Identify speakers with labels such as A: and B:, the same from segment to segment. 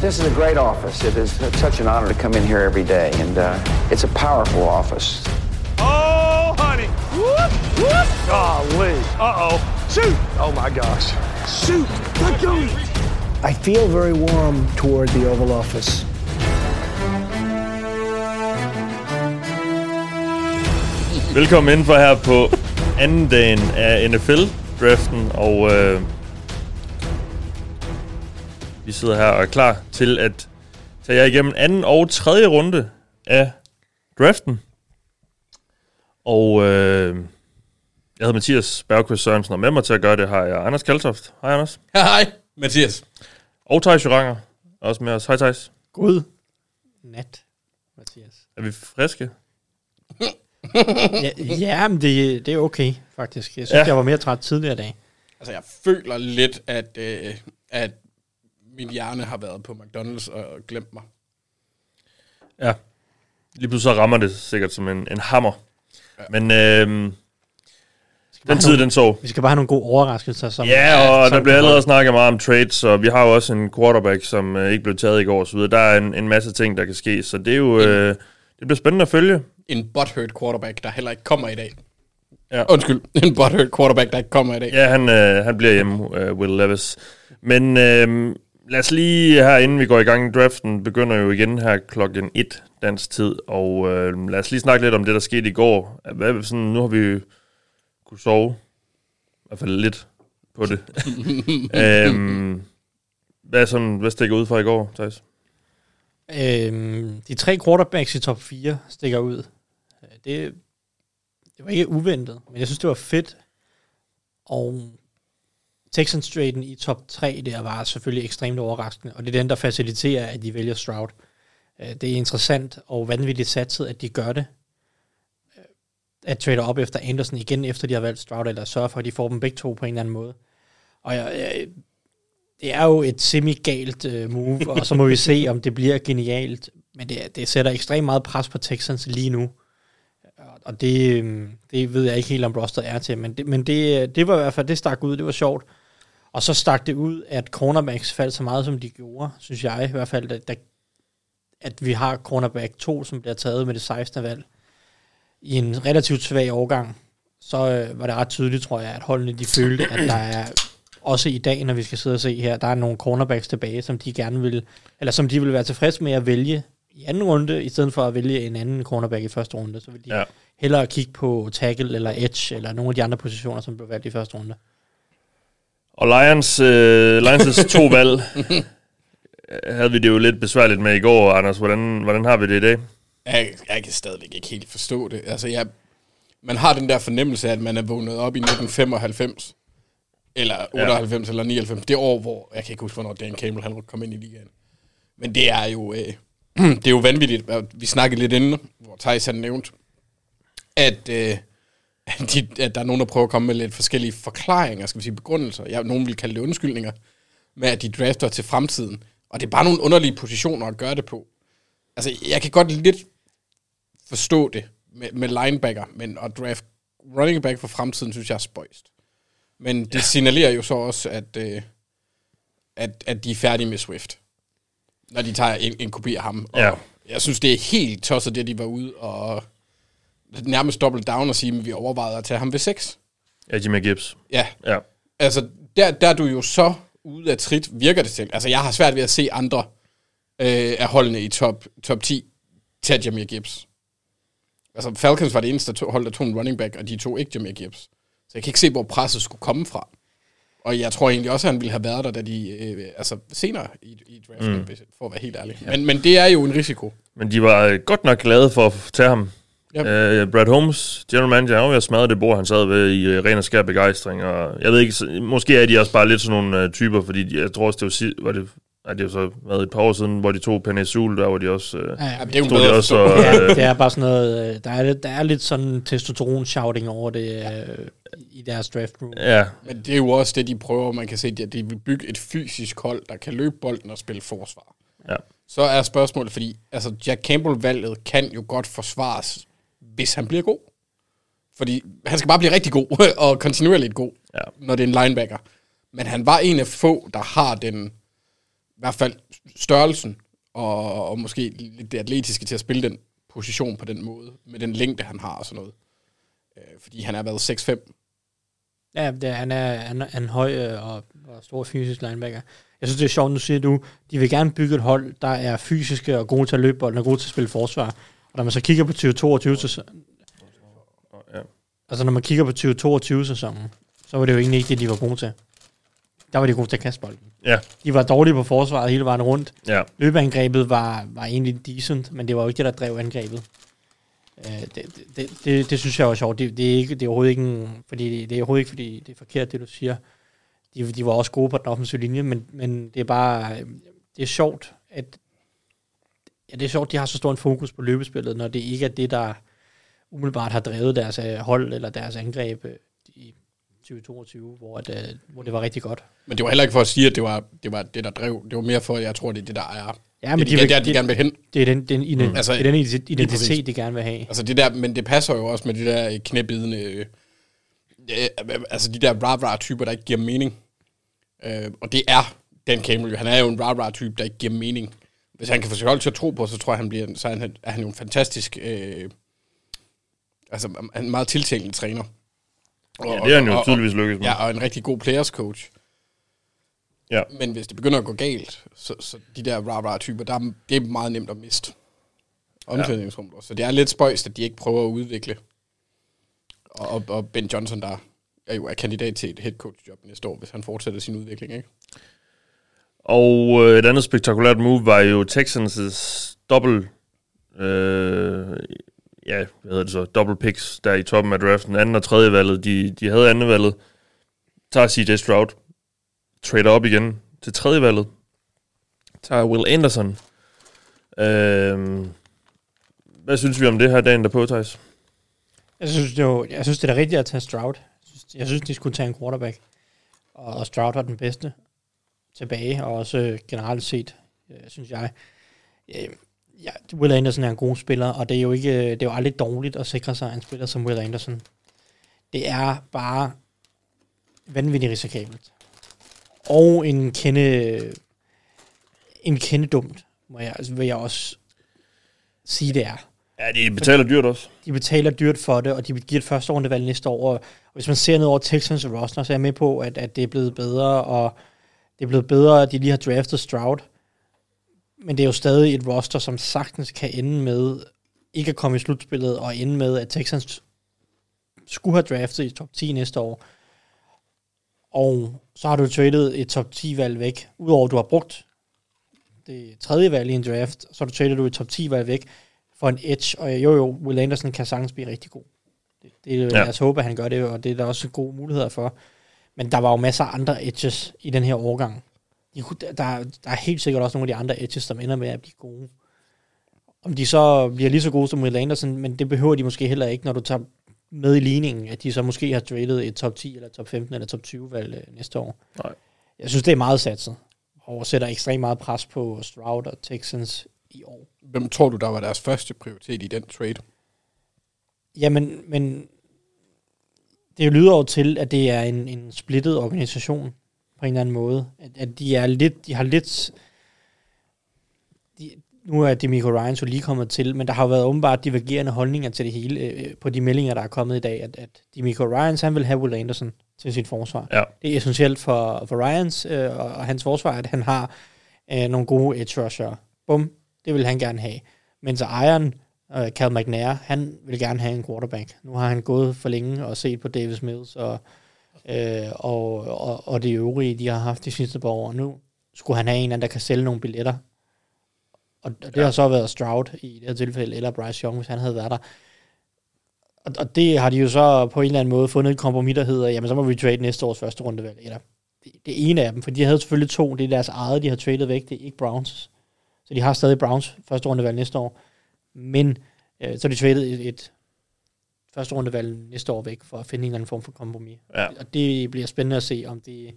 A: This is a great office. It is such an honor to come in here every day, and uh, it's a powerful office.
B: Oh, honey. Whoop, whoop. Golly. Uh-oh. Shoot. Oh, my gosh. Shoot. Let go.
C: I feel very warm toward the Oval Office.
D: Velkommen indenfor her på anden dagen af NFL-draften, og øh, vi sidder her og er klar til at tage jer igennem anden og tredje runde af draften. Og øh, jeg hedder Mathias Bergqvist Sørensen, og med mig til at gøre det har jeg Anders Kaltoft. Hej Anders.
E: Hej, Mathias.
D: Og Thijs Joranger, også med os. Hej Thijs.
F: God nat, Mathias.
D: Er vi friske?
F: Ja, ja men det, det er okay, faktisk. Jeg synes,
D: Ja.
F: ja. jeg var mere træt tidligere i dag.
E: Altså, jeg føler lidt, at, øh, at min hjerne har været på McDonald's og glemt mig.
D: Ja. Lige pludselig så rammer det sikkert som en, en hammer. Ja. Men øh, den tid, den sov.
F: Vi skal bare have nogle gode overraskelser. Som,
D: Ja, og
F: som
D: der bliver
F: kan-
D: allerede snakket meget om trades, og vi har jo også en quarterback, som øh, ikke blev taget i går osv. Der er en, en masse ting, der kan ske, så det er jo... Øh, det bliver spændende at følge.
E: En butthurt quarterback, der heller ikke kommer i dag.
D: Ja.
E: Undskyld, en butthurt quarterback, der ikke kommer i dag.
D: Ja, han, øh, han bliver hjemme, øh, Will Levis. Men øh, lad os lige her, inden vi går i gang i draften, begynder jo igen her klokken 1 dansk tid, og øh, lad os lige snakke lidt om det, der skete i går. Hvad, sådan, nu har vi jo kunne sove, i hvert fald lidt på det. øhm, hvad, er sådan, hvad stikker ud fra i går, Thijs?
F: Øhm, de tre quarterbacks i top 4 stikker ud. Øh, Det, det var ikke uventet, men jeg synes, det var fedt. Og Texans traden i top 3 der var selvfølgelig ekstremt overraskende, og det er den, der faciliterer, at de vælger Stroud. Øh, Det er interessant og vanvittigt satset, at de gør det. Øh, At trade op efter Anderson igen, efter de har valgt Stroud, eller sørge for, at de får dem begge to på en eller anden måde. Og jeg, jeg, det er jo et semi-galt øh, move, og så må vi se, om det bliver genialt. Men det, det sætter ekstremt meget pres på Texans lige nu. Og- Og det, øh, det ved jeg ikke helt, om rosteret er til. Men, det, men det, øh, det var i hvert fald, det stak ud, det var sjovt. Og så stak det ud, at cornerbacks faldt så meget, som de gjorde, synes jeg i hvert fald, at, der, at vi har cornerback 2, som bliver taget med det 16. valg i en relativt svag årgang. Så øh, var det ret tydeligt, tror jeg, at holdene de følte, at der er også i dag, når vi skal sidde og se her, der er nogle cornerbacks tilbage, som de gerne vil, eller som de vil være tilfredse med at vælge i anden runde, i stedet for at vælge en anden cornerback i første runde. Så vil de
D: Ja.
F: ja. hellere kigge på tackle eller edge, eller nogle af de andre positioner, som blev valgt i første runde.
D: Og Lions, øh, Lions' to valg øh, havde vi det jo lidt besværligt med i går, Anders. Hvordan, hvordan har vi det i dag?
E: Jeg, jeg kan stadigvæk ikke helt forstå det. Altså, jeg, man har den der fornemmelse af, at man er vågnet op i 1995, eller 98, ja. eller 99. Det år, hvor, jeg kan ikke huske, hvornår Dan Campbell han kom ind i ligaen. Men det er jo, øh, det er jo vanvittigt. Og Vi snakkede lidt inden, hvor Thijs han nævnte, at, øh, at, de, at der er nogen, der prøver at komme med lidt forskellige forklaringer, skal vi sige begrundelser. Ja, nogen vil kalde det undskyldninger, med at de drafter til fremtiden. Og det er bare nogle underlige positioner at gøre det på. Altså, jeg kan godt lidt forstå det med, med linebacker, men at draft running back for fremtiden, synes jeg er spøjst. Men det ja. signalerer jo så også, at, øh, at, at de er færdige med Swift, når de tager en, en kopi af ham. Og
D: Ja.
E: Jeg synes, det er helt tosset, det de var ude og nærmest double down og sige, at vi overvejede at tage ham ved 6.
D: Ja, Jimmy Gibbs.
E: Ja,
D: Ja.
E: altså, der, der er du jo så ude af trit, virker det til. Altså, jeg har svært ved at se andre øh, af holdene i top, top 10 tage Jameer Gibbs. Altså, Falcons var det eneste der tog- hold, der tog en running back, og de tog ikke Jameer Gibbs. Så jeg kan ikke se, hvor presset skulle komme fra. Og jeg tror egentlig også, at han ville have været der, da de, øh, altså senere i, i draften, mm. for at være helt ærlig. Ja. Men, men det er jo en risiko.
D: Men de var øh, godt nok glade for at tage ham.
E: Yep.
D: Øh, Brad Holmes, general manager, han var ved at smadre det bord, han sad ved i øh, ren og skær begejstring. Og jeg ved ikke, så- måske er de også bare lidt sådan nogle øh, typer, fordi de, jeg tror også, det var, si- var det, at det har så været et par år siden, hvor de tog Penny Sul, der var de også... Øh,
F: Ja,
E: Ja, det er jo
D: stod de
E: bedre at
D: også
E: forstå.
D: og,
F: ja,
D: øh,
F: det er bare sådan noget, øh, der er, lidt- der er lidt sådan testosteron-shouting over det øh, i deres draft room.
D: ja,
E: Men det er jo også det, de prøver. Man kan se, at de vil bygge et fysisk hold, der kan løbe bolden og spille forsvar.
D: Ja.
E: Så er spørgsmålet, fordi altså Jack Campbell-valget kan jo godt forsvares, hvis han bliver god. Fordi han skal bare blive rigtig god, og kontinuerligt god,
D: Ja.
E: når det er en linebacker. Men han var en af få, der har den i hvert fald størrelsen og, og måske lidt det atletiske til at spille den position på den måde, med den længde, han har og sådan noget. Øh, fordi han har været 6'5,
F: Ja, det, er- han, er, han, er, han er høj øh, og, og stor fysisk linebacker. Jeg synes, det er sjovt, nu siger du, de vil gerne bygge et hold, der er fysiske og gode til at løbe bolden og gode til at spille forsvar. Og når man så kigger på 2022 sæsonen,
D: Ja.
F: altså når man kigger på 2022 sæsonen, så var det jo egentlig ikke det, de var gode til. Der var de gode til at kaste bolden.
D: Ja,
F: De var dårlige på forsvaret hele vejen rundt.
D: ja.
F: Løbeangrebet var, var egentlig decent, men det var jo ikke det, der drev angrebet. Øh, det, det, det, det, det synes jeg var sjovt. Det, det, er ikke, det, er overhovedet ikke en, fordi, det er overhovedet ikke, fordi det er forkert, det du siger. De, de var også gode på den offensive linje, men, men det er bare... øh, Det er sjovt, at... Ja, det er sjovt, de har så stor en fokus på løbespillet, når det ikke er det, der umiddelbart har drevet deres øh, hold eller deres angreb øh, i 2022, hvor, at, øh, hvor det var rigtig godt.
E: men det var heller ikke for at sige, at det var det, var det der drev. Det var mere for, at jeg tror, det er det, der er.
F: Ja, men
E: det,
F: de
E: er
F: vil-
E: der, de
F: det-
E: gerne vil hen.
F: Det er den, den, ide, mm.
E: Altså,
F: altså, det er den ide-
E: præcis.
F: identitet, de gerne vil have.
E: Altså det der, men det passer jo også med de der øh, knæbidende, øh, øh, altså de der rah-rah-typer, der ikke giver mening. Øh, og det er Dan Campbell jo. Han er jo en rah-rah-type, der ikke giver mening. Hvis han kan få sit hold til at tro på, så tror jeg, han bliver, så er han, er han jo en fantastisk, øh, altså han er en meget tiltænkende træner. Og,
D: Ja, det har han jo tydeligvis lykkes med.
E: Ja, og en rigtig god players coach.
D: Ja.
E: Men hvis det begynder at gå galt, så, så de der rah-rah-typer, der er, det er meget nemt at miste omklædningsrummet. Ja. Så det er lidt spøjst, at de ikke prøver at udvikle. Og, og, og Ben Johnson, der er jo er kandidat til et headcoach-job næste år, hvis han fortsætter sin udvikling, ikke?
D: Og øh, et andet spektakulært move var jo Texans' dobbelt... Øh, ja, hvad hedder det så? Double picks der i toppen af draften. Anden og tredje valget. De, de havde andet valget. Tager CJ Stroud. Trader op igen til tredje valget. Tager Will Anderson. Øh, hvad synes vi om det her dagen derpå, Thijs?
F: Jeg synes, det var, jeg synes, det er da rigtigt at tage Stroud. Jeg synes, jeg synes, de skulle tage en quarterback. Og, og Stroud var den bedste tilbage, og også øh, generelt set, øh, synes jeg. Øh, ja, Will Anderson er en god spiller, og det er jo ikke, øh, det er jo aldrig dårligt at sikre sig en spiller som Will Anderson. Det er bare vanvittigt risikabelt. Og en kende, en kende dumt, må jeg, altså vil jeg også sige, det er
D: Ja, de betaler dyrt også.
F: de betaler dyrt for det, og de giver et første rundevalg næste år. Og hvis man ser ned over Texans og roster, så er jeg med på, at, at det er blevet bedre, og det er blevet bedre, at de lige har draftet Stroud. Men det er jo stadig et roster, som sagtens kan ende med ikke at komme i slutspillet, og ende med, at Texans skulle have draftet i top 10 næste år. Og så har du tradet et top 10-valg væk, udover at du har brugt det tredje valg i en draft, så har du tradet du et top 10-valg væk for en edge, og øh, jo jo, Will Anderson kan sagtens blive rigtig god. Det, det ja.
D: Ja.
F: Lad os håbe, at han gør det, og det er der også gode muligheder for. Men der var jo masser af andre edges i den her årgang. De, kunne- der, der er- der er helt sikkert også nogle af de andre edges, som ender med at blive gode. Om de så bliver lige så gode som Will Anderson, men det behøver de måske heller ikke, når du tager med i ligningen, at de så måske har tradet et top 10 eller top 15 eller top 20 valg øh, næste år.
D: Nej.
F: Jeg synes, det er meget satset, og sætter ekstremt meget pres på Stroud og Texans i år.
E: Hvem tror du, der var deres første prioritet i den trade?
F: Jamen, men det lyder jo til, at det er en, en splittet organisation på en eller anden måde. At, at de er lidt, de har lidt... De, nu er det Michael Ryan så lige kommet til, men der har jo været åbenbart divergerende holdninger til det hele øh, på de meldinger, der er kommet i dag, at, at de Michael Ryans, han vil have Will Anderson til sit forsvar.
D: Ja.
F: Det er essentielt for, for Ryans øh, og, og hans forsvar, at han har øh, nogle gode edge rusher. Bum, det vil han gerne have. Mens ejeren, øh, Cal McNair, han vil gerne have en quarterback. Nu har han gået for længe og set på Davis Mills og, øh, og, og, og det øvrige, de har haft de sidste par år. Nu skulle han have en, eller anden, der kan sælge nogle billetter. Og og det ja. har så været Stroud i det her tilfælde, eller Bryce Young, hvis han havde været der. Og, og det har de jo så på en eller anden måde fundet et kompromis, der hedder, jamen så må vi trade næste års første rundevalg. Eller det, det ene af dem, for de havde selvfølgelig to, det er deres eget, de har tradet væk, det er ikke Browns. Så de har stadig Browns første rundevalg næste år. Men øh, så har de tradet et, et første rundevalg næste år væk for at finde en eller anden form for kompromis.
D: Ja.
F: Og det bliver spændende at se, om det,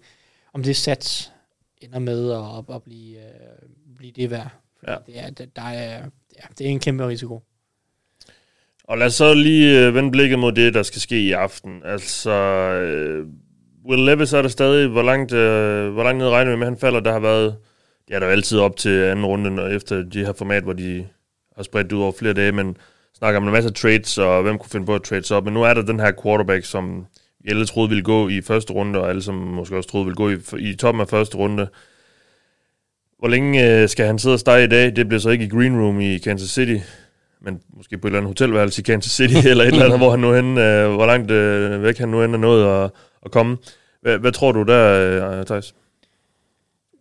F: om det sats ender med at, at blive, øh, blive det værd. Fordi
D: Ja.
F: Det, er, det- der er, ja, det er en kæmpe risiko.
D: Og lad os så lige øh, vende blikket mod det, der skal ske i aften. Altså, øh, Will Levis er der stadig, hvor langt, øh, hvor langt ned regner vi med, han falder. Der har været det er der jo altid op til anden runde, og efter de her format, hvor de har spredt det ud over flere dage, men snakker om en masse trades, og hvem kunne finde på at trade sig op. Men nu er der den her quarterback, som vi alle troede ville gå i første runde, og alle som måske også troede ville gå i, i toppen af første runde. Hvor længe øh, skal han sidde og stege i dag? Det bliver så ikke i Green Room i Kansas City, men måske på et eller andet hotelværelse i Kansas City, eller et eller andet, hvor, han nu hen, øh, hvor langt øh, væk han nu end er nået at, at komme. Hvad, hvad tror du der, øh, Thijs?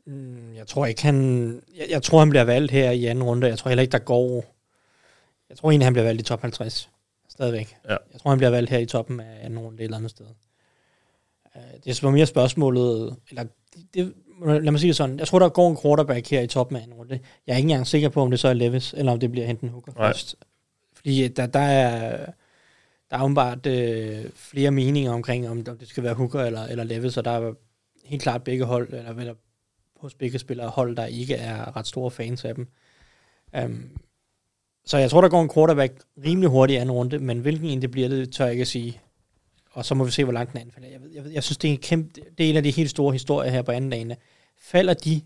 F: Mm, Jeg tror ikke, han... Jeg, jeg tror, han bliver valgt her i anden runde. Jeg tror heller ikke, der går... Jeg tror egentlig, han bliver valgt i top 50. Stadigvæk.
D: Ja.
F: Jeg tror, han bliver valgt her i toppen af anden runde et eller andet sted. Øh, Det er så mere spørgsmålet... Eller det, lad mig sige det sådan. Jeg tror, der går en quarterback her i toppen af anden runde. Jeg er ikke engang sikker på, om det så er Levis, eller om det bliver Hinton Hooker
D: Nej.
F: først. Fordi øh, der, der er... Der er åbenbart øh, flere meninger omkring, om, om det skal være Hooker eller, eller Levis, og der er helt klart begge hold, eller, eller hos begge spillere hold, der ikke er ret store fans af dem. Um, så jeg tror, der går en quarterback rimelig hurtigt i anden runde, men hvilken en det bliver, det tør jeg ikke at sige. Og så må vi se, hvor langt den anden falder. Jeg, ved, jeg, ved, jeg synes, det er, en kæmpe, det er en af de helt store historier her på anden dagen. Falder de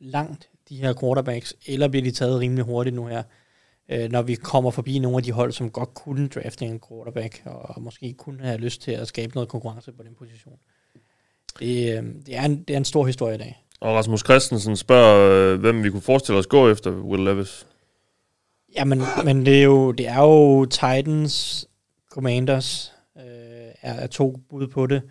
F: langt, de her quarterbacks, eller bliver de taget rimelig hurtigt nu her, øh, når vi kommer forbi nogle af de hold, som godt kunne drafte en quarterback, og, og måske kunne have lyst til at skabe noget konkurrence på den position. Det, øh, det, er, en, det er en stor historie i dag.
D: Og Rasmus Christensen spørger, øh, hvem vi kunne forestille os gå efter Will Levis.
F: Ja, men, men det, er jo, det er jo Titans, Commanders øh, er, er to bud på det.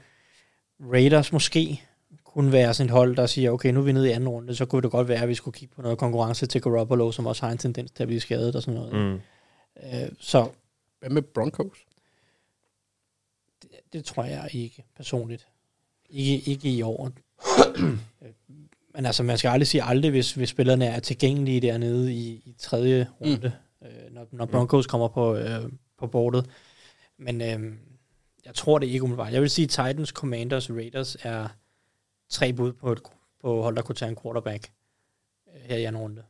F: Raiders måske kunne være sådan et hold, der siger, okay, nu er vi nede i anden runde, så kunne det godt være, at vi skulle kigge på noget konkurrence til Garoppolo, som også har en tendens til at blive skadet og sådan noget. Mm.
D: Mm.
F: Øh, så
E: Hvad med Broncos?
F: det, det tror jeg ikke personligt. Ikke, ikke i år. Øh, men altså, man skal aldrig sige aldrig, hvis, hvis spillerne er tilgængelige dernede i, i tredje runde, mm. øh, når, når Broncos kommer på, øh, på bordet. Men øh, jeg tror det ikke umiddelbart. Jeg vil sige, Titans, Commanders, Raiders er tre bud på, et, på hold, der kunne tage en quarterback øh, her i anden runde.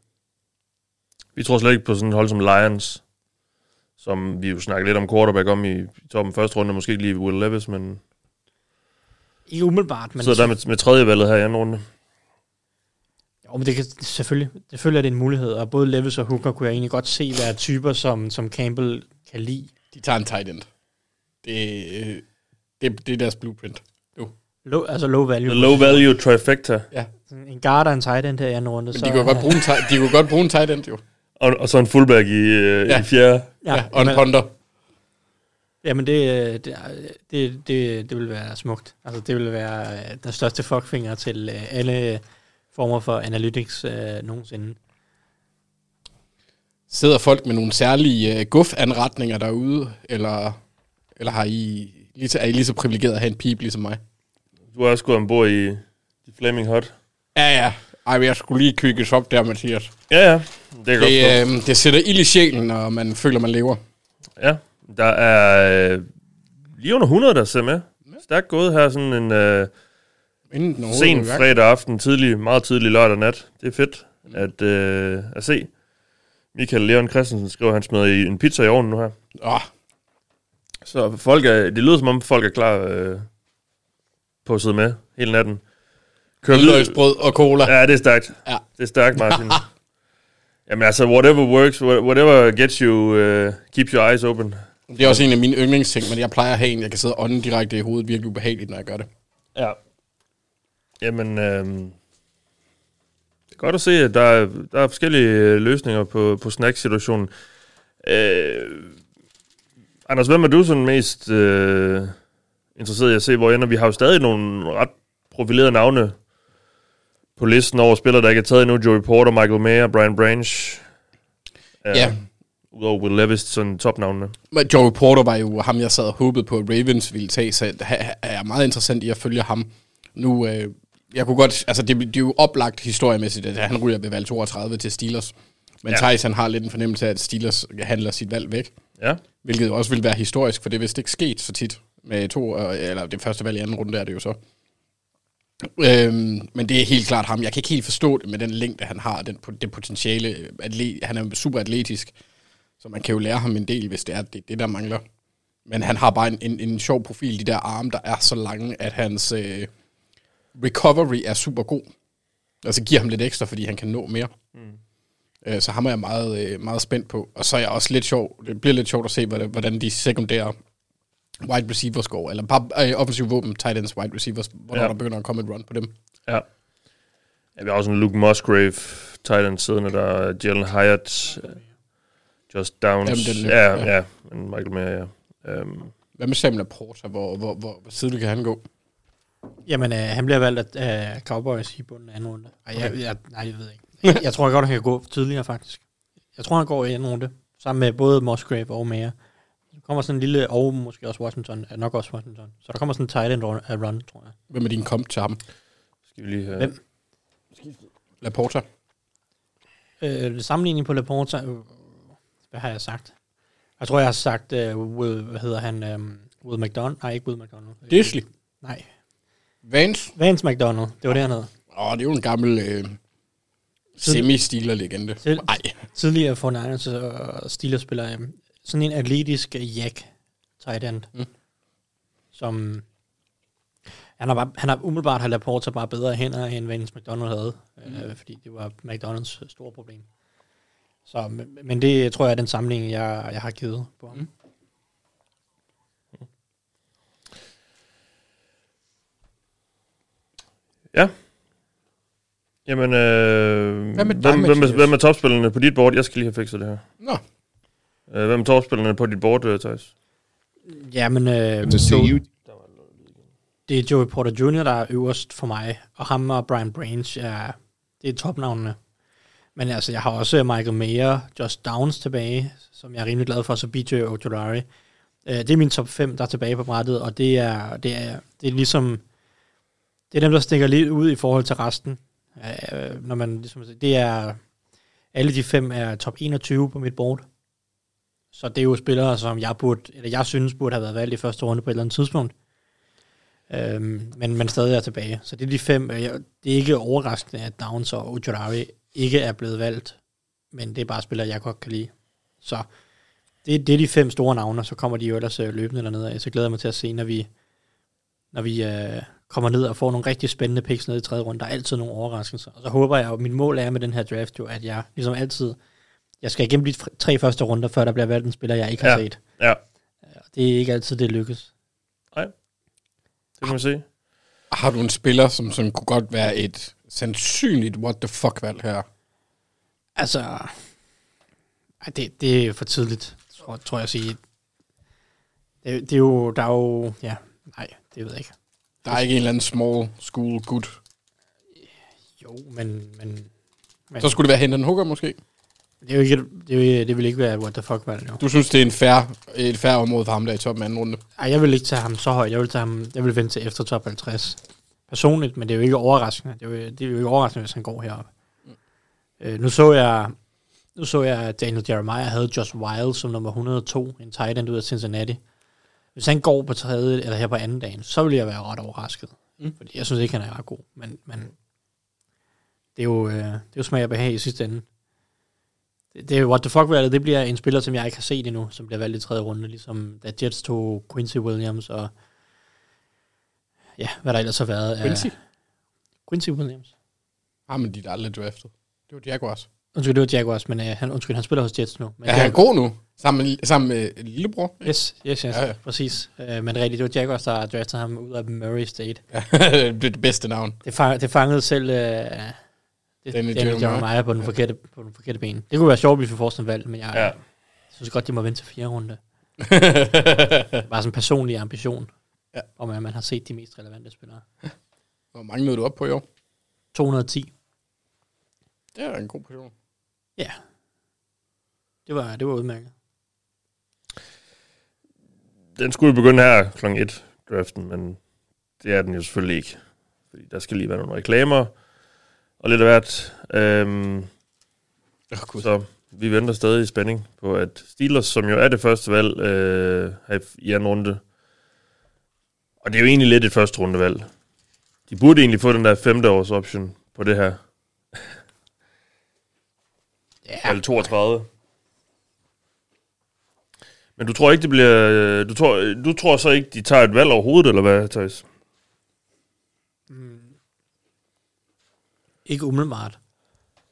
D: Vi tror slet ikke på sådan et hold som Lions, som vi jo snakkede lidt om quarterback om i toppen første runde, måske ikke lige Will Levis, men,
F: Ikke umiddelbart,
D: men
F: men...
D: sidder der med, med tredje valget her i anden runde.
F: Jo, men det kan, selvfølgelig, selvfølgelig er det en mulighed, og både Levis og Hooker kunne jeg egentlig godt se være typer, som, som Campbell kan lide.
E: De tager en tight end. Det, øh, det, det er deres blueprint. Jo.
F: Low, altså low value.
D: The low value trifecta,
E: Ja.
F: Sådan En guard og en tight end her i anden runde.
E: Men de kunne, godt bruge en tight, de kunne godt bruge en tight end, jo.
D: og, og så en fullback i, øh, ja.
E: Ja.
D: i fjerde.
E: Ja,
F: Ja,
E: og en
F: jamen,
E: punter.
F: jamen det, øh, det, er- det, det, det vil være smukt. Altså det vil være øh, den største fuckfinger til øh, alle former for analytics øh, nogensinde.
E: Sidder folk med nogle særlige øh, guf-anretninger derude, eller, eller har I, lige så, er I lige så privilegeret at have en pip ligesom mig?
D: Du har også gået ombord i, i Flaming Hot.
E: Ja, ja. Ej, men jeg skulle lige kvikkes op der, Mathias.
D: Ja, ja. Det kan jeg godt
E: Det, øhm,
D: forstå.
E: øh, det sætter ild i sjælen, når man føler, man lever.
D: Ja, der er øh, lige under 100, der ser med. Stærkt gået her, sådan en øh,
E: Inden den overhovedet
D: sen
E: er værk. Mm.
D: fredag aften, tidlig, meget tidlig lørdag nat. Det er fedt at, øh, at se. Michael Leon Christensen skriver, at han smider i en pizza i ovnen nu her.
E: Åh,
D: Så folk er, det lyder som om, folk er klar øh, på at sidde med hele natten. Kør lyd,
E: hvidløgsbrød og cola.
D: Ja, det er stærkt.
E: Ja.
D: Det er stærkt, Martin. Jamen altså, whatever works, wha- whatever gets you, uh, keep your eyes open.
E: Det er også en af mine yndlingsting, men jeg plejer at have en, jeg kan sidde og ånde direkte i hovedet virkelig ubehageligt, når jeg gør det.
D: Ja. Jamen, øh, det er godt at se, at der er, der er forskellige øh, løsninger på, på snacksituationen. Øh, Anders, hvem er du sådan mest øh, interesseret i at se, hvor ender? Vi har jo stadig nogle ret profilerede navne på listen over spillere, der ikke er taget endnu. Joey Porter, Michael Mayer, Brian Branch. Øh,
E: Ja.
D: Udover Will Levis, sådan topnavnene.
E: Men Joey Porter var jo ham, jeg sad og håbede på, at Ravens ville tage, så det ha- er jeg meget interessant i at følge ham. Nu, øh, jeg kunne godt, altså det, det er jo oplagt historiemæssigt, at han ryger ved valg 32 til Steelers. Men
D: Ja.
E: ja. Thijs, han har lidt en fornemmelse af, at Steelers handler sit valg væk.
D: Ja.
E: Hvilket jo også ville være historisk, for det er vist ikke sket så tit med to, øh, eller det første valg i anden runde er det jo så. Øhm, men det er helt klart ham. Jeg kan ikke helt forstå det med den længde, han har, den, po- det potentiale. øh, Atle- han er super atletisk, så man kan jo lære ham en del, hvis det er det, er det der mangler. Men han har bare en, en, en sjov profil, de der arme, der er så lange, at hans øh, recovery er super god. Altså giver ham lidt ekstra, fordi han kan nå mere. Mm. Øh, så ham er jeg meget, øh, meget spændt på. Og så er jeg også lidt sjov. Det bliver lidt sjovt at se, hvordan- hvordan de sekundære wide receivers går. Eller bare øh, offensiv våben, tight ends, wide receivers. Hvornår
D: Ja.
E: ja. der begynder at komme et run på dem.
D: Ja. ja vi har også en Luke Musgrave, Titan siddende, der er Jalen Hyatt, øh, Just Downs.
E: Jamen, den-
D: ja, ja,
E: ja.
D: ja. Men Michael Mayer, ja. Um,
E: Hvad med Samuel Laporta? Hvor, hvor, hvor, hvor tidligt kan han gå?
F: Jamen, øh, han bliver valgt af øh, Cowboys i bunden af anden runde. Ej, jeg, jeg, nej, jeg ved ikke. Jeg tror godt, han kan gå tidligere, faktisk. Jeg tror, han går i anden runde, sammen med både Musgrave og Mayer. Der kommer sådan en lille, og måske også Washington, øh, nok også Washington. Så der kommer sådan en tight end run, øh, run tror jeg.
E: Hvem er din komp til ham?
D: skal vi lige have...
F: Hvem?
E: Laporta?
F: Øh, sammenligning på Laporta, øh, hvad har jeg sagt? Jeg tror, jeg har sagt, øh, Will, hvad hedder han, øh, Will McDonald? Nej, ikke Will McDonald. Øh,
E: Disley?
F: Nej,
E: Vance?
F: Vance McDonald, det var det, han hed.
E: Åh, det er jo en gammel øh, semi-stiler-legende.
F: Til-
E: Nej,
F: tidligere for Niners og Steelers spiller øhm, sådan en atletisk øh, jack tight end, mm.
E: Mm.
F: som han har, bare, han har umiddelbart har Laporta bare bedre hænder, end Vance McDonald havde, mm. øh, fordi det var McDonalds store problem. Så, men, men det tror jeg er den samling, jeg, jeg har givet på ham. Mm.
D: Ja. Jamen, øh,
E: Hvad med dig,
D: hvem, hvem, er,
E: Mathias?
D: hvem er topspillerne på dit board? Jeg skal lige have fikset det her.
E: Nå,
D: Øh, hvem er topspillerne på dit board, øh, Thijs?
F: Jamen, øh,
G: to see you.
F: det er Joey Porter Jr., der er øverst for mig, og ham og Brian Branch er, det er topnavnene. Men altså, jeg har også Michael Mayer, Josh Downs tilbage, som jeg er rimelig glad for, så BJ Ojolari. Øh, Det er min top 5, der er tilbage på brættet, og det er, det er, det er ligesom, det er dem, der stikker lidt ud i forhold til resten. Øh, Når man ligesom, det er, alle de fem er top 21 på mit board. Så det er jo spillere, som jeg, burde, eller jeg synes burde have været valgt i første runde på et eller andet tidspunkt. Øhm, men man stadig er tilbage. Så det er de fem. Øh, jeg- Det er ikke overraskende, at Downs og Ujurari ikke er blevet valgt, men det er bare spillere, jeg godt kan lide. Så det, det er de fem store navne, og så kommer de jo ellers øh, løbende dernede. af. Så glæder jeg mig til at se, når vi, når vi øh, kommer ned og får nogle rigtig spændende picks ned i tredje runde. Der er altid nogle overraskelser. Og så håber jeg, og mit mål er med den her draft jo, at jeg ligesom altid, jeg skal igennem de fr- tre første runder, før der bliver valgt en spiller, jeg ikke har
D: Ja.
F: ja. set. Øh,
D: Ja,
F: Og Det er ikke altid, det lykkes.
D: det kan man se.
E: har du en spiller, som sådan kunne godt være et sandsynligt what the fuck-valg her?
F: Altså, ej, det, det er for tidligt, tror, tror jeg at sige. Det, det er jo, der er jo, ja, nej, det ved jeg ikke.
E: Der er ikke en eller anden small school good.
F: Jo, men, men
E: Så skulle det være Hendon Hooker måske?
F: det, er jo ikke, det, er jo, det vil ikke være what the fuck valg jo.
E: Du synes, det er en fair, et fair område for ham der i toppen af anden runde?
F: Ej, jeg vil ikke tage ham så højt, jeg vil, tage ham, jeg vil vente til efter top 50 personligt, men det er jo ikke overraskende. Det er jo, det er jo ikke overraskende, hvis han går heroppe. Øh, nu så jeg, nu så jeg, at Daniel Jeremiah havde Josh Wild som nummer 102, en tight end ud af Cincinnati. Hvis han går på tredje, eller her på anden dagen, så vil jeg være ret overrasket. Mm. Fordi jeg synes ikke, han er ret god. Men, men det, er jo, øh, det er jo smag og behag i sidste ende. Det, det er jo what the fuck valget, det bliver en spiller, som jeg ikke har set endnu, som bliver valgt i tredje runde, ligesom da Jets tog Quincy Williams og ja, hvad der ellers har været. Øh, af-
E: Quincy?
F: Quincy Williams.
E: Har man dit aldrig draftet? Det var Jaguars.
F: Undskyld, det var Jaguars, men øh, han, undskyld, han spiller hos Jets nu. Men
E: Er
F: det
E: han god nu? Sammen med, sammen med øh, lillebror?
F: Yes, yes, yes, ja,
E: Ja,
F: ja.
E: ja.
F: præcis. Øh, men rigtigt, det var Jaguars, der draftede ham ud af Murray State.
E: Ja, det er det bedste navn.
F: Det, fang, det fangede selv øh, det, Danny, Danny
E: Jeremiah.
F: Jeremiah på den, forkerte, på den forkerte ben. Det kunne være sjovt, hvis vi får sådan et valg, men jeg
D: Ja.
F: ja. synes godt, de må vente til fjerde runde. Bare sådan en personlig ambition, ja.
E: Ja.
F: om at man har set de mest relevante spillere.
E: Hvor mange nåede du op på i år?
F: 210.
E: Det er en god position.
F: Ja. Det var, det var udmærket.
D: Den skulle jo begynde her kl. 1, draften, men det er den jo selvfølgelig ikke. Fordi der skal lige være nogle reklamer og lidt af hvert. Øhm,
E: Åh, oh,
D: Så vi venter stadig i spænding på, at Steelers, som jo er det første valg øh, her i- i anden runde, og det er jo egentlig lidt et første rundevalg. De burde egentlig få den der femte års option på det her. Ja. Valg 32. Men du tror ikke, det bliver... øh, Du tror, du tror så ikke, de tager et valg overhovedet, eller hvad, Thijs?
F: Ikke umiddelbart.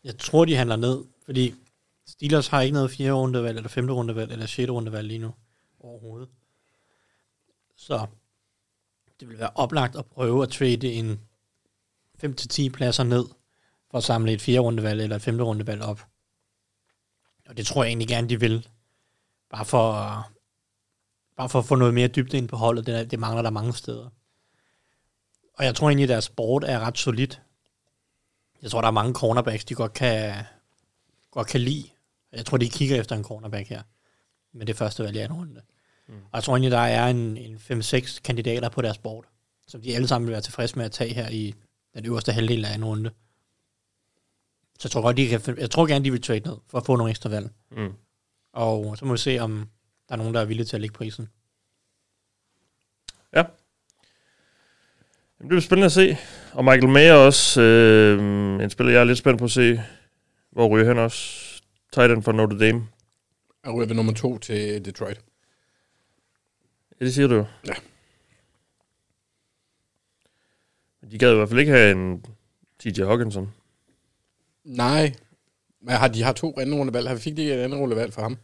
F: Jeg tror, de handler ned, fordi Steelers har ikke noget fjerde rundevalg, eller femte rundevalg, eller sjette rundevalg lige nu overhovedet. Så det vil være oplagt at prøve at trade en 5-10 pladser ned, for at samle et fjerde rundevalg eller et femte rundevalg op. Og det tror jeg egentlig gerne, de vil. Bare for, at- bare for at få noget mere dybde ind på holdet. Det, er- det mangler der mange steder. Og jeg tror egentlig, at deres sport er ret solid. Jeg tror, der er mange cornerbacks, de godt kan, godt kan lide. Jeg tror, de kigger efter en cornerback her. Med det første valg i anden runde. Mm. Og jeg tror egentlig, der er en, en 5-6 kandidater på deres board, som de alle sammen vil være tilfredse med at tage her i den øverste halvdel af anden runde. Så jeg tror, godt, de kan, fin- jeg tror gerne, de vil trade ned for at få nogle ekstra valg.
D: Mm.
F: Og så må vi se, om der er nogen, der er villige til at lægge prisen.
D: Ja. Jamen, det bliver spændende at se. Og Michael Mayer også. Øh, en spiller, jeg er lidt spændt på at se, hvor ryger han også. Titan fra Notre Dame.
E: Jeg ryger ved nummer to til Detroit.
D: Ja, det siger du jo.
E: Ja.
D: De gad i hvert fald ikke have en TJ Hawkinson.
E: Nej. Men har, de har to anden rundevalg. Har vi fik de ikke et anden rundevalg for ham?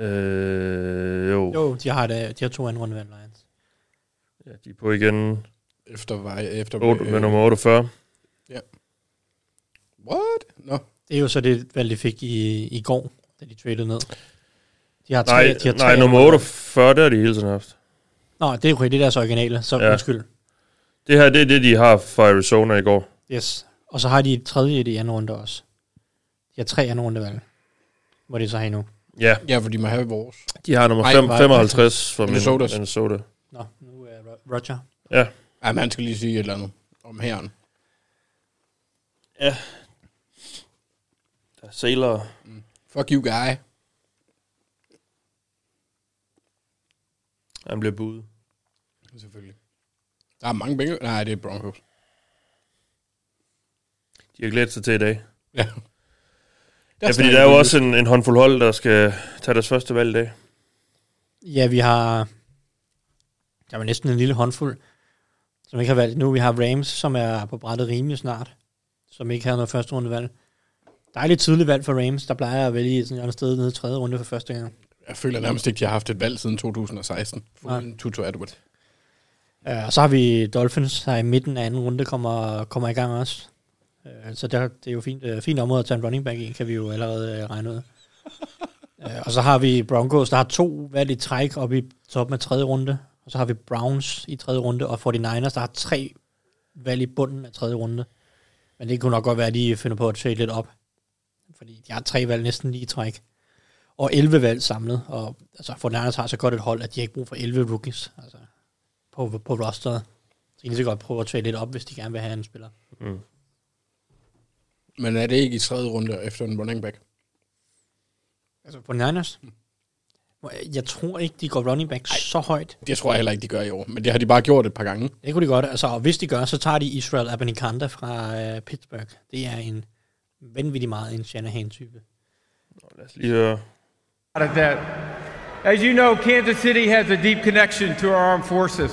D: Øh, jo. jo.
F: Jo, de har, det, de har to andre rundevalg, Lions.
D: Ja, de er på igen.
E: Efter, vej, efter
D: 8,
F: øh,
D: med nummer 48.
E: What? Nå.
F: Det er jo så det valg, de fik i, i går, da de tradede ned. De har tre,
D: Nej,
F: de har tre
D: nej nummer
F: andre-
D: 48, det har de hele tiden haft.
F: Nå, det er jo det er deres originale, så
D: Ja.
F: ja. undskyld.
D: Det her, det er det, de har fra Arizona i går.
F: Yes. Og så har de et tredje i det andet runde også. De har tre andre rundevalg. Må de så have nu.
D: Ja,
E: Ja, for de må have vores.
D: de har nummer
E: Ej,
D: fem,
E: var-
D: 55 fra Minnesota.
E: Minnesotas.
D: Minnesota.
F: Nå, nu er Ro- Roger.
D: Ja,
E: Ej, men han skal lige sige et eller andet om herren.
D: der er Sailor.
E: Fuck you, guy.
D: Han bliver budet.
E: Selvfølgelig. Der er mange bænge. Nej, det er Broncos.
D: De har glædet sig til i dag.
E: Ja.
D: Ja, fordi der er jo også en, en håndfuld hold, der skal tage deres første valg i dag.
F: Ja, vi har... Der var næsten en lille håndfuld, som ikke har valgt nu. Vi har Rams, som er på brættet rimelig snart, som ikke har noget første runde valg. Dejligt tidligt valg for Rams, der plejer at vælge sådan et andet sted nede i tredje runde for første gang.
E: Jeg føler nærmest ikke, de har haft et valg siden 2016. Uden Tutu Edward.
F: Uh, og så har vi Dolphins, der i midten af anden runde kommer, kommer i gang også. Uh, så der, det er jo fint, uh, fint område at tage en running back i, kan vi jo allerede uh, regne ud. uh, og så har vi Broncos, der har to valg i træk oppe i toppen af tredje runde. Og så har vi Browns i tredje runde, og 49ers, der har tre valg i bunden af tredje runde. Men det kunne nok godt være, at de finder på at trade lidt op. Fordi de har tre valg næsten lige i træk. Og 11 valg samlet. Og altså, 49ers har så godt et hold, at de har ikke brug for 11 rookies. Altså, på, på rosteret. Så kan de så godt prøve at trade lidt op, hvis de gerne vil have en spiller.
D: Mm.
E: Men er det ikke i tredje runde efter en running back?
F: Altså på Niners?
E: Hmm.
F: Jeg tror ikke, de går running back Ej. så højt.
E: Det tror jeg heller ikke, de gør i år. Men det har de bare gjort et par gange.
F: Det kunne de godt. Altså, og hvis de gør, så tager de Israel Abanikanda fra øh, Pittsburgh. Det er en vanvittig meget en Shanahan-type.
D: Lad os lige høre.
G: out of debt. As you know, Kansas City has a deep connection to our armed forces,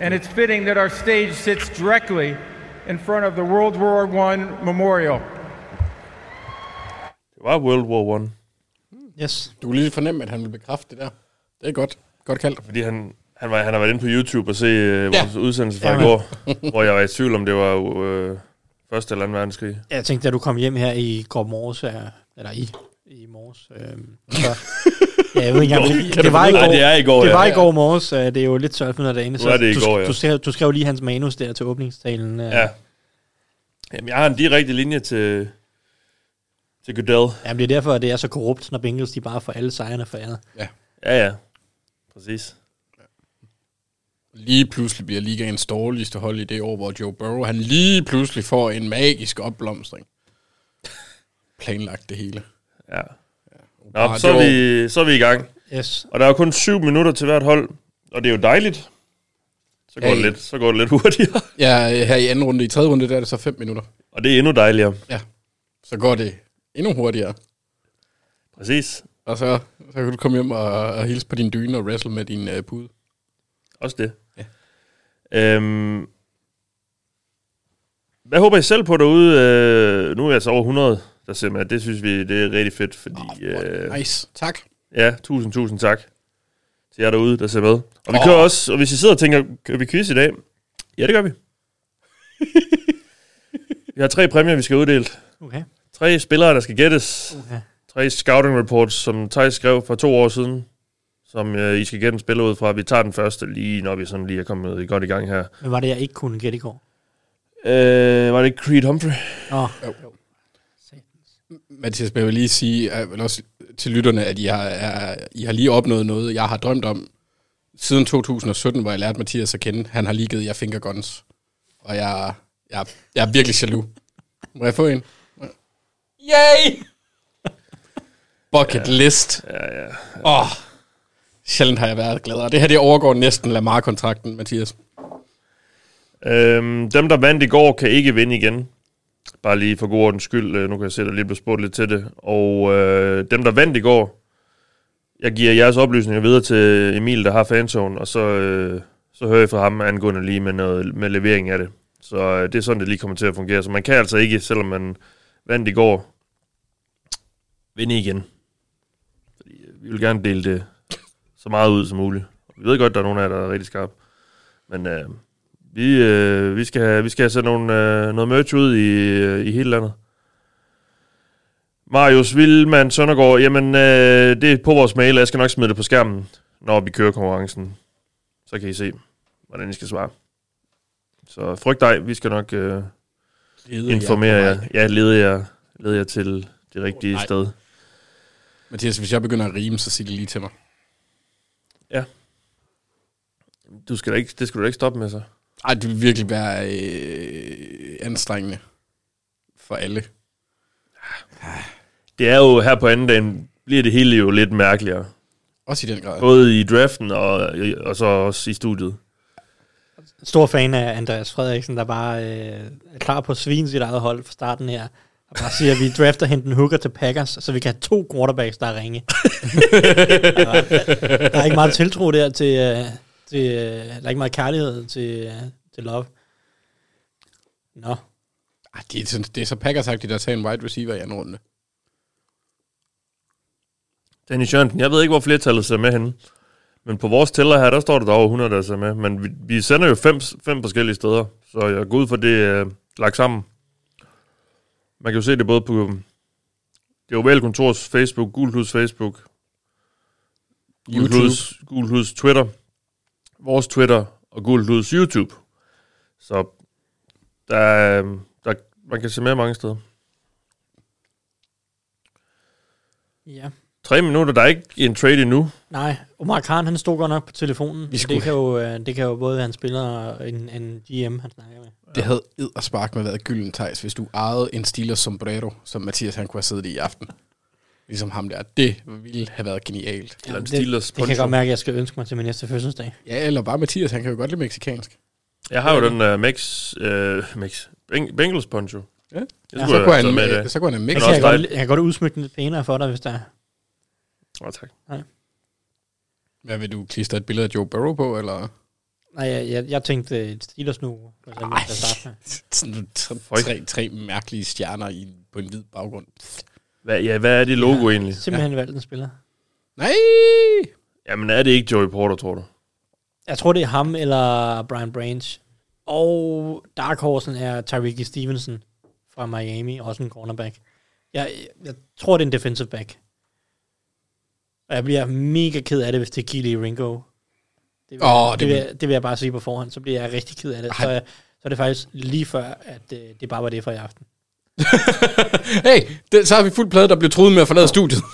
G: and it's fitting that our stage sits directly in front of the World War I Memorial.
D: Det var World War One,
F: Yes.
E: Du kunne lige fornemme, at han vil bekræfte det der. Det er godt. Godt kaldt.
D: fordi han, han, var, han har været inde på YouTube og se øh, vores udsendelse fra i
F: Jamen.
D: går, hvor jeg var i tvivl om, det var øh, første eller anden verdenskrig.
F: Jeg tænkte, da du kom hjem her i går morges, øh, eller i, i morges, øh, så, ja, jeg ved ikke, engang, hvilken-
D: Kan du
F: det var i
D: finde ud
F: går,
D: af- det er i går,
F: det
D: ja.
F: var i går morges, øh, det er jo lidt sørget for noget derinde,
D: Nu er det i
F: du,
D: går, ja.
F: du, skrev, du skrev lige hans manus der til åbningstalen. Øh,
D: Ja. Jamen, jeg har en direkte linje til, til Goodell.
F: Jamen, det er derfor, at det er så korrupt, når Bengals de bare får alle sejrene foræret.
D: Ja, ja. Præcis.
E: Lige pludselig bliver ligaens dårligste hold i det år, hvor Joe Burrow, han lige pludselig får en magisk opblomstring. Planlagt det hele.
D: Ja. Nå,
E: Bare
D: så er,
E: Joe.
D: vi, så er vi i gang.
F: Yes.
D: Og der er jo kun syv minutter til hvert hold, og det er jo dejligt. Så går,
E: Ja,
D: det,
E: ja.
D: lidt, så går det lidt hurtigere.
E: Ja, her i anden runde, i tredje runde, der er det så 5 minutter.
D: Og det er endnu dejligere.
E: Ja. Så går det endnu hurtigere.
D: Præcis.
E: Og så, så kan du komme hjem og, og hilse på din dyne og wrestle med din øh, pude.
D: Også det. Ja. Øhm, Hvad håber I selv på derude? Øh, nu er jeg altså over 100, der ser med. Det synes vi, det er rigtig fedt, fordi... øh,
E: Yeah. Nice. Tak.
D: Ja, tusind, tusind tak til jer derude, der ser med. Og vi kører også, og hvis I sidder og tænker, kører vi quiz i dag? Ja, det gør vi. vi har tre præmier, vi skal uddele.
F: Okay.
D: Tre spillere, der skal gættes.
F: okay.
D: Tre scouting reports, som Thijs skrev for to år siden, som øh, I skal gætte en spiller ud fra. Vi tager den første lige, når vi sådan lige er kommet godt i gang her.
F: Men var det, jeg ikke kunne gætte i går?
D: Øh, var det ikke Creed Humphrey?
F: Nå,
E: Mathias, jeg vil lige sige jeg vil også til lytterne, at I har, er, I har lige opnået noget, jeg har drømt om siden 2017, hvor jeg lærte Mathias at kende. Han har lige givet jer fingerguns. Og jeg, jeg, jeg er virkelig jaloux. Må jeg få en? Yay! Bucket ja. list. Ja, ja. Åh, oh, sjældent har jeg været gladere. Det her, det overgår næsten Lamar-kontrakten, Mathias.
D: Øhm, dem, der vandt i går, kan ikke vinde igen. Bare lige for god ordens skyld. øh, Nu kan jeg se, at der lige blev spurgt lidt til det. Og øh, dem, der vandt i går, jeg giver jeres oplysninger videre til Emil, der har fanzonen, og så, øh, så hører jeg fra ham angående lige med, noget, med levering af det. Så øh, det er sådan, det lige kommer til at fungere. Så man kan altså ikke, selvom man vandt i går, vinde igen. Fordi øh, vi vil gerne dele det så meget ud som muligt. Og Vi ved godt, der er nogen af jer, der er rigtig skarpe. Men øh, vi, øh, vi, skal have, vi skal have sendt nogle, øh, noget merch ud i, øh, i hele landet. Marius Vilman Søndergaard, jamen øh, det er på vores mail, og jeg skal nok smide det på skærmen, når vi kører konkurrencen. Så kan I se, hvordan I skal svare. Så frygt dig, vi skal nok øh, informere jer. Ja, lede jer, lede jer til det rigtige
E: nej.
D: sted.
E: Mathias, hvis jeg begynder at rime, så sig det lige til mig.
D: Du skal da ikke, det skal du da ikke stoppe med, så.
E: Ej, det vil virkelig være øh, anstrengende for alle.
D: Det er jo her på anden dagen, bliver det hele jo lidt mærkeligere.
E: Også i den grad.
D: Både i draften og, og så også i studiet.
F: stor fan af Andreas Frederiksen, der bare øh, er klar på at svine sit eget hold fra starten her. Og bare siger, at vi drafter henten hooker til Packers, så vi kan have to quarterbacks, der er ringe. der, der er ikke meget tiltro der til, øh, til øh, der er ikke meget kærlighed til, øh, til Love. Nå,
E: Ej, det, er, sådan- det er så packers at tage en wide receiver i anden runde.
D: Dennis Jørgensen, jeg ved ikke, hvor flertallet ser med henne. Men på vores tæller her, der står der, der er over 100, der ser med. Men vi, vi sender jo fem, fem forskellige steder, så jeg går ud for det øh, lagt sammen. Man kan jo se det både på det ovale kontors Facebook, Gulhus Facebook,
E: YouTube.
D: Gulhus, Gulhus Twitter, vores Twitter og Gulhus YouTube. Så der, er, øh, der, man kan se med mange steder.
F: ja.
D: Tre minutter, der er ikke en trade endnu.
F: Nej, Omar Khan, han stod godt nok på telefonen.
E: skulle-
F: Skulle... Det, kan jo, øh, det kan jo både være en spiller og en, en GM, han snakker med.
E: Det havde ed og spark med været gylden, Thijs, hvis du ejede en Steelers sombrero, som Mathias han kunne have siddet i i aften. Ligesom ham der. Det ville have været genialt.
D: Eller en
F: det,
D: Steelers
F: det kan jeg
D: poncho.
F: godt mærke, at jeg skal ønske mig til min næste fødselsdag.
E: Ja, eller bare Mathias, han kan jo godt lide mexikansk.
D: Jeg har jo den uh, Max, uh, Max Beng- Bengals poncho.
E: Ja.
D: Det skulle
E: Ja, så,
D: jeg
E: kunne
D: have taget
E: han,
D: med i
E: med,
D: dag.
E: så kunne
F: Jeg
E: han have
D: Men
E: mexikansk.
F: kan,
D: også
F: jeg godt,
D: dig.
F: jeg kan godt udsmykke den lidt pænere for dig, hvis der er.
D: Åh, tak.
E: Hvad vil du klistre et billede af Joe Burrow på, eller?
F: Nej, jeg, jeg, jeg tænkte øh, Steelers nu. for eksempel,
E: Ej.
F: til at starte med.
E: Sådan tre,
D: Føj.
E: tre, tre mærkelige stjerner i, på en hvid baggrund.
D: Hvad, ja, hvad er det logo ja. egentlig?
F: Simpelthen ja. valgt en spiller.
E: Nej!
D: Jamen, er det ikke Joey Porter, tror du?
F: Jeg tror, det er ham eller Brian Branch. Og Dark Horsen er Tyreek Stevenson fra Miami, også en cornerback. Jeg, jeg tror, det er en defensive back. Og jeg bliver mega ked af det, hvis det er Keely Ringo. Det vil,
E: Åh,
F: det,
E: det
F: det, vil, jeg- det vil jeg bare sige på forhånd, så bliver jeg rigtig ked af det. Så,
E: Ej.
F: jeg- så er det faktisk lige før, at øh, det bare var det for i aften.
E: Hey, det, så har vi fuld plade, der blev truet med at forlade studiet.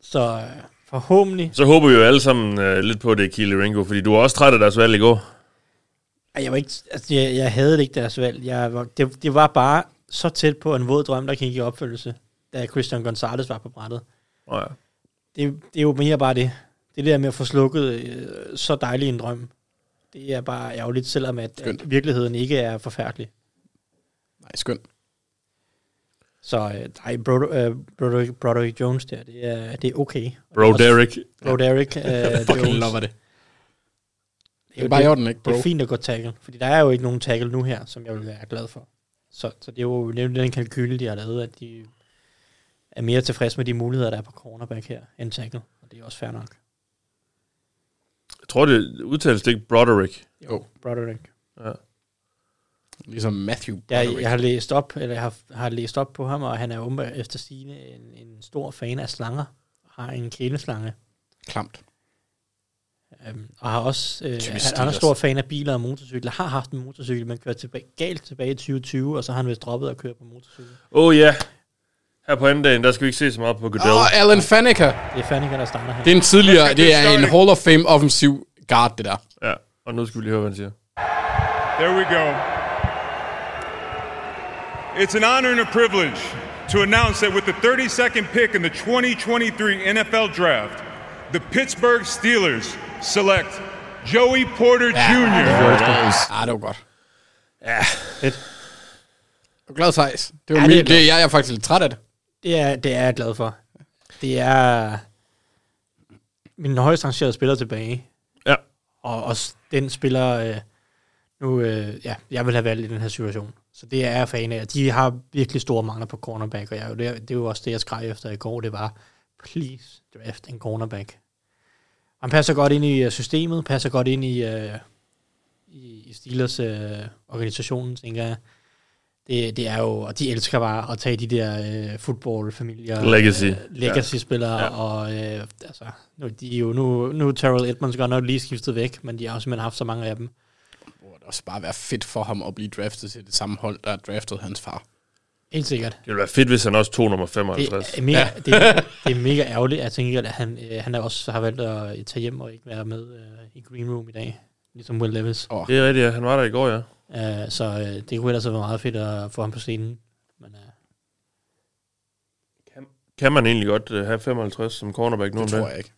F: Så øh, forhåbentlig
D: Så håber vi jo alle sammen uh, lidt på, at det er Keely Ringo, fordi du var også træt af deres valg i går.
F: Ej, Jeg, var ikke, altså, jeg, jeg havde det ikke deres valg. Jeg var, det, det var bare så tæt på en våd drøm, der gik i opfyldelse, da Christian Gonzalez var på brættet.
D: Oh, ja.
F: Det, det er jo mere bare det. Det der med at få slukket øh, så dejlig en drøm, det er bare ærgerligt, selvom at,
E: Skønt.
F: at virkeligheden ikke er forfærdelig.
E: Nej, skønt.
F: Så øh, nej, Broderick øh, Broderick- Broderick Jones der, det er, det er okay.
D: Bro Derek.
F: Broderick øh,
E: Jeg fucking
F: Jones.
E: lover det. Det er bare i orden, ikke, bro?
F: Det er fint at gå tackle, fordi der er jo ikke nogen tackle nu her, som jeg vil være glad for. Så, så det er jo nemlig den kalkyle, de har lavet, at de er mere tilfredse med de muligheder, der er på cornerback her, end tackle. Og det er også fair nok.
D: Jeg tror, det udtales det ikke Broderick.
E: Jo,
F: Broderick.
E: ligesom Matthew
F: Jeg,
E: Broderick.
F: jeg har læst op, eller jeg har, har læst op på ham, og han er åbenbart efter sine en, en stor fan af slanger, og har en kæleslange,
E: Klamt.
F: øhm, og har også øh,
E: Typisk
F: han, han er
E: Steelers.
F: stor fan af biler og motorcykler, har haft en motorcykel, men kører tilbage, galt tilbage i 2020, og så har han vist droppet at køre på motorcykel.
D: Åh oh, ja, her på anden dagen, der skal vi ikke se så meget på Goodell.
E: Åh, oh, Alan Faneca.
F: Det er Fanica, der starter her.
E: Det er en tidligere, det er en
D: Historic.
E: Hall of Fame offensiv guard, det der.
D: Ja, og nu skal vi lige høre, hvad han siger.
H: There we go. It's an honor and a privilege to announce that with the 32nd pick in the 2023 NFL Draft, the Pittsburgh Steelers select Joey Porter Jr.
E: Ah, det var godt.
F: Fedt.
E: Du er glad, Thijs. Det var
F: Ja,
E: ja,
F: det er
E: det, det, jeg er faktisk lidt træt af det.
F: Det er, det er jeg glad for. Det er min højst rangerede spiller tilbage.
D: Ja.
F: Og også den spiller, øh, nu, øh, ja, jeg vil have valgt i den her situation. Så det er jeg fan af. De har virkelig store mangler på cornerback, og jeg, er jo- det, er- det er jo også det, jeg skreg efter i går. Det var, please draft en cornerback. Han passer godt ind i øh, systemet, passer godt ind i, øh, i, i Steelers øh, organisationen, tænker jeg. Det, det er jo, og de elsker bare at tage de der øh, footballfamilier.
D: Legacy.
F: Øh, legacy-spillere, ja. og øh, altså, nu, de er jo, nu, nu er Terrell Edmonds godt nok lige skiftet væk, men de har jo simpelthen haft så mange af dem.
E: Det burde også bare være fedt for ham at blive draftet til det samme hold, der draftede hans far.
F: Helt sikkert.
D: Det ville være fedt, hvis han også tog nummer
F: Det
D: 55.
F: er mega, det, er- det er mega ærgerligt, at jeg tænker, at han, øh, han er også har valgt at øh, tage hjem og ikke være med øh, i Green Room i dag, ligesom Will Levis.
E: Og
D: Det er rigtigt, ja. Han var der i går, ja.
F: Øh, så øh, det kunne ellers have været meget fedt at få ham på scenen. Men, øh,
D: Kan man egentlig godt uh, have 55 som cornerback nu om
E: det tror
D: dagen?
E: jeg ikke.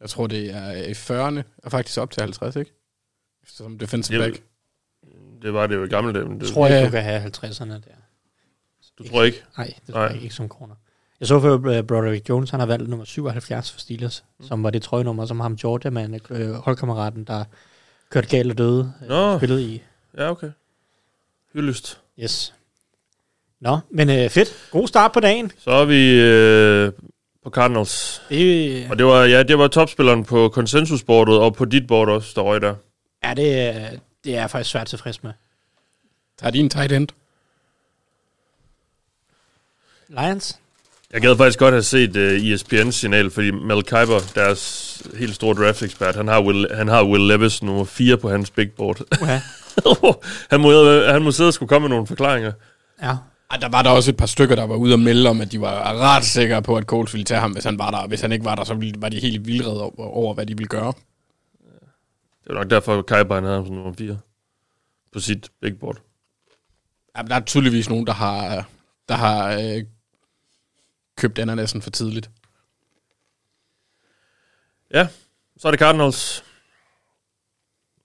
E: Jeg tror, det er i 40'erne, og faktisk op til 50, ikke? Som defensive
D: Jeg
E: back.
D: ved- Det var det jo i gamle dage, men det,
F: tror jeg,
E: Ja.
F: du kan have 50'erne der.
D: du tror ikke.
F: Nej, det tror
D: Nej.
F: jeg ikke, ikke som corner. Jeg så for uh, Broderick Jones, han har valgt nummer 77 for Steelers, mm. som var det trøjenummer, som ham Georgia, man, øh, holdkammeraten, der kørte galt og døde, øh,
D: Nå.
F: spillede i.
D: Ja, okay. Hyldest.
F: Yes. Nå, men øh, fedt. God start på dagen.
D: Så er vi øh, på Cardinals.
F: Det, øh,
D: Og det var, ja, det var topspilleren på konsensusbordet og på dit board også, der røg der.
F: ja, det, øh, det er jeg faktisk svært tilfreds med.
E: Tager de en tight end?
F: Lions?
D: Jeg gad faktisk godt have set uh, ESPN's signal, fordi Mel Kiper, deres helt store draft-ekspert, han har Will, han har Will Levis nummer 4 på hans big board.
F: Uha.
D: han, må, han må sidde og skulle komme med nogle forklaringer.
F: Ja.
E: Ej, der var der også et par stykker, der var ude og melde om, at de var ret sikre på, at Coles ville tage ham, hvis han var der. Og hvis han ikke var der, så ville- var de helt vildrede over, over, hvad de ville gøre.
D: Det var nok derfor, Kiper han havde ham som nummer 4 på sit big board.
E: Ja, men der er tydeligvis nogen, der har, der har øh, købt ananasen for tidligt.
D: Ja, så er det Cardinals.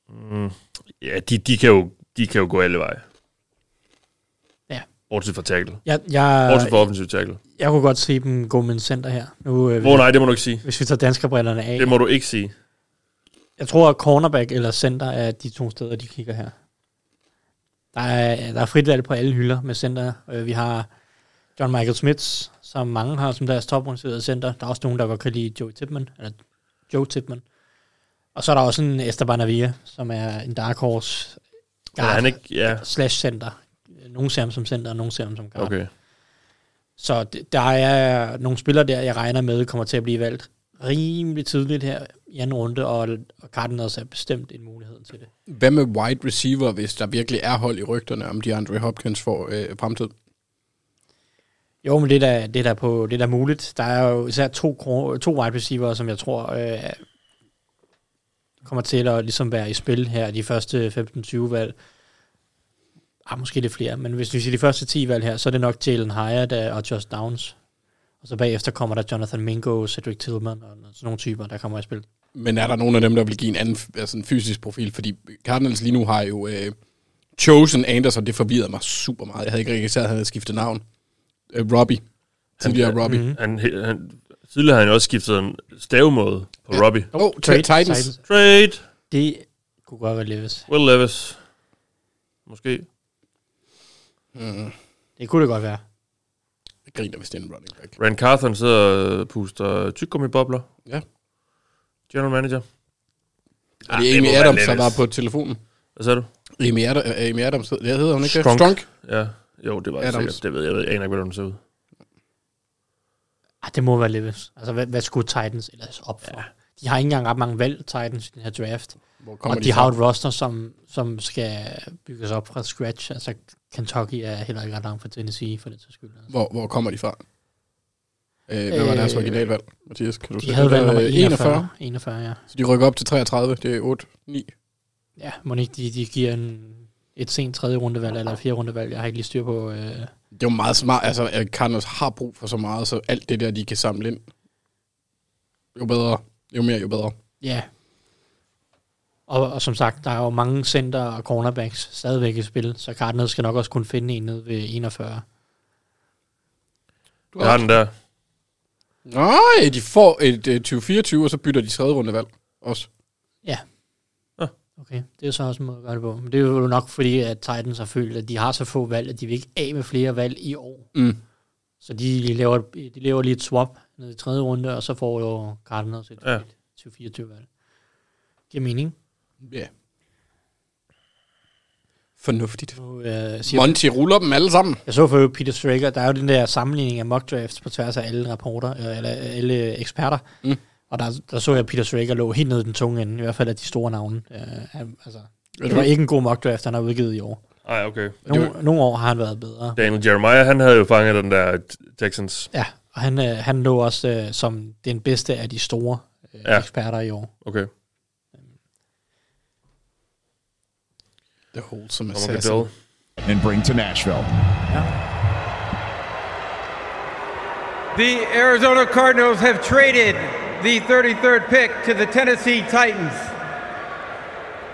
D: Mm, ja, de, de, kan jo, de kan jo gå alle veje.
F: Ja.
D: Bortset fra tackle.
F: Jeg,
D: Bortset
F: jeg,
D: fra offensiv tackle.
F: jeg kunne godt se dem gå med en center her. Nu, øh,
D: Åh oh, nej, det må du ikke sige.
F: hvis vi tager danskerbrillerne af.
D: Det må du ikke sige.
F: Jeg tror, at cornerback eller center er de to steder, de kigger her. Der er, der er frit valg på alle hylder med center. Øh, Vi har John Michael Smiths, som mange har som deres toprunderede center. Der er også nogen, der godt kan lide Joe Tipman. Eller Joe Tipman. Og så er der også en Esteban Avia, som er en dark horse
D: Ja, han ikke, ja,
F: slash center. Nogle ser ham som center, og nogle ser ham som guard.
D: okay.
F: Så det, der er nogle spillere der, jeg regner med, kommer til at blive valgt rimelig tidligt her i anden runde, og, og Cardinals er bestemt en mulighed til det.
E: Hvad med wide receiver, hvis der virkelig er hold i rygterne, om de Andre Hopkins får øh, fremtid?
F: Jo, men det er da, det er da, på, det er da muligt. Der er jo især to, kro- to wide receiver, som jeg tror øh, kommer til at ligesom være i spil her i de første 15-20 valg. Ah, måske lidt flere, men hvis vi siger de første 10 valg her, så er det nok Jalen Hyatt øh, og Josh Downs. Og så bagefter kommer der Jonathan Mingo, Cedric Tillman og sådan nogle typer, der kommer i spil.
E: Men er der nogen af dem, der vil give en anden f- altså en fysisk profil? Fordi Cardinals lige nu har jo øh, Chosen Anders, og det forvirrede mig super meget. Jeg havde ikke registreret, at han havde skiftet navn. Øh, Robbie. Tidligere Robbie. Mm-hmm.
D: Han, han, tidligere har han jo også skiftet en stavemåde på Robbie.
E: Oh, t- Titans.
F: Titans.
D: Trade.
F: Det kunne godt være Levis.
D: Will Levis. Måske.
E: Mm.
F: Det kunne det godt være.
E: Jeg griner, hvis det er en running back.
D: Rand Carthon sidder og puster tykgummibobler.
E: Ja.
D: General manager.
E: Er det
D: Ah, det
E: Amy
D: må være
E: Adams, der
D: Levis.
E: var på telefonen?
D: Hvad sagde du?
E: Amy, Ad- øh, Amy Adams, hed- det hedder hun ikke
D: Strunk.
E: det? Strunk.
D: Ja. Jo, det var det
E: Adams.
D: sikkert. Det ved jeg. Jeg ved- jeg aner ikke, hvordan den ser ud.
F: Ah, det må være Levis. Altså, hvad, hvad skulle Titans ellers op for? Ja. De har ikke engang ret mange valg, Titans, i den her draft.
E: Hvor kommer
F: Og de,
E: de
F: har
E: fra?
F: et roster, som, som skal bygges op fra scratch. Altså, Kentucky er heller ikke ret langt fra Tennessee, for den sags skyld. Altså.
E: Hvor, hvor kommer de fra? Øh, hvad var
F: Øh,
E: deres originalvalg, Mathias? Kan du
F: De havde valgt
E: Øh,
F: nummer 41. 41, ja.
E: Så de rykker op til 33. Det er 8, 9.
F: Ja, må ikke de, de giver en, et sent tredje rundevalg eller et fjerde rundevalg. Jeg har ikke lige styr på... Øh,
E: Det er jo meget smart. Altså, at Cardinals har brug for så meget, så alt det der, de kan samle ind, jo bedre. Jo mere, jo bedre.
F: ja. Og, og som sagt, der er jo mange center og cornerbacks stadigvæk i spil, så Cardinals skal nok også kunne finde en nede ved 41.
E: Du
D: Jeg har den der.
E: Nej, de får et øh, 2024, og så bytter de tredje rundevalg også.
F: Ja. Okay, det er så også en måde at gøre det på. Men det er jo nok fordi, at Titans har følt, at de har så få valg, at de vil ikke af med flere valg i år.
E: Mm.
F: Så de laver, de laver lige et swap ned i tredje runde, og så får jo Cardinals et
D: Ja.
F: ja. 24 valg. Giver mening.
E: Ja. Yeah. Fornuftigt.
F: Nu, øh, siger
E: Monty ruller dem alle sammen.
F: Jeg så for øvrigt Peter Straker, der er jo den der sammenligning af mock drafts på tværs af alle rapporter, øh, eller alle eksperter.
E: Mm.
F: Mm. Og der, der så jeg, at Peter Straker lå helt nede i den tunge ende, i hvert fald af de store navne. Øh, han, altså, det var ikke en god mock draft, han har udgivet i år.
D: Ej, okay.
F: Nogle, nogle år har han været bedre.
D: Daniel Jeremiah, han havde jo fanget den der Texans.
F: Ja, og han, øh, han lå også øh, som den bedste af de store øh,
D: Ja.
F: ja. eksperter i år.
D: Okay.
E: Det holdt som
D: Thomas
E: assassin.
D: Goodell.
I: and bring to Nashville.
G: The Arizona Cardinals have traded the 33rd pick to the Tennessee Titans.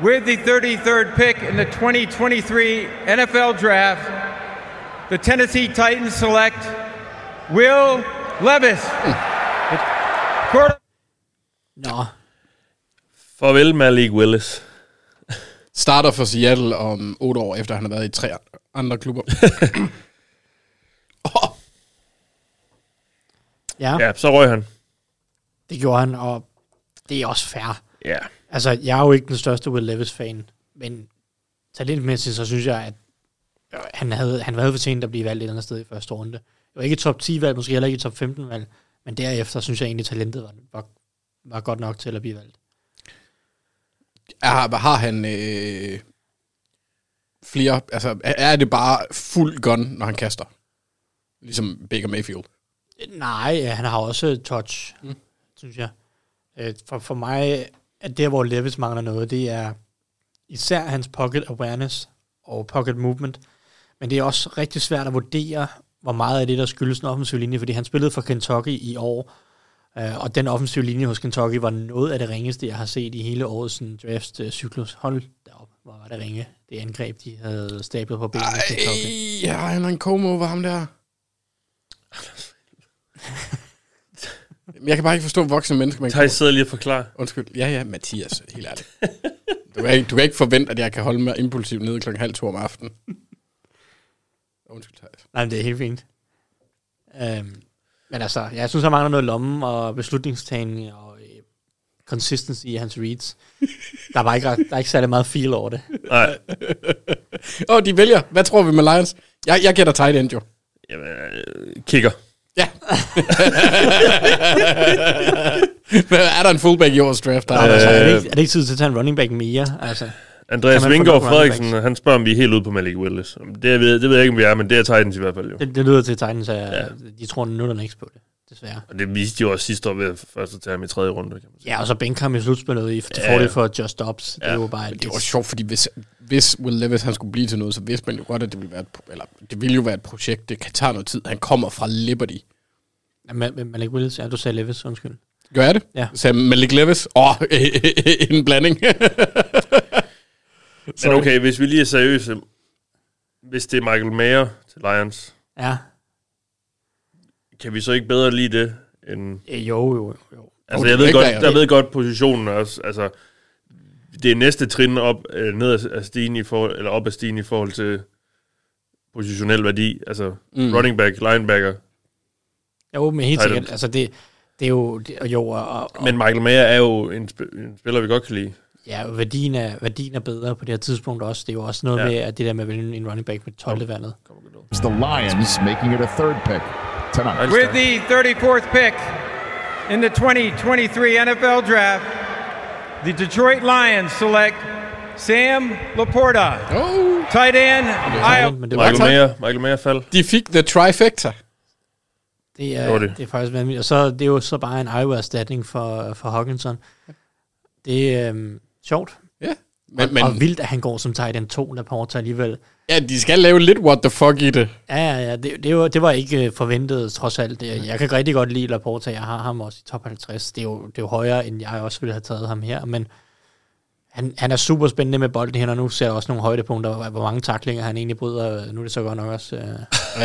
G: With the 33rd pick in the 2023 NFL Draft, the Tennessee Titans select Will Levis. Quarter-
F: Nå,
D: Farvel, Malik Willis.
E: Starter for Seattle om 8 år, efter han har været i tre andre klubber. oh,
F: ja, ja,
D: Ja, så røg han.
F: det gjorde han, og det er også fair.
D: Ja.
F: Altså, jeg er jo ikke den største Will Levis-fan, men talentmæssigt, så synes jeg, at øh, han havde, han havde fortjent at blive valgt et eller andet sted i første runde. Det var ikke et top 10-valg, måske heller ikke et top 15-valg, men derefter synes jeg egentlig, talentet var, var, var godt nok til at blive valgt.
E: har, har han øh, flere... Altså, er, er det bare fuld gun, når han kaster? Ligesom Baker Mayfield.
F: Nej, øh, han har også touch, mm. synes jeg. Øh, For, for mig er der, hvor Levis mangler noget, det er især hans pocket awareness og pocket movement. Men det er også rigtig svært at vurdere, hvor meget af det, der skyldes den offensive linje, fordi han spillede for Kentucky i år, øh, og den offensive linje hos Kentucky var noget af det ringeste, jeg har set i hele årets øh, sådan, draft-cyklus. Hold da op, hvor var det ringe, det angreb, de havde stablet på benene. i Kentucky.
E: Ej, ja, han har en komo over ham der. Jamen, Jeg kan bare ikke forstå voksne mennesker. Man
D: Thijs sidder lige og forklarer.
E: Undskyld. Ja, ja, Mathias. Helt ærligt. Du kan, ikke, du kan ikke forvente, at jeg kan holde mig impulsivt nede klokken halv to om aftenen. Undskyld, Thijs.
F: Nej, men det er helt fint. Øhm, men altså, jeg synes, han mangler noget i lommen og beslutningstagning og øh, consistency i hans reads. Der er bare ikke, ret- der er ikke særlig meget feel over det.
D: Nej.
E: Åh, oh, de vælger. Hvad tror vi med Lions? Jeg, jeg gætter tight end, jo.
D: Jamen, øh, kigger.
E: Ja. Men er der en fullback i årets draft? Der
F: Øh, altså, er,
E: er
F: det ikke, er det ikke tid til at tage en running back mere? Altså,
D: Andreas
F: Kan man få
D: Vingård
F: nok running
D: Frederiksen, han spørger, om vi er helt ude på Malik Willis. Det ved, det ved jeg ikke, om vi er, men det er Titans i hvert fald jo.
F: det, det lyder til Titans, at ja. de tror nullerne ikke på det, desværre.
D: Og det viste de jo også sidste år ved at først at tage ham i tredje runde. Kan man sige.
F: Ja, og så Benkham i slutspillet i til
D: Ja,
F: fordel
D: ja.
F: for Just Dobbs. Ja. Det er jo bare
E: Det
F: et,
E: var sjovt, fordi hvis, hvis Will Levis han skulle blive til noget, så vidste man jo godt, at det ville, være et, pro- eller, det ville jo være et projekt. Det kan tage noget tid. Han kommer fra Liberty.
F: man, man, Malik Willis, ja, du sagde Levis, undskyld.
E: Gør jeg det?
F: Ja.
E: Så Malik Levis. Åh, oh, en blanding.
D: Men okay, hvis vi lige er seriøse. Hvis det er Michael Mayer til Lions,
F: Ja,
D: kan vi så ikke bedre lide det end...
F: Øh, jo, jo, jo.
D: Altså,
E: det
D: jeg
E: er
D: ved,
E: ikke,
D: godt,
E: hvad jeg-
D: jeg ved godt, positionen er også... Altså, det er næste trin op, øh, ned ad- ad stigen i forhold, eller op ad stigen i forhold til positionel værdi. Altså mm. running back, linebacker.
F: Jo, men helt
D: Tight
F: sikkert.
D: end.
F: Altså, det, det er jo... Det, og jo, og, og,
D: Men Michael Mayer er jo en, sp- en spiller, vi godt kan lide.
F: ja, og værdien er, værdien er bedre på det her tidspunkt også. Det er jo også noget
D: Ja.
F: ja. med, at det der med at vælge en running back med 12. valget.
I: It's the Lions making it a third pick tonight.
G: With the 34th pick in the 2023 NFL Draft, the Detroit Lions select Sam Laporta,
E: Oh.
G: tight end,
F: Ja,
G: Iowa.
F: men det, var,
D: Michael
E: tak.
D: Mayer, Michael Mayer fald.
E: De fik the trifecta.
F: det,
D: Det var
F: er,
D: det.
F: det. det er faktisk vanvittigt. Og så det er jo så bare en Iowa-erstatning for, for Hawkinson. Det er øhm, sjovt.
E: Ja.
F: Men,
E: Men,
F: men, og
E: men
F: vildt, at han går som tight end 2 Laporta alligevel.
E: ja, de skal lave lidt what the fuck i det.
F: Ja, ja, ja. Det, det, var, det var ikke øh, forventet, trods alt. Det- Jeg kan rigtig godt lide Laporta. Jeg har ham også i top 50. Det er jo, det er jo højere, end jeg også ville have taget ham her. Men han, han er super spændende med bolden her, og nu ser jeg også nogle højdepunkter, hvor, hvor mange taklinger han egentlig bryder. Nu er det så godt nok også... Øh,
E: Ej,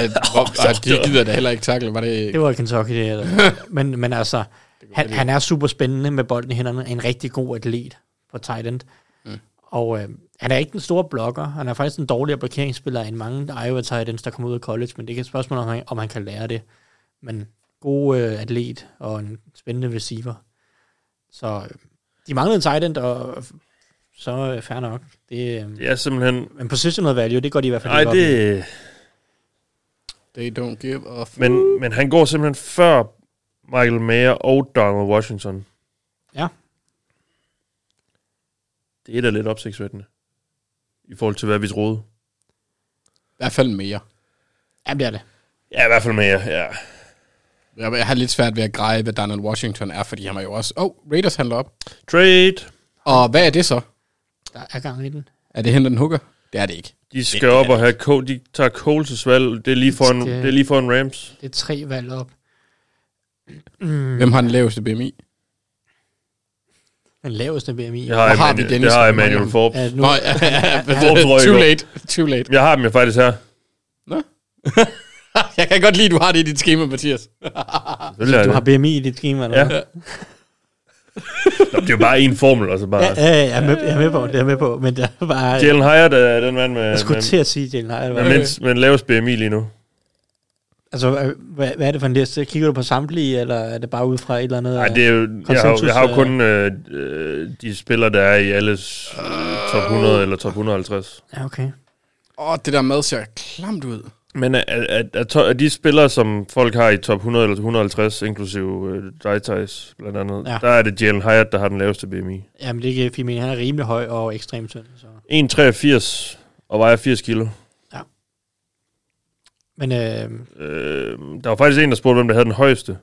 E: hvor- ej, de gider da heller ikke takle. Var det,
F: det var Kentucky, det her. da. Men, men altså, han, han er super spændende med bolden i hænderne. En rigtig god atlet på tight end.
D: Mm.
F: Og øh, han er ikke den store blokker. Han er faktisk en dårligere blokeringsspiller end mange Iowa tight ends, der kommer ud af college. Men det er et spørgsmål, om han, om han kan lære det. Men god øh, atlet og en spændende receiver. Så øh, de manglede en tight end, og f- så øh, fair nok. Det, øh,
D: Det er simpelthen...
F: Men positional value, det går de i hvert fald
D: Ej,
F: ikke op i.
D: det...
E: They don't give a fuck.
D: Men, men han går simpelthen før Michael Mayer og Donald Washington.
F: Ja.
D: Det er da lidt opsigtsvækkende. I forhold til, hvad vi troede.
E: I hvert fald mere.
F: Jamen, det er det.
D: Ja, i hvert fald Mayer, ja.
E: Jeg, jeg har lidt svært ved at greje, hvad Donald Washington er, fordi han er jo også... Åh, oh, Raiders handler op.
D: Trade.
E: Og hvad er det så?
F: Der er gang i den.
E: Er det henter den hooker? Det er det ikke.
D: De skal op og have Cole, de tager Coles' valg. Det er lige foran,
F: Det-
D: det er lige foran Rams.
F: Det er tre valg op.
E: Mm. Hvem har den laveste BMI?
F: Den laveste BMI.
D: Jeg har,
E: Hvor har
D: Emmanuel-
E: vi Dennis
D: det har
E: Hammer
D: Emmanuel
E: henne?
D: Forbes.
F: At nu,
E: Nå, ja, ja,
D: Forbes røg i
E: too
D: går.
E: late. Too late.
D: Jeg har dem jo faktisk her.
E: Nå? jeg kan godt lide, at du har det i dit schema, Mathias.
D: Selvfølgelig er
F: du
D: det.
F: har BMI i dit schema, eller
D: Ja.
F: hvad?
D: Nå, det er jo bare en formel, altså bare.
F: Ja, ja, ja, jeg, er med, jeg er med på, det er jeg med på, men der var... Jeg
D: Jalen Hyatt er Øh, den mand med,
F: skulle til
D: med,
F: at sige, Jalen Hyatt.
D: med,
F: var-
D: mindst, med lavest BMI lige nu.
F: Altså, øh, hvad, hvad er det for en liste? Kigger du på samtlige, eller er det bare ud fra et eller andet?
D: Nej, det er jo, jeg, har, jo- jeg har jo kun
F: Konsensus,
D: øh, øh, de spillere, der er i alles øh, top 100 eller top 150.
F: Ja, okay.
E: Åh, oh, det der mad ser klamt ud.
D: Men er, er, er- er, to- er de spillere, som folk har i top 100 eller 150, inklusive øh, Daitais blandt andet,
F: Ja.
D: ja. der er det Jalen Hyatt, der har den laveste BMI.
F: øh, Jamen, det er fint, men han er rimelig høj og ekstremt tynd. Så.
D: 1,83 og vejer 80 kilo.
F: Men øh,
D: Øh, der var faktisk en, der spurgte, hvem der havde den højeste. Det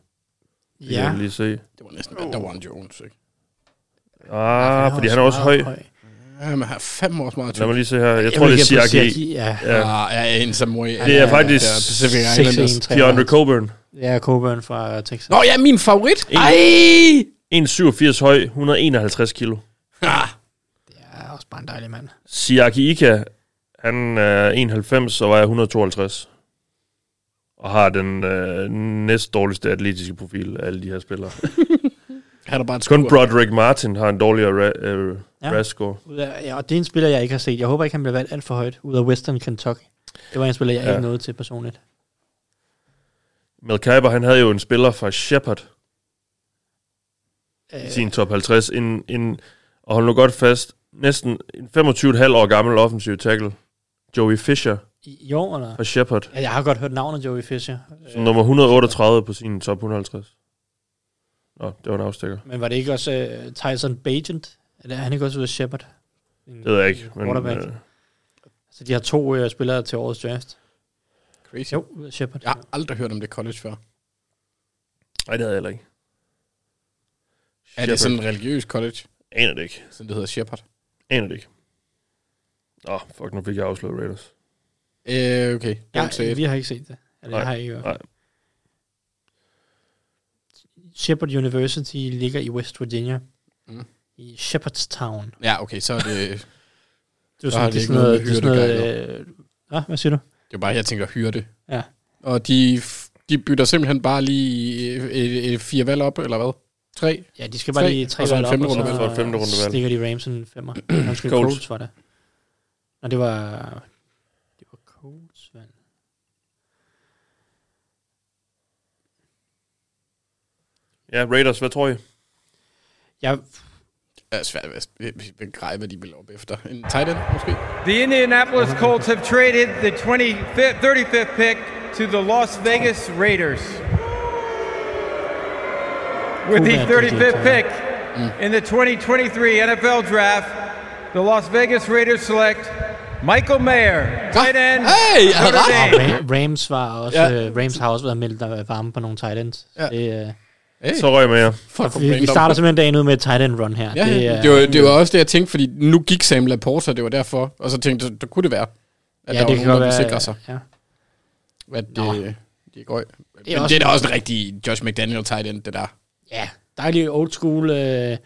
D: kan
F: ja,
D: jeg lige se.
E: Det var næsten oh. Dawan Jones, ikke?
D: Ah, fordi han er også høj.
F: meget
E: Jamen, han har fem års meget
D: Lad mig
E: tyk.
D: lige se her. Jeg tror,
F: Jeg vil
D: det er
F: gætte på
D: Siaki.
F: Siaki, Ja,
E: Ja, ja, ja, en Samoy.
D: Det er faktisk
E: Ja, Pacific
F: 6'1",
E: Islanders.
F: 93.
D: DeAndre Coburn.
F: Ja, Coburn fra Texas.
E: Nå ja, min favorit. Ej!
D: 1,87 høj, 181 kilo.
E: Ah,
F: Ja, også bare en dejlig mand.
D: Siaki Ika, han er 91 og vejer 152. Og har den øh, næst dårligste atletiske profil af alle de her spillere.
E: han er bare et
D: Kun
E: skur.
D: Broderick Martin har en dårligere ra- øh,
F: Ja.
D: ja. RAS score.
F: Ud af, ja, og det er en spiller, jeg ikke har set. Jeg håber ikke, han bliver valgt alt for højt ud af Western Kentucky. Det var en spiller, jeg ja.
D: Ja.
F: ikke nåede til personligt.
D: Mel Kiper, han havde jo en spiller fra Shepard
F: Øh,
D: i sin top 50. En, en, og hold nu godt fast, næsten en 25,5 år gammel offensiv tackle. Joey Fisher
F: I i år, eller?
D: fra Shepard.
F: Ja, jeg har godt hørt navnet Joey Fisher.
D: Som nummer 138 på sin top 150. Nå, det var en afstikker.
F: Men var det ikke også uh, Tyson Bagent? Eller er han ikke også ude af Shepard?
D: Det ved jeg ikke. Men,
F: Quarterback.
D: øh,
F: Så de har to uh, spillere til årets draft.
E: Crazy.
F: Jo, ude af Shepard.
E: Jeg har aldrig hørt om det college før.
D: nej, det havde jeg heller ikke.
E: Er
D: Shepard.
E: det sådan en religiøs college?
D: Aner det ikke.
E: Sådan det hedder Shepard.
D: Aner det ikke. Åh, oh, fuck, nu fik jeg afsløret Raiders.
E: Øh, okay. Don't say
F: Ja,
E: it.
F: vi har ikke set det. Eller jeg
D: Nej,
F: har ikke hørt.
D: Nej,
F: Shepard University ligger i West Virginia.
E: Mm.
F: Mm. I Shepherdstown.
E: Ja, okay, så er det...
F: Det er
E: Der har
F: sådan,
E: de
F: det er
E: ikke
F: sådan
E: noget
F: noget... Det
E: med
F: er sådan noget øh, ah, hvad siger du?
E: Det er bare, jeg tænker hyrde.
F: Ja.
E: øh, Og de, f- de bytter simpelthen bare lige et, et, et fire valg op, eller hvad? Tre.
F: Ja, de skal bare
E: Tre.
F: lige tre
E: Og så en
F: valg op,
E: femte
F: og
E: rundevalg.
D: Så et femte rundevalg.
F: stikker de Rams en femmer. Undskyld,
D: Colts.
F: Colts. Colts var det. Nå, det var... Det var Colts, vel?
D: Ja, Raiders, hvad tror I?
F: Jeg,
E: Det er svært at be- begrebe, hvad de vil op efter. En tight end, måske?
G: The Indianapolis Colts have traded the 25th, 35th pick to the Las Vegas Raiders. With the
F: Cool man,
G: 35th
F: DJ.
G: pick in the 2023 NFL Draft, the Las Vegas Raiders select Michael Mayer, tight end.
E: Ah, Hey, ah, jeg havde
G: Notre
E: ret.
G: Dame.
F: Ah, Ra- Rams var også...
E: Ja.
F: Ja. Rams har også været meldt der varme på nogle tight ends.
E: Ja.
F: Ja. Det, øh,
D: Så røg jeg med jer.
E: Fuck, hvor
F: vi, vi
E: random.
F: starter simpelthen dagen ud med et tight end run her.
E: Ja, det,
F: er,
E: det, var, det var også det, jeg tænkte, fordi nu gik Sam Laporte, så det var derfor. Og så tænkte jeg, der kunne det være, at ja, der var
F: kan
E: nogen, der
F: godt
E: ville
F: være-
E: sikre sig,
F: Ja.
E: at det,
F: Nå.
E: det går. Men
F: er
E: det
F: også-
E: er da også en rigtig Josh McDaniel tight end, det der.
F: ja, dejlig old school, øh,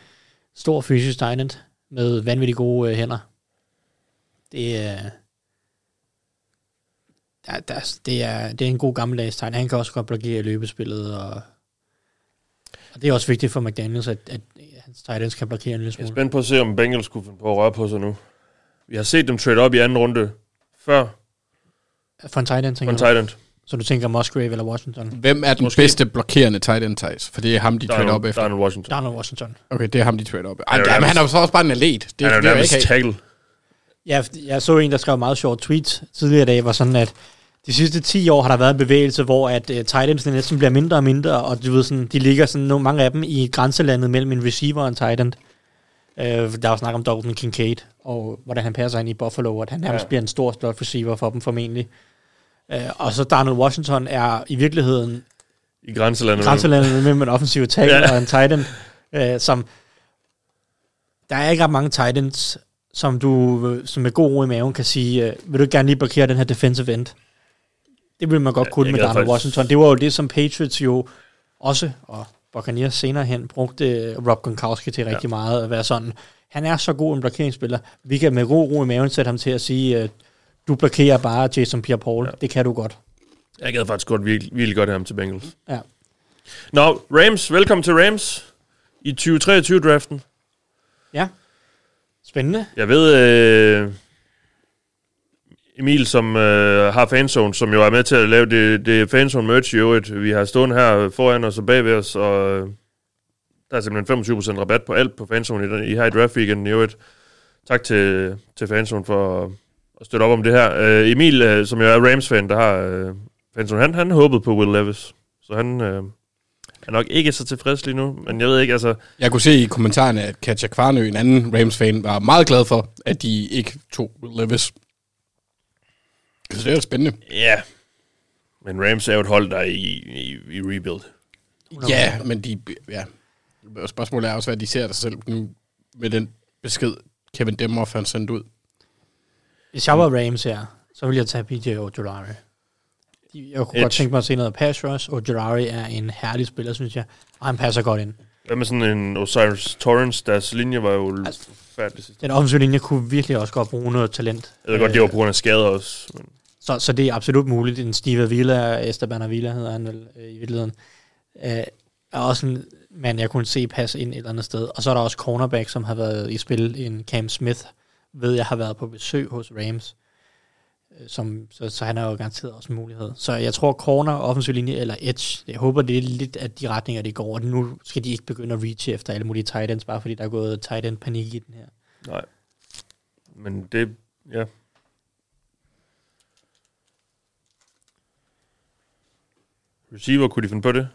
F: stor fysisk tight end med vanvittigt gode øh, hænder. Det, øh, der, der, det, er, det er en god gammeldags tight end. Han kan også godt blokere i løbespillet, og, og det er også vigtigt for McDaniels, at, at hans tight ends kan blokere en lille
D: Jeg er
F: smule.
D: spændt på at se, om Bengals skulle finde på at røre på sig nu. Vi har set dem trade op i anden runde før
F: For en tight end,
D: på
F: tænker
D: en
F: du?
D: tight end.
F: Så du tænker Musgrave eller Washington?
E: Hvem er den måske. bedste blokerende tight end, Thijs? For det er ham, de
D: Der er
E: trade op
D: nogle- der
E: efter.
D: er nogle Washington.
F: Donald Washington.
E: Okay, det er ham, de trade op efter.
D: er jo
E: Ja, men han er jo
D: nærmest-
E: så også bare en atlet. Det,
D: Han er jo
E: det, er jo
D: nærmest
E: ikke have.
D: tackle.
F: Ja, fordi jeg så en, der skrev meget sjovt tweet tidligere i dag, hvor sådan, at de sidste 10 år har der været en bevægelse, hvor at uh, tight ends næsten bliver mindre og mindre, og du ved, sådan, de ligger sådan, nogle, mange af dem i grænselandet mellem en receiver og en tight end. Uh, der var snak om Dalton Kincaid, og hvordan han passer ind i Buffalo, og at han nærmest ja. bliver en stor slot receiver for dem formentlig. Uh, og så Donald Washington er i virkeligheden
D: I grænselandet.
F: grænselandet mellem en offensiv tackle
D: Ja.
F: ja. og en tight end, øh, som der er ikke ret mange tight ends, som du øh, som med god ro i maven kan sige, øh, vil du ikke gerne lige blokere den her defensive end? Det ville man godt
D: Ja,
F: kunne
D: jeg
F: med
D: gad
F: Donald
D: faktisk-
F: Washington. Det var jo det, som Patriots jo også, og Buccaneers senere hen, brugte øh, Rob Gronkowski til rigtig ja. meget at være sådan. Han er så god en blokeringsspiller. Vi kan med god ro i maven sætte ham til at sige, øh, du blokerer bare Jason Pierre-Paul. Ja. Det kan du godt.
D: Jeg gad faktisk godt, virkelig, virkelig godt have ham til Bengals.
F: Ja.
D: Nå, Rams. Velkommen til Rams i 2023-draften.
F: ja. Spændende.
D: Jeg ved, øh, Emil, som øh, har fanzone, som jo er med til at lave det, det fanzone merch i øvrigt, vi har stående her foran os og bagved os, og øh, der er simpelthen 25% rabat på alt på fanzone i, den- i her i draft weekenden i øvrigt. Tak til, til fanzone for at støtte op om det her. Øh, Emil, øh, som jo er Rams-fan, der har øh, fanzone, han, han håbede på Will Levis, så han øh, er nok ikke så tilfreds lige nu, men jeg ved ikke, altså...
E: Jeg kunne se i kommentarerne, at Katja Kvarnø, en anden Rams-fan, var meget glad for, at de ikke tog Will Levis. Så det er jo spændende.
D: Ja. Men Rams er jo et hold, der er i, i, i rebuild.
E: Ja, men de... Ja. Og spørgsmålet er også, hvad de ser sig selv nu med den besked, Kevin Demhoff han sendte ud.
F: Hvis jeg var Rams her, så ville jeg tage PJ Ojolari. De- Jeg kunne
D: Edge.
F: godt tænke mig at se noget pass rush. Ojolari er en herlig spiller, synes jeg. Og han passer godt ind.
D: Hvad med sådan en Osiris Torrance? Deres linje var jo altså, færdig sidste.
F: Den offensive linje kunne virkelig også godt bruge noget talent. Øh,
D: Jeg ved godt, det var på grund af skader også. Men
F: Så, så det er absolut muligt. En Steve Avila, Esteban Avila hedder han vel, øh, i virkeligheden, øh, er også en mand, jeg kunne se passe ind et eller andet sted. Og så er der også cornerback, som har været i spil. En Cam Smith, ved jeg, har været på besøg hos Rams. Øh, Som, så, så han er jo garanteret også en mulighed. Så jeg tror corner, offensiv linje eller edge, jeg håber, det er lidt af de retninger, det går. Og nu skal de ikke begynde at reach efter alle mulige tight ends, bare fordi der er gået tight end panik i den her.
D: nej. Men det, ja. Receiver, kunne de finde på det?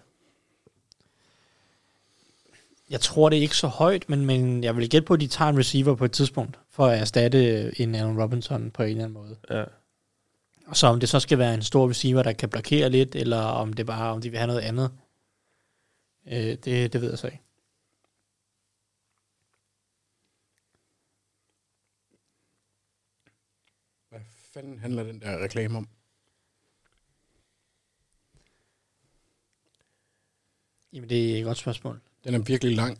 F: Jeg tror det er ikke så højt, men, men jeg vil gætte på, at de tager en receiver på et tidspunkt, for at erstatte en Allen Robinson på en eller anden måde.
D: Ja.
F: Og så om det så skal være en stor receiver, der kan blokere lidt, eller om det bare om de vil have noget andet, øh, det, det ved jeg så ikke.
E: Hvad fanden handler den der reklame om?
F: Jamen, det er et godt spørgsmål.
E: Den er virkelig lang.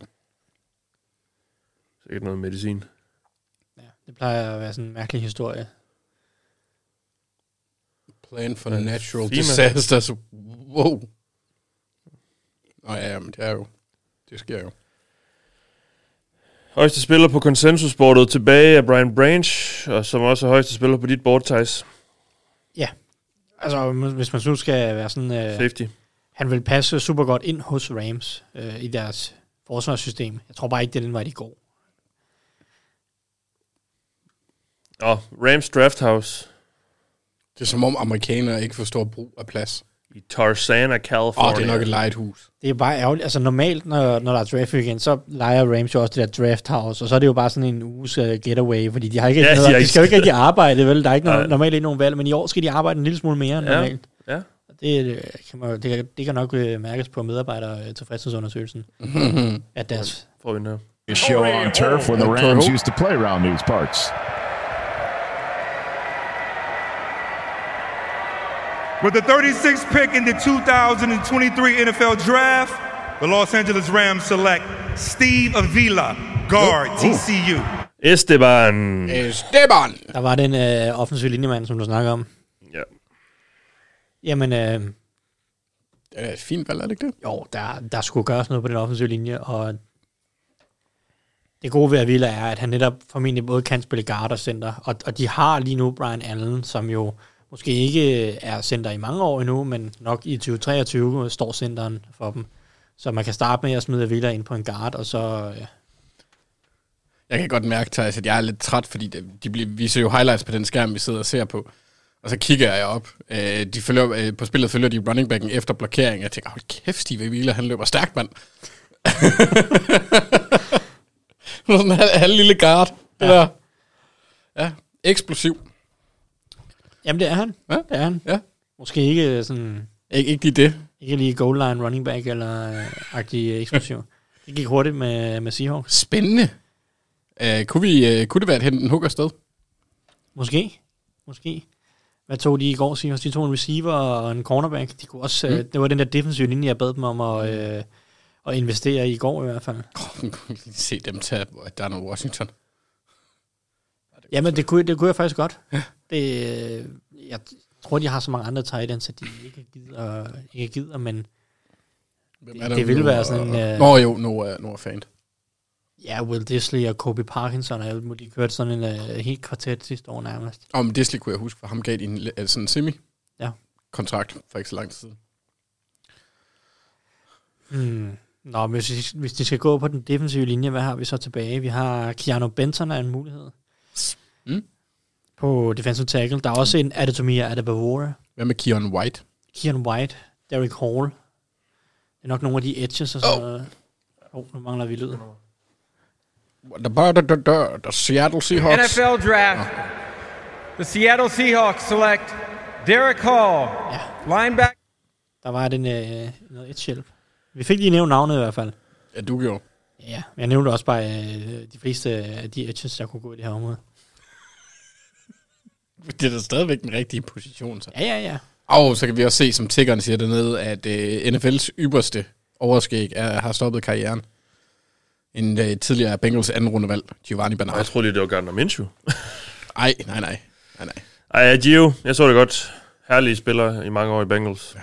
D: Sikkert noget medicin.
F: Ja, det plejer at være sådan en mærkelig historie.
E: Plan for natural
D: Fima.
E: disasters. Wow. Nå ja, men det er jo Det sker jo.
D: Højeste spiller på konsensusbordet tilbage er Brian Branch, og som også er højeste spiller på dit board, Thijs.
F: Ja. Altså, hvis man nu skal være sådan... Øh,
D: Safety.
F: han vil passe super godt ind hos Rams øh, i deres forsvarssystem. Jeg tror bare ikke, det er den vej, de går.
D: Og Rams Draft House
E: Det er som om amerikanere ikke forstår brug af plads.
D: i Tarzana,
E: Åh,
D: California.
E: oh, det er nok et lejet hus.
F: Det er bare ærgerligt. Altså normalt, når, når der er draft igen, så leger Rams jo også det der draft house, og så er det jo bare sådan en uges uh, getaway, fordi de har ikke
D: Ja,
F: ja,
D: de
F: noget,
D: har
F: de,
D: ikke
F: skal jo ikke rigtig arbejde, vel? Der er ikke
D: Nej.
F: nogen, normalt ikke nogen valg, men i år skal de arbejde en lille smule mere end
D: Ja.
F: normalt.
D: Ja.
F: Og Det, øh, kan man, jo- det, kan- det kan nok øh, mærkes på medarbejdere øh, tilfredshedsundersøgelsen, at deres
D: Får vi den her.
I: A show on turf when the Rams used to play around these parts.
H: With the 36th pick in the 2023 NFL Draft, the Los Angeles Rams select Steve Avila, guard, TCU.
D: Esteban.
E: Esteban!
F: Der var den øh, offensive linjemand, som du snakker om.
D: Ja.
F: Jamen, øh,
E: Det er et fint valg, er det ikke det?
F: jo, der, der skulle gøres noget på den offensive linje, og det gode ved Avila er, at han netop formentlig både kan spille guard og center, og, og de har lige nu Brian Allen, som jo måske ikke øh, er center i mange år endnu, men nok i 2023 står centeren for dem. Så man kan starte med at smide Avila ind på en guard, og så... Øh,
E: Jeg kan godt mærke, Thijs, at jeg er lidt træt, fordi det, de bliver, viser jo highlights på den skærm, vi sidder og ser på. Og så kigger jeg op. Øh, de følger, øh, på spillet følger de running backen efter blokering. Jeg tænker, hold kæft, Steve Wheeler, han løber stærkt, mand. Sådan en halv, halv lille guard. Ja. Der. ja, eksplosiv.
F: jamen, det er han.
E: Ja.
F: Det er han.
E: Ja.
F: Måske ikke øh, sådan...
E: Ikke, ikke lige det.
F: Ikke lige goal line running back eller øh, agtig eksplosiv. Det gik hurtigt med, med Seahawks.
E: Spændende. Øh, kunne, vi, øh, kunne det være at hente en hugger sted?
F: Måske. Måske. Hvad tog de i går, Seahawks? De tog en receiver og en cornerback. De kunne også, mm. øh, det var den der defensive linje, jeg bad dem om at, øh, at investere i går i hvert fald.
E: Oh, kunne lige se dem tage Donald Washington.
F: Jamen, det kunne, det kunne jeg faktisk godt. Det, øh, jeg tror, de har så mange andre tight ends, at de ikke gider, ikke gider men
E: Hvem
F: Det- det ville være sådan en, øh,
E: Øh... Nå jo, Noah, Noah Fant.
F: ja, Will Disley og Kobe Parkinson og alt muligt, de kørte sådan en øh, helt kvartet sidste år nærmest.
E: Om Disley kunne jeg huske, for ham gav de en, øh, sådan en semi-kontrakt
F: Ja.
E: for ikke så lang tid siden.
F: Hmm. Nå, men hvis, hvis de skal gå på den defensive linje, hvad har vi så tilbage? Vi har Keanu Benton er en mulighed.
E: Mm.
F: På defensive tackle. Der er også en Adatomia Adebavora,
E: Hvad med Keon White?
F: Kieran White, Derek Hall. Det er nok nogle af de edges og sådan oh. noget. Åh, oh, nu mangler vi lyd.
E: Der bare der, der, der, der Seattle Seahawks. Ah.
G: NFL Draft. The Seattle Seahawks select Derek Hall, linebacker.
F: Der var den øh, noget edge hjælp. Vi fik lige nævnt navnet i hvert fald.
E: Ja, du gjorde.
F: Ja, men jeg nævnte også bare øh, de fleste af de edges, der kunne gå i det her område.
E: Det er da stadigvæk den rigtige position. Så.
F: Ja, ja, ja.
E: Og så kan vi også se, som tiggeren siger dernede, at øh, NFL's ypperste overskæg er, har stoppet karrieren. En øh, tidligere Bengals anden rundevalg, Giovanni
D: Jeg
E: Bernard.
D: tror lige, det var Gardner Minshew.
E: Ej, nej, nej. nej, nej.
D: Ej, ja, Gio. Jeg så det godt. Herlige spiller i mange år i Bengals.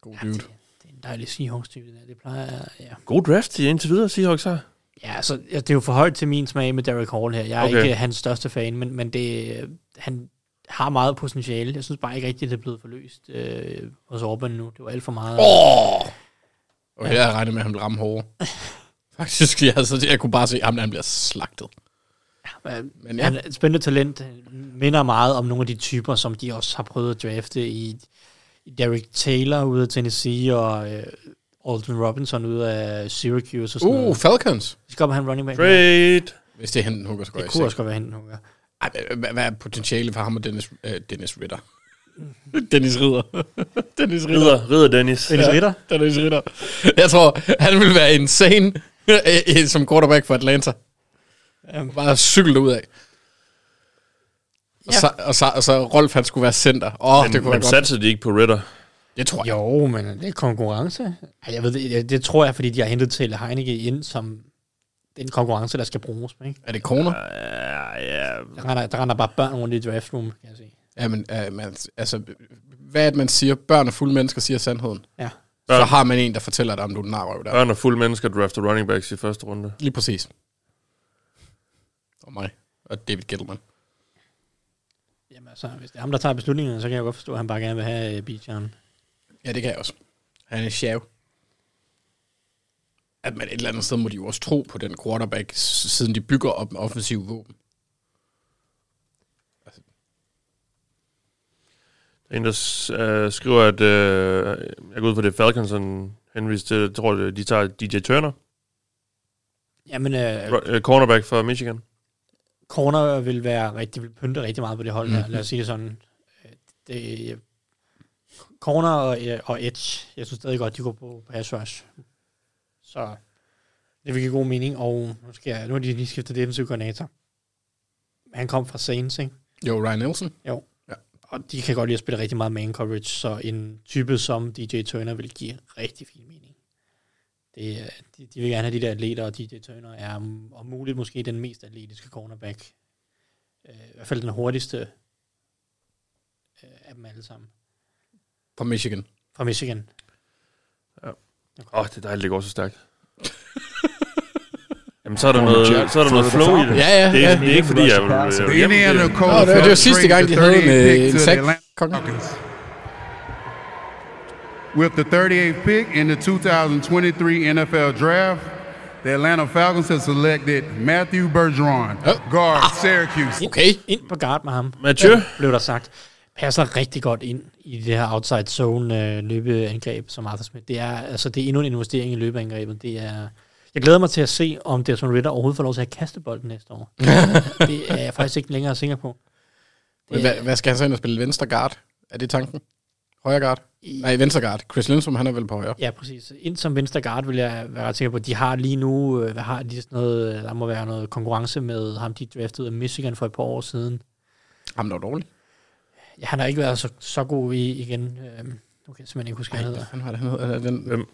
E: God dude.
F: Det er en dejlig Seahawks-type, det der. Det plejer, ja.
D: God draft i indtil videre, Seahawks har.
F: Ja, altså, ja, det er jo for højt til min smag med Derek Hall her. Jeg er
D: Okay.
F: okay. ikke øh, hans største fan, men, men det, øh, han har meget potentiale. Jeg synes bare ikke rigtigt, det er blevet forløst øh, hos Orban nu. Det var alt for meget. Oh.
E: Og jeg havde regnet med, at han ville ramme hårdere. Faktisk, jeg, altså, jeg kunne bare se, at ham der, han bliver slagtet. Men ja,
F: Han er et spændende talent. Minder meget om nogle af de typer, som de også har prøvet at drafte i, i Derek Taylor ude af Tennessee og øh, Alton Robinson ude af Syracuse og sådan
E: uh,
F: noget.
E: Falcons.
F: Vi skal op og have en running back. nu.
D: Great.
E: Hvis det er henten hugger, så går
F: Det
E: jeg
F: kunne
E: i
F: også
E: seng.
F: godt være hende, hun gør.
E: Ej, hvad- hvad, hvad er potentialet for ham og Dennis, øh, Dennis Ritter? Dennis Ridder. Dennis Ridder.
D: Ridder, Ridder Dennis.
F: Dennis Ritter?
E: Dennis Ritter. Jeg tror, han ville være insane øh, øh, som quarterback for Atlanta. Bare cykle ud af. Og,
F: Ja.
E: så, og, så, og så Rolf, han skulle være center. Åh, oh, det
D: Men,
E: kunne være
D: men
E: godt.
D: satsede de ikke på Ridder?
E: Det tror jeg.
F: Jo, men det er konkurrence. Ej, jeg ved, det, det, det tror jeg, fordi de har hentet til Heineke ind som den konkurrence, der skal bruges. Ikke?
E: Er det corner?
F: Øh,
D: Ja, ja.
F: Der, render, der render bare børn rundt i draft room, kan jeg sige.
E: Ja, men øh, man, altså, hvad er det, man siger? Børn og fulde mennesker siger sandheden.
F: Ja.
E: så har man en, der fortæller dig, om du er en narrøv der.
D: Børn og fulde mennesker drafter running backs i første runde.
E: Lige præcis. Og mig. Og David Gettleman.
F: Jamen altså, hvis det er ham, der tager beslutningerne, så kan jeg godt forstå, at han bare gerne vil have uh, Bijan.
E: Ja, det kan jeg også. Han er sjov. At man et eller andet sted må de jo også tro på den quarterback, s- siden de bygger op med offensiv våben.
D: Der er en, der s- øh, skriver, at øh, jeg går ud fra det, Falcons han henviste til, jeg tror, de tager DJ Turner,
F: Jamen, uh,
D: ro- øh, cornerback fra Michigan.
F: corner vil være rigtig, vil pynte rigtig meget på det hold her,
E: Mhm.
F: lad os sige det sådan. Øh, Det, corner og, øh, og edge, jeg synes stadig godt, de går på pass rush. Så det vil give god mening, og nu, skal jeg, nu har de lige skiftet defensiv koordinator. Han kom fra Saints, ikke?
E: Jo, Ryan Nelson.
F: Jo.
E: Ja.
F: Ja. Og de kan godt lide at spille rigtig meget man coverage, så en type som DJ Turner vil give rigtig fin mening. Det, er- de, de vil gerne have de der atleter, og DJ Turner er om om muligt måske den mest atletiske cornerback. Øh, I hvert fald den hurtigste øh, af dem alle sammen.
E: Fra Michigan.
F: Fra Michigan.
D: Åh, oh, det er dejligt, det går så stærkt. Jamen, så er der noget, så er der noget flow i det.
E: Ja, ja,
D: det er,
E: ja.
D: Det er ikke, fordi jeg vil... øh, Jeg,
J: The
D: vil- jeg,
J: Indiana
D: vil-
E: Nå, det,
J: Colts.
E: var, det var sidste
J: trade
E: gang,
J: the
E: de havde
J: 38th
E: en,
J: pick
E: øh, en
J: to
E: sack.
J: the Atlanta
E: Kongen.
J: Falcons. With the 38th pick in the 2023 NFL Draft, the Atlanta Falcons have selected Matthew Bergeron,
E: Oh.
J: guard, Syracuse.
E: Okay.
F: Ind på guard med ham,
D: Mathieu?
F: blev der sagt. Passer rigtig godt ind i det her outside zone øh, løbeangreb, som Arthur Smith. Det er, altså, det er endnu en investering i løbeangrebet. Det er, jeg glæder mig til at se, om Desmond Ritter overhovedet får lov til at kaste bolden næste år. det er jeg faktisk ikke længere sikker på.
E: Men
F: Det er-
E: hvad, hvad skal han så ind og spille? Venstre guard? Er det tanken? Højre guard? Nej, venstre guard. Chris Lindstrom, han er vel på højre.
F: Ja, præcis. Ind som venstre guard vil jeg være ret sikker på, de har lige nu, øh, hvad har de sådan noget, øh, der må være noget konkurrence med ham, de draftede af Michigan for et par år siden.
E: Ham, der var dårlig.
F: Ja, han har ikke været så, så god i igen. Øhm, nu kan jeg simpelthen ikke huske, hvad han hedder.
E: Han var det, han hedder. Er det Den,
D: Hvem?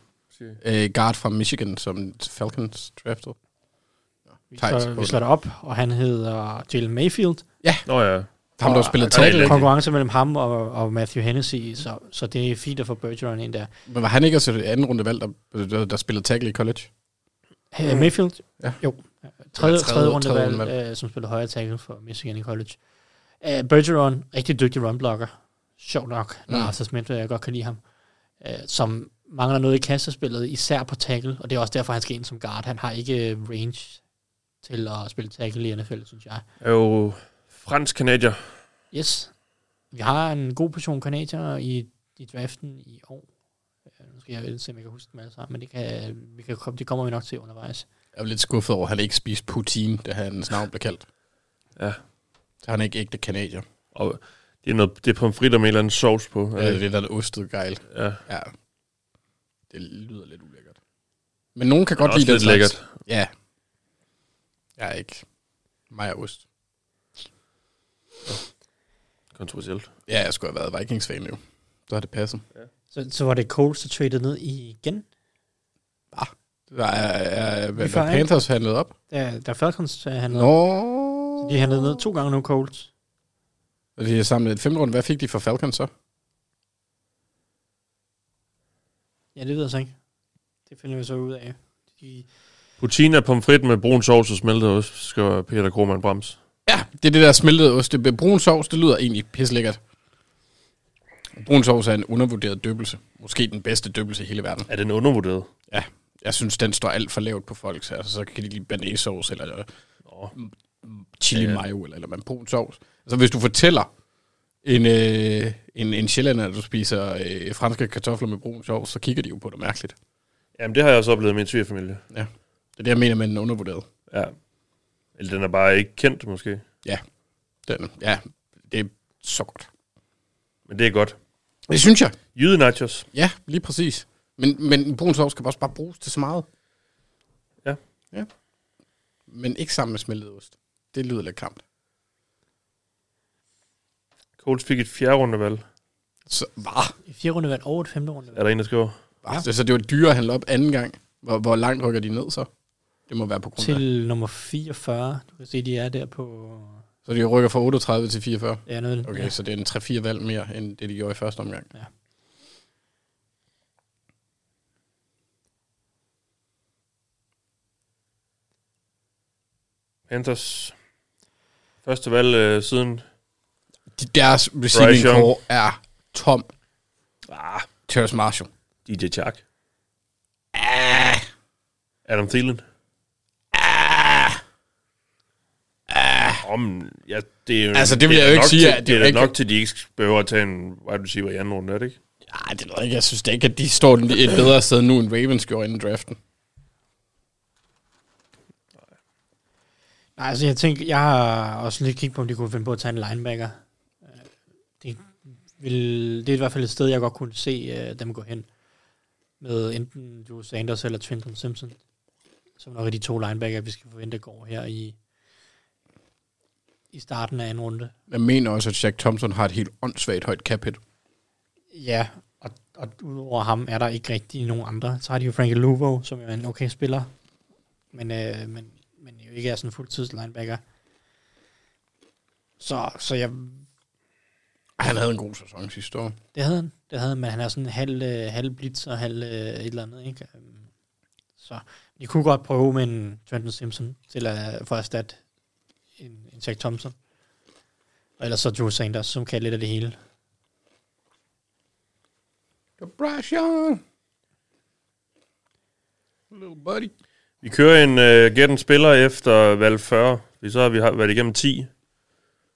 E: øh, guard fra Michigan, som Falcons draftede.
F: Vi
E: Tight.
F: slår, vi slår det op, og han hedder Jalen Mayfield.
D: Nå ja.
E: Ham, der spillede
D: han er
E: tackle.
D: elendig.
F: Konkurrence mellem ham og, og Matthew Hennessy, så, så det er fint at få Bergeron ind der.
E: Men var han ikke også et anden runde valg, der, der, der spillede tackle i college?
F: Uh, Mayfield?
E: Ja.
F: Jo. Tredje,
E: Ja, tredje-
F: tredje
E: tredje
F: rundevalg,
E: rundevalg.
F: uh, som spiller højre tackle for Michigan i college. Uh, Bergeron, rigtig dygtig runblocker. Sjov nok, når
E: Mm.
F: mm. Arthur Smith, jeg godt kan lide ham. Uh, som mangler noget i kastespillet, især på tackle, og det er også derfor, han skal ind som guard. Han har ikke øh, range til at spille tackle i NFL, synes jeg.
D: Er jo fransk kanadier.
F: Yes. Vi har en god portion kanadier i, i draften i år. Øh, Nu skal jeg vel se, om jeg kan huske dem alle sammen, men det, kan, vi kan, komme- det kommer vi nok til undervejs.
E: Jeg er lidt skuffet over, at han ikke spiste poutine, da hans navn blev kaldt.
D: Ja.
E: Så han er ikke ægte kanadier.
D: Og det er, noget, det er pomfritter med en eller anden sovs på.
E: Ja. Det er den ostede gejl.
D: Ja.
E: ja. Det lyder lidt ulækkert. Men nogen kan godt
D: også
E: lide den
D: lidt
E: slags. Ja. Jeg er ikke. Mig og ost.
D: Kontroversielt.
E: Ja, jeg skulle have været Vikings-fan nu. Så har det passet.
F: Så, så var det Coles, der traded ned igen,
E: Der er, er, er, hvad,
F: får
E: hvad
F: alt.
E: Panthers handlede op.
F: da, da Falcons øh, handlede.
E: Nå.
F: De handlede ned to gange nu, Coles.
E: Og de har samlet et femte runde. Hvad fik de for Falcons så?
F: Ja, det ved jeg så ikke. Det finder vi så ud af. De,
D: Poutine er pomfrit med brun sovs og smeltet ost, skriver Peter Krohmann Brams.
E: Ja, det er det der smeltede ost. Det, brun sovs, det lyder egentlig pislækkert. Brun sovs er en undervurderet døbelse. Måske den bedste døbelse i hele verden.
D: Er den undervurderet?
E: Ja, jeg synes, den står alt for lavt på folks. Altså, så kan de lide banæsauce eller øh, chili
D: Ja.
E: mayo eller, eller man brun sovs. Altså, hvis du fortæller en, øh, en, en sjællander, at du spiser øh, franske kartofler med brun sovs, så kigger de jo på dig mærkeligt.
D: Jamen, det har jeg også oplevet i min svigerfamilie.
E: Ja. Det er det, jeg mener med den undervurderet.
D: Ja. Eller den er bare ikke kendt, måske.
E: Ja, den, ja, det er så godt.
D: Men det er godt.
E: Det synes jeg.
D: Jyde nachos.
E: Ja, lige præcis. Men, men brun sovs kan også bare bruges til så meget.
D: Ja.
E: Ja. Men ikke sammen med smeltet ost. Det lyder lidt klamt.
D: Coles fik et fjerde rundevalg.
E: Så, var.
F: I fire runde vandt over et femte runde
D: Er der en, der skriver?
E: Ja. Så, så det var dyrere at handle op anden gang. Hvor, hvor langt rykker de ned så? Det må være på grund af.
F: Til nummer 44. Du kan se, de er der på...
E: Så de rykker fra 38 til 44.
F: Ja, noget,
E: Okay,
F: ja.
E: så det er en 3-4 valg mere, end det de gjorde i første omgang.
F: Ja.
D: Panthers første valg øh, siden...
E: De deres Altså, receiving
D: Young.
E: core er tom. Ah, Terrence Marshall.
D: DJ Chark.
E: Ah.
D: Adam Thielen.
E: Ah.
D: Om, ja, det er, jo-
E: Altså, det vil jeg jo
D: er
E: ikke
D: nok
E: sige,
D: Til,
E: at det
D: det er
E: er
D: da
E: ikke-
D: nok til, at de ikke behøver at tage en wide receiver i anden runde, er det ikke?
E: Nej, det ved jeg ikke. Jeg synes da ikke, at de står et bedre sted nu, end Ravens gjorde inden draften.
F: Nej, altså jeg tænker, jeg har også lidt kigget på, om de kunne finde på at tage en linebacker. Øh, Det, vil, det er i hvert fald et sted, jeg godt kunne se uh, dem gå hen. Med enten Joe Sanders eller Trenton Simpson. Som nok er de to linebacker, vi skal forvente går her i, i starten af anden runde.
E: Jeg mener også, at Jack Thompson har et helt åndssvagt højt cap hit.
F: Ja, og, og udover ham er der ikke rigtig nogen andre. Så har de jo Frankie Luvo, som jo er en okay spiller, men, øh, men, men jo ikke er sådan en fuldtids linebacker. Så, så jeg,
E: Ej, Han havde en god sæson sidste år.
F: det havde han. Det havde han, men han er sådan en halv, øh, halv blitz og halv øh, et eller andet, ikke? Øhm, Så de kunne godt prøve med en Trenton Simpson til at, for at erstatte en, en Jack Thompson. Og ellers så Drew Sanders, som kan lidt af det hele.
E: The brush on. Little buddy.
D: Vi kører en uh, gæt en spiller efter valg 40, fordi så har vi har været igennem 10.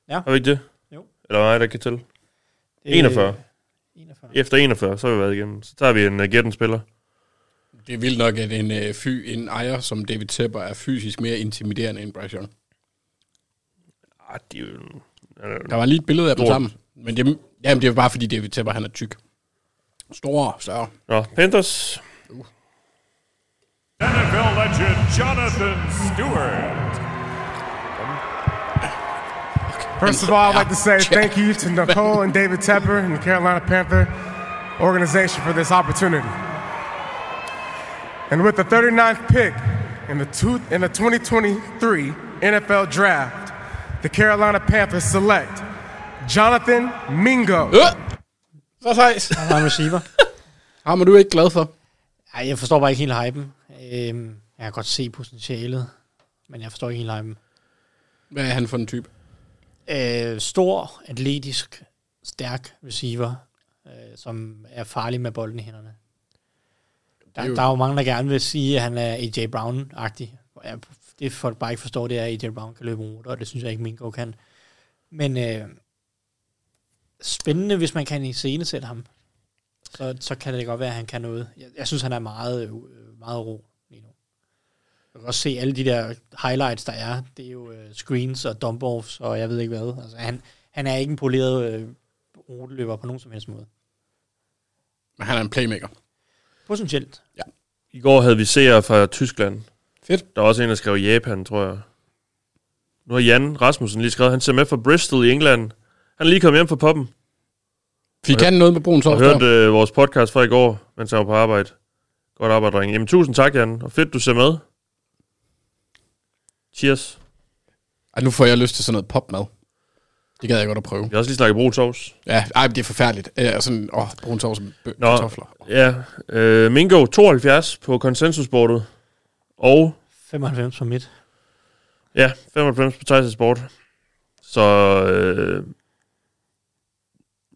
F: Ja.
D: Har vi ikke det?
F: Jo.
D: Eller hvad er der kan til? 41.
F: 41.
D: Efter 41, så har vi været igennem. Så tager vi en uh, gæt en spiller.
E: Det er vildt nok, at en, øh, fy, en ejer som David Tepper er fysisk mere intimiderende end Bryce Young.
D: Ah, det er jo... en- øh,
E: Der var lige et billede af dem
D: Stort.
E: sammen. Men det, jamen, det er bare fordi David Tepper, han er tyk. Stor, større.
D: Nå, Panthers.
H: NFL legend Jonathan Stewart.
B: First of all, I'd like to say thank you to Nicole and David Tepper and the Carolina Panther organization for this opportunity. And with the 39th pick in the, two, in the 2023 NFL Draft, the Carolina Panthers select Jonathan Mingo.
E: Øh! Så sejs.
F: Og han er receiver.
E: Ham er du ikke glad for.
F: Ej, jeg forstår bare ikke helt hypen. Øhm, jeg kan godt se potentialet, men jeg forstår ikke helt hypen.
E: Hvad er han for en type?
F: Øh, stor, atletisk, stærk receiver, øh, som er farlig med bolden i hænderne. Der,
E: Det er jo-
F: der er jo mange, der gerne vil sige, at han er AJ Brown-agtig. Og jeg- Det folk bare ikke forstår, det er, at AJ Brown kan løbe ruter, og det synes jeg ikke, Mingo kan. Men øh, spændende, hvis man kan iscenesætte ham. Så, så kan det godt være, at han kan noget. Jeg, jeg synes, han er meget, øh, meget ro lige nu. Jeg kan også se alle de der highlights, der er. Det er jo øh, screens og dump offs, og jeg ved ikke hvad. Altså, han, han er ikke en poleret øh, ruteløber på nogen som helst måde.
E: Men han er en playmaker.
F: Potentielt.
D: I går havde vi seere fra Tyskland.
E: Fedt.
D: Der er også en, der skrev Japan, tror jeg. Nu har Jan Rasmussen lige skrevet, han ser med fra Bristol i England. Han er lige kommet hjem fra poppen
E: Fik han noget med brun
D: og
E: sovs der?
D: hørte øh, vores podcast fra i går, mens han var på arbejde. Godt arbejde, drenge. Jamen, tusind tak, Jan, og fedt, du ser med. Cheers.
E: Ej, nu får jeg lyst til sådan noget popmad. Det gad jeg godt at prøve.
D: Vi har også lige snakket brun sovs.
E: Ja, ej, men det er forfærdeligt. Øh, sådan, åh, brun sovs med bø-
D: Nå.
E: kartofler.
D: Ja, øh, Mingo 72 på konsensusbordet. Og
F: 95 på midt.
D: Ja, 95 på Tyson Sport. Så... Øh,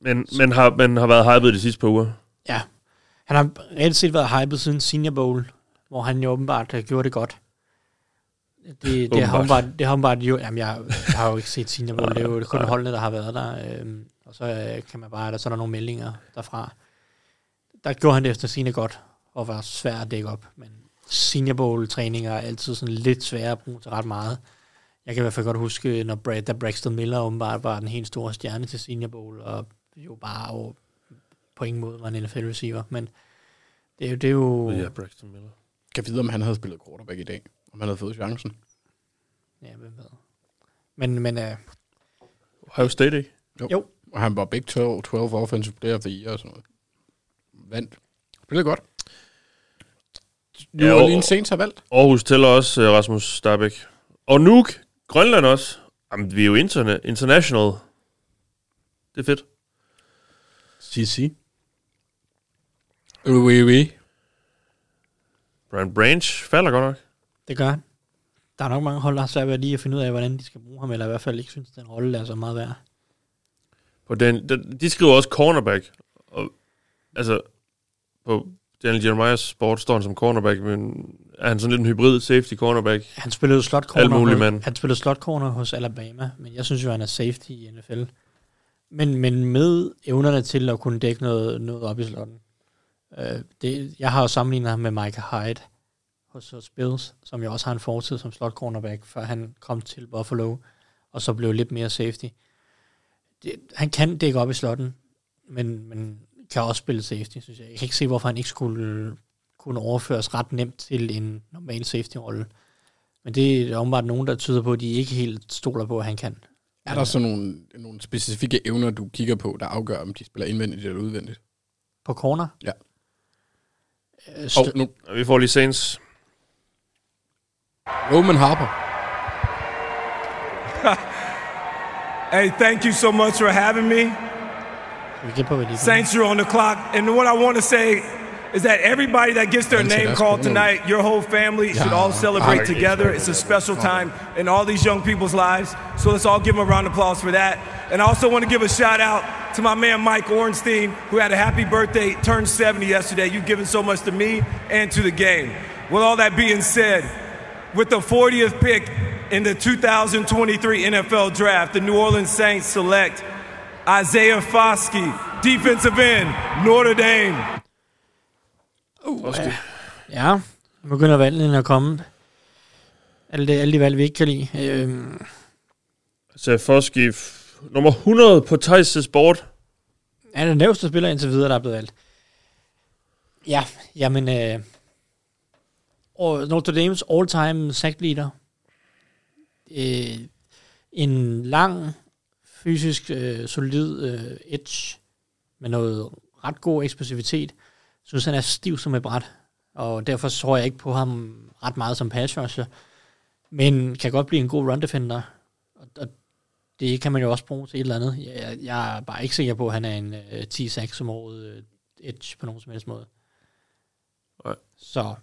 D: men, men, har, men har været hyped de sidste par uger.
F: Ja. Han har reelt set været hypet siden Senior Bowl, hvor han jo åbenbart øh, gjorde det godt. Det, det, har
D: Åbenbart.
F: åbenbart, det har åbenbart jo... Jamen, jeg, jeg har jo ikke set Senior Bowl. Det er jo kun holdene, der har været der. Øhm, og så øh, kan man bare... Der, så er der nogle meldinger derfra. Der gjorde han det efter sine godt, og var svær at dække op. Men Senior Bowl-træninger er altid sådan lidt svære at bruge til ret meget. Jeg kan i hvert fald godt huske, når Brad, da Braxton Miller åbenbart var den helt store stjerne til Senior Bowl, og jo bare jo på ingen måde var en NFL receiver, men det er jo, det er jo
D: Ja,
F: ja.
D: Braxton Miller.
E: Kan vide, om han havde spillet quarterback i dag. Om han havde fået chancen.
F: Ja, hvem ved. Men, men uh,
D: Ohio State, ikke?
F: Jo.
E: Og han var Big 12, 12 offensive player of the year og sådan noget. Vandt. Spillede godt. New
D: Ja,
E: ja,
D: og-
E: Orleans Saints har valgt.
D: Aarhus tæller også øh, Rasmus Starbæk. Og Nuuk, Grønland også. Jamen, vi er jo interne, international. Det er fedt.
E: CC. Ui, ui.
D: Brian Branch falder godt nok.
F: det gør han. der er nok mange hold, der har svært ved lige at finde ud af, hvordan de skal bruge ham, eller i hvert fald ikke synes, den rolle er så meget værd.
D: På den, den, de skriver også cornerback. Og, altså, på Daniel Jeremiah's sport står han som cornerback, men er han sådan lidt en hybrid safety cornerback?
F: Han spillede slot corner,
D: Alt muligt,
F: hos-
D: mand.
F: han spillede slot corner hos Alabama, men jeg synes jo, han er safety i NFL. Men, men med evnerne til at kunne dække noget, noget op i slotten. Øh, det, jeg har jo sammenlignet ham med Mike Hyde hos, hos Bills, som jo også har en fortid som slot cornerback, før han kom til Buffalo, og så blev lidt mere safety. Det, han kan dække op i slotten, men, men kan også spille safety, synes jeg. Jeg kan ikke se, hvorfor han ikke skulle kunne overføres ret nemt til en normal safety-rolle. Men det er åbenbart nogen, der tyder på, at de ikke helt stoler på, at han kan.
E: Er der så nogle, nogle specifikke evner, du kigger på, der afgør, om de spiller indvendigt eller udvendigt?
F: På corner?
E: Ja.
F: Øh,
E: Og
F: St-
E: nu,
D: Vi får lige Saints.
E: Roman Harper.
K: Hey, thank you so much for having me.
F: vi kan på, hvad de
K: Saints, you're on the clock. And what I want to say is that everybody that gets their
E: Answer
K: name
E: that
K: called
E: for me.
K: tonight, your whole family should all
D: I-
K: celebrate together. It's a special time in all these young people's lives. So let's all give them a round of applause for that. And I also want to give a shout out to my man Mike Ornstein, who had a happy birthday, turned 70 yesterday. You've given so much to me and to the game. With all that being said, With the 40th pick in the 2023 NFL Draft, the New Orleans Saints select Isaiah Foskey, defensive end, Notre Dame.
F: Ja, nu begynder valgene at komme. Alle, de- alle de valg, vi ikke kan lide. Øhm,
D: Safoski, f- nummer 100 på Thijs' board.
F: er den nævste spiller indtil videre, der er blevet valgt. Ja, jamen... Øh, og Notre Dame's all-time sack leader. Øh, en lang, fysisk, øh, solid øh, edge med noget ret god eksplosivitet. Jeg synes, han er stiv som et bræt, og derfor tror jeg ikke på ham ret meget som pass rusher, men kan godt blive en god run defender, og, og det kan man jo også bruge til et eller andet. Jeg, jeg er bare ikke sikker på, at han er en øh, 10 6 som året øh, edge på nogen som helst måde.
D: Nej.
F: Så,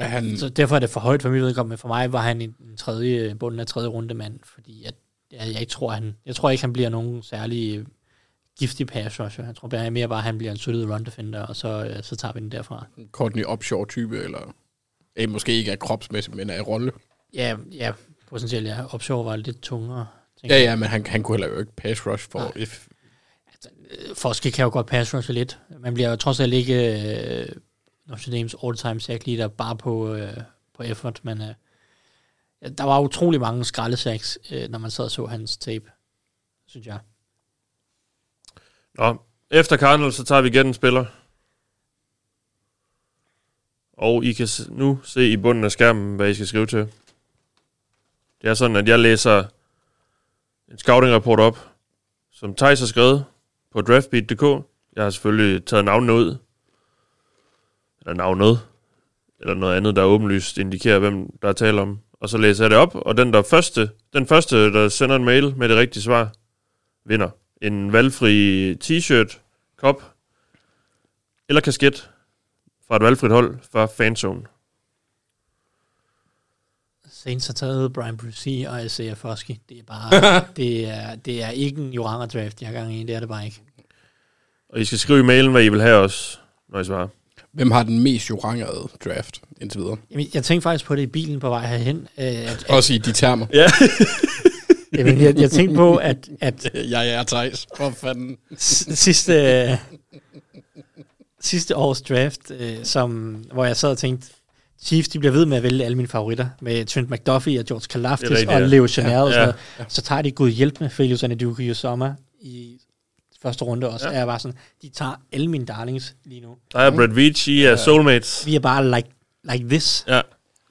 E: Er han,
F: så derfor er det for højt for mit vedkommende. For mig var han en, en tredje, bunden af tredje runde mand, fordi at, jeg, jeg, ikke tror, han, jeg tror ikke, han bliver nogen særlig øh, giftig pass rusher. Jeg tror bare- mere bare, at han bliver en solid run defender, og så, øh, så tager vi den derfra.
E: Courtney Upshaw-type, eller eh, måske ikke er kropsmæssigt, men er i rolle.
F: Ja, ja potentielt, ja. Opshore var lidt tungere. tænker
E: Ja,
F: jeg.
E: ja, men han, han kunne heller jo ikke pass rush for
F: Nej.
E: if...
F: Forske kan jo godt pass rushe lidt. Man bliver jo trods alt ikke øh, Notre Dame's all-time sack leader bare på, øh, på effort, men øh, ja, der var utrolig mange skraldesacks, øh, når man sad og så hans tape, synes jeg.
D: Nå, efter Cardinals, så tager vi igen en spiller. Og I kan s- nu se i bunden af skærmen, hvad I skal skrive til. Det er sådan, at jeg læser en scouting-rapport op, som Thijs har skrevet på draftbeat.dk. Jeg har selvfølgelig taget navnene ud. Eller navnet. Eller noget andet, der åbenlyst indikerer, hvem der er tale om. Og så læser jeg det op, og den, der første, den første, der sender en mail med det rigtige svar, vinder en valgfri t-shirt, kop eller kasket fra et valgfrit hold fra fanzone.
F: Saints har taget Brian Brucey og Isaiah Foskey. Det er bare, det er, det er ikke en Joranger draft, jeg har gang i. Det er det bare ikke.
D: Og I skal skrive i mailen, hvad I vil have os, når I svarer.
E: Hvem har den mest jorangerede draft indtil videre?
F: Jamen, jeg tænkte faktisk på det i bilen på vej herhen. Øh, at, at,
E: Også i de termer.
F: jamen, jeg, jeg tænkte på, at, at
E: Jeg er Thijs. For fanden.
F: S- sidste, sidste års draft, øh, som, hvor jeg sad og tænkte, Chiefs, de bliver ved med at vælge alle mine favoritter, med Trent McDuffie og George Kalafdis
D: Det er rigtigt,
F: og
D: ja.
F: Leo Chanel og
D: Ja,
F: sådan noget. Så tager de Gud hjælp med Felius Anaduki og Sommer i første runde også. Ja. Jeg er bare sådan, de tager alle mine darlings lige nu.
D: Der er Brad Veach, I er soulmates.
F: Vi er bare like, like this.
D: Ja.
E: Jeg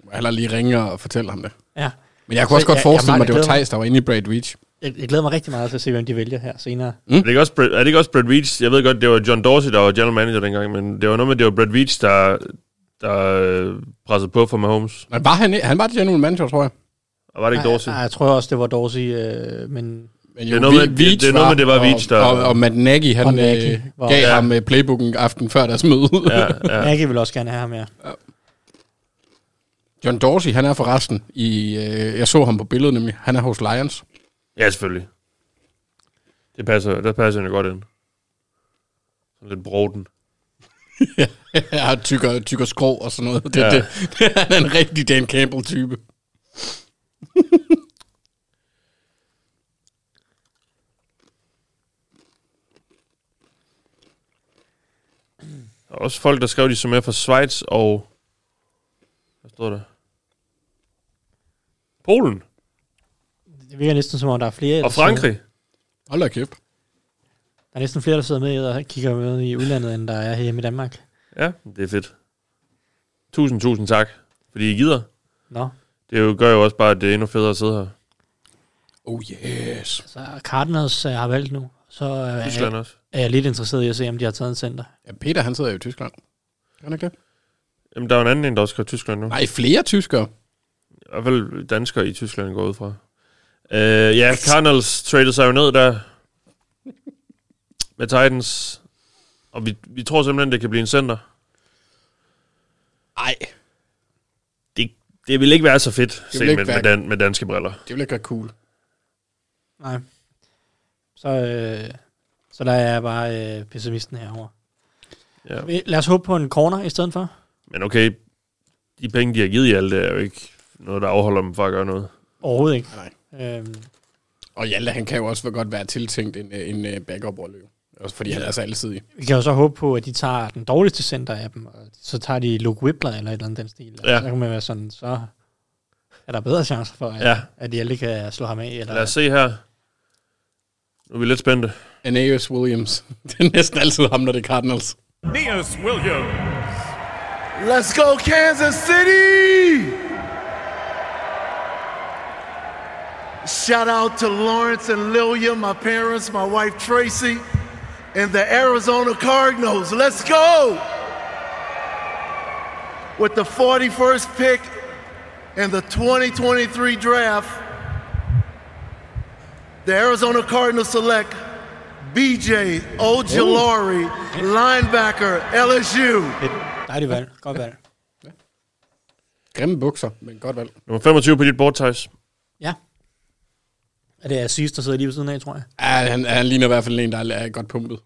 E: må hellere lige ringe og fortælle ham det.
F: Ja.
E: Men jeg kunne også
F: Så
E: godt
F: jeg-
E: forestille
F: jeg
E: mig, at det var
F: glæder mig.
E: Thijs, der var inde i Braid Reach.
F: Jeg, jeg glæder mig rigtig meget til at se, hvem de vælger her senere.
D: Er, det ikke også Brad, er det ikke også Brad Veach? Jeg ved godt, det var John Dorsey, der var general manager dengang, men det var noget med, det var Brad Veach, der, der øh, pressede på for Mahomes.
E: Men var han, i- han var general manager, tror jeg.
D: Og var det ikke
F: Nej,
D: Dorsey?
F: nej, jeg tror også, det var Dorsey, øh, men
E: Men
D: Det er noget med-
E: Vi-
D: det- det er noget med, det var Veach, der-
E: Og, og, og Matt Nagy, han
F: Og Nagy
E: øh,
F: var-
E: gav
D: Ja.
E: ham øh, playbooken aften før deres møde.
D: Ja, ja.
F: ja. Aggie vil også gerne have ham her.
E: John Dorsey, han er forresten i... Øh, jeg så ham på billedet nemlig. Han er hos Lions.
D: Ja, selvfølgelig. Det passer, der passer han jo godt ind. Sådan lidt broden.
E: ja, tykker, tykker skrå og sådan noget. Det, ja. det, han er en rigtig Dan Campbell-type.
D: Der er også folk, der skrev, de som er fra Schweiz og... Hvad står der? Polen
F: Det virker næsten som om, der er flere... der
D: og Frankrig.
F: sidder-
E: Hold da kæft.
F: Der er næsten flere, der sidder med og kigger med i udlandet, end der er hjemme i Danmark.
D: Ja, det er fedt. Tusind, tusind tak, fordi I gider.
F: Nå.
D: Det jo, gør jo også bare, at det er endnu federe at sidde her.
E: Oh yes.
F: Så Cardinals uh, har valgt nu. Så uh, er,
D: Tyskland også.
F: er jeg lidt interesseret i at se, om de har taget en center.
E: Ja, Peter, han sidder jo i Tyskland. Gør han ikke det?
D: Jamen, der er jo en anden en, der også skriver Tyskland nu.
E: Nej, flere tyskere.
D: I hvert fald danskere i Tyskland går ud fra. Øh, ja, Cardinals traded sig jo ned der med Titans. Og vi, vi tror simpelthen, det kan blive en center.
E: Nej,
D: Det, det vil ikke være så fedt,
E: vil
D: set
E: ikke
D: med,
E: være-
D: med, dan, med danske briller.
E: det ville ikke være cool.
F: Nej. Så, øh, så der er jeg bare øh, pessimisten herover.
D: Ja.
F: Ja. Lad os håbe på en corner i stedet for.
D: Men okay, de penge, de har givet i alt, det er jo ikke noget, der afholder dem fra at gøre noget.
F: Overhovedet ikke.
E: Nej.
F: Øhm,
E: Og Hjalte, han kan jo også godt være tiltænkt en, øh, en øh, backup overløb. Også fordi ja. han er så altid i.
F: vi kan jo så håbe på, at de tager den dårligste center af dem, og så tager de Luke Whippler eller et eller andet den stil.
D: Ja.
F: Så kan man være sådan, så er der bedre chancer for, at,
D: Ja.
F: ja. at de aldrig kan slå ham af. Eller,
D: Lad os se her. Nu er vi lidt spændte.
E: Aeneas Williams. Det er næsten altid ham, når det er Cardinals.
H: Neas Williams.
J: Let's go, Kansas City! Shout out to Lawrence and Lilia, my parents, my wife Tracy, and the Arizona Cardinals. Let's go! With the 41st pick in the 2023 draft, the Arizona Cardinals select BJ Ojolari, linebacker, LSU.
F: Et dejligt valg. Godt valg.
E: Grimme bukser, men godt valg.
D: Nummer 25 på dit board, Thijs.
F: Ja. Er det Assis, der sidder lige ved siden af, tror jeg?
E: Ja, han, han ligner i hvert fald en, der er, er godt pumpet.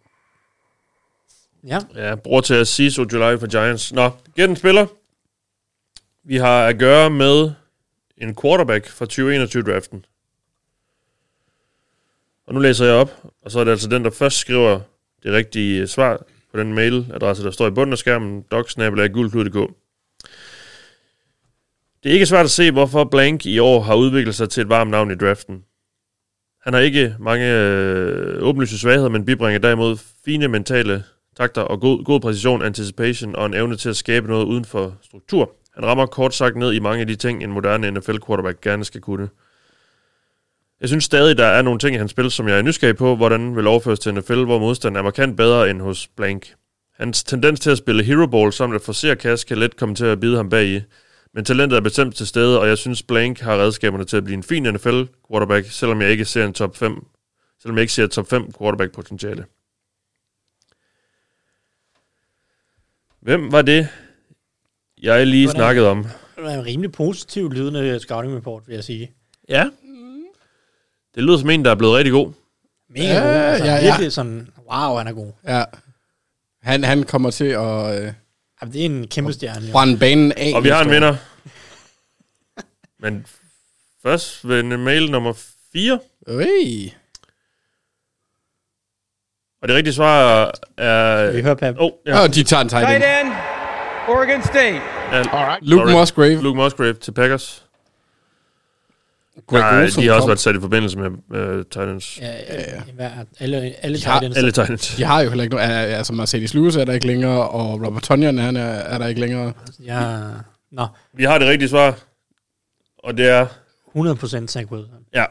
F: Ja.
D: Ja, bror til Aziz Ojulari for Giants. Nå, gæt en spiller. Vi har at gøre med en quarterback fra 2021-draften. Og nu læser jeg op, og så er det altså den, der først skriver det rigtige øh, svar på den mailadresse, der står i bunden af skærmen, docsnabelaggulklud.dk. Det er ikke svært at se, hvorfor Blank i år har udviklet sig til et varmt navn i draften. Han har ikke mange øh, åbenlyse svagheder, men bibringer derimod fine mentale takter og god, god præcision, anticipation og en evne til at skabe noget uden for struktur. Han rammer kort sagt ned i mange af de ting, en moderne NFL-quarterback gerne skal kunne. Jeg synes stadig, der er nogle ting i hans spil, som jeg er nysgerrig på, hvordan vil overføres til NFL, hvor modstanden er markant bedre end hos Blank. Hans tendens til at spille hero ball samt at forsere kast kan let komme til at bide ham bag i. Men talentet er bestemt til stede, og jeg synes Blank har redskaberne til at blive en fin NFL quarterback, selvom jeg ikke ser en top 5, selvom jeg ikke ser top 5 quarterback potentiale. Hvem var det, jeg lige
F: Hvordan?
D: snakkede om?
F: Det er en rimelig positiv lydende scouting report, vil jeg sige.
D: Ja. Det lyder som en, der er blevet rigtig god.
F: Mega
E: Ja,
F: ja, god. Altså,
E: ja,
F: ja,
E: ja.
F: ja. Virkelig sådan, wow, han er god.
E: Ja. Han, han kommer til at øh,
F: Jamen, det er en kæmpe stjerne. Jo.
E: brænde banen af.
D: Og vi har en
E: næste år.
D: vinder. Men først ved en mail nummer 4.
E: Øj.
D: Og det rigtige svar er...
F: Vi hører Pap.
D: Åh, oh, ja.
E: Ja. Og de tager en tight
G: Tight
E: end.
G: end, Oregon State.
D: ja.
E: Luke
D: Sorry.
E: Musgrave.
D: Luke Musgrave til Packers.
E: Greg
D: Nej,
E: Olsen
D: de har også
E: kom.
D: været sat i forbindelse med uh, Titans.
F: Ja, ja, ja. Hver, alle, alle tager
E: har
F: den.
D: Alle Titans.
E: De har jo heller ikke noget. ja, Altså Mercedes Lewis er der ikke længere, og Robert Tonyan han er, er der ikke længere.
F: Altså, Ja, nå,
D: Vi har det rigtige svar. Og det er...
F: 100% Zach Wilson.
D: Ja.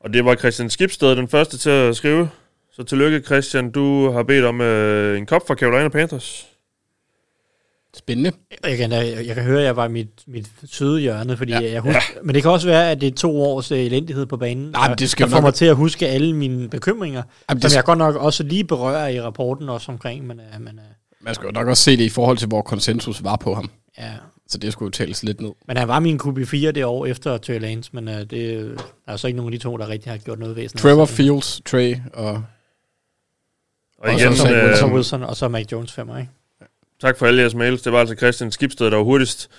D: Og det var Christian Skibsted, den første til at skrive. Så tillykke, Christian. Du har bedt om øh, en kop fra Carolina Panthers.
E: Spændende.
F: Jeg kan, jeg, jeg kan høre, at jeg var i mit, mit søde hjørne, fordi ja. jeg husker, ja. men det kan også være, at det er to års øh, elendighed på banen,
E: Nej, men det skal
F: der får
E: nok-
F: mig til at huske alle mine bekymringer,
E: Jamen, det
F: Jamen, som
E: skal-
F: jeg godt nok også lige berører i rapporten også omkring, men, øh, men øh,
E: Man skal jo nok også se det i forhold til, hvor konsensus var på ham.
F: ja,
E: så det skulle jo tælles lidt ned.
F: Men han var min QB4 det år efter Trey Lance, men øh, det øh, der er så ikke nogen af de to, der rigtig har gjort noget væsen. af
E: Trevor
F: sig.
E: Fields, Trey og...
D: Og igen,
F: så,
D: øh,
F: Wilson, så Wilson, og så Mac Jones femmer, ikke?
D: Tak for alle jeres mails. Det var altså Christian Skibsted, der var hurtigst.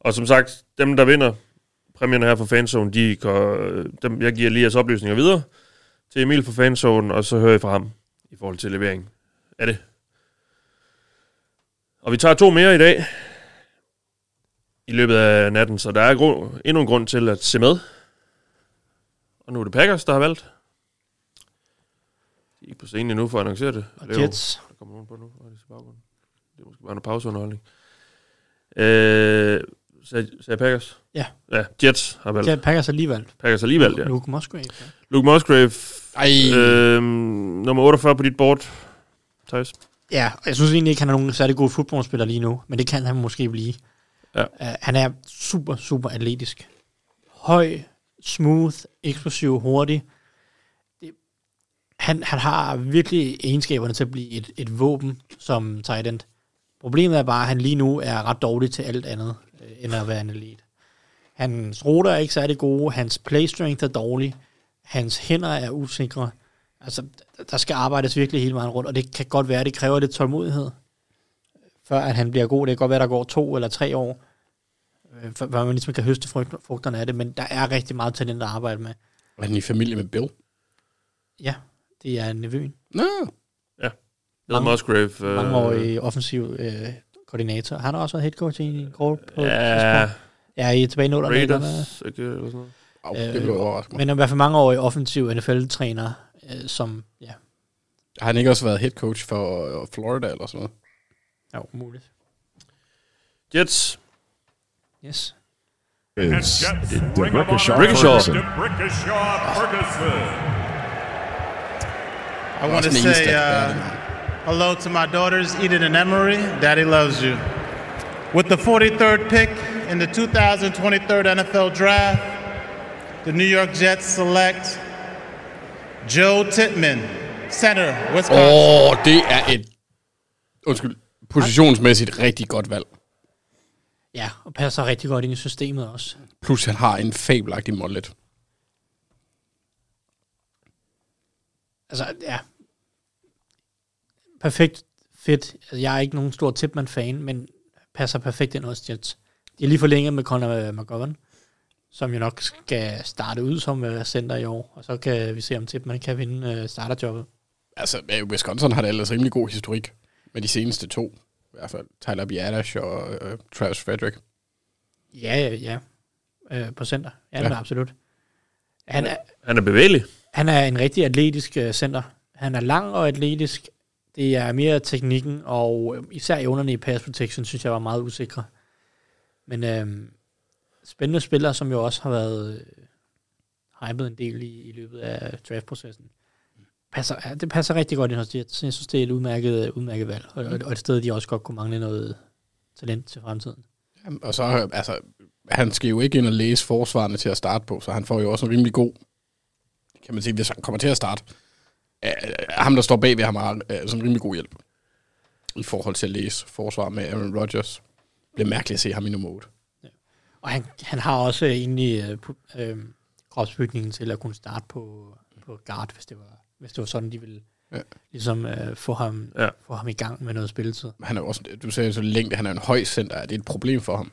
D: Og som sagt, dem, der vinder præmierne her fra Fanzone, de kan, øh, dem, jeg giver lige jeres oplysninger videre til Emil fra Fanzone, og så hører I fra ham i forhold til levering. Er det? Og vi tager to mere i dag i løbet af natten, så der er gru- endnu en grund til at se med. Og nu er det Packers, der har valgt. De er ikke på scenen endnu for at annoncere det.
F: Og
D: Det er jo-
F: Jets.
D: Der kommer nogen på nu. Og det er i baggrunden. Det er måske bare en pauseunderholdning. Øh, sagde, sagde Packers?
F: Ja.
D: Ja, Jets har valgt.
F: Ja, Packers alligevel.
D: Packers alligevel, ja.
F: Luke Musgrave. ja.
D: Luke Musgrave,
E: Ej.
D: øh, nummer 48 på dit board, Thijs.
F: Ja, og jeg synes egentlig ikke, han er nogen særlig god fodboldspiller lige nu, men det kan han måske blive.
D: Ja.
F: Uh, han er super, super atletisk. Høj, smooth, eksplosiv, hurtig. Det, han, han har virkelig egenskaberne til at blive et, et våben som tight end. Problemet er bare, at han lige nu er ret dårlig til alt andet, øh, end at være en elite. Hans ruter er ikke særlig gode, hans play strength er dårlig, hans hænder er usikre. Altså, d- der skal arbejdes virkelig hele vejen rundt, og det kan godt være, at det kræver lidt tålmodighed, før at han bliver god. Det kan godt være, at der går to eller tre år, øh, før før man ligesom kan høste frugt- frugterne af det, men der er rigtig meget talent at arbejde med.
E: Er han i familie med Bill?
F: Ja, det er nevøen.
E: Nå,
D: Mange,
F: Mange-
D: Musgrave. Øh,
F: Mangeårig offensiv øh, koordinator. Han har også været head coach i en kort på
D: Ja,
F: Ja, i er tilbage i nullerne. eller hvad? Øh,
D: Raiders, ikke, eller sådan noget.
E: Au, det blev overrasket mig.
F: Men i hvert fald mange år i offensiv NFL-træner, øh, som, ja,
E: Har han ikke også været head coach for øh, Florida eller sådan noget?
F: er umuligt.
D: Jets,
F: Yes.
E: Øh.
I: Is the
H: Ring of
I: Ricochet
H: Honor.
D: Ricochet.
H: Ricochet
I: Ferguson.
H: Ferguson.
L: I want to
E: Sådan en
L: say
E: stat,
L: uh,
E: der er det.
L: hello to my daughters, Eden and Emery. Daddy loves you. With the 43rd pick in the 2023 NFL Draft, the New York Jets select Joe Tittman, center, Wisconsin.
E: Åh, oh, det er et... Undskyld. Positionsmæssigt rigtig godt valg.
F: Ja, og passer rigtig godt ind i systemet også.
E: Plus han har en fabelagtig mollet.
F: Altså, ja. Perfekt fedt. Altså, jeg er ikke nogen stor Tipman-fan, men passer perfekt ind hos Jets. De er lige forlænget med Conor øh, McGovern, som jo nok skal starte ud som øh, center i år, og så kan vi se, om Tipman kan vinde øh, starterjobbet.
E: Altså, øh, Wisconsin har da ellers rimelig god historik. Med de seneste to. I hvert fald Tyler Biadasz og øh, Travis Frederick.
F: Ja, ja. Øh, på center. Ja, ja.
E: Ja.
F: absolut. Han er,
D: han er bevægelig.
F: Han er en rigtig atletisk øh, center. Han er lang og atletisk. Det er mere teknikken, og øh, især evnerne i pass protection, synes jeg var meget usikre. Men øh, spændende spillere, som jo også har været øh, hypet en del i, i løbet af draftprocessen. Passer, ja, det passer rigtig godt ind hos Jets. Jeg synes, det er et udmærket, øh, udmærket valg, og, og, og et sted, de også godt kunne mangle noget talent til fremtiden.
E: Jamen, Og så, øh, altså, han skal jo ikke ind og læse forsvarene til at starte på, så han får jo også en rimelig god, kan man sige, hvis han kommer til at starte. øh, øh, Ham, der står bag ved ham, har øh, sådan en rimelig god hjælp i forhold til at læse forsvar med Aaron Rodgers. Det bliver mærkeligt at se ham i nummer 8.
F: Og han, han har også egentlig øh, pu- øh, kropsbygningen til at kunne starte på, på guard, hvis det var, hvis det var sådan, de ville
E: Ja.
F: ja. ligesom øh, få, ham,
D: Ja.
F: ja. få ham i gang med noget spilletid.
E: Han er jo også, du sagde så længe, han er en høj center. Er det et problem for ham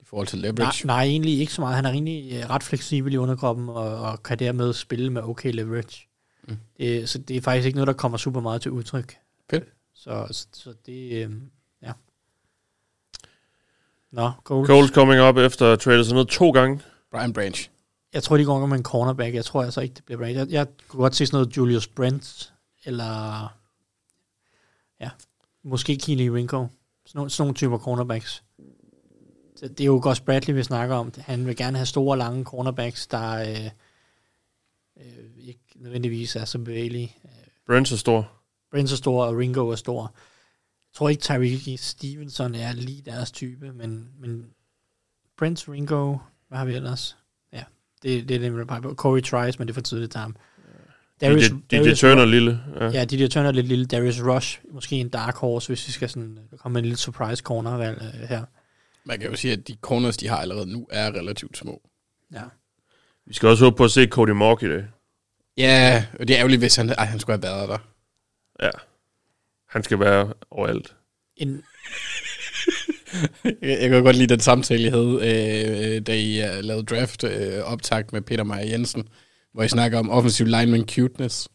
E: i forhold til
F: Nej,
E: leverage?
F: nej, egentlig ikke så meget. Han er egentlig øh, ret fleksibel i underkroppen og, og kan dermed spille med okay leverage. Mm. Det, så det er faktisk ikke noget, der kommer super meget til udtryk.
E: Fedt.
F: Så, så, så det, øh, ja. Nå, Coles.
D: Coles coming up efter at trade sig ned to gange.
E: Brian Branch.
F: Jeg tror, de går med en cornerback. Jeg tror altså ikke, det bliver Brady. Jeg, jeg kunne godt se sådan noget Julius Brent, eller ja, måske Keely Ringo. Sådan nogle, sådan nogle typer cornerbacks. Så det er jo Gus Bradley, vi snakker om. Han vil gerne have store, lange cornerbacks, der øh, øh, ikke nødvendigvis er så bevægelige.
D: Brent er stor.
F: Brent er stor, og Ringo er stor. Jeg tror ikke, Tyreek Stevenson er lige deres type, men, men Brent, Ringo, hvad har vi ellers? Ja, det, det er det, man peger på. Corey Trice, men det er for tidligt til ham.
D: DJ, DJ Turner lille. Ja.
F: Ja, DJ Turner er lidt lille. Darius Rush, måske en dark horse, hvis vi skal sådan komme med en lille surprise corner øh, her.
E: Man kan jo sige, at de corners, de har allerede nu, er relativt små.
D: Vi skal også håbe på at se Cody Mark i dag.
E: Ja, og det er ærgerligt, hvis han, ej, han skulle have været der.
D: Ja. Han skal være overalt.
F: En...
E: jeg jeg kan godt lide den samtale, I havde, øh, øh, da I øh, lavede draft øh, optagt med Peter Meyer Jensen, hvor I snakker om offensiv lineman cuteness.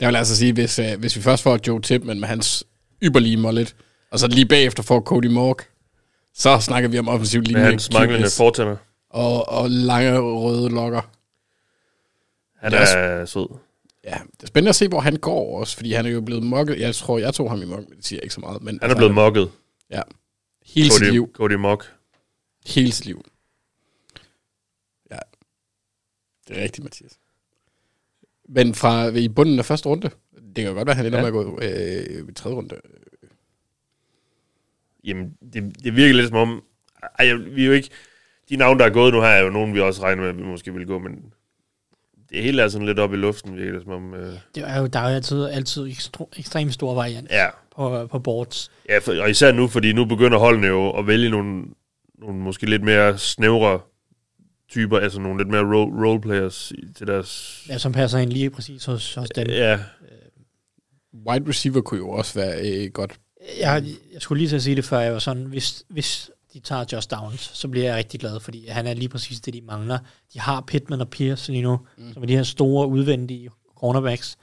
E: Der vil jeg altså sige, hvis, øh, hvis vi først får Joe Tipman med hans ypperlige mullet, og så lige bagefter får Cody Mork, så snakker vi om offensiv linje.
D: hans manglende
E: cuteness.
D: fortænder.
E: Og, og lange røde lokker.
D: Han
E: Det
D: er,
E: er
D: er sød.
E: Ja, det er spændende at se, hvor han går også, fordi han er jo blevet mokket. Jeg tror, jeg tog ham i mok, men det siger jeg ikke så meget. Men
D: Han er blevet mokket.
E: Altså, Ja. Hele sit
D: Cody-
E: liv.
D: Cody Mock.
E: Hele sit liv. Ja. Det er rigtigt, Mathias. Men fra i bunden af første runde, det kan godt være, han ender
D: Ja.
E: ja. med at gå øh, i tredje runde.
D: Jamen, det, det virker lidt som om... Ej, jeg- vi er jo ikke... De navne, der er gået nu her, er jo nogen, vi også regner med, at vi måske vil gå, men det hele er altså sådan lidt op i luften, virker det som om... Øh,
F: Det er jo, der er jo altid, altid ekstro, ekstremt stor variant
D: Ja.
F: på, på boards.
D: ja, for, og især nu, fordi nu begynder holdene jo at vælge nogle, nogle måske lidt mere snævre typer, altså nogle lidt mere role, roleplayers i- til deres...
F: Ja, som passer ind lige præcis hos, hos den.
D: Ja.
E: Øh, Wide receiver kunne jo også være øh, godt.
F: Jeg, jeg skulle lige til at sige det før, jeg var sådan, hvis, hvis de tager Josh Downs, så bliver jeg rigtig glad, fordi han er lige præcis det, de mangler. De har Pittman og Pierce lige nu, mm. som er de her store udvendige cornerbacks.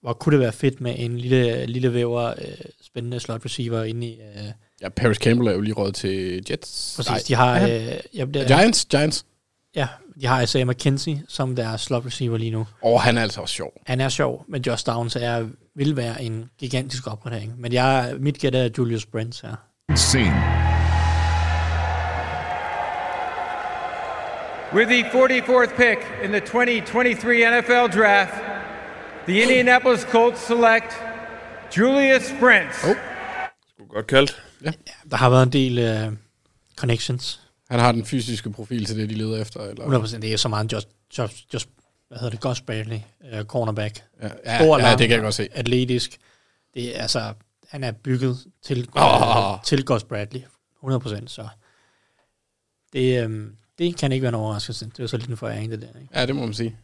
F: Hvor kunne det være fedt med en lille, lille væver, øh, spændende slot receiver inde i... Øh,
E: Ja, Paris Campbell er jo lige råd til Jets.
F: Præcis, de har,
E: er han?
F: øh, jamen, det er-
E: Giants, Giants.
F: ja, de har Isaiah McKenzie som deres slot receiver lige nu.
E: Åh, oh, han er altså også sjov.
F: Han er sjov, men Josh Downs er, vil være en gigantisk opgradering. Men jeg, mit gæt er Julius Brents her.
I: Seen.
G: With the 44th pick in the 2023 NFL Draft, the Indianapolis Colts select Julius Sprint.
D: Godt kaldt.
E: Ja.
F: Der har været en del øh, connections.
E: Han har den fysiske profil til det, de leder efter. Eller?
F: 100% det er så meget en Josh, Josh, Josh hvad hedder det, Gus Bradley, øh, cornerback.
E: Ja, ja,
F: Stor,
E: ja,
F: lang,
E: det kan jeg godt se.
F: Atletisk. Det er altså, han er bygget til,
E: Åh.
F: oh. til Gus Bradley. 100%, så det, øh, det kan ikke være en overraskelse. Det er jo så lidt en foræring, det der. Ikke?
E: Ja, det må man sige.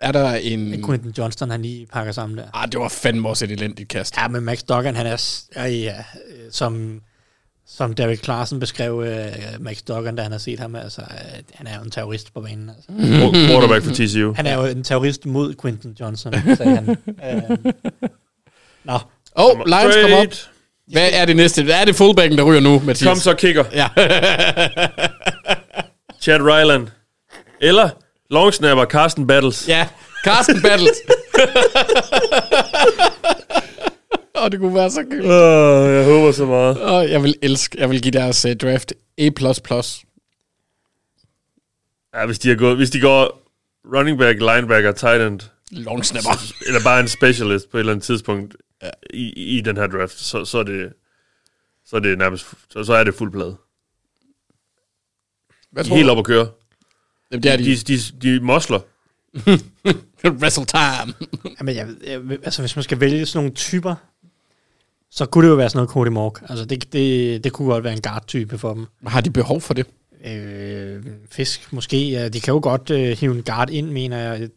E: Er der en...
F: Det er Quentin Johnston, han lige pakker sammen der.
E: Ah, det var fandme også et elendigt kast.
F: Ja, men Max Duggan, han er, s- ja, ja, øh, som, som David Clarsen beskrev øh, Max Duggan, da han har set ham, altså, øh, han er jo en terrorist på banen. Altså.
D: Quarterback for TCU.
F: Han er jo en terrorist mod Quentin Johnson, sagde han. Øh, Nå,
E: Åh, oh, Lions kom op. Hvad er det næste? Hvad er det fullbacken, der ryger nu, Mathias?
D: Kom så, kigger.
E: Ja.
D: Chad Ryland. Eller longsnapper Carsten Battles.
E: Ja, Carsten Battles. Åh, oh, det kunne være så gøy.
D: Uh, jeg håber så meget.
E: Oh, jeg vil elske, jeg vil give deres uh, draft A++.
D: Ja, hvis de, har gået, hvis de går running back, linebacker, tight end.
E: Long snapper.
D: Eller bare en specialist på et eller andet tidspunkt ja. i, i den her draft, så, så er det... Så er det nærmest... Så, så er det fuld plade.
E: Hvad
D: De er helt op at køre.
E: Jamen, det er de.
D: De, de, de mosler.
E: Wrestle time.
F: Jamen, jeg, ved- jeg, ved- altså, hvis man skal vælge sådan nogle typer, så kunne det jo være sådan noget Cody Mork. Altså, det, det, det kunne godt være en guard-type for dem.
E: Har de behov for det?
F: Øh, fisk, måske. Ja, de kan jo godt øh, hive en guard ind, mener jeg.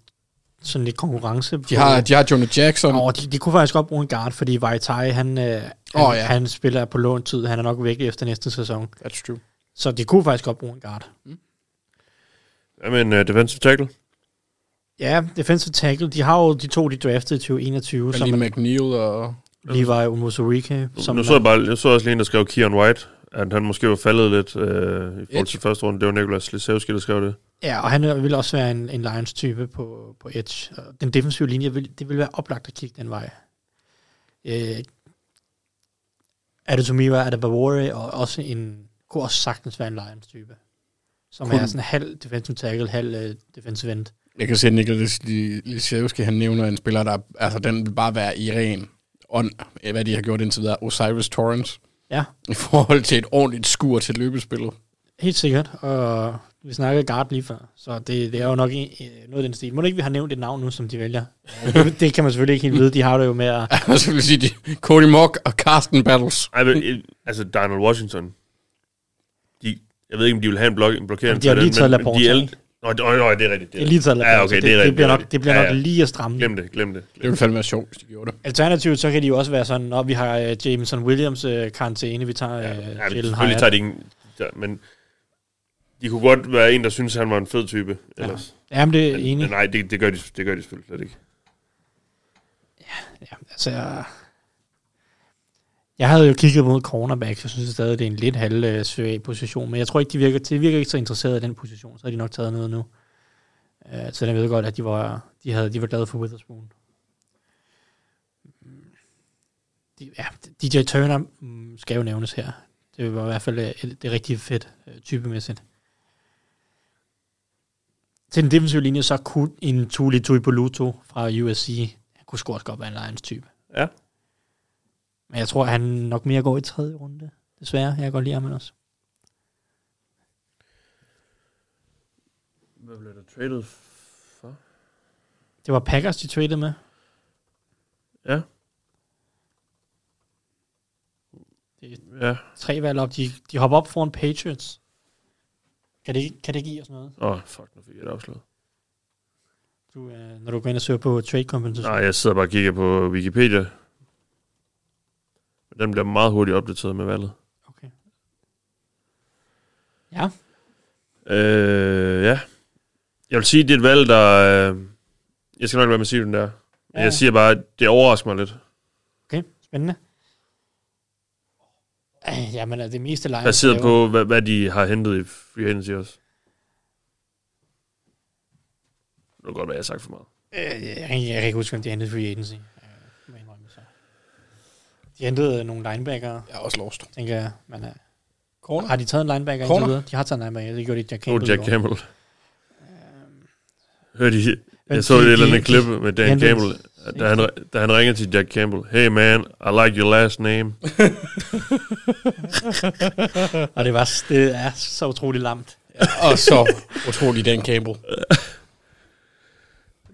F: Sådan lidt konkurrence.
E: De har, de har Jonah Jackson.
F: Og de, de kunne faktisk godt bruge en guard, fordi Vaitai, han, øh, han,
E: Åh,
F: oh,
E: ja.
F: ja. han spiller på låntid. Han er nok væk efter næste sæson.
E: That's true.
F: Så de kunne faktisk godt bruge en guard.
D: Jamen, uh, defensive tackle.
F: Ja, defensive tackle. De har jo de to, de draftede i 2021, som
E: Lige
F: er
E: McNeil og...
F: Levi Omosorike. Som
D: nu så jeg, bare, jeg så også lige en, der skrev Kieran White, at han måske var faldet lidt øh, i forhold til første runde. Det var Nikolaj Slisevski, der skrev det.
F: Ja, og han øh, vil også være en, en Lions-type på, på edge. Og den defensive linje, vil, det vil være oplagt at kigge den vej. Øh, Adetomiwa Adebawore, og også en, kunne også sagtens være en Lions-type. Som
E: Kunne-
F: er sådan halv defensive tackle, halv øh, defensive end.
E: Jeg kan se, at Niklas Lisevski, han nævner en spiller, der... Altså, den vil bare være i ren ånd, af hvad de har gjort indtil videre. Osiris Torrance.
F: Ja.
E: I forhold til et ordentligt skur til løbespillet.
F: Helt sikkert, og vi snakkede guard lige før, så det, det er jo nok en, øh, noget af den stil. Må det ikke, vi har nævnt et navn nu, som de vælger? Det- det kan man selvfølgelig ikke helt vide, de har det jo med at...
E: Altså, vil sige, de, Cody Mock og Carsten Battles.
D: Ej, men, øh, altså Donald Washington. Jeg ved ikke, om de vil have en, blok, en blokering
F: de har
D: til
F: lige
D: den,
F: taget
D: men
F: Laporte
D: de er
F: ind.
D: ældre- Nå, det- Nå, det er rigtigt.
F: Det er lige taget Laporte,
D: Ja, okay,
F: så
D: det,
F: det-
D: er
F: Altså, det
D: rigtigt.
F: bliver
D: er
F: nok-
D: rigtigt.
F: det bliver
D: Ja,
F: nok
D: ja.
F: lige at stramme den.
D: Glem det, glem det.
E: Det ville fandme være sjovt, hvis de gjorde det.
F: Alternativt, så kan de jo også være sådan, når vi har øh, Jameson Williams øh, karantæne, vi tager øh, ja,
D: Ja, men selvfølgelig tager de ingen... Ja, men de kunne godt være en, der synes, han var en fed type.
F: Ja.
D: Ellers.
F: Jamen, det er
D: men,
F: enig.
D: Men nej, det, det, gør de, det gør de selvfølgelig slet ikke.
F: Altså, jeg, jeg havde jo kigget mod cornerbacks, jeg synes stadig, det er en lidt halv øh, svag position, men jeg tror ikke, de virker, de virker ikke så interesserede i den position, så har de nok taget noget nu. Øh, så jeg ved godt, at de var, de, havde, de var glade for Witherspoon. De, ja, DJ Turner mm, skal jo nævnes her. Det var i hvert fald øh, et- det er rigtig fedt, øh, typemæssigt. Til den defensive linje, så kunne en Tuli Tuipoluto fra USC, han kunne sgu også godt være en Lions-type.
D: Ja.
F: Men jeg tror, han nok mere går i tredje runde. Desværre, jeg kan godt lide ham også.
D: Hvad blev der traded for?
F: Det var Packers, de traded med.
D: Ja. Ja.
F: Tre valg op. De, de hopper op foran Patriots. Kan det, kan det give os noget?
D: Åh, oh, fuck, nu fik jeg det afslået.
F: Du, øh, når du går ind og søger på trade compensation.
D: Nej, jeg sidder bare og kigger på Wikipedia. Men Den bliver meget hurtigt opdateret med valget.
F: Ja.
D: Øh, ja. Jeg vil sige, det er et valg, der... Øh, jeg skal nok være med at sige, den der. Men
F: Ja.
D: jeg siger bare, at det overrasker mig lidt.
F: Okay, spændende. Øh, Jamen, altså, det meste Lions
D: Baseret
F: laver-
D: på, hvad, hvad de har hentet i free agency også. Det kan godt være, jeg har sagt for meget.
F: Øh, jeg, kan- jeg kan ikke huske, om de hentede i free agency. Øh, må jeg indrømme, så. De hentede øh, nogle linebackere.
E: Jeg er også lost.
F: Tænker jeg, men øh,
E: Corner?
F: Har de taget en linebacker
E: Corner?
F: indtil videre? De har taget en linebacker. Det gjorde de Jack
D: Åh,
F: Campbell. i
D: Jack
F: går.
D: Campbell. Øhm. Hørte I?
F: Men
D: Jeg så
F: de-
D: det et eller
F: de-
D: andet klip
F: de-
D: med
F: de
D: Dan
F: hentede-
D: Campbell, da han, da han ringer til Jack Campbell. Hey man, I like your last name.
F: Og det, var, det er så utroligt lamt.
E: Og så utrolig Dan Campbell.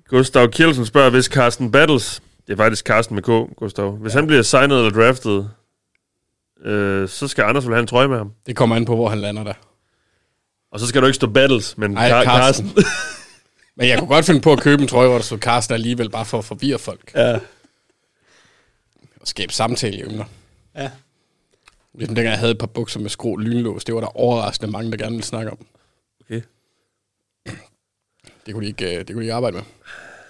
D: Gustav Kjelsen spørger, hvis Carsten Battles, det er faktisk Carsten med K, Gustav, hvis ja. han bliver signet eller draftet, øh, så skal Anders vel have en trøje med ham.
E: Det kommer an på, hvor han lander der.
D: Og så skal du ikke stå Battles, men
E: Nej,
D: Car-
E: Carsten. Men jeg kunne godt finde på at købe en trøje, hvor der stod Carsten alligevel, bare for at forvirre folk.
D: Ja.
E: Og skabe samtale i emner.
F: Ja.
E: Ligesom dengang jeg havde et par bukser med skrå lynlås, det var der overraskende mange, der gerne ville snakke om.
D: Okay.
E: Det kunne de ikke, øh, det kunne de ikke arbejde med.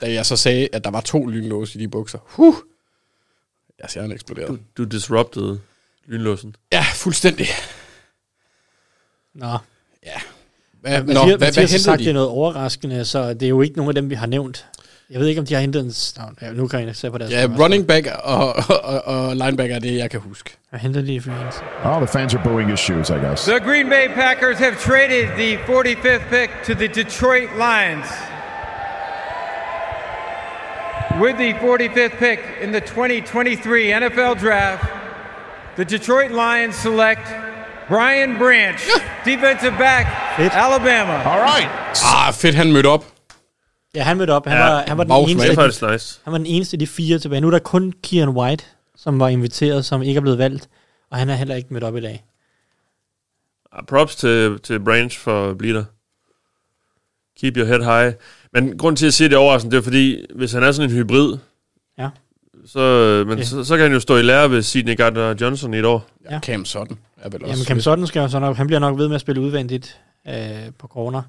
E: Da jeg så sagde, at der var to lynlås i de bukser, huh, jeg ser, han eksploderede.
D: Du, du disrupted lynlåsen.
E: Ja, fuldstændig.
F: Nå.
E: Ja.
F: Hvad, Nå,
E: Hvad- nå,
F: Mathias,
E: hvad- hvad
F: Mathias har
E: hentede
F: sagt,
E: de?
F: det er noget overraskende, så det er jo ikke nogen af dem, vi har nævnt. Jeg ved ikke, om de har hentet en... s- Nå, ja, nu kan jeg ikke se på deres...
E: Ja, running back og, og, og linebacker er det, jeg kan huske.
F: Jeg henter lige for ens.
I: Oh, the fans are booing his shoes, I guess.
G: The Green Bay Packers have traded the 45th pick to the Detroit Lions. With the 45th pick in the 2023 NFL Draft, the Detroit Lions select Brian Branch, defensive back, Alabama. All right.
E: Ah, fedt, han mødte op.
F: Ja, han mødte op. Han,
E: Ja,
F: var, han, var den
E: Maus
F: eneste,
E: med.
F: af
E: Det
F: de,
E: er faktisk nice.
F: han var den eneste af de fire tilbage. Nu er der kun Kieran White, som var inviteret, som ikke er blevet valgt, og han er heller ikke mødt op i dag.
D: Ah, Props til, til Branch for at blive der. Keep your head high. Men grunden til, at jeg siger det er overraskende, det er fordi, hvis han er sådan en hybrid,
F: Ja.
D: så, øh, men
F: Ja.
D: så, så, kan han jo stå i lære ved Sidney Gardner Johnson i et år.
E: Ja. Cam Sutton er vel også...
F: Jamen, Cam Sutton skal jo så nok, han bliver nok ved med at spille udvendigt øh, på corner.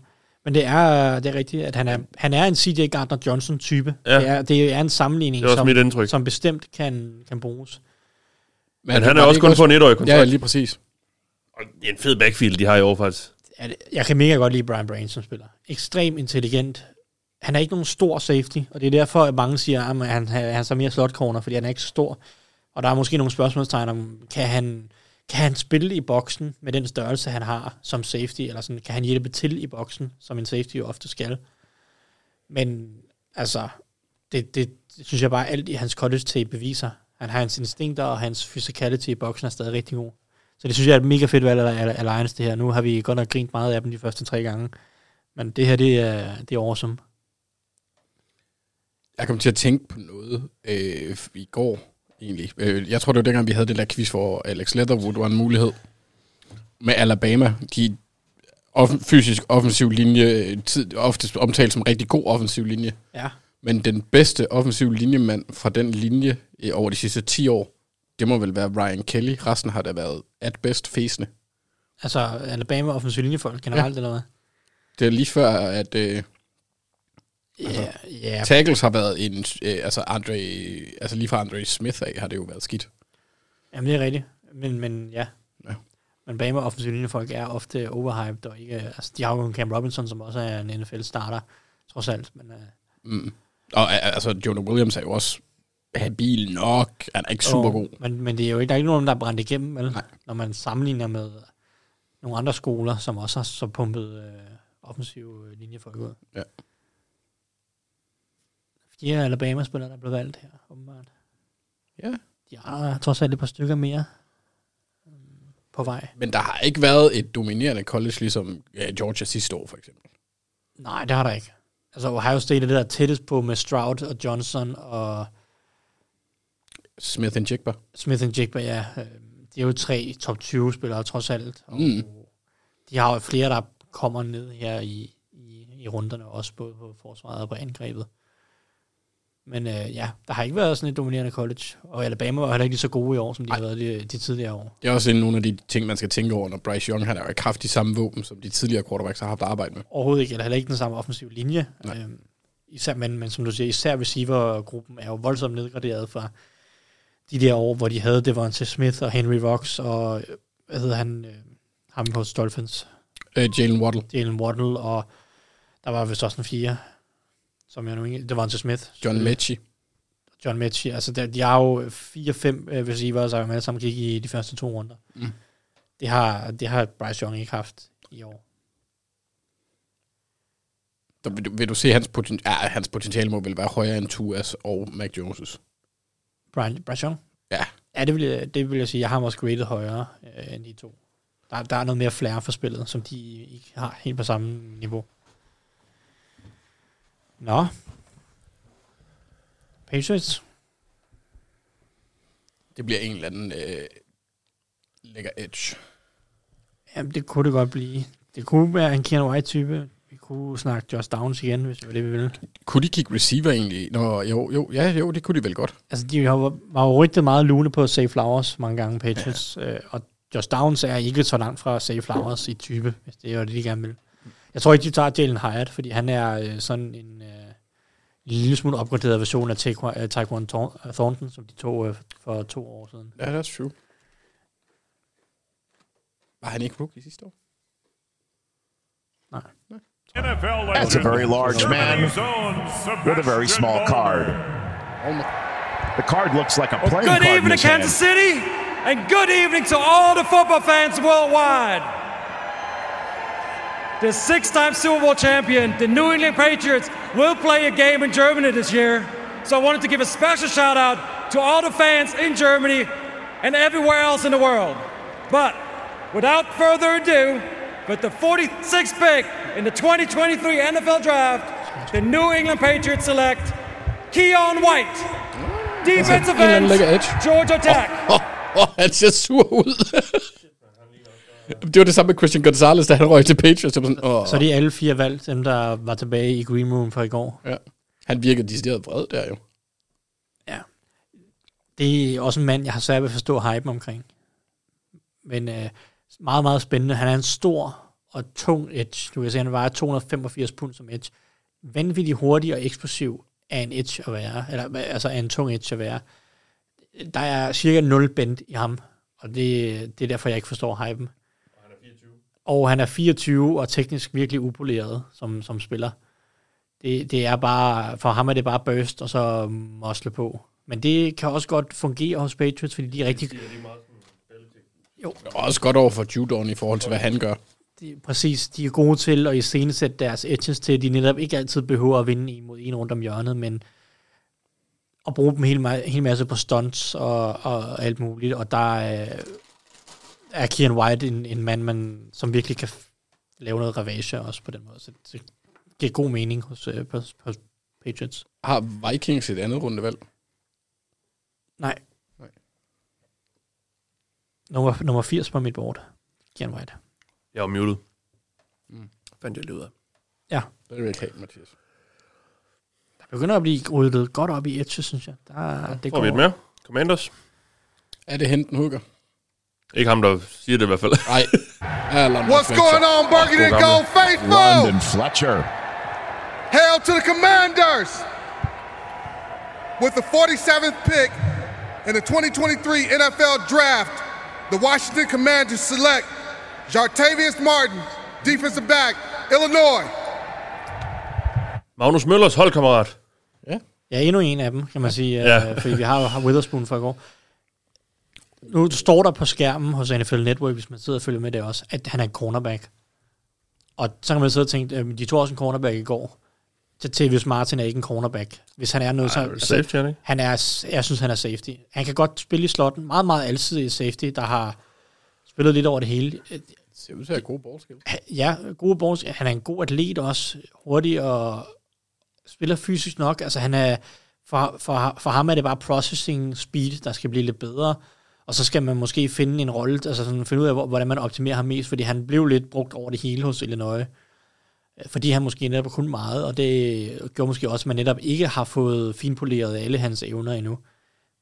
F: Men det er, det er rigtigt, at han er, han er en C.J. Gardner-Johnson-type.
D: Ja.
F: Ja. Det, er, det er en sammenligning,
D: Det er også
F: som,
D: mit indtryk.
F: som bestemt kan, kan bruges.
D: Men, men han er også kun på en etårig kontrakt.
E: Ja, lige præcis.
D: Og det er en fed backfield, de har i år faktisk.
F: at jeg kan mega godt lide Brian Brain som spiller. Ekstrem intelligent. Han er ikke nogen stor safety, og det er derfor, at mange siger, at han, han er så mere slot corner, fordi han er ikke så stor. Og der er måske nogle spørgsmålstegn om, kan han, kan han spille i boksen med den størrelse, han har som safety, eller sådan, kan han hjælpe til i boksen, som en safety jo ofte skal. Men altså, det, det, det synes jeg bare, alt i hans college tape beviser. Han har hans instinkter, og hans physicality i boksen er stadig rigtig god. Så det synes jeg er et mega fedt valg af af- af Lions, det her. Nu har vi godt nok grint meget af dem de første tre gange. Men det her, det er, det er awesome.
E: Jeg kom til at tænke på noget øh, i går, egentlig. Øh, jeg tror, det var dengang, vi havde det der quiz, hvor Alex Leatherwood var en mulighed. Med Alabama, de, off- fysisk offensiv linje, øh, tid, oftest omtalt som rigtig god offensiv linje.
F: Ja.
E: Men den bedste offensiv linjemand fra den linje øh, over de sidste 10 år, det må vel være Ryan Kelly. Resten har da været at bedst fæsende.
F: Altså Alabama offensiv linjefolk generelt, ja. eller hvad?
E: Det er lige før, at øh, altså,
F: ja.
E: tackles har været en... Øh, altså, Andre, altså lige fra Andre Smith af har det jo været skidt.
F: Jamen, det er rigtigt. Men, men ja. ja. Men Bama offensiv linjefolk er ofte overhyped, og ikke, altså, de har jo en Cam Robinson, som også er en NFL-starter, trods alt. Men, uh,
E: Mm. Og øh, altså, Jonah Williams er jo også habil nok. Han er ikke super god.
F: Men, men det er jo ikke, der er ikke nogen, der er brændt igennem, vel? Nej. Når man sammenligner med øh, nogle andre skoler, som også har så pumpet øh, offensiv øh, linjefolk ud.
E: Ja.
F: Fire Alabama-spillere, der blev valgt her, åbenbart.
E: Ja.
F: De har trods alt et par stykker mere øh, på vej.
E: Men der har ikke været et dominerende college, ligesom ja, Georgia sidste år, for eksempel.
F: Nej, det har der ikke. Altså Ohio State er det der tættest på med Stroud og Johnson og
E: Smith and Jigba.
F: Smith and Jigba, ja. Øh, De er jo tre top 20 spillere trods alt. Og
E: Mm.
F: De har jo flere, der kommer ned her i, i, i runderne, også både på forsvaret og på angrebet. Men øh, ja, der har ikke været sådan et dominerende college. Og Alabama var heller ikke lige så gode i år, som de har været de, de tidligere år.
E: Det er også en, nogle af de ting, man skal tænke over, når Bryce Young han har jo ikke haft de samme våben, som de tidligere quarterbacks har haft arbejde med.
F: Overhovedet ikke, eller heller ikke den samme offensive linje. Øhm, især, men, men som du siger, især receivergruppen er jo voldsomt nedgraderet fra de der år, hvor de havde Devontae Smith og Henry Rocks og, øh, hvad hedder han, øh, ham på Dolphins,
E: Øh, Jalen Waddle.
F: Jalen Waddle, og der var vist også en fire, som jeg nu ikke, Devontae Smith. Øh,
E: John Mechie.
F: John Mechie, altså der, de har jo fire-fem øh, receivers, og alle sammen gik i de første to runder.
E: Mm.
F: Det, har, det har Bryce Young ikke haft i år.
E: Der vil, du, vil du se, hans, poten, ja, hans potentiale må vel være højere end Tuas og Mac Jones'
F: Brian, Bryce Young?
E: Ja.
F: Ja, det vil, jeg, det vil jeg sige. Jeg har ham også graded højere øh, end de to. Der, der er noget mere flair for spillet, som de ikke har helt på samme niveau. Nå. Patriots.
E: Det bliver en eller anden øh, lækker edge.
F: Jamen, det kunne det godt blive. Det kunne være en Keanu White-type. Vi kunne snakke Josh Downs igen, hvis det var det, vi ville.
E: Kunne de kigge receiver egentlig? Nå, jo, jo, ja, jo, det kunne de vel godt.
F: Altså, de har jo- var jo rigtig meget lune på Save Flowers mange gange, Patriots. Ja. Øh, og Josh Downs er ikke så langt fra Save Flowers i type, hvis det er det, de gerne vil. Jeg tror ikke, de tager Jalen Hyatt, fordi han er øh, sådan en øh, lille smule opgraderet version af Taekwon- øh, Taekwon Thor- Thornton, som de tog øh, for to år siden.
E: Ja, that's true. Var han ikke rookie sidste år?
F: Nej.
M: NFL
I: That's a very large man with a very small card. The card looks like a
M: Well,
I: playing
M: good
I: card. in
M: evening,
I: his
M: Kansas
I: hand.
M: City, and good evening to all the football fans worldwide. The six time Super Bowl champion, the New England Patriots, will play a game in Germany this year. So I wanted to give a special shout out to all the fans in Germany and everywhere else in the world. But without further ado, with the 46th pick in the 2023 NFL Draft, the New England Patriots select Keon White. Defensive
E: en eller anden
M: end,
E: lækker edge.
M: Georgia Tech.
E: Åh, oh, oh, han ser sur ud. det var det samme med Christian Gonzalez, da han røg til Patriots. Så, sådan, oh,
F: Så er de alle fire valgt, dem der var tilbage i Green Room fra i går.
E: Ja. Han virker decideret vred der jo.
F: Det er også en mand, jeg har svært ved at forstå hypen omkring. Men øh, meget, meget spændende. Han er en stor og tung edge. Du kan se, han vejer 285 pund som edge. Vanvittig hurtig og eksplosiv er en edge at være. Eller, hva- altså er en tung edge at være. Der er cirka 0 bend i ham. Og det, det er derfor, jeg ikke forstår hypen. Og han er 24 og teknisk virkelig upoleret som, som spiller. Det, det er bare, for ham er det bare burst og så mosle på. Men det kan også godt fungere hos Patriots, fordi de er rigtig...
E: Og også godt over for Judon i forhold til, hvad han gør.
F: De, præcis, de er gode til at iscenesætte deres edges til, at de netop ikke altid behøver at vinde en mod en rundt om hjørnet, men at bruge dem en hel, ma- hel masse på stunts og, og alt muligt, og der er, er Kieran White en, en mand, man, som virkelig kan f- lave noget ravage også på den måde, så det giver god mening hos, øh, hos, hos Patriots.
E: Har Vikings et andet rundevalg?
F: Nej. Nummer, nummer 80 på mit board. Kian White.
D: Jeg er muted. Mm. Fandt jeg lige ud af.
F: Ja.
E: Det vil jeg ikke have, Mathias.
F: Der begynder at blive ryddet godt op i Etche, synes jeg. Der, ja,
D: Det Får vi et mere? Commanders?
E: Er det Hinton Hooker?
D: Ikke ham, der siger det i hvert fald.
E: Nej.
N: What's going on, Burgundy Gold Faithful?
I: Fletcher.
N: Hail to the Commanders! With the 47th pick in the 2023 NFL Draft, the Washington Commanders select Jartavius Martin, defensive back, Illinois.
D: Magnus Møllers holdkammerat.
F: Ja, endnu en af dem, kan man sige,
D: Ja.
F: ja. øh, fordi vi har jo har Witherspoon fra i går. Nu står der på skærmen hos NFL Network, hvis man sidder og følger med det også, at han er en cornerback. Og så kan man sidde og tænke, øh, de tog også en cornerback i går. Så Tavius Martin er ikke en cornerback. Hvis han er noget, så... altså,
D: Ej, safety, er det ikke?
F: han er, jeg synes, han er safety. Han kan godt spille i slotten. Meget, meget alsidig safety, der har spillet lidt over det hele. Øh,
E: ser ud til at have gode ballskills.
F: Ja, gode balls. Han er en god atlet også. Hurtig og spiller fysisk nok. Altså han er, for, for, for ham er det bare processing speed, der skal blive lidt bedre. Og så skal man måske finde en rolle, altså sådan finde ud af, hvor- hvordan man optimerer ham mest, fordi han blev lidt brugt over det hele hos Illinois. Fordi han måske netop kun meget, og det gjorde måske også, at man netop ikke har fået finpoleret alle hans evner endnu.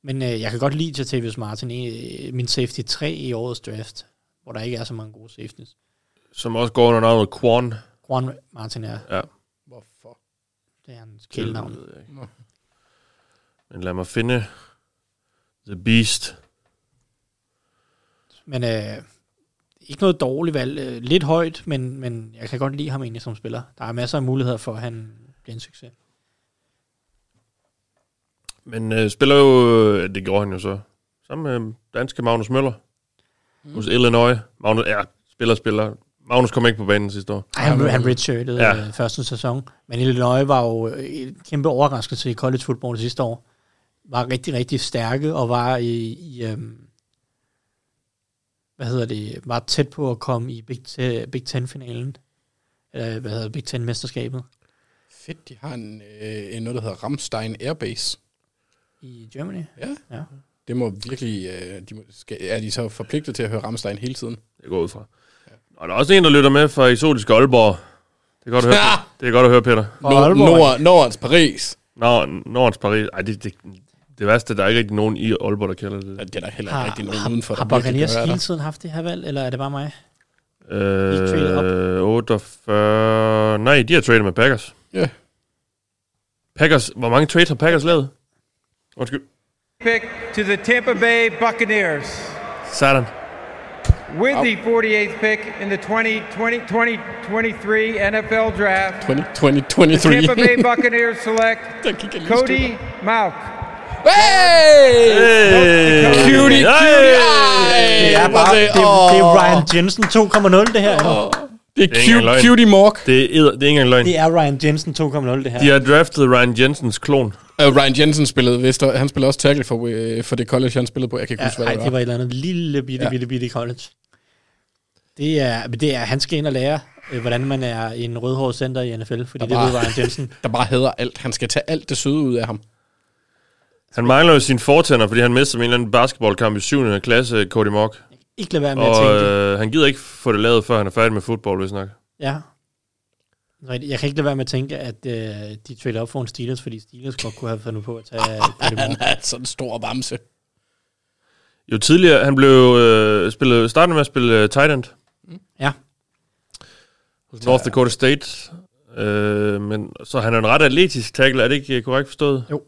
F: Men øh, jeg kan godt lide Jatavius Martin, i, min safety 3 i årets draft, hvor der ikke er så mange gode safeties.
D: Som også går under navnet Quan.
F: Juan Martin er.
D: Ja.
E: Hvorfor?
F: Det er hans kælenavn.
D: Det ved jeg ikke. Men lad mig finde The Beast.
F: Men øh, ikke noget dårligt valg. Øh, Lidt højt, men, men jeg kan godt lide ham egentlig som spiller. Der er masser af muligheder for, at han bliver en succes.
D: Men øh, spiller jo, øh, det gjorde han jo så, sammen med danske Magnus Møller. Mm. Hos Illinois. Magnus, ja, spiller, spiller. Magnus kom ikke på banen sidste år.
F: Ej, han, han redshirtede
D: øh, Ja.
F: ja. første sæson. Men Illinois var jo øh, en kæmpe overraskelse i college football sidste år. Var rigtig, rigtig stærke og var i, i øhm, hvad hedder det, var tæt på at komme i Big, Te- Big Ten-finalen. Eller hvad hedder det, Big Ten-mesterskabet.
E: Fedt, de har en, øh, en noget, der hedder Ramstein Airbase.
F: I Germany?
E: Ja.
F: ja.
E: Det må virkelig... Øh, de må, skal, er de så forpligtet til at høre Ramstein hele tiden?
D: Det går ud fra. Og der er også en, der lytter med fra Exotisk Aalborg. Det er godt at høre, det er godt at høre Peter.
E: Fra Nord- Aalborg. Nord- Nordens Paris.
D: Nord, Nordens Paris. Ej, det, det, det værste, der er ikke rigtig nogen i Aalborg, der kalder det.
E: Det er der heller
F: Har, har, har Buccaneers hele tiden haft det her valg, eller er det bare mig? tradet
D: Øh, 48... Nej, de har tradet med Packers.
E: Ja.
D: Packers, hvor mange trades har Packers lavet? Undskyld.
G: Pick to the Tampa Bay Buccaneers
D: Sådan.
G: with the 48th pick in the 2020 2023 NFL Draft.
E: 20,
G: The
E: 2023.
G: Tampa Bay Buccaneers select Cody Mauk.
E: Hey! Øh,
G: Cutie, cutie.
F: Det er, bare, det, det, det er Ryan Jensen 2.0, det her. Oh.
D: Det er ikke engang løgn. Det er, edder- det er ikke engang løgn.
F: Det er Ryan Jensen 2.0, det her.
D: De har draftet Ryan Jensens klon.
E: Uh, Ryan Jensen spillede, vist, og han spillede også tackle for, øh, for det college, han spillede på. Jeg kan ikke
F: Ja,
E: huske, hvad
F: ej,
E: det var.
F: det var et eller andet lille bitte,
E: Ja.
F: ja. bitte, bitte college. Det er, men det er, han skal ind og lære, øh, hvordan man er en rødhåret center i NFL, fordi det ved Ryan Jensen.
E: der bare hader alt. Han skal tage alt det søde ud af ham.
D: Han mangler jo sine fortænder, fordi han mistede med en eller anden basketballkamp i 7. klasse, Cody Mock.
F: Ikke lade være med at
D: Og
F: tænke det.
D: øh, han gider ikke få det lavet, før han er færdig med fodbold, hvis nok.
F: Ja. Rigtigt. Jeg kan ikke lade være med at tænke, at øh, de trader op for en Steelers, fordi Steelers godt kunne have fundet på at tage...
E: Han er sådan en stor bamse.
D: Jo tidligere, han blev øh, spillet, startede med at spille øh, tight end.
F: Mm. Ja.
D: Hos North Dakota State. Øh, men, så han er en ret atletisk tackle, er det ikke øh, korrekt forstået?
F: Jo,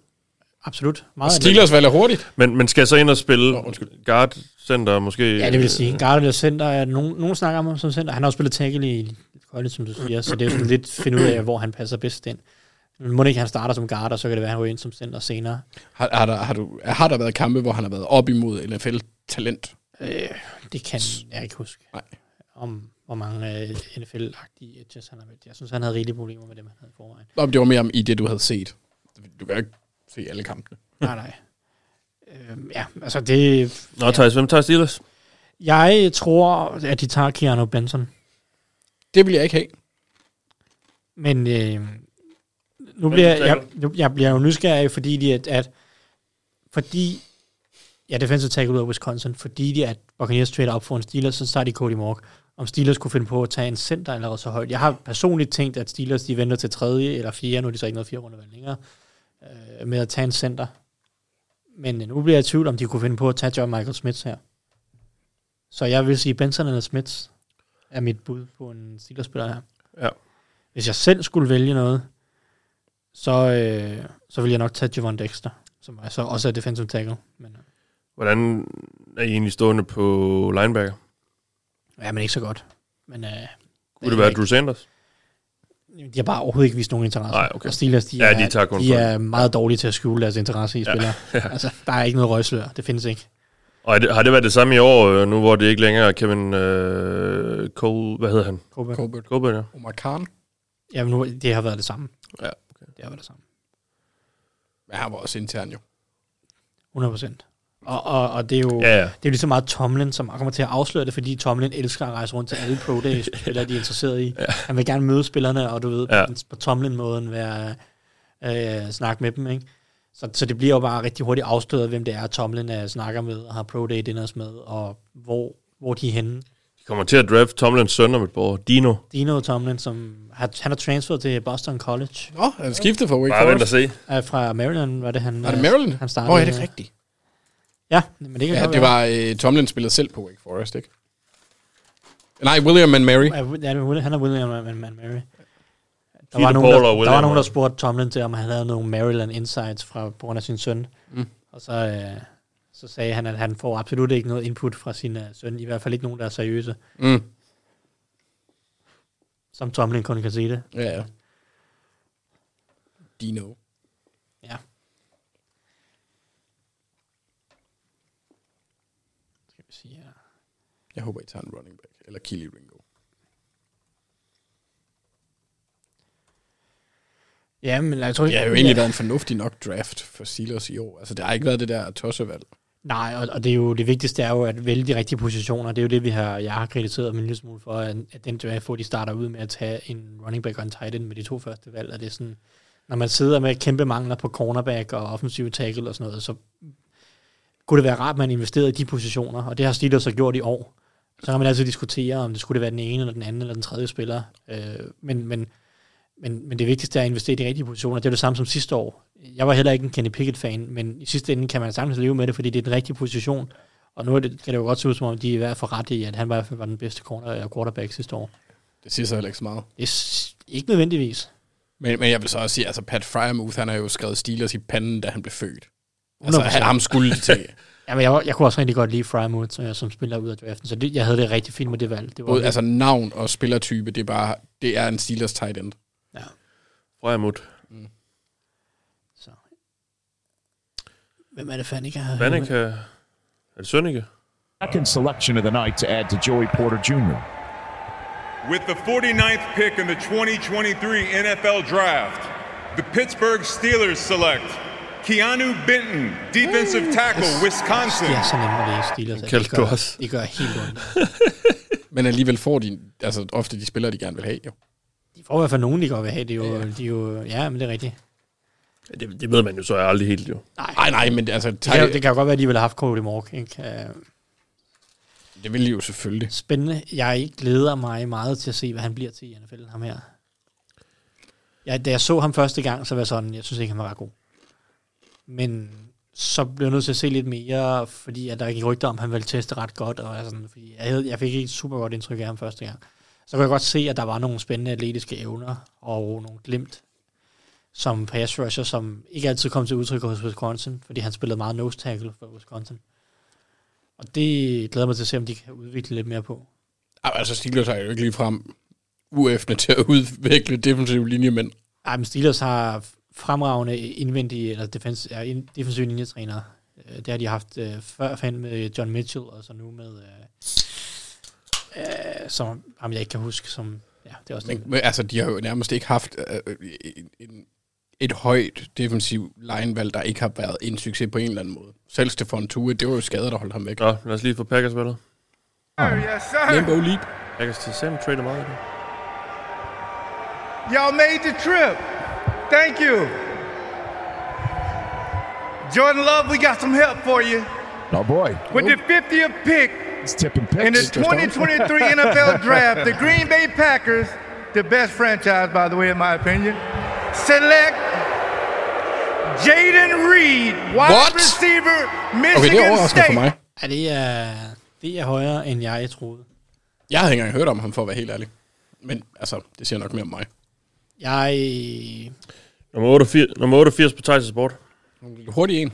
F: absolut. Meget
E: Steelers valg er hurtigt.
D: Men, men skal så ind og spille oh, guard center måske? Øh,
F: Ja, det vil sige. Garde eller center, er nogen, nogen snakker om ham som center. Han har også spillet tackle i college, som du siger, så det er jo sådan lidt finde ud af, hvor han passer bedst ind. Men må det ikke, han starter som guard, og så kan det være, han ryger ind som center senere.
E: Har, har, der, har, du, har der været kampe, hvor han har været op imod NFL-talent?
F: Øh, det kan jeg ikke huske.
E: Nej.
F: Om hvor mange øh, NFL-agtige edges han har mødt. Jeg synes, han havde rigelige problemer med dem, han havde i forvejen.
E: Nå, men det var mere om i det, du havde set. Du kan jo ikke se alle kampene.
F: Nej, nej. Øhm, ja, altså det...
D: Nå, Thijs, hvem tager Steelers?
F: Jeg tror, at de tager Keanu Benson.
E: Det vil jeg ikke have.
F: Men øh, nu
E: Hvem
F: bliver
E: tager
F: jeg,
E: du?
F: nu, jeg bliver jo nysgerrig, fordi de, at, at fordi ja, defensive tackle ud af Wisconsin, fordi de at Buccaneers trader op for en Steelers, så tager de Cody Mork. Om Steelers kunne finde på at tage en center allerede så højt. Jeg har personligt tænkt, at Steelers de venter til tredje eller fjerde, nu er de så ikke noget fire runde valg længere, øh, med at tage en center. Men øh, nu bliver jeg i tvivl, om de kunne finde på at tage John Michael Smith her. Så jeg vil sige, Benson eller Smith er mit bud på en Steelers-spiller her.
D: Ja.
F: Hvis jeg selv skulle vælge noget, så, øh, så vil jeg nok tage Javon Dexter, som er så også er defensive tackle. Men, øh,
D: Hvordan er I egentlig stående på linebacker?
F: ja, men ikke så godt. Men øh,
D: Kunne det være Drew Sanders?
F: de har bare overhovedet ikke vist nogen interesse.
D: Nej, okay.
F: Og Steelers, de,
D: Ja,
F: er,
D: de tager kun
F: de
D: folk.
F: er meget dårlige til at skjule deres interesse i
D: Ja.
F: spillere.
D: Ja.
F: altså, der er ikke noget røgslør. Det findes ikke.
D: Og er det, har det været det samme i år, øh, nu hvor det ikke længere er Kevin øh, Cole, hvad hedder han?
F: Colbert.
D: Colbert. Colbert, ja.
E: Omar Khan.
F: Ja, men nu, det har været det samme.
D: Ja,
F: okay. Det har været det samme.
E: Men han var også intern jo.
F: 100 procent. Og, og, og det er jo
E: Ja,
F: ja,
E: ja.
F: ja. Det er jo lige så meget Tomlin, som kommer til at afsløre det, fordi Tomlin elsker at rejse rundt til alle pro days, spillere de er interesseret i. Ja. Han vil gerne møde spillerne, og du ved,
D: Ja.
F: ja. på Tomlin-måden være øh, snakke med dem, ikke? Så, så det bliver jo bare rigtig hurtigt afsløret, hvem det er, Tomlin øh, snakker med, og har pro day dinners med, og hvor, hvor de er henne.
D: De kommer til at draft Tomlins søn om et par år, Dino.
F: Dino Tomlin, som har, han har transferet til Boston College.
E: Nå, han skiftede fra Wake
D: Bare vent og se.
F: Ja, fra Maryland var det han. øh,
E: Er det Maryland?
F: Han startede.
E: Åh, oh, er det rigtigt?
F: Ja, men det kan
E: Ja,
F: godt
E: det
F: være.
E: var øh, Tomlin spillede selv på Wake Forest, ikke? Nej, William and Mary.
F: Ja, Wi- ja, det er Willi- han er William and, and Mary. Der
E: Peter
F: var, nogen,
E: Paul og
F: der, der var
E: William.
F: nogen, der spurgte Tomlin til, om han havde nogle Maryland Insights fra, på grund af sin søn.
E: Mm.
F: Og så, øh, så sagde han, at han får absolut ikke noget input fra sin øh, søn. I hvert fald ikke nogen, der er seriøse.
E: Mm.
F: Som Tomlin kun kan sige det.
E: Ja, ja. Dino.
F: Ja. Skal vi sige her.
E: Jeg håber, I tager en running back. Eller Kili Ringo.
F: Ja, men jeg tror
E: Det har jo egentlig været en fornuftig nok draft for Steelers i år. Altså, det har ikke været det der tossevalg.
F: Nej, og, og det, er jo, det vigtigste er jo at vælge de rigtige positioner. Det er jo det, vi har, jeg har kritiseret dem en lille smule for, at, at den draft, hvor de starter ud med at tage en running back og en tight end med de to første valg, og det er sådan, når man sidder med kæmpe mangler på cornerback og offensive tackle og sådan noget, så kunne det være rart, at man investerede i de positioner, og det har Steelers så gjort i år. Så kan man altid diskutere, om det skulle det være den ene, eller den anden, eller den tredje spiller. Øh, men, men, men, men det vigtigste er at investere i de rigtige positioner. Det er det samme som sidste år. Jeg var heller ikke en Kenny Pickett-fan, men i sidste ende kan man sagtens leve med det, fordi det er den rigtige position. Og nu er det, kan det jo godt se ud, som om de er i hvert fald ret i, at han i hvert fald var den bedste corner og quarterback sidste år.
E: Det siger så heller ikke så meget.
F: Det er s- ikke nødvendigvis.
E: Men, men jeg vil så også sige, altså Pat Fryermuth, han har jo skrevet Steelers i panden, da han blev født. Altså,
F: 100%.
E: han, ham skulle det til.
F: Ja, men jeg, var- jeg kunne også rigtig godt lide Frymouth, som, øh, som spiller ud af draften, så det, jeg havde det rigtig fint med det valg. Det var
E: Både, altså navn og spillertype, det er bare, det er en Steelers tight end.
D: Frøjermut.
F: Hvem er det Fanica? har-
D: Vanica. Er det Sønneke?
I: Second selection of the night to add to Joey Porter Jr.
H: With the 49th pick in the 2023 NFL Draft, the Pittsburgh Steelers select Keanu Benton, defensive tackle, Wisconsin.
F: Det er så nemt at læse Steelers. at
E: Kaldte
F: det
E: du
F: gør-
E: også.
F: Det gør helt ondt.
E: Men alligevel får de, altså ofte de spillere, de gerne vil have, jo.
F: De får i hvert fald nogen, de godt vil have. Det er jo, ja. de er jo, ja, men det er rigtigt.
D: Det, det ved man jo så aldrig helt, jo.
E: Nej, nej, men altså,
F: Det kan,
E: tight,
F: det
E: det,
F: kan jo godt være, at de ville have haft Cody Mork. Ikke? Øh,
E: det vil de jo selvfølgelig.
F: Spændende. Jeg glæder mig meget til at se, hvad han bliver til i NFL, ham her. Jeg, da jeg så ham første gang, så var jeg sådan, jeg synes ikke, han var ret god. Men så blev jeg nødt til at se lidt mere, fordi at der gik rygter om, at han ville teste ret godt. Og jeg sådan, fordi jeg, havde, jeg fik ikke et super godt indtryk af ham første gang. Så kunne jeg godt se, at der var nogle spændende atletiske evner og nogle glimt som pass rusher, som ikke altid kom til udtryk hos Wisconsin, fordi han spillede meget nose tackle for Wisconsin. Og det glæder jeg mig til at se, om de kan udvikle lidt mere på.
E: Ej, Altså, Steelers har jo ikke ligefrem uæffende til at udvikle defensive linjemænd.
F: Ej, men Steelers har fremragende indvendige, eller defens, ja, ind- defensive linjetrænere. Øh, Det har de haft øh, før fanden med John Mitchell, og så nu med, øh, øh, som ham jeg ikke kan huske, som, ja, det er også
E: Men, men, altså, de har jo nærmest ikke haft øh, en, en, et højt defensiv linevalg, der ikke har været en succes på en eller anden måde. Selv Stefan Tue, det var jo skader, der holdt ham væk.
D: Nå, lad os lige få Packers valget.
N: Yes, sir.
E: Limbo Leap.
D: Packers til Sam trader meget.
N: Y'all made the trip. Thank you. Jordan Love, we got some help for you.
I: Oh boy.
O: With the 50th pick
I: It's tipping picks.
O: in the 2023 NFL Draft, the Green Bay Packers, the best franchise, by the way, in my opinion, select Jaden Reed, wide
E: What?
O: receiver, Michigan
E: Okay, det er overraskende
O: State.
E: for mig.
F: Ja, det er, det er højere, end jeg troede.
E: Jeg havde ikke engang hørt om ham, for at være helt ærlig. Men altså, det siger nok mere om mig.
F: Jeg...
D: Nummer 88, nummer 88 på Tyson Sport.
E: Hurtig en.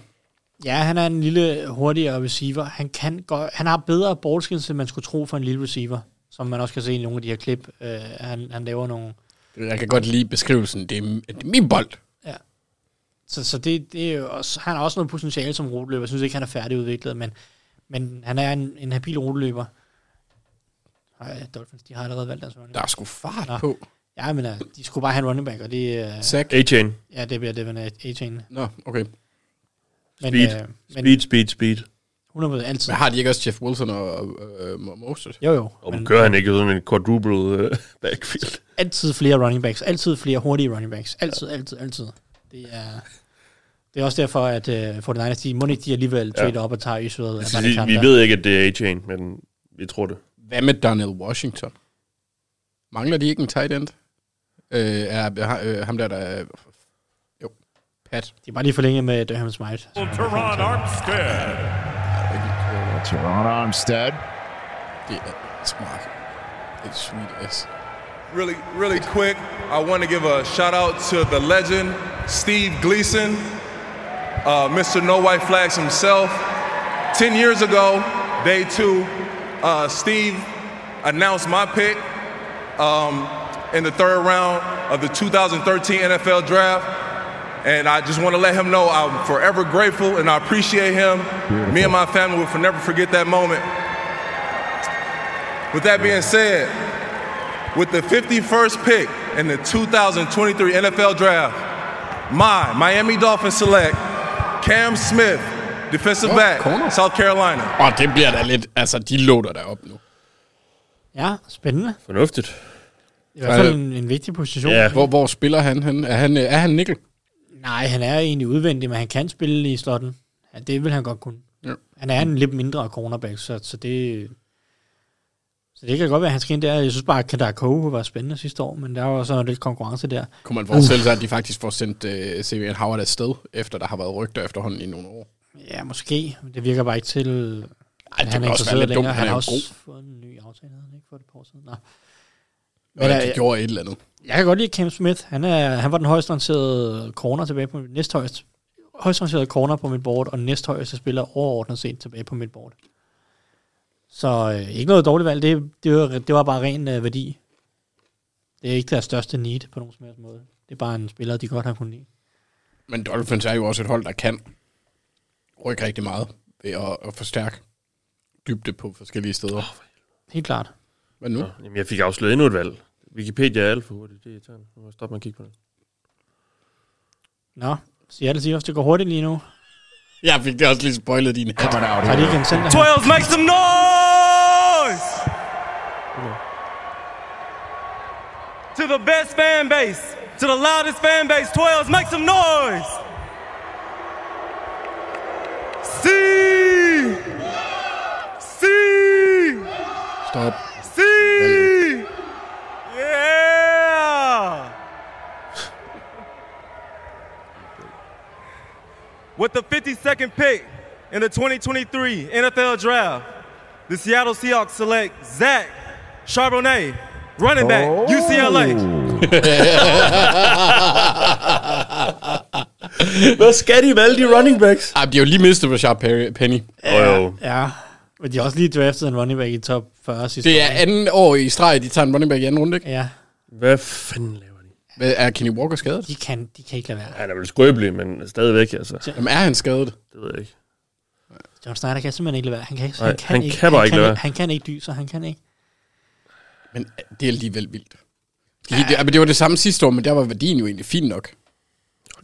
F: Ja, han er en lille hurtigere receiver. Han, kan godt, han har bedre ballskins, end man skulle tro for en lille receiver, som man også kan se i nogle af de her klip. Uh, han, han laver nogle...
E: Jeg kan godt lide beskrivelsen. Det er, det er min bold.
F: Ja. Så, så det, det er jo også, han har også noget potentiale som roteløber. Jeg synes ikke, han er færdigudviklet, men, men han er en, en habil roteløber. Ej, Dolphins, de har allerede valgt deres running back.
E: Der er sgu fart på.
F: Ja, men uh, de skulle bare have en running back, og det er...
E: Zach.
D: A-chain.
F: Ja, det bliver Devin A- A-chain. øh,
E: Nå, okay.
D: Speed.
E: øh,
D: speed, speed, speed.
F: 100% altid.
E: Men har de ikke også Jeff Wilson og, og, øh, Moses?
F: Jo, jo.
D: Og
E: Mm.
D: men, kører han ikke uden en quadruple øh, backfield.
F: Altid flere running backs, altid flere hurtige running backs. Altid, ja. altid, altid. Det er... Det er også derfor, at uh, 49ers, de må ikke de alligevel
D: Ja.
F: trade op og tager Israel.
D: Jeg
F: af
D: skal
F: Manikanda.
D: sige, Altså, vi ved ikke, at det er A-chain, men vi tror det.
E: Hvad med Donald Washington? Mangler de ikke en tight end? Øh, er, er, ham der, der er- Jo, Pat.
F: Det er bare lige forlænget med Durham Smite.
H: Teron Armstead.
I: Teron Armstead.
E: Det er smart. Det er sweet ass.
P: Really, really quick, I want to give a shout out to the legend, Steve Gleason, uh, Mr. No White Flags himself. 10 years ago, day two, uh, Steve announced my pick um, in the third round of the 2013 NFL Draft. And I just want to let him know I'm forever grateful and I appreciate him. Me and my family will never forget that moment. With that being said, with the 51st pick in the 2023 NFL Draft, my Miami Dolphins select Cam Smith, defensive
E: Nå,
P: back, South Carolina.
E: Og det bliver da lidt... Altså, de låter der op nu.
F: Ja, spændende.
D: Fornuftigt.
F: I hvert fald en, en vigtig position.
E: Ja. Hvor, hvor spiller han henne? Er han, øh, er han nickel?
F: Nej, han er egentlig udvendig, men han kan spille i slotten. Ja, det vil han godt kunne.
E: Ja.
F: Han er en lidt mindre cornerback, så, så det... Så det kan godt være, at han skal ind der. Jeg synes bare, at Kendar Kohu var spændende sidste år, men der var også noget lidt konkurrence der.
E: Kunne man forestille sig, at de faktisk får sendt øh, CVN Howard afsted, efter der har været rygter efterhånden i nogle år?
F: Ja, måske. Men Det virker bare ikke til... Ej,
E: det ville også være lidt dumt. Han
F: Han
E: er
F: har
E: jo
F: også
E: god.
F: fået en ny aftale, havde han ikke for et par år siden. Nej.
E: Men,
F: øh,
E: de gjorde et eller andet.
F: Jeg kan godt lide Cam Smith. Han, er, han var den højst rangerede corner tilbage på mit næsthøjst. Højst rangerede corner på mit board, og næsthøjeste spiller overordnet set tilbage på mit board. Så øh, ikke noget dårligt valg. Det, det, var, det var bare ren øh, værdi. Det er ikke deres største need på nogen som helst måde. Det er bare en spiller, de godt har kunnet lide.
E: Men Dolphins er jo også et hold, der kan rykke rigtig meget ved at, at forstærke dybde på forskellige steder.
F: Helt klart.
E: Hvad nu?
D: Nå, jamen, jeg fik afsløret endnu et valg. Wikipedia er alt for hurtigt. Det er irriterende. Nu må jeg stoppe med at kigge på det.
F: Nå, Seattle Seahawks, det går hurtigt lige nu.
E: Jeg fik det også lige spoilet din hat.
F: Har de ikke en center?
E: 12,
Q: make some noise! To the best fan base, to the loudest fan base, 12, make some noise! See! See!
E: Stop.
Q: See! Yeah! With the 52nd pick in the 2023 NFL Draft, the Seattle Seahawks select Zach Charbonnet, running back, UCLA.
D: Hvad skal de med alle de running backs?
E: Ej, Ah, de har jo lige mistet Rashad Perry- Penny.
D: Ja, jo.
F: Ja, men de har også lige draftet en running back i top 40 sidste
E: Det er
F: år, ikke?
E: anden år i streg, de tager en running back i anden runde, ikke?
F: Ja.
D: Hvad fanden laver de?
E: Hvad, er Kenny Walker skadet?
F: De kan, de kan ikke lade være.
D: Han er vel skrøbelig, men stadigvæk, altså.
E: Jamen, er han skadet?
D: Det ved jeg ikke.
F: John Snyder kan simpelthen ikke lade være. Han kan ikke,
D: Nej, han kan bare
F: han
D: ikke
F: kan,
D: lade
F: Han kan ikke dyse, og han kan ikke.
E: Men det er alligevel vildt. De, det, men det var det samme sidste år, men der var værdien jo egentlig fin nok.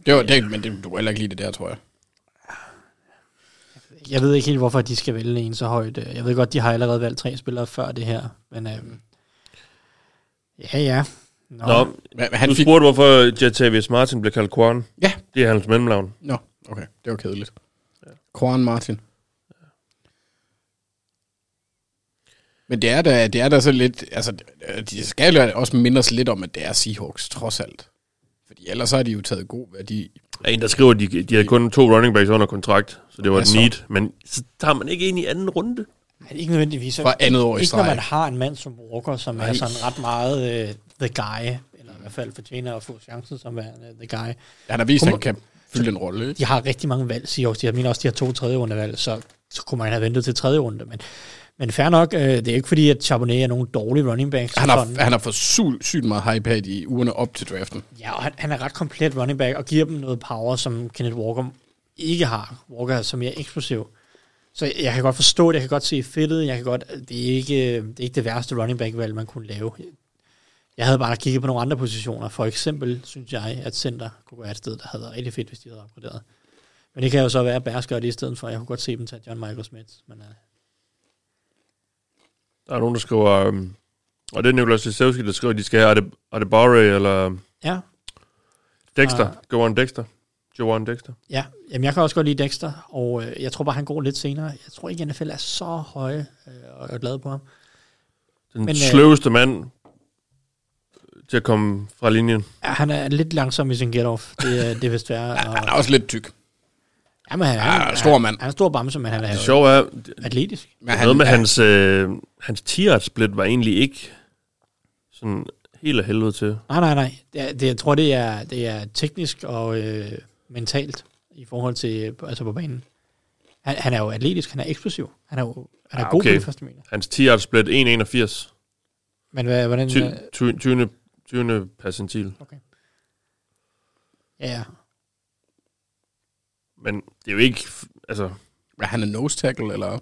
E: Det var, det, men det, du kan heller ikke lide det der, tror jeg.
F: Jeg ved ikke helt, hvorfor de skal vælge en så højt. Jeg ved godt, de har allerede valgt tre spillere før det her, men øhm, ja, ja.
D: Nå, Nå men han du fik... spurgte, hvorfor Jatavius Martin blev kaldt Quan.
E: Ja.
D: Det er hans mellemnavn.
E: Nå, okay. Det var kedeligt. Quan Martin. Men det er da, det er da så lidt, altså, de skal jo også mindes lidt om, at det er Seahawks, trods alt. Fordi ellers så har de jo taget god værdi.
D: Der er en, der skriver, at de, de havde kun to running backs under kontrakt, så det var
E: Ja,
D: et
E: så.
D: need. Men så tager man ikke ind i anden runde.
F: Men ikke nødvendigvis.
D: Fra andet år i
F: Ikke
D: streg.
F: når man har en mand som Walker, som
D: Nej.
F: er sådan ret meget øh, the guy, eller i hvert fald fortjener at få chancen som værende øh, the guy.
E: Han har vist, at
F: Kunne
E: han kan fylde en rolle. ikke?
F: De har rigtig mange valg, siger også. Jeg mener også, de har to tredje runde valg, så, så kunne man have ventet til tredje runde. Men, men fair nok, øh, det er ikke fordi, at Charbonnet er nogen dårlige running backs.
E: Han har,
F: Sådan.
E: han har fået sygt, sygt meget hype her i de ugerne op til draften.
F: Ja, og han, han er ret komplet running back og giver dem noget power, som Kenneth Walker ikke har. Walker er som mere eksplosiv. Så jeg, jeg kan godt forstå det, jeg kan godt se fedtet, jeg kan godt, det er ikke det, er ikke det værste running back-valg, man kunne lave. Jeg havde bare kigget på nogle andre positioner. For eksempel synes jeg, at center kunne være et sted, der havde været rigtig fedt, hvis de havde opgraderet. Men det kan jo så være, at Bears gør det i stedet for. Jeg kunne godt se dem tage John Michael Smith. Men, øh,
D: Der er nogen, der skriver, øhm, og det er Nikolaj Sisevski, der skriver, at de skal have Ade- Adebare eller
F: Ja. Ah.
D: Dexter.
F: Og-
D: Joan Dexter. Joan Dexter.
F: Ja, jamen jeg kan også godt lide Dexter, og øh, jeg tror bare, han går lidt senere. Jeg tror ikke, NFL er så høje øh, og er glade på ham.
D: Den
F: Men,
D: Men,
F: øh,
D: sløveste mand til at komme fra linjen.
F: Ja, han er lidt langsom i sin get-off. Det, er- det er vist værre. ja, han
E: er også lidt tyk.
F: Jamen, han er,
E: Ja,
F: han,
E: stor mand.
F: Han er en stor bamse, men han er
D: Det sjove er,
F: atletisk.
D: Men noget med hans, øh, hans tirat-split var egentlig ikke sådan helt af helvede til.
F: Nej, nej, nej. Det, er- det, jeg tror, det er, det er teknisk og øh, mentalt i forhold til øh, altså på banen. Han, han er jo atletisk, han er eksplosiv. Han er, jo, han er
D: Ah,
F: god på det første meter.
D: Hans tirat-split 1,81.
F: Men hvad, hvordan...
D: Ty,
F: øh,
D: ty, 20, 20 percentil.
F: ja, ja.
D: Men det er jo ikke... f- Altså,
E: Er han en nose tackle, eller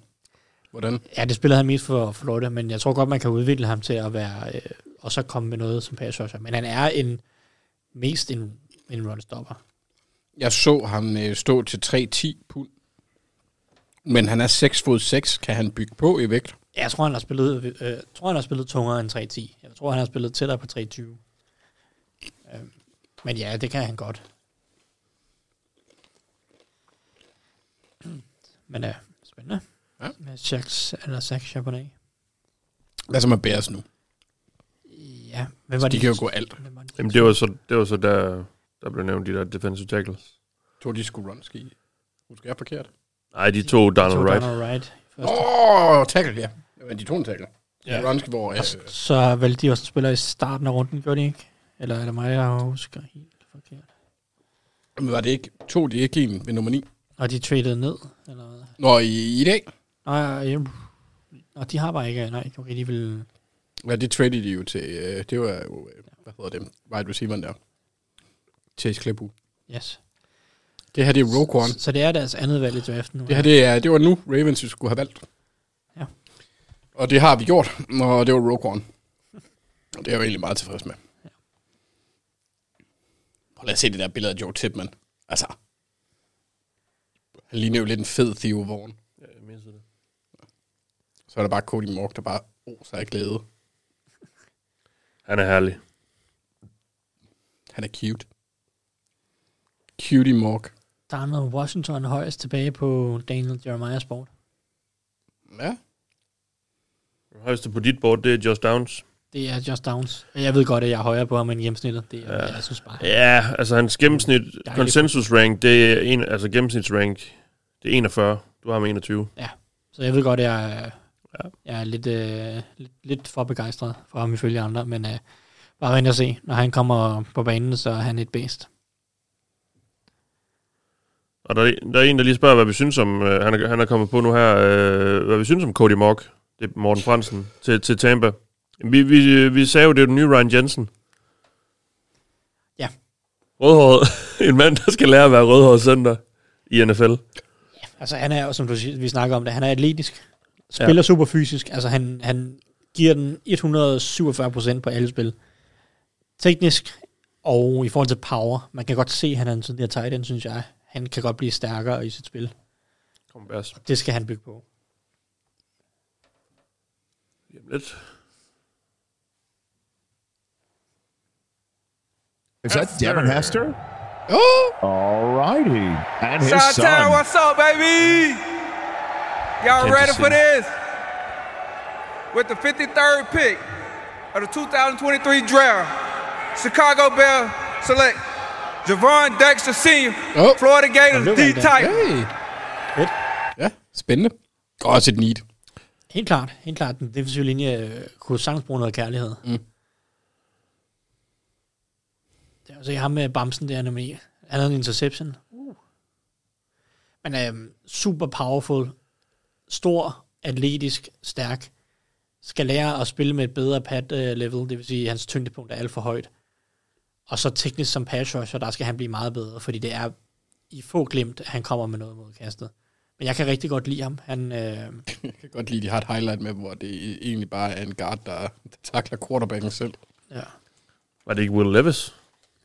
E: hvordan?
F: Ja, det spillede han mest for Florida, men jeg tror godt, man kan udvikle ham til at være, øh, og så komme med noget som pass rusher. Men han er en, mest en, en runstopper.
E: Jeg så ham øh, stå til 3-10 pund. Men han er 6 fod 6. Kan han bygge på i vægt?
F: Ja, Jeg tror, han har spillet, øh, jeg tror, han har spillet tungere end 3.10. Jeg tror, han har spillet tættere på 3.20. Øh, men ja, det kan han godt. Men øh, spændende.
E: Ja.
F: Med Jacques, eller Zach Charbonnet.
E: Hvad så med Bears nu?
F: Ja, hvem
E: Så
F: var
E: de
F: det?
E: kan jo gå alt.
D: jamen, det var så, det var så der, der blev nævnt de der defensive tackles.
E: Tror de skulle run ski? Husker jeg forkert?
D: Nej, de to Donald Wright.
F: Donald Wright. Første.
E: Åh, oh, tackle, ja. Men de tog en tackle. Ja. Run ski, hvor... Øh,
F: Så valgte de også en spiller i starten af runden, gjorde de ikke? Eller er det mig, jeg husker helt forkert?
E: men var det ikke... Tog de ikke en ved nummer 9?
F: Og de traded ned? Eller hvad?
E: Nå, i, i dag?
F: Nej, ja. Og de har bare ikke, nej, okay, de vil...
E: Ja, det traded de jo til... Øh, det var jo... Øh, hvad hedder det? Wide receiveren der. Chase Claypool.
F: Yes.
E: Det her, det er Roquan.
F: Så, så det er deres andet valg i draften nu.
E: Det her, det, er, det var nu Ravens vi skulle have valgt.
F: Ja.
E: Og det har vi gjort, og det var Roquan. Og det er jeg jo egentlig meget tilfreds med. Prøv lige at se det der billede af Joe Tipman. Altså, han ligner jo lidt en fed Theo Vaughn.
D: Ja, jeg missede det.
E: Så er der bare Cody Mork, der bare oser af glæde.
D: Han er herlig.
E: Han er cute. Cutie Mork.
F: Der er noget Washington højst tilbage på Daniel Jeremiah's board.
E: Ja.
D: Den højeste på dit board, det er Josh Downs.
F: Det er Just Downs. Og Jeg ved godt, at jeg er højere på ham end gennemsnittet. Det er, ja. jeg synes bare.
D: Ja, altså hans gennemsnit,
F: Dejligt.
D: consensus rank, det er en, altså gennemsnitsrank, det er 41. Du har med 21.
F: Ja. Så jeg ved godt, at jeg, er- jeg er lidt, øh, lidt, lidt for begejstret for ham ifølge andre, men øh, bare rent at se. Når han kommer på banen, så er han et bedst.
D: Og der, er- der er en, der lige spørger, hvad vi synes om, øh, han, er, han er kommet på nu her, øh, hvad vi synes om Cody Mock, det er Morten Fransen, til, til Tampa. Vi, vi, vi sagde jo, det er den nye Ryan Jensen.
F: Ja.
D: Rødhåret. en mand, der skal lære at være rødhåret center i NFL.
F: Altså han er jo, som du siger, vi snakker om det, han er atletisk. Spiller ja. super fysisk. Altså han, han giver den 147% på alle spil. Teknisk og i forhold til power. Man kan godt se, at han er en tidligere tight end, synes jeg. Han kan godt blive stærkere i sit spil.
D: Kom, Bærs.
F: Det skal han bygge på.
D: Lige om lidt.
I: Is that Devin Hester?
E: Oh!
I: All righty. And his
Q: Shout out,
I: son.
Q: what's up, baby? Y'all
I: Kansas
Q: ready
I: City.
Q: for this?
R: with the 53rd pick of the 2023 draft, Chicago Bear select Javon Dexter Sr., Florida Gators
E: Nå, det var
R: D
E: en dag.
R: type.
E: Oh. Hey. Fedt. Ja, spændende. Også et need.
F: Helt klart. Helt klart. Den defensive linje øh, kunne sagtens bruge noget kærlighed. Mm. Det er også ham med Bamsen der, nemlig. Han havde en interception.
S: Uh.
F: Men øhm, super powerful, stor, atletisk, stærk. Skal lære at spille med et bedre pad øh, level, det vil sige, at hans tyngdepunkt er alt for højt. Og så teknisk som pass rusher, der skal han blive meget bedre, fordi det er i få glimt, at han kommer med noget mod kastet. Men jeg kan rigtig godt lide ham. Han, øh,
E: Jeg kan godt lide, de har et highlight med, hvor det egentlig bare er en guard, der, der takler quarterbacken selv.
D: Var det ikke Will Levis?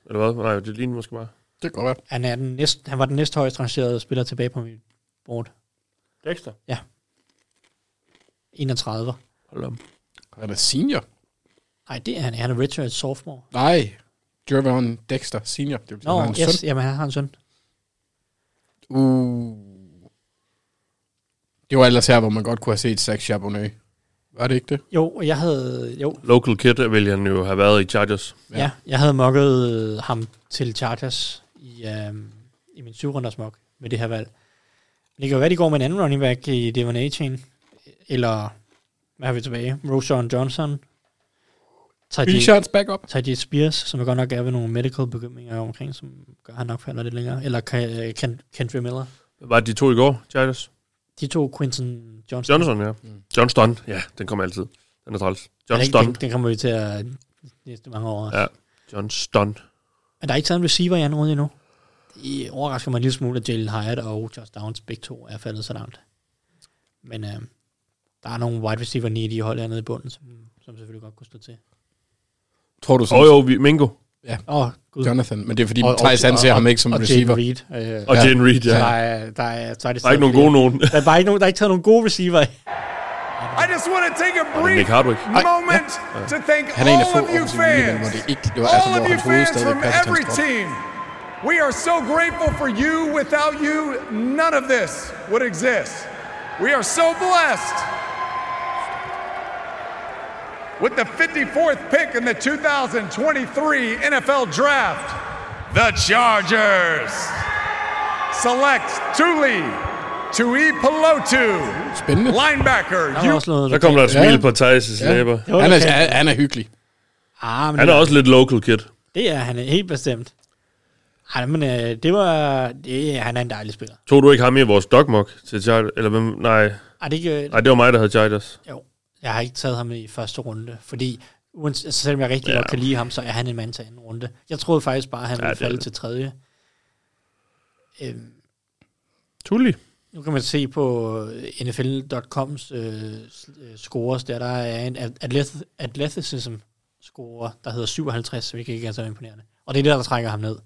D: Eller hvad? Nej, det ligner måske bare.
E: Det går godt.
F: han, er den næst, han var den næst højst rangerede spiller tilbage på mit board.
D: Dexter?
F: Ja. 31.
D: Hold om.
E: Han er senior.
F: Nej, det er han. Han er redshirt sophomore.
E: Nej, Jervon Dexter senior. Det vil sige,
F: Nå,
E: han har en
F: yes,
E: søn.
F: jamen han har en søn.
E: Uh. Det var ellers her, hvor man godt kunne have set Zach Charbonnet. Var det ikke det?
F: Jo, og jeg havde... Jo,
D: Local kid vil han jo have været i Chargers.
F: ja. ja jeg havde mokket øh, ham til Chargers i, øh, i min syvrunders mok med det her valg. Men det kan jo være, de går med en anden running back i Devon Achin. Eller, hvad har vi tilbage? Roshan Johnson. Tajid-
E: Richards backup.
F: Tajid Spears, som jeg godt nok er ved nogle medical bekymringer omkring, som gør, at han nok falder lidt længere. Eller Ka- øh, Ken- Kendra Miller.
D: Var de to i går, Chargers?
F: De to Quinton Johnson.
D: Johnson, ja. Johnston, ja, den kommer altid. Den er træls.
F: Den er ikke-
D: Johnston.
F: Den, den kommer vi til at næste mange år.
D: Ja, Johnston.
F: Er der ikke taget en receiver i anden runde endnu? Det overrasker mig en lille smule, at Jalen Hyatt og Josh Downs begge to er faldet så langt. Men øh, der er nogle wide receiver nede i de hold hernede i bunden, som, som selvfølgelig godt kunne stå til.
E: Tror du
D: Åh oh, jo, vi, Mingo.
E: Ja.
F: Åh, Gud.
E: Jonathan, men det er fordi, Thijs anser ham ikke som
F: og
E: receiver.
F: Jane Reed, øh,
E: Og Jane Reed,
F: Så
E: ja.
F: Der er, der er, så er det
D: Der er ikke
F: stadig
D: nogen gode
F: flere.
D: nogen.
F: der er bare ikke nogen, der er ikke taget nogen gode receiver.
H: I just want to take a
E: er
H: brief
D: Nick Hardwick.
H: moment
D: Ej, ja.
H: to thank
E: Han er en af
H: all
E: få
H: of you
E: offensive linemen, hvor
H: fans.
E: det er ikke, det var, altså,
H: All of
E: hvor
H: you
E: hans hoved
H: fans
E: stadigvæk
H: from
E: passer til
H: every
E: hans krop.
H: team. We are so grateful for you. Without you, none of this would exist. We are so blessed. With the 54th pick in the 2023 NFL Draft, the Chargers select Tuli Tui Pelotu,
E: Spændende.
H: linebacker.
F: Der var også noget
D: Der kom der et smil
F: lokalt.
D: på Thijs' læber.
F: Det var
E: Han er,
F: lokalt.
E: han- han er hyggelig.
F: Ah, men
D: Han er
F: det-
D: også lidt local kid.
F: Det er han helt bestemt. Ej, men øh, det var... Det, han er en dejlig spiller.
D: Tog du ikke ham i vores dogmok til Chargers? Eller hvem? Nej.
F: Ej, det
E: øh,
F: gør-
D: Nej, det var mig, der havde Chargers.
F: Jeg har ikke taget ham i første runde, fordi uans- altså, selvom jeg rigtig
D: Ja.
F: ja. godt kan lide ham, så er han en mand til anden runde. Jeg troede faktisk bare, at han
D: Ja,
F: ja, ville
D: det er
F: falde
D: det.
F: til tredje. Øhm,
D: Tulli.
F: Nu kan man se på øh, NFL.coms øh, s- øh, scores, der, der er en at- athleth- athleticism score, der hedder 57, hvilket ikke er så imponerende. Og det er det, der trækker ham ned.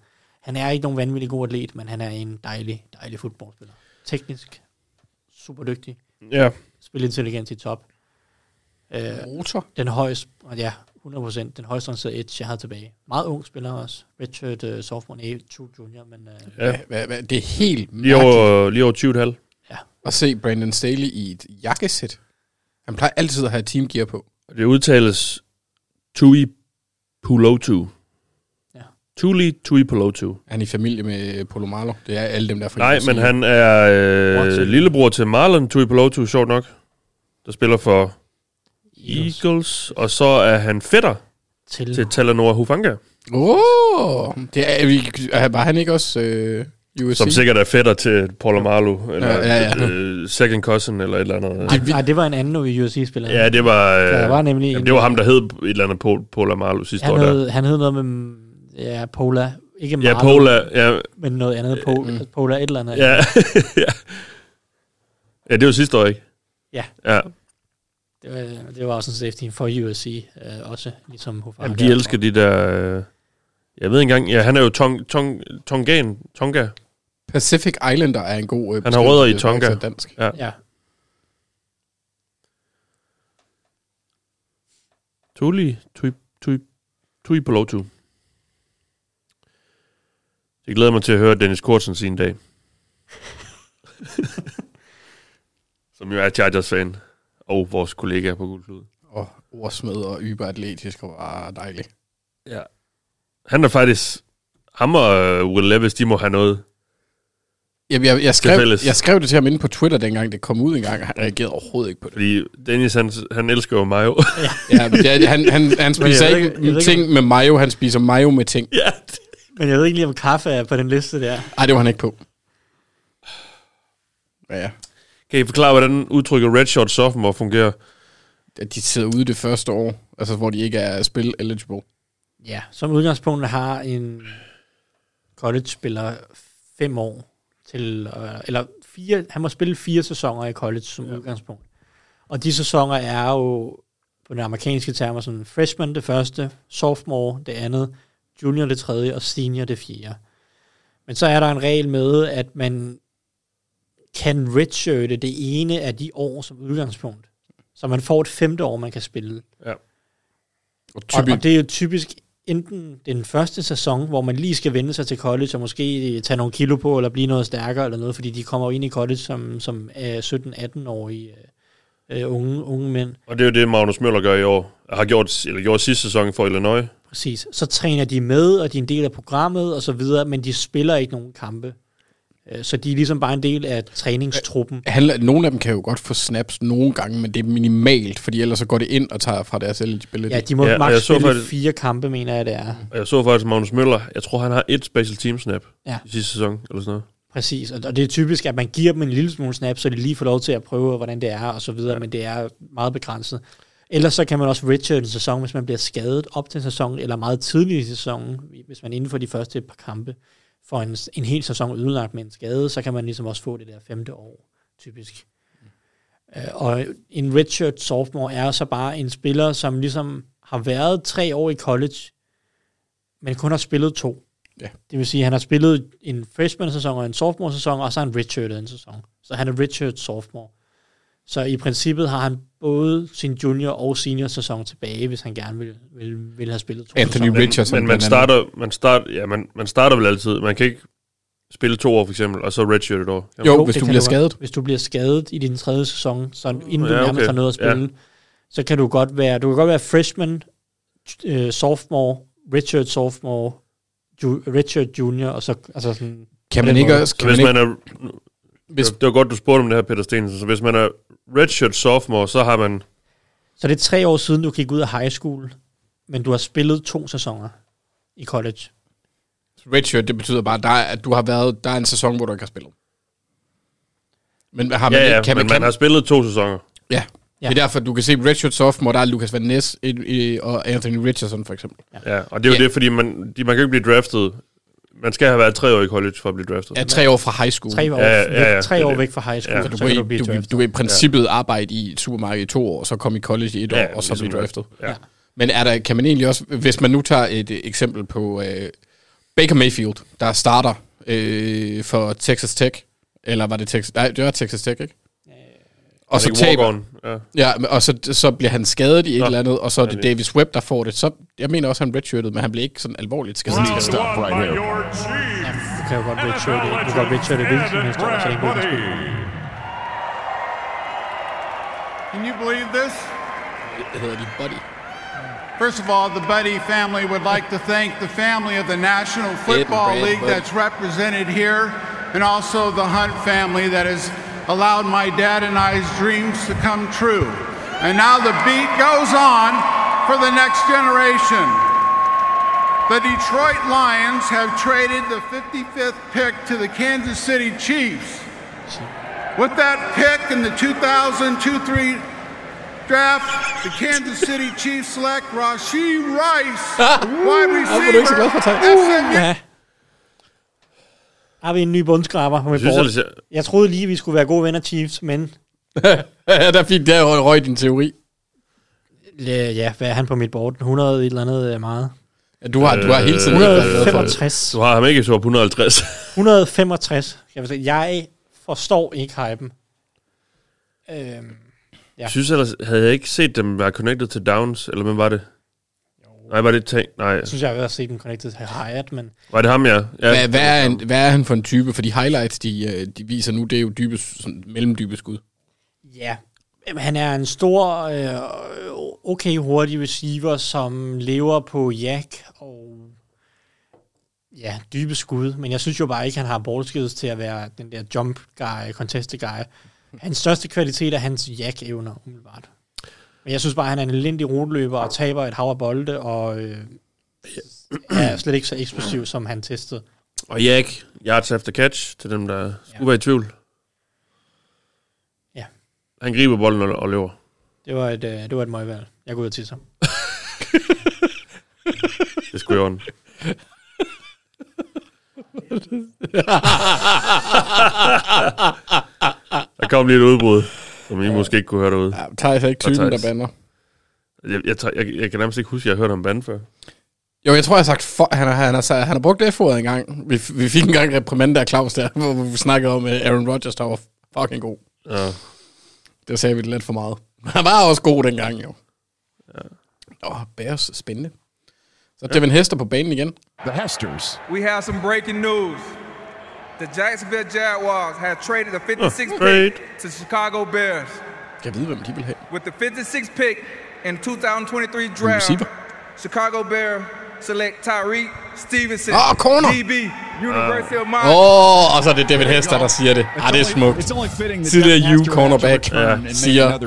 F: Han er ikke nogen vanvittig god atlet, men han er en dejlig, dejlig fodboldspiller. Teknisk, super dygtig.
D: Ja.
F: Spilintelligens i top. Øh,
E: Motor.
F: Den højeste, ja, 100%, den højeste rangerede edge, jeg havde tilbage. Meget ung spiller også. Richard uh, sophomore, nej, to junior, men uh,
E: Ja. Hvad, hvad, det er helt
D: Lige over, lige over 20,5.
E: at se Brandon Staley i et jakkesæt. Han plejer altid at have teamgear på.
D: Og Det udtales Tui Pulotu. Ja. Tuli Tui Pulotu.
E: Han er i familie med Polo Marlo. Det er alle dem, der er fra
D: Nej,
E: New
D: men
E: Zealand.
D: han er øh,
E: Bror til-
D: lillebror til Marlon Tui Pulotu, sjovt nok. Der spiller for Eagles. Og så er han fætter
F: til,
D: til Talanoa Hufanga.
E: Åh, oh, det er, vi- er- var han ikke også øh, UFC?
D: Som sikkert er fætter til Paul Amalu, eller
E: Ja, ja, ja.
D: Øh, second cousin, eller et eller andet.
F: Nej, nej, det var en anden UFC-spiller.
D: Ja, det var, øh,
F: Der var nemlig
D: jamen,
F: en-
D: det var ham, der hed et eller andet Paul, Paul Amalu sidste
F: han
D: år. Der.
F: hed, han hed noget med, ja, Pola. Ikke
D: Ja,
F: Marlo,
D: Pola, ja.
F: Men noget andet, po, mm. Pola et eller andet.
D: Ja. ja. ja, det var sidste år, ikke?
F: Ja.
D: ja.
F: Det, var, det var også en safety for UFC, øh, også ligesom Hufanga.
D: Jamen, de elsker de der... Øh, jeg ved ikke engang... Ja, han er jo tong, tong, Tongan. Tonga.
E: Pacific Islander er en god... Øh,
D: Han har rødder i
E: beskrivelse,
D: Tonga.
E: faktisk er Dansk.
D: Ja.
F: Ja.
D: Tuli, tui, tui, tui på lovtu. Jeg glæder mig til at høre Dennis Kortsen sin dag. Som jo er Chargers-fan. og vores kollegaer på Guldklud.
E: Og ordsmed og yberatletisk og bare dejligt.
D: Ja. Han er faktisk... Ham og øh, Will Levis, de må have noget.
E: Jamen, jeg,
D: Til
E: jeg, skrev,
D: fælles.
E: jeg skrev det til ham inde på Twitter, dengang det kom ud engang, og han reagerede overhovedet ikke på det.
D: Fordi Dennis, han, han elsker jo mayo.
E: Ja, men ja, han, han, han
F: Men jeg
E: spiser
F: ved
E: ikke,
F: ikke- jeg ved ikke,
E: ting
F: om-
E: med mayo, han spiser mayo med ting.
D: Ja.
F: Men jeg ved ikke lige, om kaffe er på den liste der.
E: Ej, det var han ikke på. Ja.
D: Kan I forklare, hvordan udtrykket red shot sophomore fungerer?
E: At de sidder ude det første år, altså hvor de ikke er spil eligible.
F: Ja, som udgangspunkt har en college-spiller fem år til, øh, eller fire, han må spille fire sæsoner i college som ja. udgangspunkt. Og de sæsoner er jo på den amerikanske termer sådan freshman det første, sophomore det andet, junior det tredje og senior det fjerde. Men så er der en regel med, at man kan redshirte det ene af de år som udgangspunkt. Så man får et femte år, man kan spille.
D: Ja.
E: Og,
F: og, og det er jo typisk enten den første sæson, hvor man lige skal vende sig til college og måske øh, tage nogle kilo på, eller blive noget stærkere eller noget, fordi de kommer jo ind i college som, som øh, 17-18-årige øh, øh, unge, unge mænd.
D: Og det er jo det, Magnus Møller gør i år. Har gjort, eller gjorde sidste sæson for Illinois.
F: Præcis. Så træner de med, og de er en del af programmet og så videre, men de spiller ikke nogen kampe. Øh, Så de er ligesom bare en del af træningstruppen.
E: Han, nogle af dem kan jo godt få snaps nogle gange, men det er minimalt, fordi ellers så går det ind og tager fra deres eligibility.
F: Ja, de må
D: Ja,
F: ja,
D: og
F: maks
D: jeg så
F: spille
D: faktisk-
F: fire kampe, mener jeg, det er.
D: Og jeg så faktisk Magnus Møller. Jeg tror, han har et special team snap
F: Ja.
D: i sidste sæson, eller sådan noget.
F: Præcis, og og det er typisk, at man giver dem en lille smule snap, så de lige får lov til at prøve, hvordan det er og så videre, ja. men det er meget begrænset. Ellers så kan man også redshirt en sæson, hvis man bliver skadet op til en sæson, eller meget tidligt i sæsonen, hvis man inden for de første par kampe får en, en hel sæson ødelagt med en skade, så kan man ligesom også få det der femte år, typisk. Øh, Og en redshirt sophomore er så bare en spiller, som ligesom har været tre år i college, men kun har spillet to.
E: Ja.
F: Det vil sige, at han har spillet en freshman-sæson og en sophomore-sæson, og så har han redshirtet en sæson. Så han er redshirt sophomore. Så i princippet har han både sin junior- og senior-sæson tilbage, hvis han gerne vil, vil, vil have spillet to sæsoner.
D: Men, men man, starter, man, starter, ja, man, man starter vel altid. Man kan ikke spille to år, for eksempel, og så redshirt et år.
E: Jo, hvis
F: det
E: du
F: kan
E: bliver
F: godt.
E: skadet.
F: Hvis du bliver skadet i din tredje sæson, så inden
D: Ja,
F: du ja, nærmest
D: okay.
F: har noget at spille, ja. så kan du godt være, du kan godt være freshman, øh, sophomore, redshirt sophomore, ju, redshirt junior, og så altså sådan...
E: Kan
F: på
E: man
F: den
E: ikke
F: måde.
E: også-
D: Så hvis man er... Hvis, det var godt, du spurgte om det her, Peter Stensen. Så hvis man er redshirt sophomore, så har man...
F: Så det er tre år siden, du gik ud af high school, men du har spillet to sæsoner i college.
E: Redshirt, det betyder bare, at der, er- at du har været, der er en sæson, hvor du ikke har spillet. Men har man,
D: ja,
E: ikke-
D: ja,
E: kan
D: men
E: man, kan,
D: man har spillet to sæsoner.
E: Ja. ja. Det er derfor, du kan se Redshirt Sophomore, der er Lucas Van Ness ind i- og Anthony Richardson for eksempel.
D: Ja, og det er jo
E: Ja.
D: ja. det, fordi man, de, man kan ikke blive draftet. Man skal have været tre år i college for at blive draftet.
E: Ja, tre år fra high school.
F: Tre år- tre
D: det er
F: år
D: det.
F: væk fra high school,
E: Så
F: så
E: du,
F: kan
E: kan
F: du
E: du,
F: blive
E: du, du,
F: draftet.
E: du er i princippet arbejde i et supermarked i to år, så komme i college i et
D: Ja,
E: år, og så
D: ligesom
E: blive draftet.
D: Ja.
E: Men er der, kan man egentlig også, hvis man nu tager et øh, eksempel på øh, Baker Mayfield, der starter øh, for Texas Tech, eller var det Texas, nej, det var Texas Tech, ikke?
D: Er
E: Og
D: det
E: så
D: ikke
E: taber,
D: Walk-on? Øh, Ja.
E: ja. men- og så, så bliver han skadet i et eller andet, og så er
D: Ja,
E: det
D: det-
E: Davis Webb, der får det. Så, jeg mener også, han redshirtede, men han blev ikke sådan alvorligt skadet.
I: Round one by your
F: Ja,
I: Chiefs.
F: du kan jo godt redshirte,
I: NFL
F: du kan godt redshirte
I: legends
F: hvilken som helst, år,
I: Ed
F: så det ikke bliver
I: Bradbury.
F: spillet.
S: Can you believe this?
E: Buddy.
S: First of all, the Buddy family would like to thank the family of the National Football
E: Brad
S: League
E: Buddy.
S: that's represented here, and also the Hunt family that has allowed my dad and I's dreams to come true. And now the beat goes on for the next generation. The Detroit Lions have traded the 55th pick to the Kansas City Chiefs. With that pick in the 2002-3 draft, the Kansas City Chiefs select Rasheed Rice, wide receiver. SMU.
F: Ja. Har vi en ny bundskraber med
E: Jeg synes,
F: Borg?
E: jeg ser-
F: Jeg troede lige, vi skulle være gode venner Chiefs, men
E: ja, der fik der røg, røg din teori.
F: ja, ja, hvad er han på mit board? 100 et eller andet er meget.
E: Ja, du har- du har hele tiden ikke været glad for det.
F: 165.
D: Du har ham ikke så på 150.
F: 165. Jeg, vil sige, jeg forstår ikke hypen. Øhm,
D: Jeg synes ellers, havde jeg ikke set dem være connected til Downs, eller hvem var det? Nej, var det Tank? Nej.
F: jeg synes, jeg har været set dem connected til Hyatt, men
D: Var det ham, ja? ja.
E: Hvad, hvad, er han, hvad er han for en type? For de highlights, de, øh, de viser nu, det er jo dybest, sådan, mellemdybe skud.
F: ja, Jamen, han er en stor, øh, okay hurtig receiver, som lever på jack og ja, dybe skud. Men jeg synes jo bare ikke, han har ballskills til at være den der jump guy, contest guy. Hans største kvalitet er hans jack-evner, umiddelbart. Men jeg synes bare, han er en elendig rotløber og taber et hav af bolde, og øh, er slet ikke så eksplosiv, som han testede.
D: Og Jack, yards after catch, til dem, der skulle være i tvivl.
F: Ja.
D: Han griber bolden og, og løber.
F: Det var et, øh, det var et møgvalg. Jeg går ud og tisser.
D: Det skulle jeg Der kom lige et udbrud, som I ja. måske ikke kunne høre derude. Ja,
E: Thijs er ikke typen, der bander.
D: Jeg, jeg, tror- jeg, jeg kan nærmest ikke huske, at jeg har hørt om bande før.
E: Jo, jeg tror, jeg har sagt, for, han, har, han, har, sagt- han har brugt F-ordet engang. Vi, f- vi fik engang reprimande af Claus der, hvor vi snakkede om at Aaron Rodgers, der var fucking god.
D: Ja.
E: Det sagde vi lidt for meget. Men han var også god dengang, jo. Ja. Nå, Bears, spændende. Så
H: Ja.
E: Devin Hester på banen igen.
I: The Hesters.
R: We have some breaking news. The Jacksonville Jaguars have traded the 56th
E: Oh,
R: pick
E: great.
R: to Chicago Bears.
E: Jeg ved, hvem de vil have.
R: With the 56th pick in 2023 draft,
E: receiver.
R: Chicago Bears select Tyreek Stevenson,
E: Ah, corner.
R: DB, University of Miami.
E: Åh, oh, og så er det David Hester, der siger det. Ah, det er smukt. Tidligere U cornerback ja. siger
I: Well,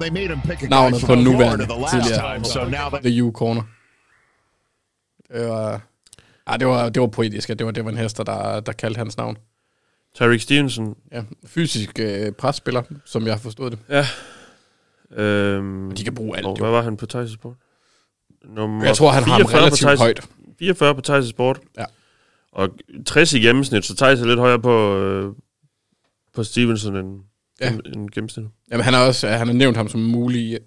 I: they made him pick a guy
E: navnet
I: from
E: på den
I: Florida
E: nuværende
I: the last
E: tidligere.
I: time, so now they
E: The U corner. Det var, ah, det var, det var poetisk, at det var Devin Hester, der, der kaldte hans navn.
D: Tyreek Stevenson.
E: Ja, fysisk øh, presspiller, som jeg har forstået det.
D: Ja. Øhm,
E: de kan bruge alt,
D: Og
E: jo.
D: hvad var han på Thijs Sport? Nummer
E: Jeg tror, han har ham
D: 44 på
E: relativt
D: Thijs-
E: højt.
D: 44 på Thijs Sport.
E: Ja.
D: Og 60 i gennemsnit, så Thijs er lidt højere på, øh, på Stevenson end, ja.
E: Ja.
D: end, end gennemsnit.
E: Jamen, han har også øh, han har nævnt ham som en mulig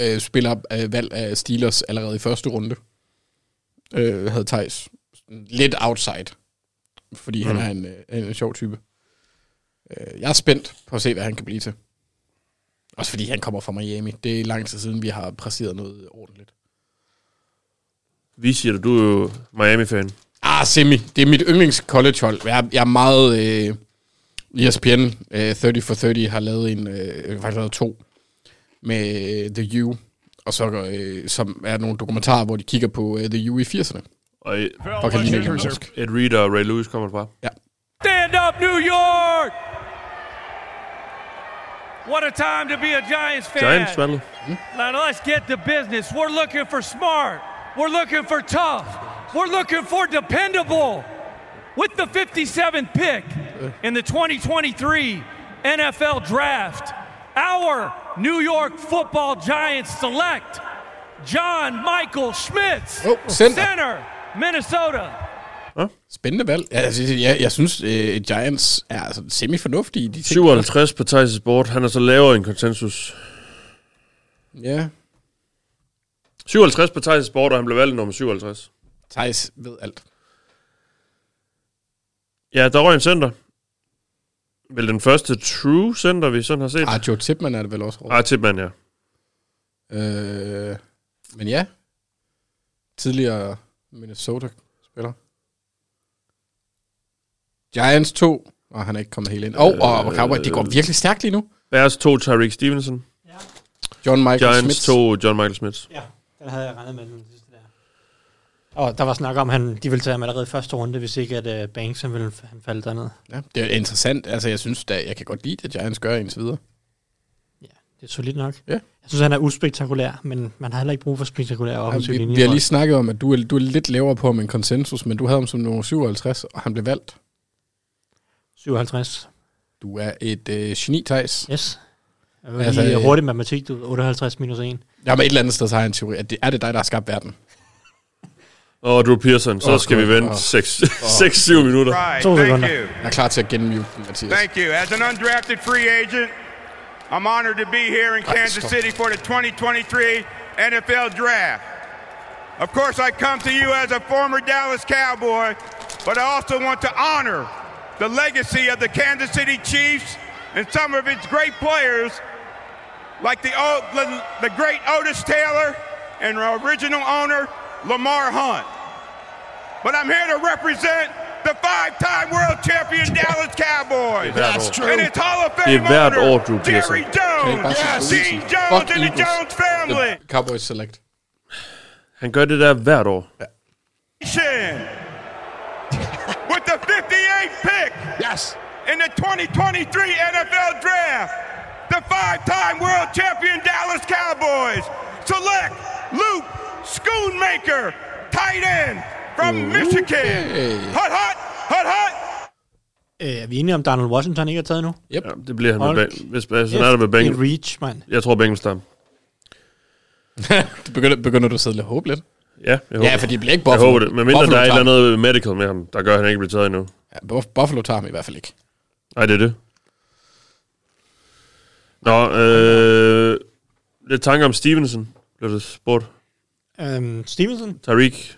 E: øh, spiller øh, valg af Steelers allerede i første runde. Øh, havde Thijs. Lidt outside. Fordi mm. han
D: Mm.
E: er en, øh, en, en sjov type. Øh, jeg er spændt på at se, hvad han kan blive til. Også fordi han kommer fra Miami. Det er lang tid siden, vi har præsteret noget ordentligt.
D: Vi siger det, du er jo Miami-fan.
E: Ah, semi. Det er mit yndlings collegehold. Jeg, er- jeg er meget... Øh, ESPN øh, 30 for 30 har lavet en... Øh, faktisk lavet to. Med øh, The U. Og så øh, som er nogle dokumentarer, hvor de kigger på øh, The U i 80'erne.
D: Og et,
E: Fuck, han ligner ikke en torsk.
D: Ed Reed og Ray Lewis kommer fra.
E: Ja.
M: Stand up, New York! What a time to be a Giants fan.
D: Giants valget.
M: Now let's get to business. We're looking for smart. We're looking for tough. We're looking for dependable. With the 57th pick in the 2023 NFL Draft, our New York Football Giants select John Michael Schmitz,
E: center.
M: center, Minnesota.
E: Spændende valg. Ja, altså, jeg, jeg synes, øh, Giants er altså, semi-fornuftige. De ting.
D: 57 på Thijs Sport. Han er så lavere end konsensus.
E: Ja.
D: 57 på Thijs Sport, og han blev valgt nummer 57.
E: Thijs ved alt.
D: Ja, der røg en center. Vel den første true center, vi sådan har set.
E: Ah, Joe Tipman er det vel også.
D: Ah, Tipman, ja.
E: Øh, men ja. Tidligere Minnesota-spiller. Giants 2. Og han er ikke kommet helt ind. Og, og, og Cowboys, det går virkelig stærkt lige nu.
D: Bears tog Tyreek Stevenson.
E: John Michael
D: Giants
E: Smith.
D: tog John Michael Smith.
F: Ja, den havde jeg regnet med den sidste der. Og der var snak om, at han, de ville tage ham allerede i første runde, hvis ikke at uh, Banks han ville han falde derned.
E: Ja, det er interessant. Altså, jeg synes da, jeg kan godt lide det, Giants gør indtil videre.
F: Det er solidt nok.
E: Ja.
F: Jeg synes, han er uspektakulær, men man har heller ikke brug for spektakulær offensiv
E: vi,
F: linje.
E: vi har lige snakket om, at du er, du er lidt lavere på ham end konsensus, men du havde ham som nummer 57, og han blev valgt.
F: 57.
E: Du er et øh, geni, Thijs.
F: Yes. Jeg var lige
E: øh,
F: hurtig matematik, du 58 minus 1.
E: Jamen, et eller andet sted, så har jeg en teori, at det er det dig, der har skabt verden.
D: Og Drew Pearson. Så
E: Åh,
D: skal vi
E: Gud.
D: vente
E: Åh.
D: 6-7 minutter.
T: Right, To thank sekunder. you.
E: Jeg er klar til at genmute den, Mathias.
T: Thank you. As an undrafted free agent, I'm honored to be here in Kansas
E: stop.
T: City for the 2023 NFL Draft. Of course, I come to you as a former Dallas Cowboy, but I also want to honor the legacy of the Kansas City Chiefs and some of its great players, like the, old, the, the great Otis Taylor and our original owner, Lamar Hunt. But I'm here to represent the five-time world champion Dallas Cowboys.
D: Det er hvert år. That's true.
T: And it's Hall of
D: Det er
T: Fame
D: hvert
T: owner,
D: år, Drew Pearson.
T: Jerry
E: Kan ikke
T: Jones.
E: bare sige
T: Yes,
E: Eagles.
T: Dean Jones
E: Fuck
T: and the
E: Eagles.
T: Jones family.
E: The Cowboys select.
D: Han gør det der hvert år.
T: Nation with the 58th pick. Yes. In the 2023 NFL Draft, the five-time world champion Dallas Cowboys select Luke Schoonmaker, tight end from Michigan. Hot, hot, hot, hot.
F: Øh, er vi enige om, Donald Washington ikke er taget nu?
E: Yep.
D: Ja, det bliver han med
F: Hold
D: Bang- Hvis altså, sådan er det med
F: kæft,
D: Bengals.
F: det er reach, mand.
D: Jeg tror Bengals der.
E: det begynder, begynder du at sidde lidt håb lidt.
D: Ja, jeg håber.
E: Ja, for de bliver ikke
D: Jeg
E: Buffalo.
D: håber det. Men mindre
E: Buffalo
D: der er et
E: tager-
D: eller andet medical med ham, der gør, at han ikke bliver taget endnu.
E: Ja, Buff- Buffalo tager ham i hvert fald ikke.
D: Nej, det er det. Nå, øh, lidt tanker om Stevenson, blev det spurgt.
F: Øhm, Stevenson,
D: Tariq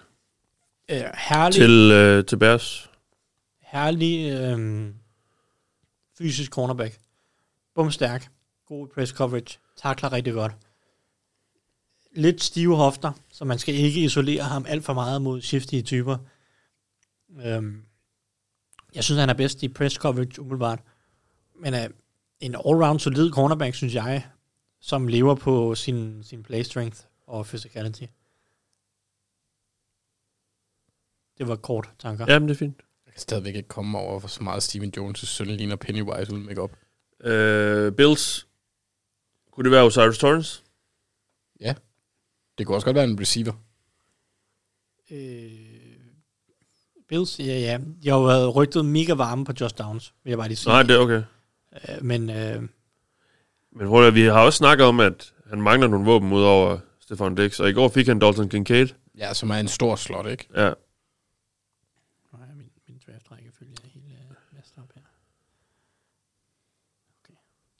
F: øh, herlig,
D: til, øh, til Bears.
F: herlig øhm, fysisk cornerback. Bum stærk. God i press coverage. Takler rigtig godt. Lidt stive hofter, så man skal ikke isolere ham alt for meget mod shiftige typer. Øhm, jeg synes, han er bedst i press coverage umiddelbart. Men øh, en all-round solid cornerback, synes jeg, som lever på sin, sin play strength og physicality. Det var kort tanker.
D: Jamen, det er fint.
E: Jeg kan stadigvæk ikke komme over, hvor så meget Steven Jones' søn ligner Pennywise uden makeup.
D: Øh, Bills. Kunne det være Osiris Torrance?
E: Ja. Det kunne også godt være en receiver.
F: Bills, ja, ja. De har jo været rygtet mega varme på Josh Downs, vil jeg bare lige sige.
D: Nej, det er okay.
F: Øh, men øh,
D: Men prøv at, høre, vi har også snakket om, at han mangler nogle våben ud over Stefan Dix. Og i går fik han Dalton Kincaid.
E: Ja, som er en stor slot, ikke?
D: Ja.
F: øh,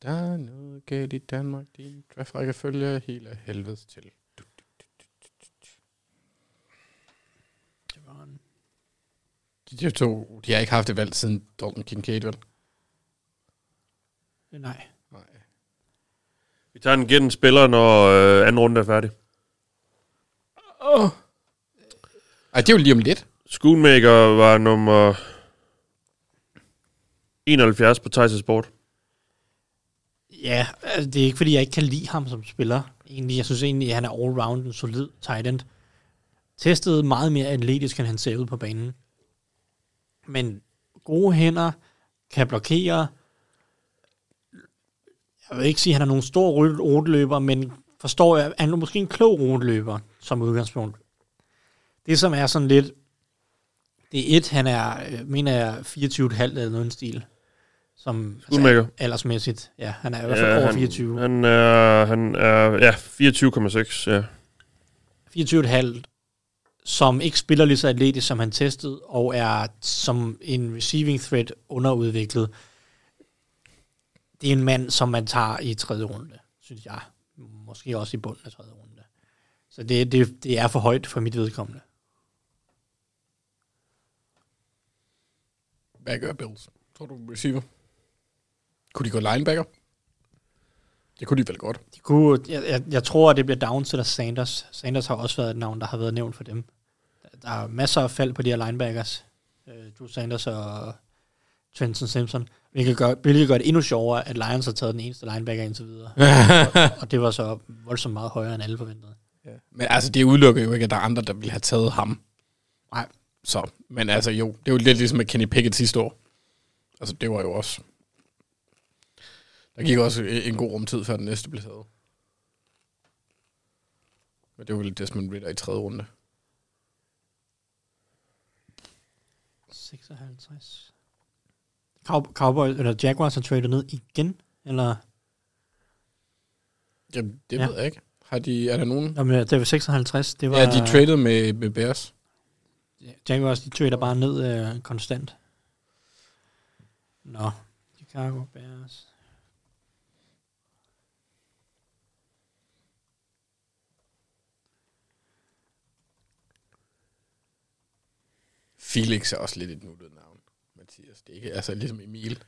E: Der er noget galt i Danmark. Din draftrække følger hele helvedes til. De, de to, de har ikke haft et valg siden Dalton Kincaid, vel?
F: øh, nej.
D: Vi tager en giver den spiller, når øh, anden runde er færdig.
E: Oh. Ej, det er jo lige om lidt.
D: Schoonmaker var nummer 71 på Thijs Sport.
F: Ja, altså, det er ikke fordi, jeg ikke kan lide ham som spiller. Egentlig, jeg synes egentlig, at han er all-round en solid tight end. Testet meget mere atletisk, end han ser ud på banen. Men gode hænder, kan blokere. Jeg vil ikke sige, at han er nogen stor ru- ruteløber, men forstår jeg, han er måske en klog ruteløber som udgangspunkt. Det som er sådan lidt, det er et, han er, øh, mener jeg, 24,5 eller noget i den stil. Som altså
D: Schoonmaker.
F: aldersmæssigt. Ja, han er i hvert fald over 24.
D: Han, han er, han er ja, 24,6. Ja.
F: 24,5, som ikke spiller lige så atletisk, som han testede, og er som en receiving threat underudviklet. Det er en mand, som man tager i tredje runde, synes jeg. Måske også i bunden af tredje runde. Så det, det, det er for højt for mit vedkommende.
E: Hvad gør Bills? Tror du receiver? Kunne de gå linebacker? Det kunne de vel godt.
F: De kunne, jeg, jeg, jeg tror, at det bliver down til Sanders. Sanders har også været et navn, der har været nævnt for dem. Der- Der er masser af fald på de her linebackers. Øh, Drew Sanders og Trenton Simpson. Hvilket gør, hvilket gør det endnu sjovere, at Lions har taget den eneste linebacker indtil videre. og, og det var så voldsomt meget højere, end alle forventede.
E: Men altså, det udelukker jo ikke, at der er andre, der ville have taget ham.
F: Nej.
E: Så, men altså jo, det er jo lidt ligesom med Kenny Pickett sidste år. Altså, det var jo også... Der gik også en god rumtid, før den næste blev taget. Men det var jo Desmond Ritter i tredje runde.
F: 56. Cow- Cowboys, eller Jaguars har tradet ned igen, eller?
E: Jamen, det ja. ved jeg ikke. Har de, er der nogen?
F: Jamen, ja, det var 56, det var...
E: Ja, de traded med, med Bears.
F: Jaguars, de trader bare ned øh, konstant. Nå. Chicago Bears.
E: Felix er også lidt et nuttet navn, Mathias. Det er ikke, altså ligesom Emil.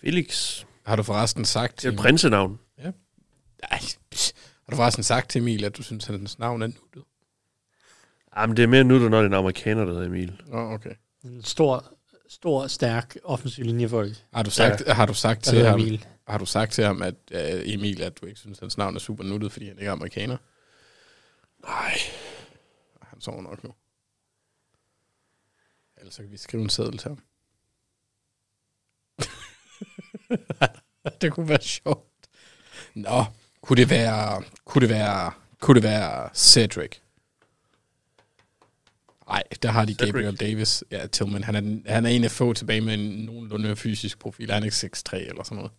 D: Felix.
E: Har du forresten sagt
D: Det er et prinsenavn.
E: Ja. Ej, pss. har du forresten sagt til Emil, at du synes, at hans navn er nuttet?
D: Jamen, det er mere nuttet, når det er en amerikaner, der hedder Emil.
E: Nå, okay.
F: En stor, stor, stærk offensiv linjefolk.
E: Har du sagt, ja. har du sagt
F: Der
E: til
F: hedder
E: ham,
F: Emil.
E: har du sagt til ham, at øh, Emil, at du ikke synes, hans navn er super nuttet, fordi han ikke er amerikaner? Nej. Han sover nok nu. Ellers så kan vi skrive en seddel til ham. det kunne være sjovt. Nå, kunne det være, kunne det være, kunne det være Cedric? Nej, der har de
D: Cedric.
E: Gabriel Davis. Ja, Tillman, han er, han er en af få tilbage med en nogenlunde fysisk profil. Han er ikke 6'3 eller sådan noget.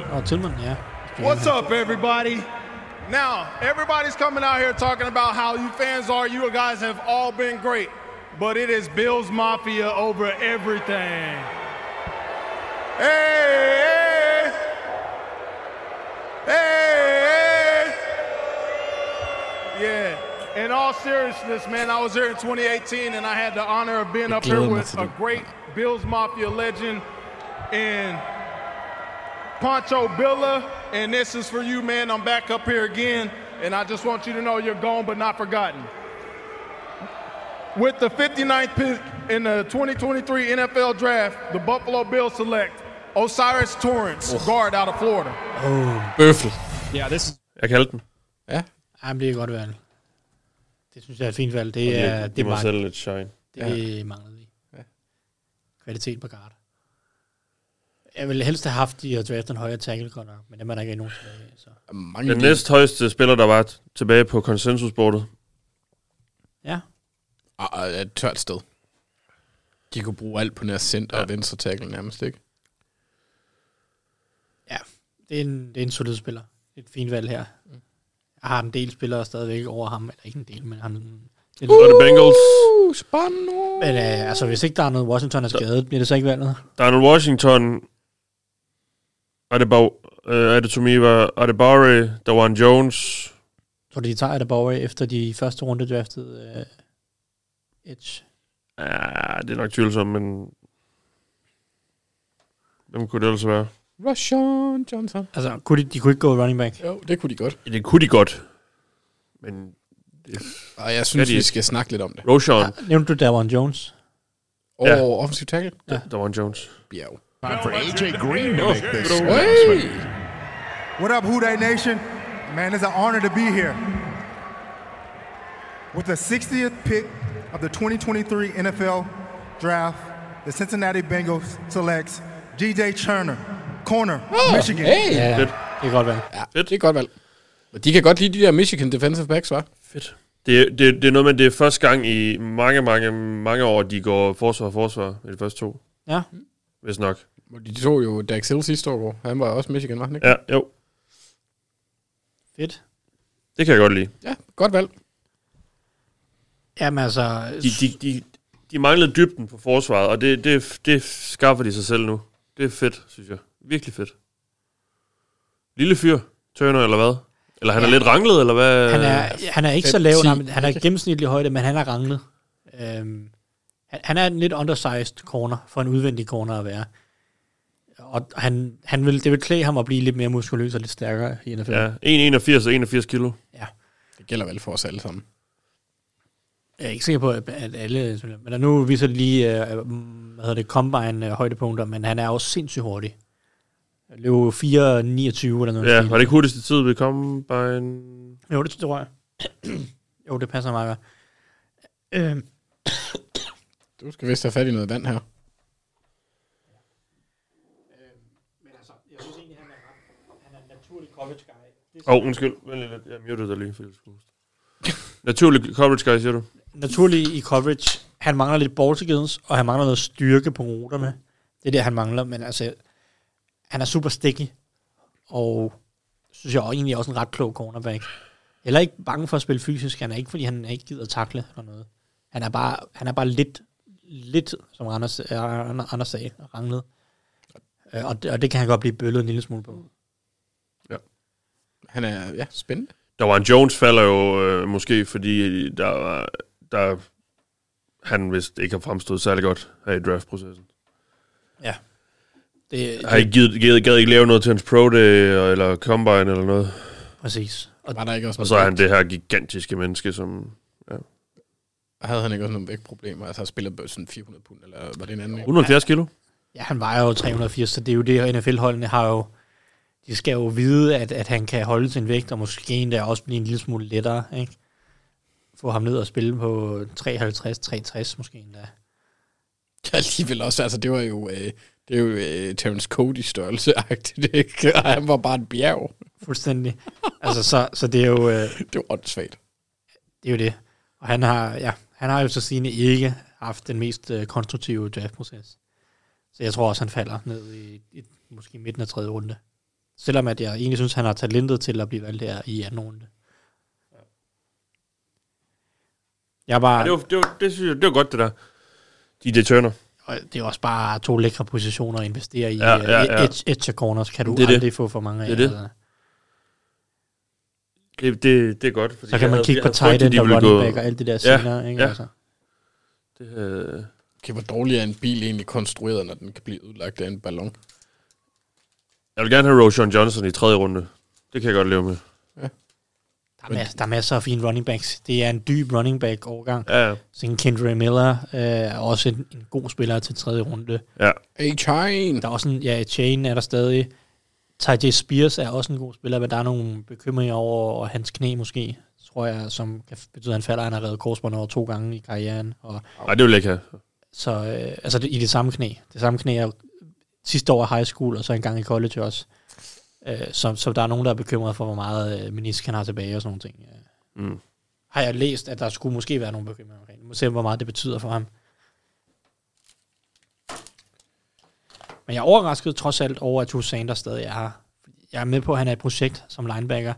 D: Øh.
F: Og Tillman, ja.
U: What's up, everybody? Now, everybody's coming out here talking about how you fans are. You guys have all been great, but it is Bills Mafia over everything. Hey! Hey! hey. Yeah. In all seriousness, man, I was here in 2018 and I had the honor of being up here
E: glæder mig
U: with
E: til
U: a
E: det.
U: great Bills Mafia legend and Poncho Billa, and this is for you, man. I'm back up here again, and I just want you to know you're gone but not forgotten. With the 59th pick in the 2023 NFL Draft, the Buffalo Bills select Osiris Torrance, guard out of Florida.
E: Oh. Bøffel.
U: Yeah, this is
D: Jeg kaldte den.
E: Ja.
F: Ej, men det er et godt valg. Det synes jeg er et fint valg.
D: Og
F: Det
D: de-
F: er,
D: de
F: det
D: må
F: mangler-
D: sælge lidt shine.
F: Det ja. manglede vi. Ja. Kvalitet på guard. Jeg ville helst have haft de at drafte en højere tackle, godt nok, men dem er der ikke nogen tilbage. Så.
E: Mange
D: Den næst højeste spiller, der var t- tilbage på konsensusbordet.
E: Og, og er et tørt sted. De kunne bruge alt på nær center ja. og venstre tackle nærmest, ikke?
F: Det er, en, det er en solid spiller. Et fint valg her.
E: Mm.
F: Jeg har en del spillere stadigvæk over ham, eller ikke en del, men han... Det
D: Så er det Bengals.
E: Uh, spændende.
F: Men øh, altså, hvis ikke der er noget Washington er skadet, bliver det så ikke valget?
D: Donald Washington, Adebaw, uh, Adetumiva, Adebawe, Dawan Jones.
F: Tror du, de tager Adebawe efter de første runde draftede øh, Edge?
D: Ja, det er nok tvivlsomt, men... Hvem kunne det ellers være?
E: Rashawn Johnson.
F: Altså, kunne de, de kunne ikke gå running back?
E: Jo, det kunne de godt.
D: Det kunne de godt, men... Det,
E: Og jeg synes,
D: de
E: vi
D: ikke.
E: skal snakke lidt om det.
D: Roshan.
E: Ja.
D: Ja.
F: Nævnte du Davon Jones?
E: Og
D: Ja.
E: ja. offensive tackle.
D: ja. Dawan Jones.
E: Bjerg.
I: Time for AJ Green to
D: Oh,
I: make this
D: good old-
I: announcement.
O: What up, Houday Nation? Man, it's an honor to be here. With the 60th pick of the 2023 NFL Draft, the Cincinnati Bengals selects DJ Turner, corner, Michigan.
E: Hey.
F: Ja, det er godt valg.
E: Ja, det er godt valg. Og de kan godt lide de der Michigan defensive backs, var.
D: Fedt. Det, det, det er noget med, det er første gang i mange, mange, mange år, de går forsvar og forsvar i de første to.
F: Ja.
D: Hvis nok.
E: De tog jo Dax Hill sidste år. Han var også Michigan, var han ikke?
D: Ja, jo.
F: Fedt.
D: Det kan jeg godt lide.
E: Ja, godt valg.
F: Jamen altså...
D: De, de, de, de manglede dybden på forsvaret, og det, det, det skaffer de sig selv nu. Det er fedt, synes jeg. Virkelig fedt. Lille fyr, Turner, eller hvad? Eller han ja. er lidt ranglet, eller hvad?
F: Han er, han er ikke
D: Øh,
F: så lav, nej, men han er gennemsnitlig højde, men han er ranglet. Øhm, han, han er en lidt undersized corner, for en udvendig corner at være. Og han, han vil, det vil klæde ham at blive lidt mere muskuløs og lidt stærkere i NFL.
D: Ja, 1,81 og 81 kilo.
E: Det gælder vel for os alle sammen.
F: Jeg er ikke sikker på, at at alle... Men der nu viser det lige, øh, hvad hedder det, combine-højdepunkter, men han er også sindssygt hurtig. Han Løb 4,29 eller noget.
D: Ja, var det ikke hurtigste tid, vi kom by en...
F: Jo, det tror jeg. jo, det passer meget godt. Øhm,
E: Du skal vist have fat i noget vand her.
D: Åh, oh, undskyld. Vent lige lidt. Jeg mutede dig lige, fordi jeg skulle huske. det. Naturlig coverage, guy, siger du?
F: naturlig i coverage. Han mangler lidt ball skills, og han mangler noget styrke på ruterne. Det er det, han mangler, men altså, han er super sticky, og synes jeg også- egentlig også en ret klog cornerback. Eller ikke bange for at spille fysisk, han er ikke, fordi han ikke gider at takle eller noget. Han er bare, han er bare lidt, lidt, som Anders, øh, Anders sagde, ranglet. Øh, Og det, og det kan han godt blive bøllet en lille smule på.
E: Han er, ja, spændende.
D: Der var en Jones falder jo øh, måske, fordi der var, der, han vist ikke har fremstået særlig godt her i draftprocessen.
F: Det,
D: Har ikke givet, givet, gad ikke lave noget til hans pro day, og- eller combine, eller noget.
F: Præcis.
E: Og, var der ikke også
D: Og
E: noget
D: så er
E: bag-
D: han det her gigantiske menneske, som... Ja.
E: havde han ikke også nogle vægtproblemer? Altså, han spillede bare sådan 400 pund, eller var det en anden?
D: 170 kilo?
F: Ja, han vejer jo 380, så det er jo det, og NFL-holdene har jo... De skal jo vide, at, at han kan holde sin vægt, og måske endda også blive en lille smule lettere, ikke? Få ham ned og spille på 53, 63 måske endda.
E: Ja, alligevel også. Altså, det var jo, øh, det er jo øh, Terence Cody størrelse ikke? Og han var bare en bjerg.
F: Fuldstændig. Altså, så, så det er jo... Øh, det
E: er jo åndssvagt.
F: Det er jo det. Og han har, ja, han har jo så sine ikke haft den mest øh, konstruktive draftproces. Så jeg tror også, han falder ned i, i måske midten af tredje runde. Selvom at jeg egentlig synes, han har talentet til at blive valgt her i anden runde. Jeg
D: Ja,
F: var,
D: det, var, det, var, det, synes jeg, det var godt, det der. DJ Turner.
F: og det er også bare to lækre positioner at investere i. øh,
D: Ja, ja, ja.
F: Edge, edge corners kan du
D: Det er
F: det
D: det.
F: aldrig det. få for mange af.
D: Det er det.
F: altså.
D: Det, det, det er godt. Fordi
F: Så kan
D: jeg
F: man
D: havde-
F: kigge
D: jeg
F: på
D: havde frygtet,
F: tight end
D: de
F: og
D: ville
F: running
D: gå-
F: back og alt det der
D: ja,
F: senere, ikke?
D: Ja.
F: Altså.
D: Det, øh,
E: Okay, hvor dårlig er en bil egentlig konstrueret, når den kan blive udlagt af en ballon?
D: jeg vil gerne have Roshan Johnson i tredje runde. Det kan jeg godt leve med.
F: Der, er masser, der er masser af fine running backs. Det er en dyb running back overgang.
D: Ja, ja.
F: Sådan Kendra Miller øh, er også en, en, god spiller til tredje runde.
D: Ja.
E: A-Chain.
F: Der er også en, ja, A-Chain er der stadig. Tajay Spears er også en god spiller, men der er nogle bekymringer over hans knæ måske, tror jeg, som kan betyde, at han falder. Han har reddet korsbånd over to gange i karrieren. Og
D: Nej, det vil jeg ikke have.
F: Så øh, altså det, i det samme knæ. Det samme knæ er jo sidste år i high school, og så en gang i college også. Øh, så, så der er nogen, der er bekymret for, hvor meget øh, menisk han har tilbage og sådan nogle ting.
D: Mm.
F: Har jeg læst, at der skulle måske være nogle bekymringer omkring. det. Må se, hvor meget det betyder for ham. Men jeg er overrasket trods alt over, at Hugh Sanders stadig er her. Jeg er med på, at han er et projekt som linebacker.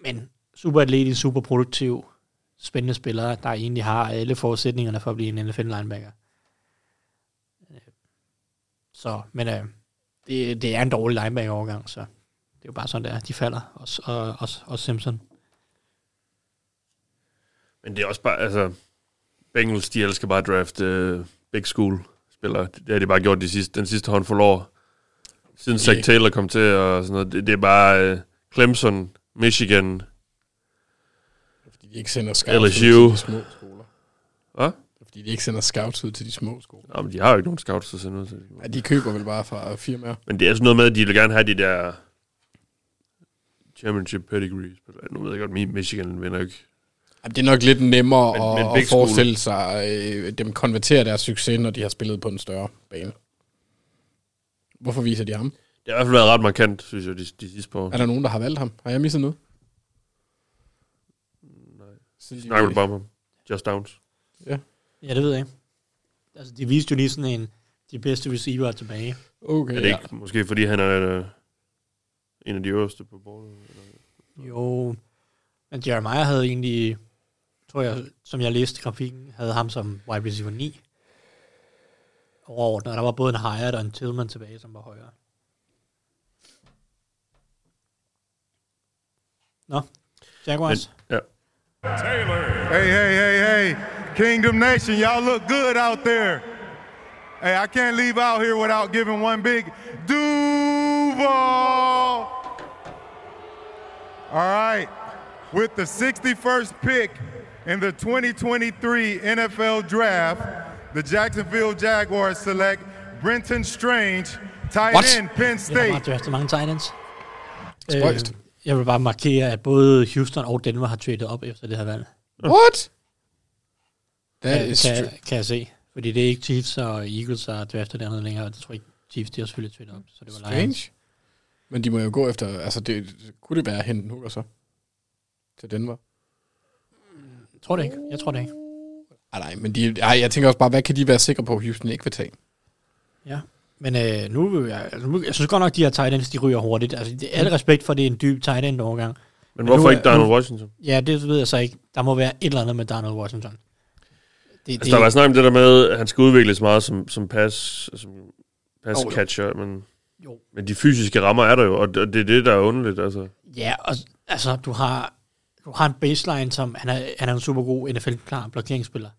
F: Men super atletisk, super produktiv, spændende spiller, der egentlig har alle forudsætningerne for at blive en NFL linebacker. Øh, Så, men øh, det, det er en dårlig linebacker overgang, så det er jo bare sådan, det er. De falder, også, og, også, også Simpson.
D: Men det er også bare, altså... Bengals, de elsker bare at drafte øh, big school spillere. Det har de bare gjort de sidste, den sidste håndfuld år. Siden Zach
P: Ja.
D: Taylor kom til og sådan noget. Det, det er bare øh, Clemson, Michigan,
E: Fordi de ikke sender scouts ud til
D: LSU.
E: de små skoler.
D: Hvad?
E: Fordi de ikke sender scouts ud til de små skoler.
D: Nå, men de har jo ikke nogen scouts, der sender ud til de
E: Ja, de køber vel bare fra firmaer.
D: Men det er sådan noget med, at de vil gerne have de der championship pedigrees. Nu ved jeg godt, Mi- Michigan vinder jo ikke.
E: Jamen, det er nok lidt nemmere
D: Men-
E: men, at,
D: men
E: men
D: big
E: at
D: school.
E: forestille sig, øh, dem konvertere deres succes, når de har spillet på en større bane. Hvorfor viser de ham?
D: Det har i hvert fald været ret markant, synes jeg, de, de sidste par år.
E: Er der nogen, der har valgt ham? Har jeg misset noget? Nej.
D: Snakker vel bare om ham. Just Downs.
F: Ja, det ved jeg ikke. Altså, de viste jo lige sådan en, de bedste receiver er tilbage.
E: Okay,
D: er det ikke måske, fordi han er øh, en af de øverste på bordet?
F: Jo, men Jeremiah havde egentlig, tror jeg, som jeg læste grafikken, havde ham som wide receiver 9 overordnet, og der var både en Hyatt og en Tillman tilbage, som var højere. Nå, Jaguars.
D: Men, ja.
A: Hey, hey, hey, hey. Kingdom Nation, y'all look good out there. Hey, I can't leave out here without giving one big Duval. All right. With the 61st pick in the 2023 NFL Draft, the Jacksonville Jaguars select Brenton Strange, tight
F: What?
A: end, Penn
F: Jeg har
A: State.
F: bare draftet mange tight ends.
A: Spøjst.
F: Øh, jeg vil bare markere, at både Houston og Denver har traded op efter det her valg.
E: What? That
F: Kan,
E: is
F: kan,
E: true.
F: kan jeg se. Fordi det er ikke Chiefs og Eagles, der er draftet dernede længere. Jeg tror ikke, Chiefs de har selvfølgelig traded op. Så det var Lions.
E: Strange. Men de må jo gå efter, altså det, kunne det være henten Hooker så? Til Denver?
F: Jeg tror det ikke. Jeg tror det ikke.
E: Ej, Ah, nej, men de, ej, jeg tænker også bare, hvad kan de være sikre på, at Houston ikke vil tage?
F: Ja. Men øh, nu, vil jeg, altså, nu, jeg synes godt nok, de her tight ends, de ryger hurtigt. Altså, det,
E: Mm.
F: alle respekt for, at det er en dyb tight end overgang.
D: Men hvorfor
F: nu er-
D: ikke Donald
F: nu-
D: Washington?
F: Ja, det ved jeg så ikke. Der må være et eller andet med Donald Washington. Det,
D: Altså, der var snak om det der med, at han skal udvikles meget som, som pass, som pass
F: Jo, jo.
D: catcher, men, men de fysiske rammer er der jo, og det, og det er det, der er underligt. Altså.
F: Ja, og s- altså, du har, du har en baseline, som han er, han er en super god NFL-klar blokeringsspiller.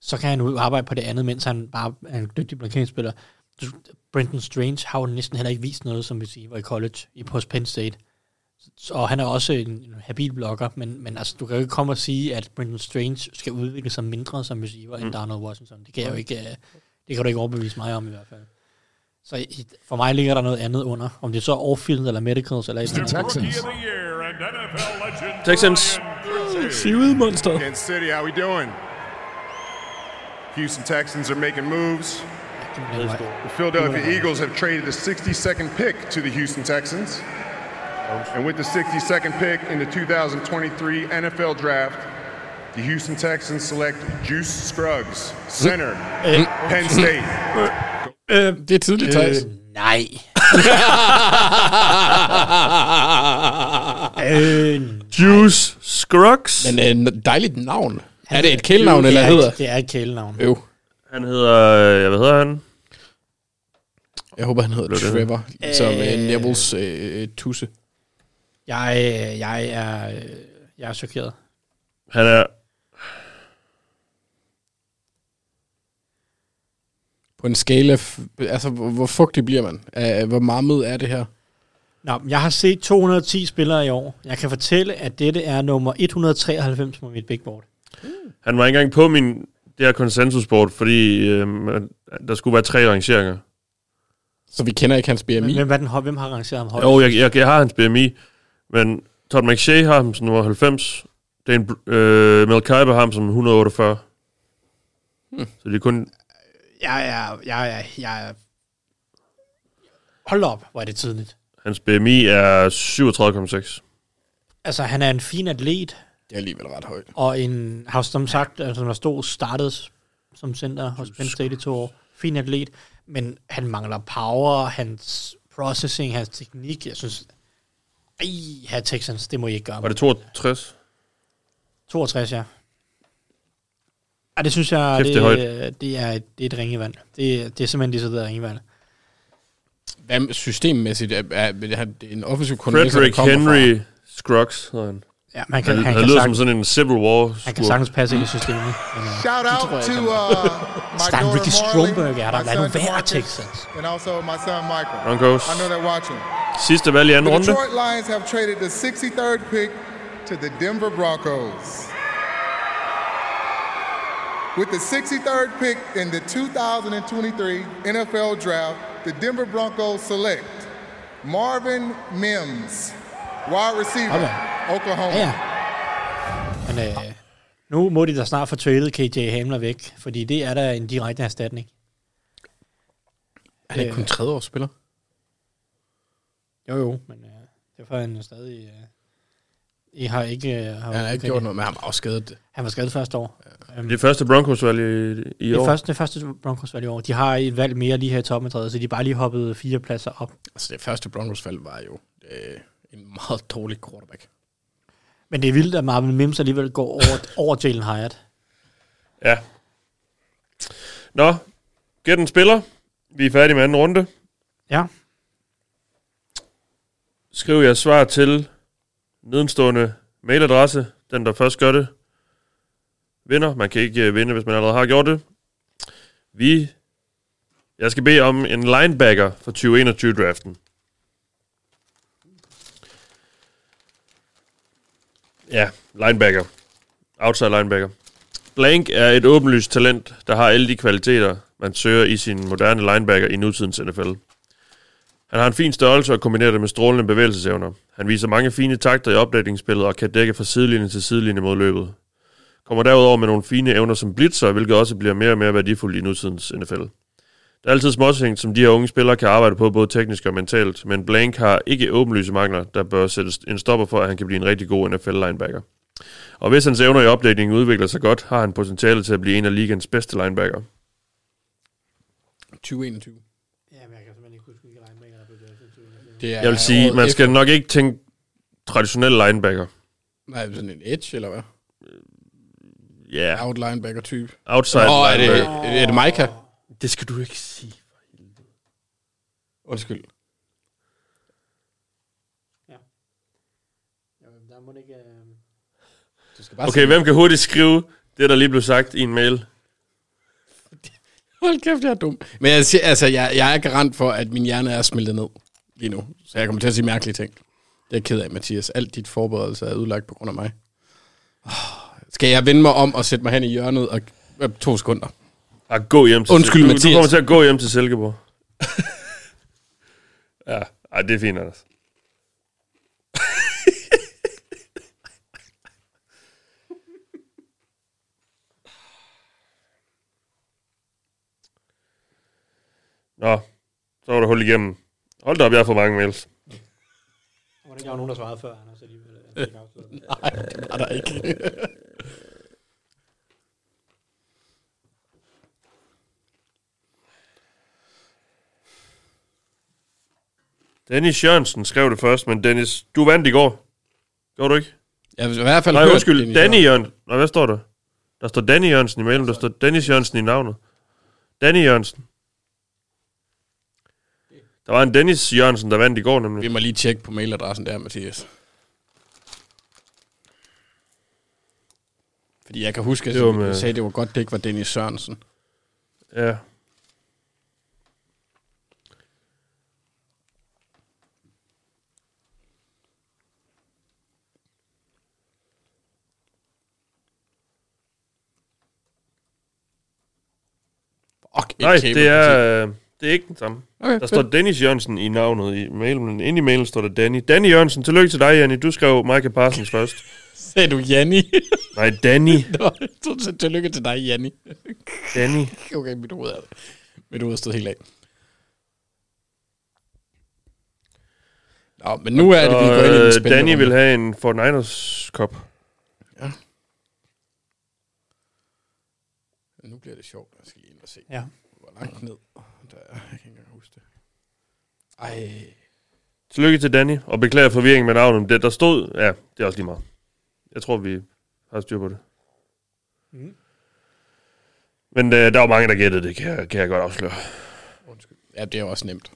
F: Så kan han ud og arbejde på det andet, mens han bare er en dygtig blokeringsspiller. Du- Brenton Strange har jo næsten heller ikke vist noget, som vi siger, var i college i på Penn State. Så- Og han er også en en habil blogger, men, men altså, du kan jo ikke komme og sige, at Brendan Strange skal udvikle sig mindre som receiver mm.
D: Mm.
F: end Darnold Washington. Det kan jeg jo ikke, øh, det kan du ikke overbevise mig om i hvert fald. Så i- for mig ligger der noget andet under. Om det så er off-field eller medicals eller... et eller andet.
D: Texans.
C: Sig ud, monster.
V: Kansas City, how we doing? Houston Texans are making moves. The Philadelphia Eagles have traded the 62nd pick to the Houston Texans. And with the 62nd pick in the 2023 NFL Draft, the Houston Texans select Juice Scruggs, center,
E: Mm.
V: Penn State.
E: Øh, det er tidligt, Thijs.
F: Øh, nej. Øh,
D: Juice Scruggs.
E: Men øh, dejligt navn.
F: Han
E: er det et
F: hedder-
E: kælenavn,
F: det
E: eller
F: er
E: hedder
F: et- Det er et kælenavn.
E: Øv.
D: Han hedder, øh, hvad hedder han?
E: Jeg håber, han hedder
D: Blev det?
E: Trevor, som øh,
F: Øh.
E: Neville's øh, tusse.
F: Jeg, øh, jeg, er, øh, jeg er chokeret.
D: Han er...
E: På en skala, f- altså hvor, hvor fugtig bliver man? Uh, hvor mammet er det her?
F: Nå, men jeg har set 210 spillere i år. Jeg kan fortælle, at dette er nummer 193 på mit big board.
D: Han var ikke engang på min det her konsensusboard, fordi øhm, at- at der skulle være tre rangeringer.
E: Så vi kender ikke hans BMI?
F: Men, hvem, er den, høj- hvem har rangeret ham højt?
D: Jo, jeg, jeg, jeg har hans BMI, men Todd McShay har ham som nummer 90. Dan, Br- øh, Mel Kiper har ham som 148.
F: Hmm.
D: Så det er kun...
F: Jeg er... Jeg er, jeg er Hold op, hvor er det tidligt.
D: Hans BMI er 37,6.
F: Altså, han er en fin atlet.
E: Det er alligevel ret højt.
F: Og en, har som sagt, altså, når stod startede som center hos Penn State i to år. Fin atlet, men han mangler power, hans processing, hans teknik. Jeg synes, ej, her Texans, det må I ikke gøre.
D: Var det 62?
F: 62, ja. Ej, det synes jeg,
D: Kæft, det
F: det,
D: er
F: det, det, er, et- det er et ringevand. Det, det er simpelthen det, der ringevand.
E: Hvad med systemmæssigt? Er, er, er det en offensiv koordinator,
D: Frederick
E: der kommer
D: Henry fra. Scruggs hedder han.
F: Ja, man kan-
D: han,
F: han
D: han,
F: kan
D: lyder som
F: sagtens-
D: sådan en Civil War.
F: Han kan sagtens passe ind i systemet.
N: Shout out to uh, my
F: Stan
N: daughter
F: Ricky
N: Marley,
F: Stromberger er der.
N: my
F: Lad
N: son
F: nu være,
N: Demarcus,
F: Texans.
N: And also my son Michael.
D: Broncos.
N: I know they're watching.
D: Sidste valg i anden
N: the
D: runde.
N: Detroit Lions have traded the 63rd pick to the Denver Broncos. With the 63rd pick in the 2023 NFL Draft, the Denver Broncos select Marvin Mims, wide receiver,
F: Hold
N: Oklahoma.
F: Men øh, nu må de da snart få traded KJ Hamler væk, fordi det er da en direkte erstatning. Øh.
E: Er det ikke kun tredje års spiller?
F: Jo, jo, men øh, derfor er han jo stadig... Øh, I har ikke... Øh, har
E: Han har ikke gjort noget, men han var også skadet.
F: Han var skadet første år. Øhm,
D: Det er første Broncos-valg i, i
F: det er
D: år.
F: første, det første Broncos valg i år. De har et valg mere lige her i toppen af træet, så de er bare lige hoppet fire pladser op.
E: Altså det første Broncos-valg var jo øh, en meget dårlig quarterback.
F: Men det er vildt, at Marvin Mims alligevel går over, over Jalen Hyatt.
D: Ja. Nå, gæt en spiller. Vi er færdige med anden runde.
F: Ja.
D: Skriv jeres svar til nedenstående mailadresse. Den, der først gør det, vinder. Man kan ikke øh, vinde, hvis man allerede har gjort det. Vi... Jeg skal bede om en linebacker for 2021-draften. Ja, linebacker. Outside linebacker. Blank er et åbenlyst talent, der har alle de kvaliteter, man søger i sin moderne linebacker i nutidens NFL. Han har en fin størrelse og kombinerer det med strålende bevægelsesevner. Han viser mange fine takter i opdækningsspillet og kan dække fra sidelinje til sidelinje mod løbet. Kommer derudover med nogle fine evner som blitzer, hvilket også bliver mere og mere værdifuldt i nutidens NFL. Der er altid småting, som de her unge spillere kan arbejde på, både teknisk og mentalt, men Blank har ikke åbenlyse mangler, der bør sættes en stopper for, at han kan blive en rigtig god NFL-linebacker. Og hvis hans evner i opdækningen udvikler sig godt, har han potentiale til at blive en af ligens bedste linebacker.
E: 2021.
D: Det
E: Ja,
D: er
E: men
D: jeg vil
E: kan
D: sige, man skal nok ikke tænke traditionel linebacker.
E: Nej, sådan en edge, eller hvad?
D: Ja.
E: Out linebacker-type.
D: Outside
E: Nå, er det,
D: linebacker.
E: er det Micah?
D: Det skal du ikke sige.
E: Undskyld.
F: Der må ikke...
E: Du skal
D: Okay, hvem kan hurtigt skrive det, der lige blev sagt i en mail?
E: Hold kæft, jeg er dum. Men jeg, siger, altså, jeg, jeg er garant for, at min hjerne er smeltet ned lige nu. Så jeg kommer til at sige mærkelige ting. Det er jeg ked af, Mathias. Alt dit forberedelse er ødelagt på grund af mig. Oh, Skal jeg vende mig om og sætte mig hen i hjørnet og, øh, to sekunder?
D: Og gå hjem til
E: Undskyld,
D: du,
E: Mathias.
D: Du kommer til at gå hjem til Silkeborg. ja, ej, det er fint, Anders. Nå, så var der hul igennem. Hold da op, jeg har fået mange mails.
F: Må det ikke være nogen, der svarede før, Anders? alligevel?
E: Øh. Nej, det var der ikke.
D: Dennis Jørgensen skrev det først, men Dennis, du vandt i går. Gjorde du ikke?
E: Jeg har i hvert fald
D: Nej,
E: hørt
D: undskyld,
E: Dennis
D: Danny
E: Jørgensen.
D: Jørgensen. Nej, hvad står der? Der står Danny Jørgensen i mailen, der står Dennis Jørgensen i navnet. Danny Jørgensen. Der var en Dennis Jørgensen, der vandt i går nemlig.
E: Vi må lige tjekke på mailadressen der, Mathias. Fordi jeg kan huske, at
D: Det var med-
E: jeg sagde, at det var godt, det ikke var Dennis Sørensen.
D: Ja.
E: Fuck,
D: Nej,
E: et kæmpe
D: det er, øh, det er ikke den samme.
E: Okay,
D: Okay, der står
E: fedt.
D: Dennis Jørgensen i navnet i mailen, men inde i mailen står der Danny. Danny Jørgensen, tillykke til dig, Janni. Du skrev Michael Parsons først.
E: Sagde du Janni?
D: Nej, Danny.
E: Nå, så tillykke til dig, Janni.
D: Danny.
E: Okay, mit hoved er Mit hoved er stået helt af. Nå, men nu er det, vi går ind i den
D: Og, øh,
E: spændende
D: Danny
E: runde.
D: vil have en Fort Niners kop.
E: Nu bliver det sjovt. Jeg skal lige ind og se,
F: Ja.
E: hvor langt ned der er. Jeg kan ikke engang huske det. Ej.
D: Tillykke til Danny, og beklager forvirringen med navnet. men Det, der stod, ja, det er også lige meget. Jeg tror, vi har styr på det.
E: Mm.
D: Mm. Men øh, der var mange, der gættede det, kan jeg, kan jeg godt afsløre.
E: Ja, det er jo også nemt.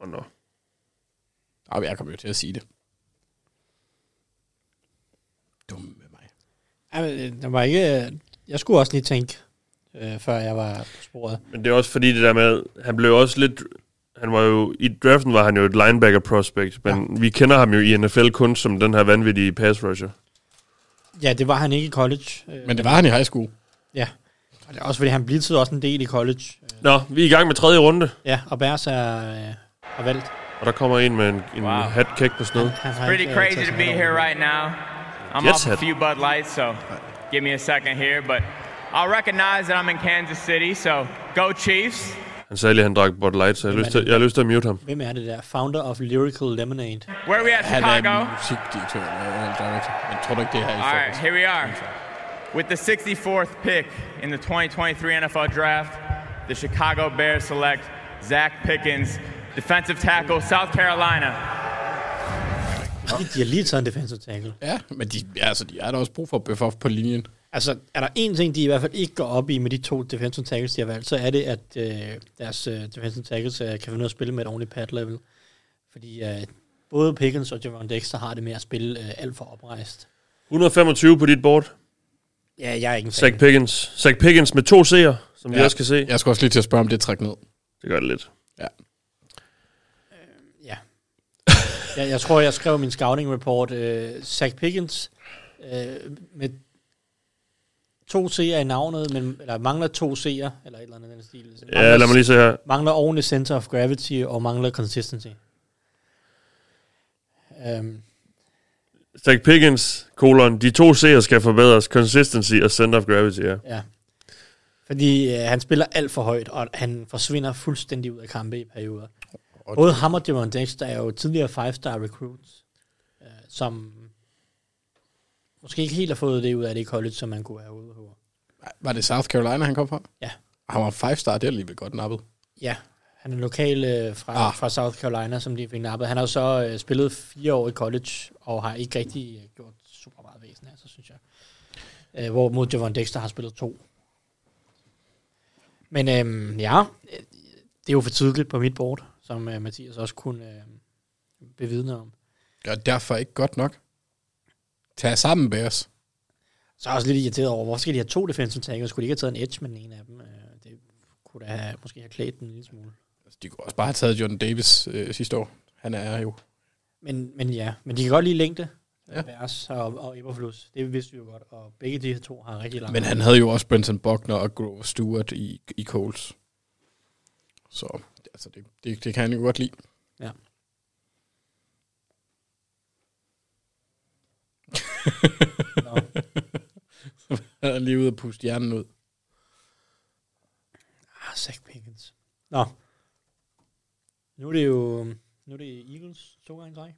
D: Åh, oh, no.
E: Ej, men jeg kommer jo til at sige det.
F: Ej, men, det var ikke... øh, Jeg skulle også lige tænke, øh, før jeg var på sporet.
D: Men det er også fordi det der med, han blev også lidt... Han var jo, I draften var han jo et linebacker prospect, men ja. vi kender ham jo i NFL kun som den her vanvittige pass rusher.
F: Ja, det var han ikke i college. Øh,
E: Men det var han i high school.
F: Ja. Og det er også fordi, han blev også en del i college. øh.
D: Nå, vi er i gang med tredje runde,
F: Ja, og Bærs er, øh, har valgt.
D: og der kommer en med en, en wow. hat kæk på sned.
F: Han har
B: Pretty
F: ikke, øh,
B: crazy
F: taget
B: to
F: sin
B: be
F: hat over.
B: here right now. I'm
D: Jets
B: off a
D: had-
B: few Bud Lights, so give me a second here. But I'll recognize that I'm in Kansas City, so go Chiefs.
D: Han sagde lige, at han drak Bud Light, så jeg har lyst til, jeg har lyst til at mute ham.
F: Hvem er det der? Founder of Lyrical Lemonade.
B: Where are we at,
E: Han
B: Chicago?
E: er musikdirektør. eller director. Jeg tror du ikke, det er her i
B: All right,
E: Stockholm?
B: here we are. With the 64th pick in the 2023 NFL Draft, the Chicago Bears select Zach Pickens, defensive tackle, South Carolina.
F: De har lige taget en defensive tackle.
E: Ja, men de, ja, altså, de er der også brug for bøf op på linjen.
F: Altså, er der én ting, de i hvert fald ikke går op i med de to defensive tackles, de har valgt, så er det, at øh, deres øh, defensive tackles øh, kan finde ud af at spille med et ordentligt pad level. Fordi øh, både Pickens og Javon Dexter har det med at spille øh, alt for oprejst.
D: 125 på dit board.
F: Ja, jeg er ikke en fan.
D: Zach Pickens. Zach Pickens med to C'er, som ja. vi
E: Ja.
D: også kan se.
E: Jeg skal også lige til at spørge, om det er træk ned.
D: Det gør det lidt.
F: Jeg, jeg tror, jeg skrev min scouting report, øh, Zach Pickens, øh, med to C'er i navnet, men, eller mangler to C'er, eller et eller andet i den stil.
D: Ja, lad mig lige se her.
F: Mangler ordentlig center of gravity, og mangler consistency. Øhm,
D: Zach Pickens, kolon, de to C'er skal forbedres. Consistency og center of gravity, ja.
F: ja. Fordi øh, han spiller alt for højt, og han forsvinder fuldstændig ud af kampe i perioder. Både ham og Javon Dexter er jo tidligere five-star recruits, øh, som måske ikke helt har fået det ud af det i college, som man kunne have ude på.
E: Var det South Carolina, han kom fra?
F: Ja.
E: Han var five-star, det er alligevel godt nappet.
F: Ja, han er lokal øh, fra,
E: Ah.
F: ah. fra South Carolina, som de fik nappet. Han har jo så øh, spillet fire år i college, og har ikke rigtig øh, gjort super meget væsen af sig, synes jeg. Øh, hvor mod Javon Dexter har spillet to. Men øhm, ja, øh, det er jo for tidligt på mit board, som øh, Mathias også kunne øh, bevidne om.
E: Ja, derfor ikke godt nok. Tag sammen, Bears.
F: Så er jeg også lidt irriteret over, hvorfor skal de have to defensive tackles? Skulle de ikke have taget en edge med den ene af dem? Øh, det kunne da have, måske have klædt den en lille smule.
E: Altså, De kunne også bare have taget Jordan Davis øh, sidste år. Han er jo...
F: Men, men ja, men de kan godt lide længde. Ja. Vers og, og Eberflus. Det vidste vi jo godt. Og begge de her to har rigtig langt.
E: Men han havde jo også Brenton Buckner og Grover Stewart i, i Coles. Så altså det, det, det kan han jo godt lide.
F: Ja.
E: Nå. han er lige ude og puste hjernen ud.
F: Ah, Zach Pickens. Nå. Nu er det jo... øhm, Nu er det Eagles to gange i træk.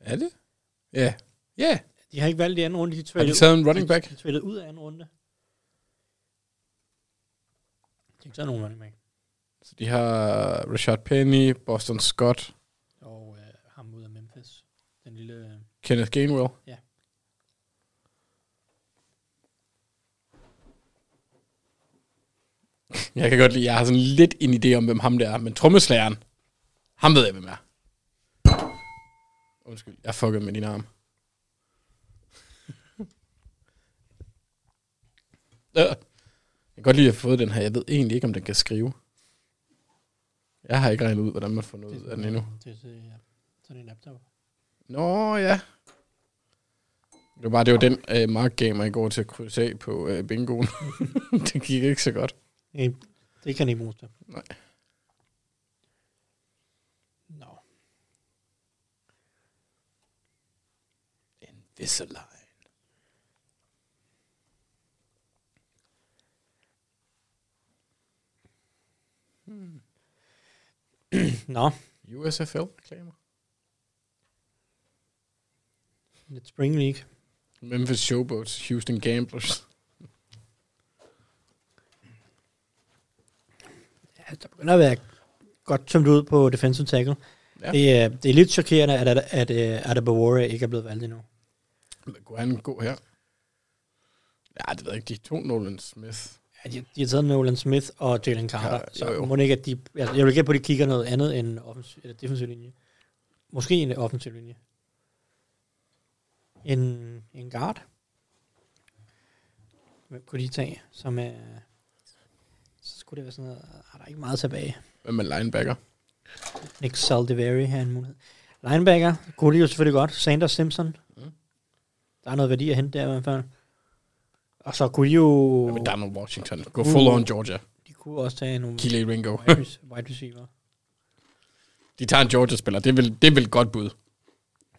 E: Er det? Ja. Ja.
F: De har ikke valgt i anden runde. De
E: Har de
F: traded
E: taget en running back?
F: De traded ud af anden runde. De har ikke taget nogen running back.
E: Så de har Richard Penny, Boston Scott,
F: Og øh, ham ud af Memphis. Den lille... øh,
E: Kenneth Gainwell.
F: Ja.
E: Jeg kan godt lide, jeg har sådan lidt en idé om, hvem ham der er, men trommeslageren, ham ved jeg, hvem er. Undskyld, jeg fuckede med din arm. Øh. jeg kan godt lide, at jeg har fået den her. Jeg ved egentlig ikke, om den kan skrive. Jeg har ikke regnet ud, hvordan man får noget ud af den endnu.
F: Til, til, ja. Sådan en laptop.
E: Nå ja. Det var bare, det var den øh, Mark gav mig i går til at krydse af på øh, bingoen. det gik ikke så godt.
F: Øh, Det kan ikke bruges til.
E: Nej.
F: Nå.
E: Invisalign.
F: Hmm. Nå.
E: USFL-reklamer.
F: Lidt Spring League.
E: Memphis Showboats, Houston Gamblers.
F: begynder at være godt tømt ud på defensive tackle.
E: Ja.
F: Ja. Det, er, det er lidt chokerende, at, at, at, øh, Adebayor ikke er blevet valgt endnu.
E: Kunne han gå her? Ja, det ved jeg ikke. De to Nolan Smith.
F: Ja, de, de har taget Nolan Smith og Jalen Carter, ja,
E: Ja,
F: så
E: jo, jo.
F: må det ikke, at de... Altså, jeg vil gætte på, at de kigger noget andet end offensiv, eller defensiv linje. Måske en offensiv linje. En, en guard. Hvem kunne de tage, som er... Så skulle det være sådan noget... Er der er ikke meget tilbage?
E: Hvem er linebacker?
F: Nick Saldivari har en mulighed. Linebacker kunne de jo selvfølgelig godt. Sanders Simpson. Mm. Der er noget værdi at hente der i hvert fald. Og så kunne de jo...
E: Jamen, Donald Washington. Gå full
F: Uh.
E: on Georgia.
F: De kunne også tage nogle...
E: Keely Ringo.
F: wide rec- wide receiver.
E: De tager en Georgia-spiller. Det vil, det vil godt bud.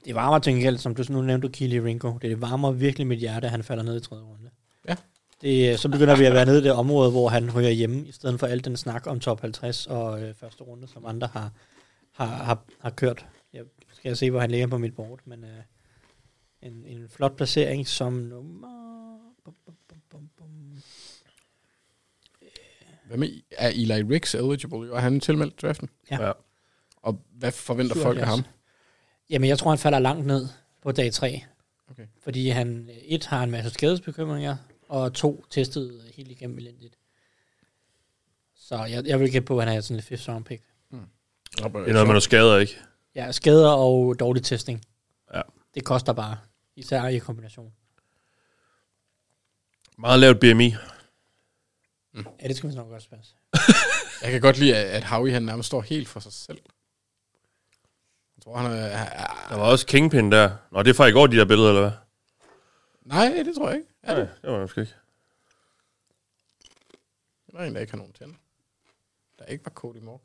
F: Det varmer til gengæld, som du nu nævnte, Keely Ringo. Det varmer virkelig mit hjerte, at han falder ned i tredje runde.
E: Ja.
F: Det, øh, så begynder vi at være nede i det område, hvor han ryger hjemme, i stedet for al den snak om top 50 og øh, første runde, som andre har, har, har, har kørt. Jeg skal se, hvor han ligger på mit board, men øh, en, en flot placering som nummer... Bum, bum, bum, bum, bum.
E: Hvad med, er Eli Riggs eligible? Og han tilmeldt draften?
F: Ja. Ja.
E: Og hvad forventer folk af ham?
F: 77. Jamen, jeg tror, han falder langt ned på dag 3.
E: Okay.
F: Fordi han, øh, et, har en masse skadesbekymringer, og to, testet helt igennem elendigt. Så jeg, jeg vil gætte på, at han er sådan et fifth round pick.
E: Hmm.
D: Det er noget med noget skader, ikke?
F: Ja, skader og dårlig testing.
D: Ja.
F: Det koster bare, især i kombination.
D: Meget lavt BMI.
F: Ja, det skal vi nok også passe.
E: Mm. Jeg kan godt lide, at at Howie han nærmest står helt for sig selv. Jeg tror, han er...
D: Der var også Kingpin der. Nå, det er fra i går, de der billeder, eller hvad?
E: Nej, det tror jeg ikke. Er
D: Nej,
E: det?
D: det var det måske ikke.
E: Der er en, der ikke har nogen tænder. Der ikke var Cody Moore.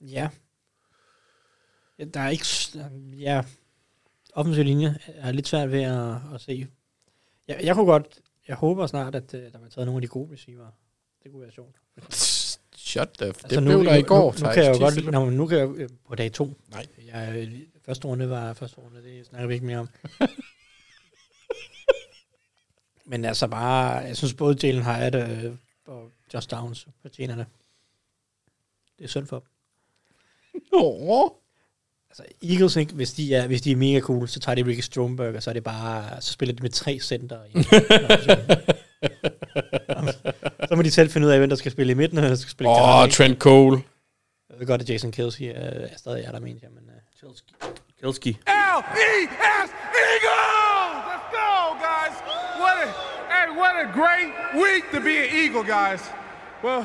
F: Ja. ja der er ikke... s- Ja, offensiv linje er lidt svært ved at, at se. Jeg, jeg kunne godt... Jeg håber snart, at øh, der bliver taget nogle af de gode receiver. Det kunne være sjovt.
E: Shut the... Altså, det blev der i går,
F: Nu, nu
E: Thijs.
F: kan jeg jo
E: Tisse.
F: godt... Nå, men nu kan jeg jo- øh, på dag to.
E: Nej.
F: Jeg, øh, første runde var første runde, det snakker vi ikke mere om. men altså bare... Jeg synes både Jalen Hyatt øh, og Josh Downs fortjener det. Det er synd for dem.
E: Nå.
F: Altså, Eagles, ikke? Hvis, de er, hvis de er mega cool, så tager de Ricky Stromberg, og så, er det bare, så spiller de med tre center. i en- så må de selv finde ud af, hvem der skal spille i midten, og hvem der skal spille i
E: Åh,
F: kanterne,
E: oh,
F: ikke?
E: Trent Cole.
F: Jeg ved godt, at Jason Kelsey øh, er stadig er der, mente jeg, men... Øh,
D: Kelski.
T: L E S Eagles! Let's go, guys! What a hey, what a
U: What a great week to be an Eagle, guys. Well,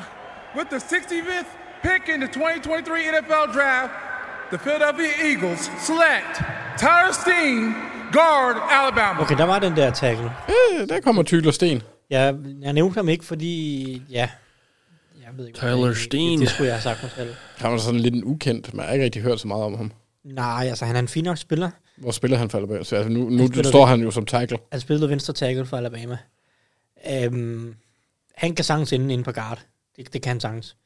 U: with the 65th pick in the 2023 NFL Draft, the Philadelphia Eagles select Tyler Steen, guard, Alabama.
F: Okay, der var den der tackle.
E: Øh, der kommer Tyler Sten.
F: Jeg, jeg nævnte ham ikke, fordi... Ja, jeg ved ikke, hvad
E: Tyler
F: det-
E: Steen.
F: Det, det skulle jeg have sagt mig selv.
E: Han var sådan lidt en ukendt, men jeg har ikke rigtig hørt så meget om ham.
F: Nej, altså han er en fin nok spiller.
E: Hvor spiller han falder bag? Så altså, nu,
F: Han
E: nu
F: spiller
E: står
F: venstre-
E: han jo som tackle.
F: Han spillede venstre tackle for Alabama. Øhm, han kan sagtens ende inde på guard. Det, det kan han sagtens.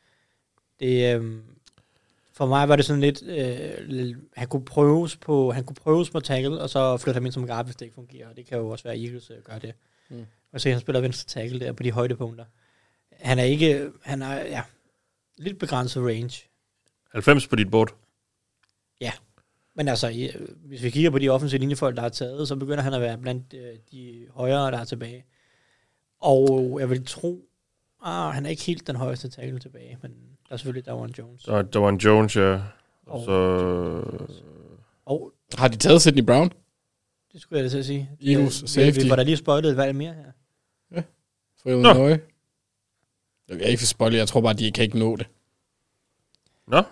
F: Det, øhm, for mig var det sådan lidt, øh, lidt- han kunne prøves på, han kunne prøves på tackle, og så flytte ham ind som guard, hvis det ikke fungerer. Og det kan jo også være, at Eagles øh, gør det.
E: Mm.
F: Mm. Og se, han spiller venstre tackle der på de højdepunkter. Han er ikke, han er, ja, lidt begrænset range.
D: 90 på dit bord.
F: Ja. Men altså, i- øh, hvis vi kigger på de offensive linjefolk, der er taget, så begynder han at være blandt øh, de højere, der er tilbage. Og jeg vil tro, ah, han er ikke helt den højeste tackle tilbage, men der er selvfølgelig Darwin Jones.
D: Der, der var en Jones, ja. Og så...
F: Og
E: Har de taget Sidney Brown?
F: det skulle jeg da til at sige.
E: Eagles
F: Øh,
E: safety.
F: Vi, vi var da lige spøjtet et valg mere her.
E: For Illinois? Jeg er ikke for spoiler, jeg tror bare, de kan ikke nå det.
D: Nå.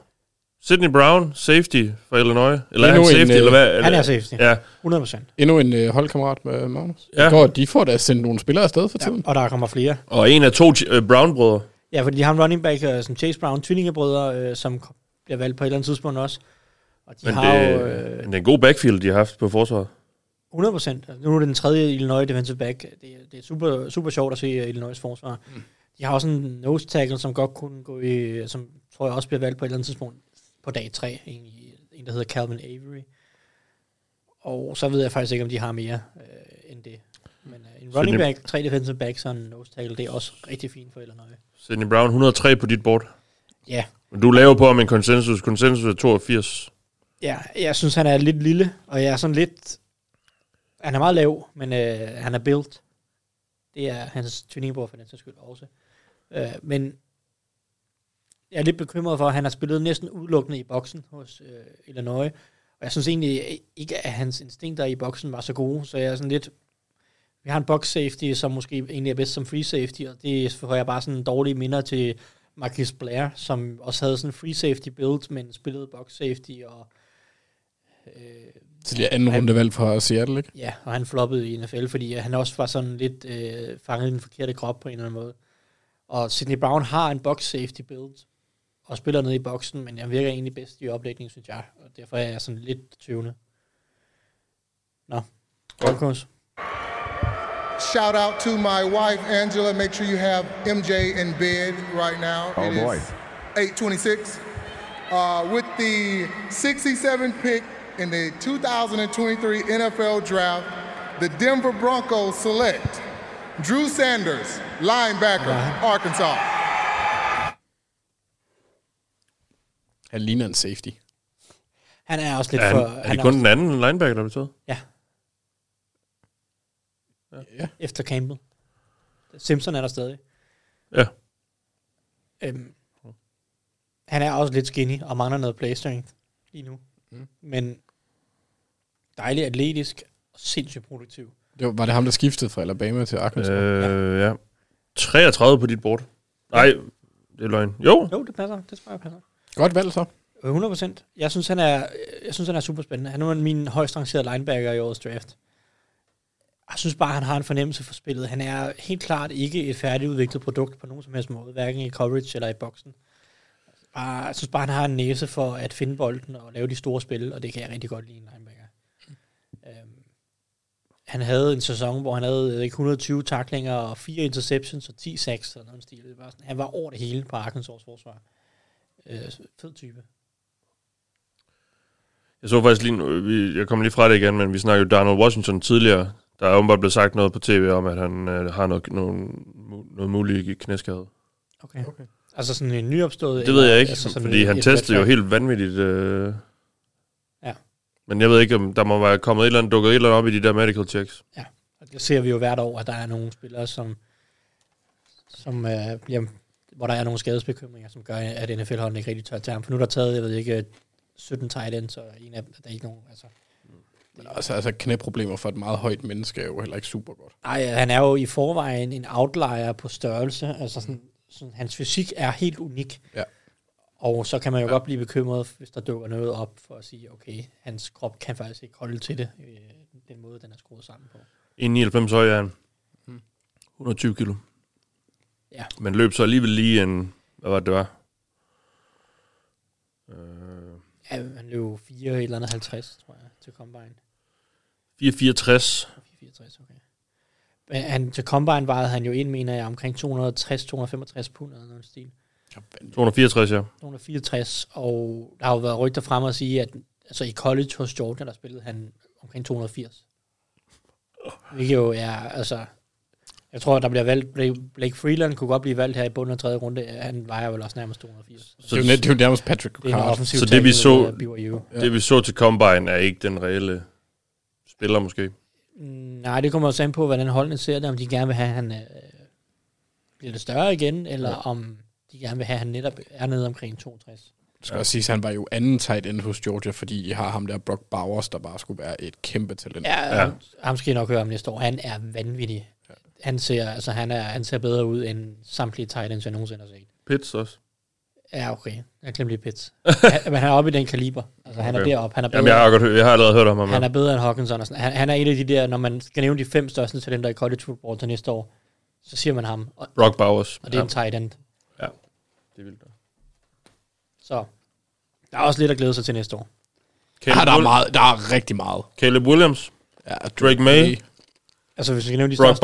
D: Sidney Brown, safety for Illinois. Eller er
E: Endnu
D: han
E: en,
D: safety,
E: øh,
D: eller hvad?
E: han er safety.
D: Ja.
F: 100%.
E: Endnu en øh, holdkammerat med Magnus.
D: Ja.
E: Ja. Går, de får da sendt nogle spillere afsted for tiden.
F: og der kommer flere.
D: Og en af to øh, Brown-brødre.
F: Ja, fordi de har en running back øh, som Chase Brown, tvillingebrødre, øh, som kom- bliver valgt på et eller andet tidspunkt også. Og de
D: Men,
F: har
D: det,
F: jo... Øh,
D: men det er en god backfield, de har haft på forsvaret.
F: 100 procent. Altså, nu er det den tredje Illinois defensive back. Det, er- det er super, super sjovt at se øh, Illinois forsvar. Mm. De har også en nose tackle, som godt kunne gå i, som tror jeg også bliver valgt på et eller andet tidspunkt på dag 3. En, en der hedder Calvin Avery. Og så ved jeg faktisk ikke, om de har mere øh, end det. Men øh, en
D: Så
F: running
D: det-
F: back, tre defensive backs og en nose tackle, det er også rigtig fint for Illinois.
D: Sidney Brown, 103 på dit bord.
F: Ja.
D: Men du laver på om en konsensus. Konsensus er 82.
F: Ja, jeg synes, han er lidt lille, og jeg er sådan lidt... Han er meget lav, men øh, han er built. Det er hans tvillingbror for den sags skyld også. Øh, men jeg er lidt bekymret for, at han har spillet næsten udelukkende i boksen hos øh, Illinois. Og jeg synes egentlig ikke, at hans instinkter i boksen var så gode, så jeg er sådan lidt... Vi har en box safety, som måske egentlig er bedst som free safety, og det får jeg bare sådan dårlige minder til Marcus Blair, som også havde sådan en free safety build, men spillede box safety, og
E: Så det er anden runde valg fra Seattle, ikke?
F: Øh, Ja, og han floppede i NFL, fordi øh, han også var sådan lidt øh, fanget i den forkerte krop på en eller anden måde. Og Sidney Brown har en box safety build, og spiller ned i boksen, men han virker egentlig bedst i oplægningen, synes jeg. Og derfor er jeg sådan lidt tøvende. Nå, Broncos.
N: Shout out to my wife, Angela. Make sure you have MJ in bed right now.
I: Oh, boy.
N: 826. Uh, with the 67 pick in the 2023 NFL Draft, the Denver Broncos select Drew Sanders, linebacker,
I: Uh-huh.
N: Arkansas.
E: Han ligner en safety.
F: Han er også lidt
D: er,
F: for...
D: han, er
F: han
D: det
F: er
D: kun
F: også-
D: den anden linebacker, der blev taget?
E: Ja.
F: Efter Campbell. Simpson er der stadig.
D: Ja.
F: Øhm, han er også lidt skinny og mangler noget play strength lige nu.
E: Mm.
F: Mm. Men dejlig atletisk og sindssygt produktiv.
E: Det var, var det ham, der skiftede fra Alabama til Arkansas?
D: Øh, ja. 33 på dit bord. Nej, det er løgn. Jo.
F: Jo, det passer. Det tror jeg passer.
E: Godt valg så.
F: 100 procent. Jeg synes, han er, jeg synes, han er super spændende. Han er min højst rangerede linebacker i årets draft. Jeg synes bare, han har en fornemmelse for spillet. Han er helt klart ikke et færdigudviklet produkt på nogen som helst måde, hverken i coverage eller i boksen. Bare, jeg synes bare, han har en næse for at finde bolden og lave de store spil, og det kan jeg rigtig godt lide i en linebacker. Øhm, han havde en sæson, hvor han havde øh, ikke, 120 taklinger og 4 interceptions og 10 sacks eller noget i den stil. Det var sådan, han var over det hele på Arkansas forsvar. Øh, fed type.
D: Jeg så faktisk lige, nu- vi- jeg kommer lige fra det igen, men vi snakkede jo Donald Washington tidligere. Der er åbenbart blevet sagt noget på tv om, at han øh, har noget, nogen, mu- noget mulig knæskade.
F: Okay. okay. Altså sådan en nyopstået?
D: Det ved
F: eller-
D: jeg ikke,
F: Altså sådan
D: fordi
F: et-
D: han
F: et
D: testede jo
F: red flag?
D: helt vanvittigt. Øh.
F: Ja.
D: Men jeg ved ikke, om der må være kommet et eller andet, dukket et eller andet op i de der medical checks.
F: Og Det ser vi jo hvert år, at der er nogle spillere, som, som øh, bliver, hvor der er nogle skadesbekymringer, som gør, at NFL-holdene ikke rigtig tør tage ham. For nu er der taget, jeg ved ikke, 17 tight ends, og en af dem, der er ikke nogen. Altså, det Men
E: Altså, altså knæproblemer for et meget højt menneske er jo heller ikke super godt.
F: Nej, han er jo i forvejen en outlier på størrelse. Altså sådan, sådan, hans fysik er helt unik.
E: Ja.
F: Og så kan man jo ja. godt blive bekymret, hvis der dukker noget op, for at sige, okay, hans krop kan faktisk ikke holde til det, øh, den måde, den er skruet sammen på.
D: 1,99 høj er han. 120 kilo.
F: Mhm. Ja.
D: Men løb så alligevel lige en... Hvad var det, det var? Øh,
F: Ja, han løb 4 eller andet 50, tror jeg, til Combine.
D: 464.
F: 64, okay. Men han, til Combine vejede han jo ind, mener jeg, omkring 260-265 pund eller noget i den stil.
D: 264, ja.
F: 264, og der har jo været rygter frem og sige, at altså, i college hos Jordan, der spillede han omkring 280. Hvilket jo er, altså... Jeg tror, der bliver valgt... Blake- Blake Freeland kunne godt blive valgt her i bunden af tredje runde. Han vejer vel også nærmest 280.
E: Så det er jo net- det er jo nærmest Patrick
F: Det er en
E: Ricard.
F: offensiv
D: Så det vi,
F: tackle,
D: så,
F: der BYU.
D: det, vi så til Combine, er ikke den reelle spiller, måske.
F: Nej, det kommer også an på, hvordan holdene ser det, om de gerne vil have, at han øh, bliver lidt større igen, eller ja. om de gerne vil have, at han netop er nede omkring 62.
E: Det skal ja. også siges, at han var jo anden tight end hos Georgia, fordi I har ham der Brock Bowers, der bare skulle være et kæmpe talent.
F: Ja, ja. ham skal I nok høre om næste år. Han er vanvittig. Ja. Han, ser, altså, han, er, han ser bedre ud end samtlige tight ends, jeg nogensinde har set.
D: Pits også.
F: Ja, okay. Jeg glemte lige Pitts. Han- Men han er oppe i den kaliber. Altså, han er
D: Okay.
F: deroppe. Han er bedre,
D: Jamen, jeg har, godt, hø- jeg har allerede hørt om ham.
F: han
D: ja.
F: er bedre end Hawkinson. Og sådan. Han, han, er en af de der, når man skal nævne de fem største talenter i college football til næste år, så siger man ham. Og,
D: Brock Bowers.
F: Og det er en
D: Ja.
F: tight end.
D: Ja, det er vildt.
F: Så der er også lidt at glæde sig til næste år.
E: Ah, der er meget- der er rigtig meget.
D: Caleb Williams.
E: Ja,
D: Drake May.
F: Altså, hvis vi skal nævne de
D: Brock
F: største.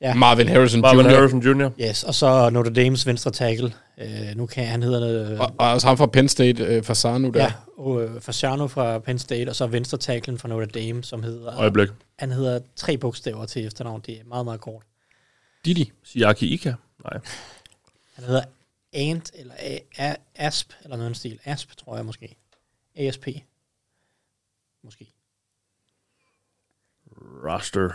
D: Bowers.
E: Marvin Harrison
D: Marvin
E: Jr..
D: Harrison Jr.
F: Yes, og så Notre Dames venstre tackle. Øh, nu kan han hedder noget... øh,
E: Og, og også ham fra Penn State, øh, Fasano der.
F: ja, og, øh, Fasciano fra Penn State, og så venstre tacklen fra Notre Dame, som hedder...
D: Øjeblik.
F: Han hedder tre bogstaver til efternavn. Det er meget, meget kort.
E: Didi.
D: Siaki Ika. Nej.
F: Han hedder Ant, eller A- A- Asp, eller noget i den stil. Asp, tror jeg måske. ASP. Måske.
D: Roster.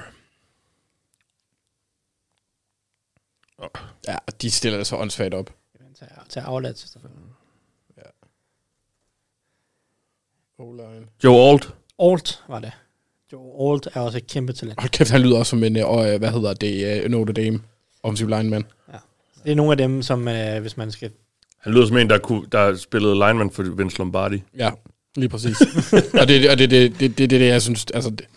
E: Ja, og de stiller det så åndssvagt op.
F: Til, til afladt.
D: Joe Alt.
F: Alt var det. Joe Alt er også et kæmpe talent.
E: Hold kæft, han lyder også som en, øh, og, øh, hvad hedder det, øh, Notre Dame, offensiv lineman.
F: Det er nogle af dem, som øh, hvis man skal...
D: Han lyder som en, der, kunne, der spillede lineman for Vince Lombardi.
E: Ja, lige præcis. og det er og det, det, det, det, det, jeg synes, altså, det,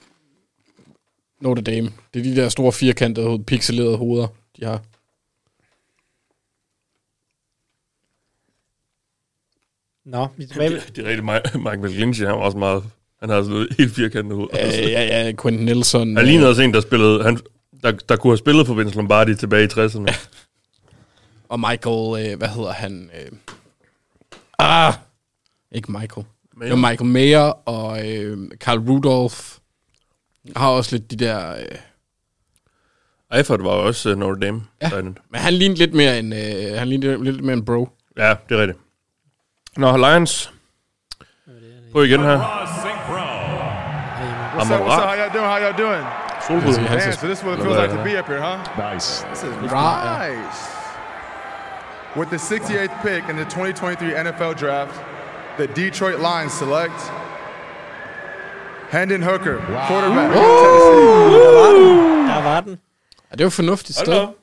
E: Notre Dame, det er de der store firkantede, hoved- pixelerede hoveder, de har.
F: Nå, vi er tilbage ved...
D: Det, det er rigtigt. Mi- Michael Lynch, han var også meget... Han har sådan et helt firkantet hoved.
E: Øh, ja, ja, Quentin Nelson.
D: Han lignede også en, der spillede... Han, der, der kunne have spillet for Vince Lombardi tilbage i 60'erne.
E: Og Michael, øh, hvad hedder han? Øh, ah! Ikke Michael. Mayer.
D: Mayer.
E: Det var Michael Mayer og øh, Carl Rudolph. Har også lidt de der... Øh,
D: Eifert var også uh, Notre Dame. Ja.
E: men han lignede lidt mere en, øh, han lignede lidt mere en bro.
D: ja, det er rigtigt. Nå, Lions. På igen her.
V: What's up, what's up? How y'all doing? How y'all doing?
D: Solbrud.
V: Man, so this is what it feels like to be up here, huh?
I: Nice.
V: This is
E: Right.
V: nice. With the 68th pick in the 2023 NFL Draft, the Detroit Lions select Hendon Hooker, quarterback.
F: Der var den.
E: Ja, det var fornuftigt
F: Hold da
E: sted.
F: op.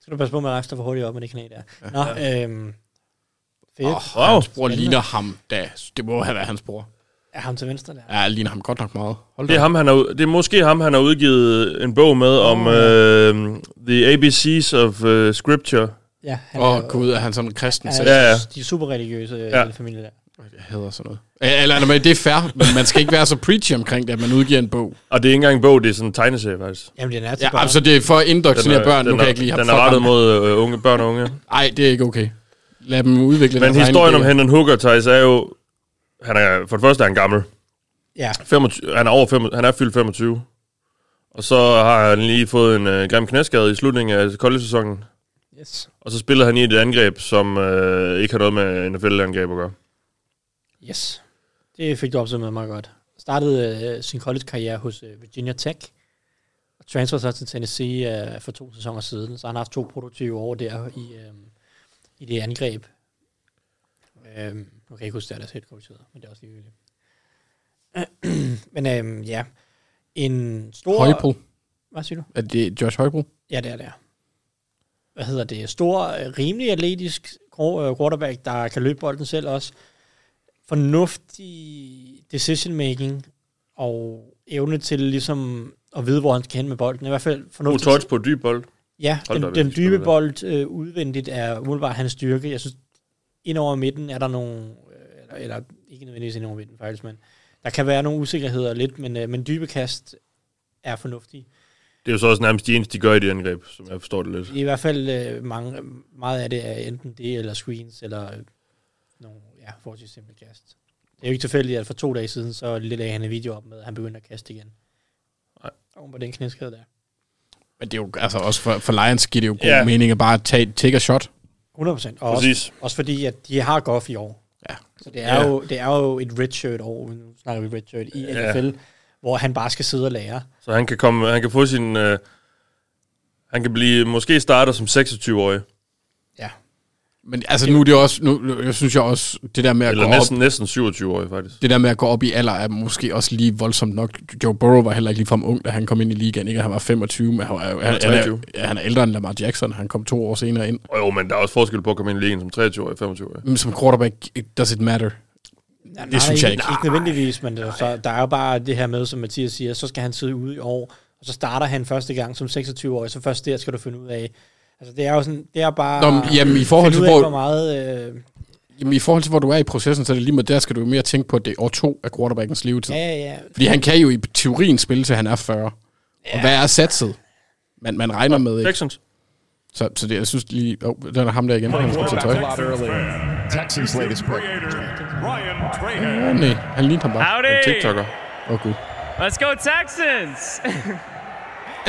F: Skal du passe på med at rejse dig for hurtigt op med det knæ der. Nå, øhm, fedt.
E: Oh, hans bror
F: Spændende.
E: ligner ham, da. Det må have været hans bror.
F: Er ham til venstre der?
E: Ja, han ligner ham godt nok meget. Hold
D: Det er, ham, han har, ud- det er måske ham, han har udgivet en bog med om øh, The ABCs of øh, Scripture.
F: Ja, han
E: Åh,
F: er jo-
E: gud, er han sådan en kristen?
F: Ja,
E: selv?
D: ja.
F: De er super religiøse, ja.
D: Ja.
F: den familie der.
E: Jeg hader sådan noget. Øh, Eller, eller, men det er fair, men man skal ikke være så preachy omkring det, at man udgiver en bog.
D: Og det er ikke engang en bog, det er sådan en tegneserie faktisk.
F: Jamen, den er til
E: Ja,
F: børn.
E: altså det er for at indoktrinere børn, nu
D: den
E: kan jeg ikke lide ham.
D: Den er
E: Fuck
D: rettet
E: ham.
D: mod øh, unge, børn og unge.
E: Nej, det er ikke okay. Lad dem udvikle
D: Men
E: deres egen
D: historien om
E: idé.
D: Hendon Hooker, Thijs, er jo... Han er, for det første er han gammel.
F: Ja.
D: 25, han, er over 25, han er fyldt 25. Og så har han lige fået en øh, grim knæskade i slutningen af college-sæsonen.
F: Yes.
D: Og så spiller han i et angreb, som øh, ikke har noget med NFL-angreb at gøre.
F: Yes. Det fik du opsummeret meget godt. Startede øh, sin college-karriere hos øh, Virginia Tech. Og transferede så til Tennessee øh, for to sæsoner siden. Så han har haft to produktive år der i, øh, i det angreb. Øh, nu kan jeg ikke huske, at deres head coach hedder, men det er også ligegyldigt. Men øhm, ja, en stor...
E: Højbro.
F: Hvad siger du?
E: Er det Josh Højbro?
F: Ja, det er det. er. Hvad hedder det? Stor, øh, rimelig atletisk grå- øh, quarterback, der kan løbe bolden selv også. Fornuftig decision making og evne til ligesom at vide, hvor han skal hen med bolden. I hvert fald
D: God
F: fornuftigt.
D: touch på dyb bold.
F: Ja,
D: Hold
F: den,
D: da op,
F: den
D: jeg
F: dybe bold øh, udvendigt er umiddelbart hans styrke. Jeg synes, ind over midten er der nogle, øh, eller, eller ikke nødvendigvis ind over midten faktisk, men der kan være nogle usikkerheder lidt, men, øh, men dybe kast er fornuftige.
D: Det er jo så også nærmest de eneste, de gør i det angreb, som jeg forstår det lidt.
F: I hvert fald øh, mange, meget af det er enten det, eller screens, eller øh, nogle, ja, forholdsvis simple kast. Det er jo ikke tilfældigt, at for to dage siden, så lagde han en video op med, at han begyndte at kaste igen.
D: Nej.
F: Oven på den knæskade der.
E: Men det er jo, altså også for, for Lions giver det jo god
F: Ja.
E: yeah. mening at bare tage, take a shot.
F: 100 procent. Og også,
E: Præcis.
F: også fordi, at de har Goff i år.
E: Ja.
F: Så det er,
E: Ja.
F: jo, det er jo et redshirt år, nu snakker vi redshirt i
D: Ja.
F: NFL, hvor han bare skal sidde og lære.
D: Så han kan, komme, han kan få sin... Øh, han kan blive måske starter som 26-årig.
E: Men altså nu er det jo også, nu, jeg synes jeg også, det der med at
D: Eller
E: gå
D: næsten,
E: op,
D: næsten 27-årig, faktisk.
E: det der med at gå op i alder er måske også lige voldsomt nok. Joe Burrow var heller ikke ligefrem ung, da han kom ind i ligaen, ikke? Han var 25, men han, var, jo-
D: Han var
E: han, han, er,
D: 23.
E: ja, han er ældre end Lamar Jackson. Han kom to år senere ind.
D: Og jo, men der er også forskel på at komme ind i ligaen som 23-årig, 25-årig.
E: Men som quarterback, it- does it matter?
F: Ja,
E: det synes jeg ikke.
F: Ikke nødvendigvis, men der, så, der er jo bare det her med, som Mathias siger, så skal han sidde ude i år, og så starter han første gang som 26-årig, så først der skal du finde ud af. Altså det er jo sådan, det er bare...
E: Nå, men jamen, i forhold
F: finde
E: til
F: ud af,
E: hvor-
F: hvor meget... Øh,
E: Jamen, i forhold til, hvor du er i processen, så er det lige med, der skal du jo mere tænke på, at det er år to af quarterbackens levetid.
F: Ja, ja, ja.
E: Fordi han kan jo i teorien spille, til han er 40. Ja. Og hvad er satset? Man, man regner med, ikke?
D: Texans.
E: Så, så det, jeg synes lige... Åh, oh, den er ham der igen. Han skulle tage tøj.
I: Texans latest pick.
E: Åh, nej, han ligner ham bare.
J: Howdy.
E: En TikToker. Åh, oh, gud.
J: Let's go Texans!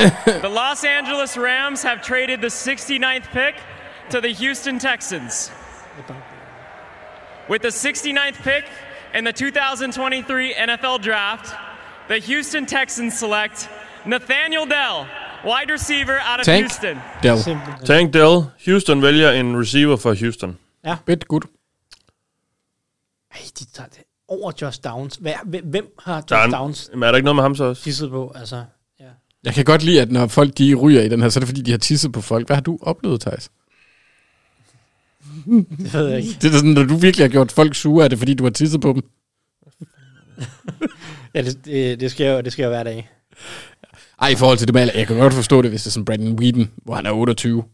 J: the Los Angeles Rams have traded the 69th pick to the Houston Texans. With the 69th pick in the 2023 NFL Draft, the Houston Texans select Nathaniel Dell, wide receiver out of Houston.
E: Dell.
D: Tank Dell. Houston vælger en receiver fra Houston.
F: Ja.
E: Bit good.
F: Ej, de tager det over Josh Downs. Hvad, hvem- hvem har Josh
D: Der er, en,
F: Downs
D: men er der ikke noget med ham så også?
F: tisset på? Altså,
E: Jeg kan godt lide, at når folk de ryger i den her, så er det fordi, de har tisset på folk. Hvad har du oplevet, Thijs?
F: det ved jeg ikke.
E: Det er da sådan, når du virkelig har gjort folk sure, er det fordi, du har tisset på dem?
F: Ja, det, det, det, sker jo, det sker jo hver dag.
E: Ej, i forhold til det med alder, jeg kan godt forstå det, hvis det er sådan Brandon Whedon, hvor han er 28.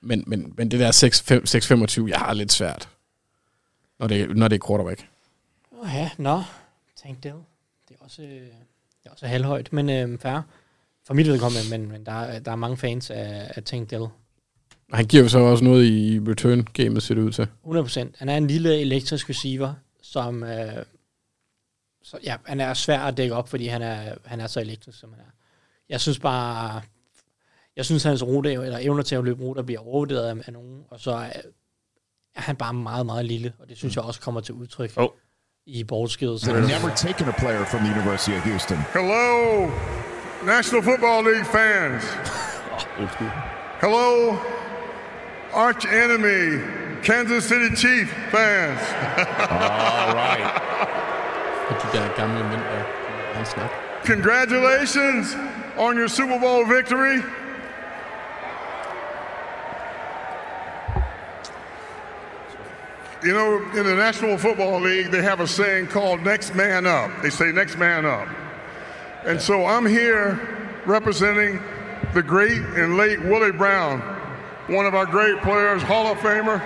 E: Men, men, men det der 6 fem- 6-25, jeg har lidt svært. Når det, når det er quarterback.
F: Åh ja, nå. Tank Dell. Det er også, øh, det er også halvhøjt, men øh, færre. For mit vedkommende, men, men der, er- der er mange fans af, af Tank Dell.
E: Og han giver jo så også noget i return-gamet, ser det ud til.
F: 100%. Han er en lille elektrisk receiver, som... Øh, så, ja, han er svær at dække op, fordi han er, han er så elektrisk, som han er. Jeg synes bare... Jeg synes, hans rute, eller evner til at løbe ruter bliver overvurderet af, af nogen, og så er, er han bare meget, meget lille, og det synes jeg også kommer til udtryk
D: oh.
F: i bortskrivet.
I: They've never taken a player from the University of Houston.
V: Hello, National Football League fans. Hello, arch enemy, Kansas City Chief fans.
E: All right. Og de der gamle mænd, der han snak.
V: Congratulations on your Super Bowl victory. You know, in the National Football League, they have a saying called next man up. They say next man up. And so I'm here representing the great and late Willie Brown, one of our great players, Hall of Famer.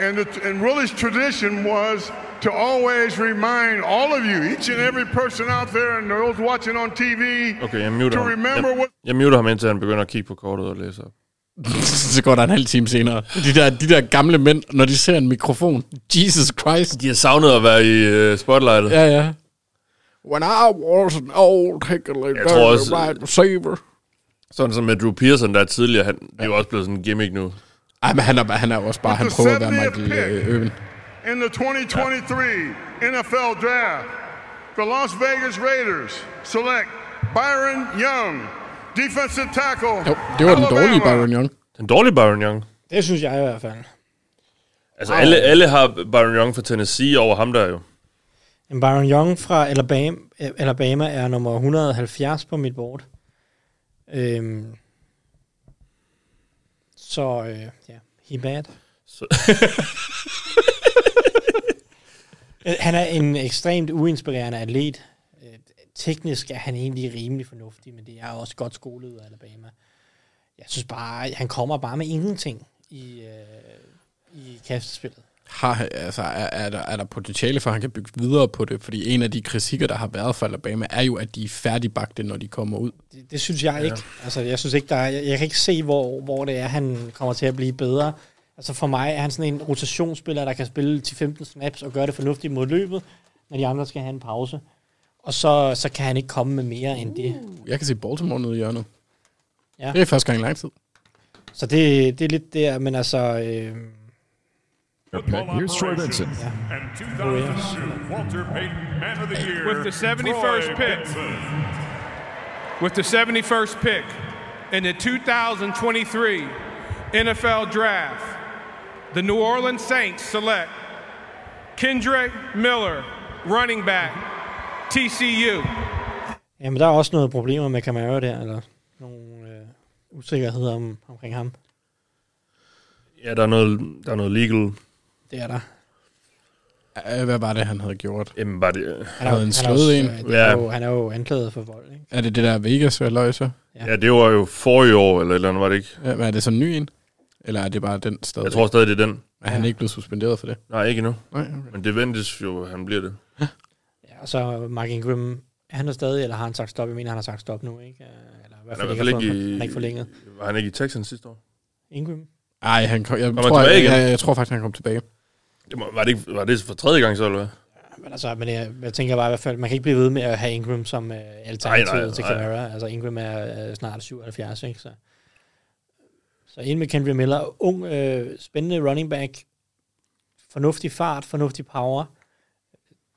V: And, the, and Willie's tradition was to always remind all of you, each and every person out there and those watching on TV,
D: Okay, jeg muter
V: to
D: ham.
V: remember
D: Jeg,
V: what
D: jeg muter ham, indtil han begynder at kigge på kortet og læse op.
E: så går der en halv time senere. De der, de der gamle mænd, når de ser en mikrofon. Jesus Christ.
D: De har savnet at være i uh, spotlightet.
E: Ja, ja. When I was an old hickory
D: Jeg tror også-
E: right receiver.
D: Sådan som med Drew Pearson, der tidligere, han, det er jo også blevet sådan en gimmick nu.
E: Ej, men han er, han er også bare, han prøver at være Michael øh, Irvin.
V: in the 2023 NFL Draft, the Las Vegas Raiders select Byron Young, defensive tackle.
E: Det var den
V: Alabama.
E: dårlige Byron Young.
D: Den dårlige Byron Young?
F: Det synes jeg i hvert fald.
D: Altså, alle, alle har Byron Young fra Tennessee over ham der jo.
F: En Byron Young fra Alabama, eh, Alabama er nummer 170 på mit board. Øhm, så øh, ja, he bad. Så. han er en ekstremt uinspirerende atlet. Øh, Teknisk er han egentlig rimelig fornuftig, men det er også godt skolet ud af Alabama. Jeg synes bare, han kommer bare med ingenting i, øh, i kastespillet.
E: Har, altså, er, er, der, er der potentiale for, at han kan bygge videre på det? Fordi en af de kritikker, der har været for Alabama, er jo, at de er færdigbagte, når de kommer ud.
F: Det, det synes jeg ikke. Altså, jeg synes ikke, der er, jeg, jeg kan ikke se, hvor, hvor det er, han kommer til at blive bedre. Altså for mig er han sådan en rotationsspiller, der kan spille 10-15 snaps og gøre det fornuftigt mod løbet, når de andre skal have en pause. Og så, så kan han ikke komme med mere end det.
E: Uh, Jeg kan se Baltimore nede i hjørnet.
F: Ja.
E: Det er første gang i lang tid.
F: Så det, det er lidt der, men altså... Øh,
I: Okay, here's Troy Vincent.
F: And 2002
U: Walter Payton Man of the Year.
K: With the 71st pick, with the 71st pick in the 2023 NFL Draft, the New Orleans Saints select Kendrick Miller, running back, TCU.
F: jamen, der er også noget problemer med Camaro der, eller nogle øh, usikkerheder om, omkring ham.
D: Ja, der er noget, der er noget legal.
F: Det er der.
E: Øh, Hvad var det, han havde gjort?
D: Jamen, var det...
F: Han er jo-
E: havde en
F: han er jo-
E: slået en.
F: øh, han er jo- han er jo anklaget for vold, ikke?
E: Er det det der Vegas løg, så?
D: Ja. ja, det var jo forrige år, eller et eller andet, var det ikke?
E: Ja, men er det så en ny en? Eller er det bare den stadig?
D: Jeg tror stadig, det er den.
E: Er han ikke blevet suspenderet for det?
D: Nej, ikke endnu.
E: Nej, okay.
D: Men det ventes jo, at han bliver det.
F: Ja, og så Mark Ingram, er han der stadig, eller har han sagt stop? Jeg mener, han har sagt stop nu, ikke? Øh, Eller i hvert
D: Han er
F: fald
D: i
F: ikke,
D: hvert fald ikke,
F: i...
D: i,
F: han er ikke forlænget.
D: Var han ikke i Texans sidste år?
F: Ingram?
E: Nej, han kom, jeg,
D: Kom han
E: tror,
D: tilbage
E: jeg,
D: igen?
E: jeg, jeg, jeg, tror faktisk, han kom tilbage.
D: Det må, var, det ikke, var det for tredje gang så, eller hvad?
F: Men altså, men jeg, jeg tænker bare i hvert fald, man kan ikke blive ved med at have Ingram som øh,
D: Nej, nej,
F: alternativet til
D: nej.
F: Camara. Altså, Ingram er øh, snart 77, ikke? Så, så ind med Kendrick Miller. Ung, øh, spændende running back. Fornuftig fart, fornuftig power.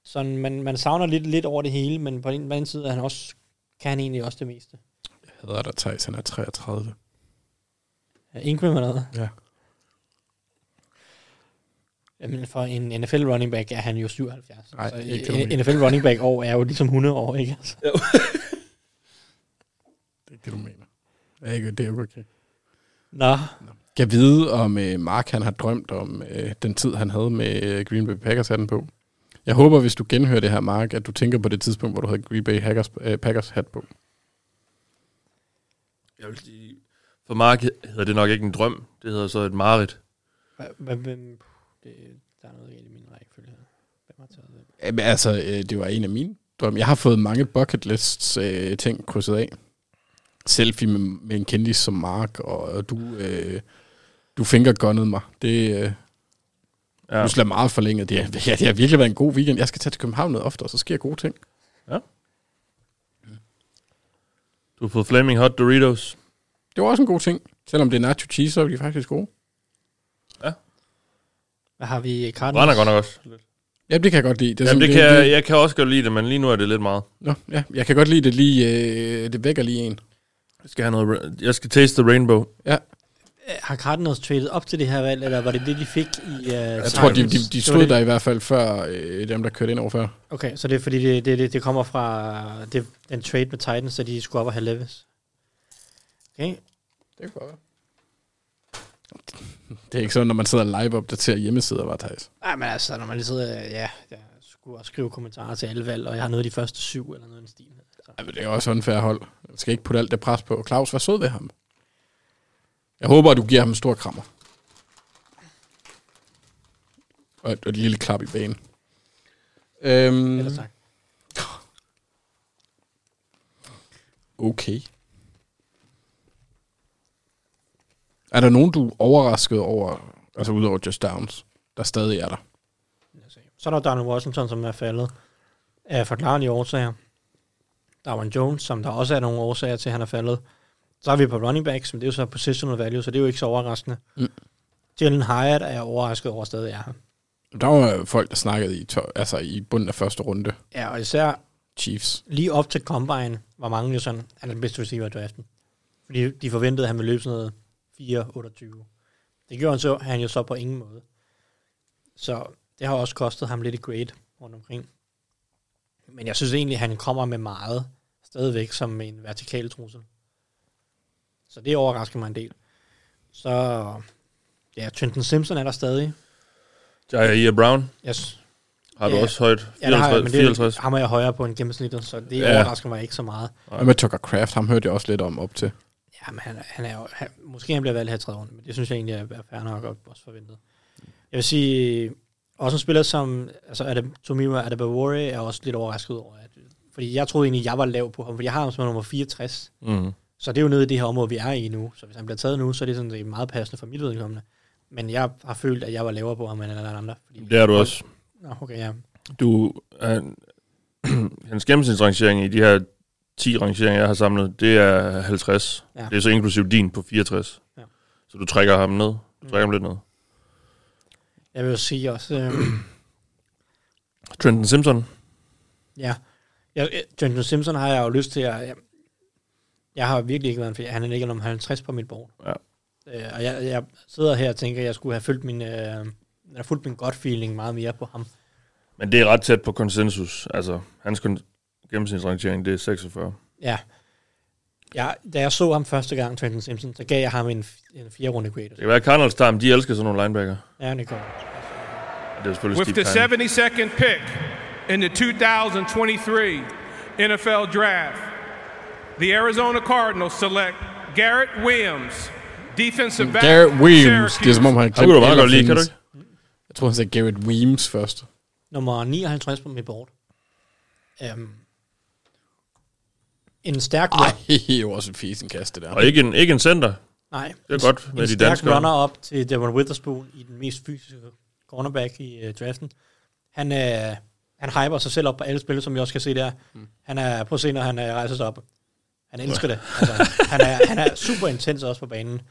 F: Sådan, man, man savner lidt, lidt over det hele, men på den på den anden side er han også, kan han egentlig også det meste.
E: Jeg hedder der Thijs, han er 33.
F: Ja, Ingram eller noget?
E: Ja.
F: Jamen, for en NFL running back er han jo 77.
E: Nej,
F: så
E: ikke
F: en,
E: det.
F: NFL running back år er jo ligesom 100 år, ikke? Altså.
E: Det er ikke det, du mener. Det er ikke, det er ikke okay.
F: Nå,
E: Kan vide, om øh, Mark han har drømt om øh, den tid, han havde med øh, Green Bay Packers hatten på. Jeg håber, hvis du genhører det her, Mark, at du tænker på det tidspunkt, hvor du havde Green Bay Hackers, øh, Packers hat på.
D: Jeg vil sige, for Mark hedder det nok ikke en drøm. Det hedder så et mareridt.
F: Hva- hva- hvem- det- Der er noget galt i min rækkefølge her. Hvem har taget det?
E: Jamen, altså, øh, det var en af mine drømme. Jeg har fået mange bucket lists øh, ting krydset af. Selfie med, med en kendis som Mark, og, og du, øh, du fingergunnede mig. Det, øh, ja. Du slår meget forlænget. Det, er- ja, det har virkelig været en god weekend. Jeg skal tage til København noget oftere, så sker gode ting.
D: Du har fået Flaming Hot Doritos.
E: Det var også en god ting. Selvom det er nacho cheese, så er de faktisk gode.
F: Hvad har vi? Cardinals?
D: Brænder godt nok også.
E: Ja, det kan jeg godt lide. Det er
D: Jamen, det
E: sådan
D: kan,
E: lidt-
D: jeg, jeg kan også godt lide det, men lige nu er det lidt meget.
E: Nå, ja, jeg kan godt lide det lige, øh, det vækker lige en.
D: Jeg skal, have noget, ra- jeg skal taste the rainbow.
F: Øh, Har Cardinals traded op til det her valg, eller var det det, de fik i... Uh,
E: Jeg tror, de, de, de stod der i hvert fald før øh, dem, der kørte ind over før.
F: Okay, så det er fordi, det, det, det, det kommer fra øh, det, den trade med Titans, så de skulle op og have Levis. Okay.
E: Det kunne godt Det er ikke sådan, når man sidder og live-opdaterer hjemmesider, var Thijs.
F: Nej, men altså, når man lige sidder, øh, ja, jeg skulle også skrive kommentarer til alle valg, og jeg har noget af de første syv, eller noget i den stil.
E: Ja, men det er også unfair hold. Man skal ikke putte alt det pres på. Claus, vær sød ved ham. Jeg håber, at du giver ham en stor krammer. Og et, og et lille klap i banen. Øhm, Ellers
F: tak.
E: Okay. Er der nogen, du er overrasket over, altså udover Just Downs, der stadig er der?
F: Så er der Donald Washington, som er faldet af forklarende årsager. Darwin Jones, som der også er nogle årsager til, at han er faldet. Så er vi på running backs, men det er jo så positional value, så det er jo ikke så overraskende.
E: Mm.
F: Jalen Hyatt er jeg overrasket over at stadig er her.
E: Der var jo folk, der snakkede i, tør, altså i bunden af første runde.
F: Ja, og især
E: Chiefs.
F: lige op til Combine var mange jo sådan, altså, han er den bedste receiver i draften. Fordi de forventede, at han ville løbe sådan noget 4-28. Det gjorde han, så, han jo så på ingen måde. Så det har også kostet ham lidt i grade rundt omkring. Men jeg synes egentlig, at han kommer med meget stadigvæk som en vertikal trussel. Så det overrasker mig en del. Så ja, Trenton Simpson er der stadig.
D: Jair Brown?
F: Yes.
D: Har du
F: Ja.
D: også højt?
F: Ja, det har jeg, men det
D: 54?
F: er, ham er jeg højere på end gennemsnittet, så det
D: Ja.
F: ja. overrasker mig ikke så meget.
E: Hvad med Tucker Craft? Ham hørte jeg også lidt om op til.
F: Jamen, han, han er jo, han, måske han bliver valgt her i tredje runde, men det synes jeg egentlig er, er fair nok og også forventet. Jeg vil sige, også en spiller som altså Adam, Tomima Adebawore er jeg også lidt overrasket over, at, fordi jeg troede egentlig, jeg var lav på ham, fordi jeg har ham som nummer 64.
D: Mhm.
F: Så det er jo nede i det her område, vi er i nu. Så hvis han bliver taget nu, så er det sådan det er meget passende for mit vedkommende. Men jeg har følt, at jeg var lavere på ham end alle andre. Fordi
D: Det er du også.
F: Nå, okay, ja.
D: Du, han, hans gennemsnitsrangering i de her 10 rangeringer, jeg har samlet, det er 50.
F: Ja.
D: Det er så inklusiv din på 64.
F: Ja.
D: Så du trækker ham ned. Du trækker ham lidt ned.
F: Jeg vil jo sige også, øh,
D: Trenton Simpson.
F: Ja. Jeg, jeg- Jonathan Simpson har jeg jo lyst til at... Jeg, jeg har virkelig ikke været en fan. Han er ikke om 50 på mit bord.
D: Ja.
F: Øh, og jeg, jeg sidder her og tænker, at jeg skulle have følt min, øh, eller fulgt min godt feeling meget mere på ham.
D: Men det er ret tæt på konsensus. Altså, hans kon- gennemsnitsrangering, det er 46.
F: Ja. Jeg, da jeg så ham første gang, Trenton Simpson, så gav jeg ham en, f- en fire runde grade.
D: Det kan være, at Cardinals tager ham. De elsker sådan nogle linebacker.
F: Ja, det går.
D: Og Det er selvfølgelig
K: With the
D: Steve Kime.
K: 72nd pick in the 2023 NFL Draft, the Arizona Cardinals select Garrett Williams, defensive back.
E: Garrett Williams. Det er
K: Syracuse.
E: som om, han
D: kunne du meget godt lide,
E: findes.
D: kan
E: Jeg tror, han sagde Garrett Williams først.
F: Nummer 59 på mit bord. Um, en stærk
E: Det er jo også en fisenkast, det der.
D: Og ikke en, ikke en center.
F: Nej.
D: Det er godt
F: en,
D: med
F: en
D: de
F: stærk
D: danskere.
F: runner op til Devon Witherspoon i den mest fysiske cornerback i uh, draften. Han, øh, han hyper sig selv op på alle spil, som vi også kan se der. Mm. Han er, prøv at se, når han øh, rejser sig op. Han elsker det. Altså, han, er, han er super intens også på banen.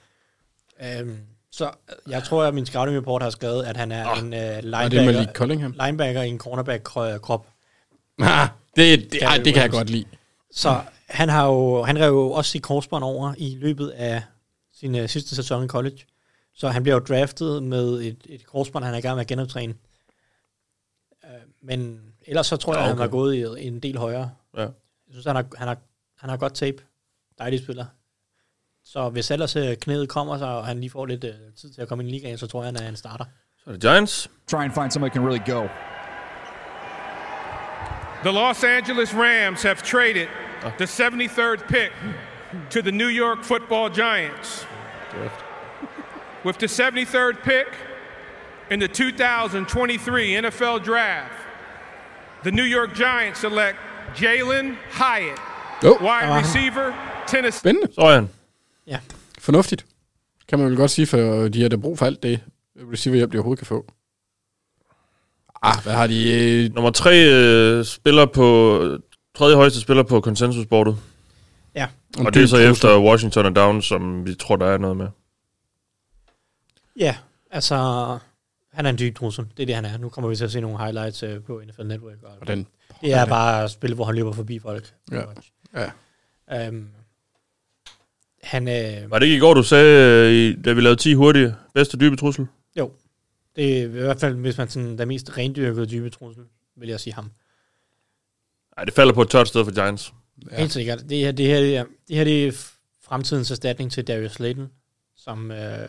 F: Øhm, så øh, jeg tror, at min scouting report har skrevet, at han er
D: Ah,
F: oh, en øh,
E: Malik
F: linebacker, linebacker i en cornerback-krop.
E: Ah, det, det, ej, det kan jeg godt lide.
F: Så han, har jo, han rev jo også sit korsbånd over i løbet af sin øh, sidste sæson i college. Så han bliver jo draftet med et, et korsbånd, han er i gang med at genoptræne. Øh, men ellers så tror jeg,
D: Ja,
E: Ah,
F: okay. han
D: okay.
F: var gået i, en del højere.
D: Ja.
F: Jeg synes, han har, han, har, han har godt tape. Dejlig spiller. Så hvis ellers øh, knæet kommer sig, og han lige får lidt øh, tid til at komme ind i ligaen, så tror jeg, han er en starter.
D: Så er det Giants.
I: Try and find somebody who can really go.
K: The Los Angeles Rams have traded the 73rd pick to the New York Football Giants. With the 73rd pick in the 2023 NFL Draft, the New York Giants select Jalen Hyatt,
E: Oh.
K: wide
E: Der var han.
K: receiver, Tennessee.
E: Spændende.
D: Så er han.
F: Ja.
E: Fornuftigt. Kan man vel godt sige, for de har da brug for alt det receiverhjælp, de overhovedet kan få. Ah, hvad har de? Øh...
D: Nummer tre øh, spiller på... Tredje højeste spiller på konsensusbordet.
F: Ja.
D: Og det er så efter Washington og Down, som vi tror, der er noget med.
F: Ja, altså, han er en dyb trussel. Det er det, han er. Nu kommer vi til at se nogle highlights øh, på NFL Network. Og
E: Hvordan?
F: Det er bare at spille, hvor han løber forbi folk.
E: Ja.
F: ja. Øhm, han, øh,
D: Var det ikke i går, du sagde, øh, i- da vi lavede 10 hurtige, bedste dybe trussel?
F: jo, det er i hvert fald, hvis man sådan, den mest rendyrkede dybe trussel, vil jeg sige ham.
D: Nej, det falder på et tørt sted for Giants.
F: Ja. Helt sikkert. Det her, det her, det er, det her det er f- fremtidens erstatning til Darius Slayton, som øh,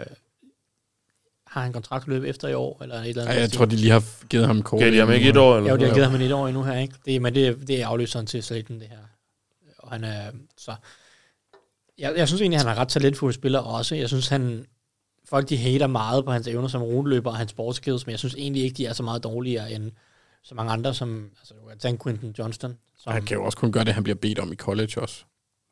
F: har en kontrakt løb efter i år, eller et eller andet.
E: Ej, jeg tror, de lige har givet ham kort.
D: Gav de ham ikke et år, eller
F: Ja,
D: sådan
F: de har
D: noget?
F: givet ham et år endnu her, ikke? Det, er- men det, er- det er afløseren til Slayton, det her. Og han er... Så, jeg, jeg synes egentlig, han er ret talentfuld spiller også. Jeg synes, han... Folk, de hater meget på hans evner som ruteløber og hans sportskills, men jeg synes egentlig ikke, de er så meget dårligere end så mange andre, som... Altså, du kan tage Quinton Johnston. Som,
E: Og Han kan jo også kun gøre det, han bliver bedt om i college også.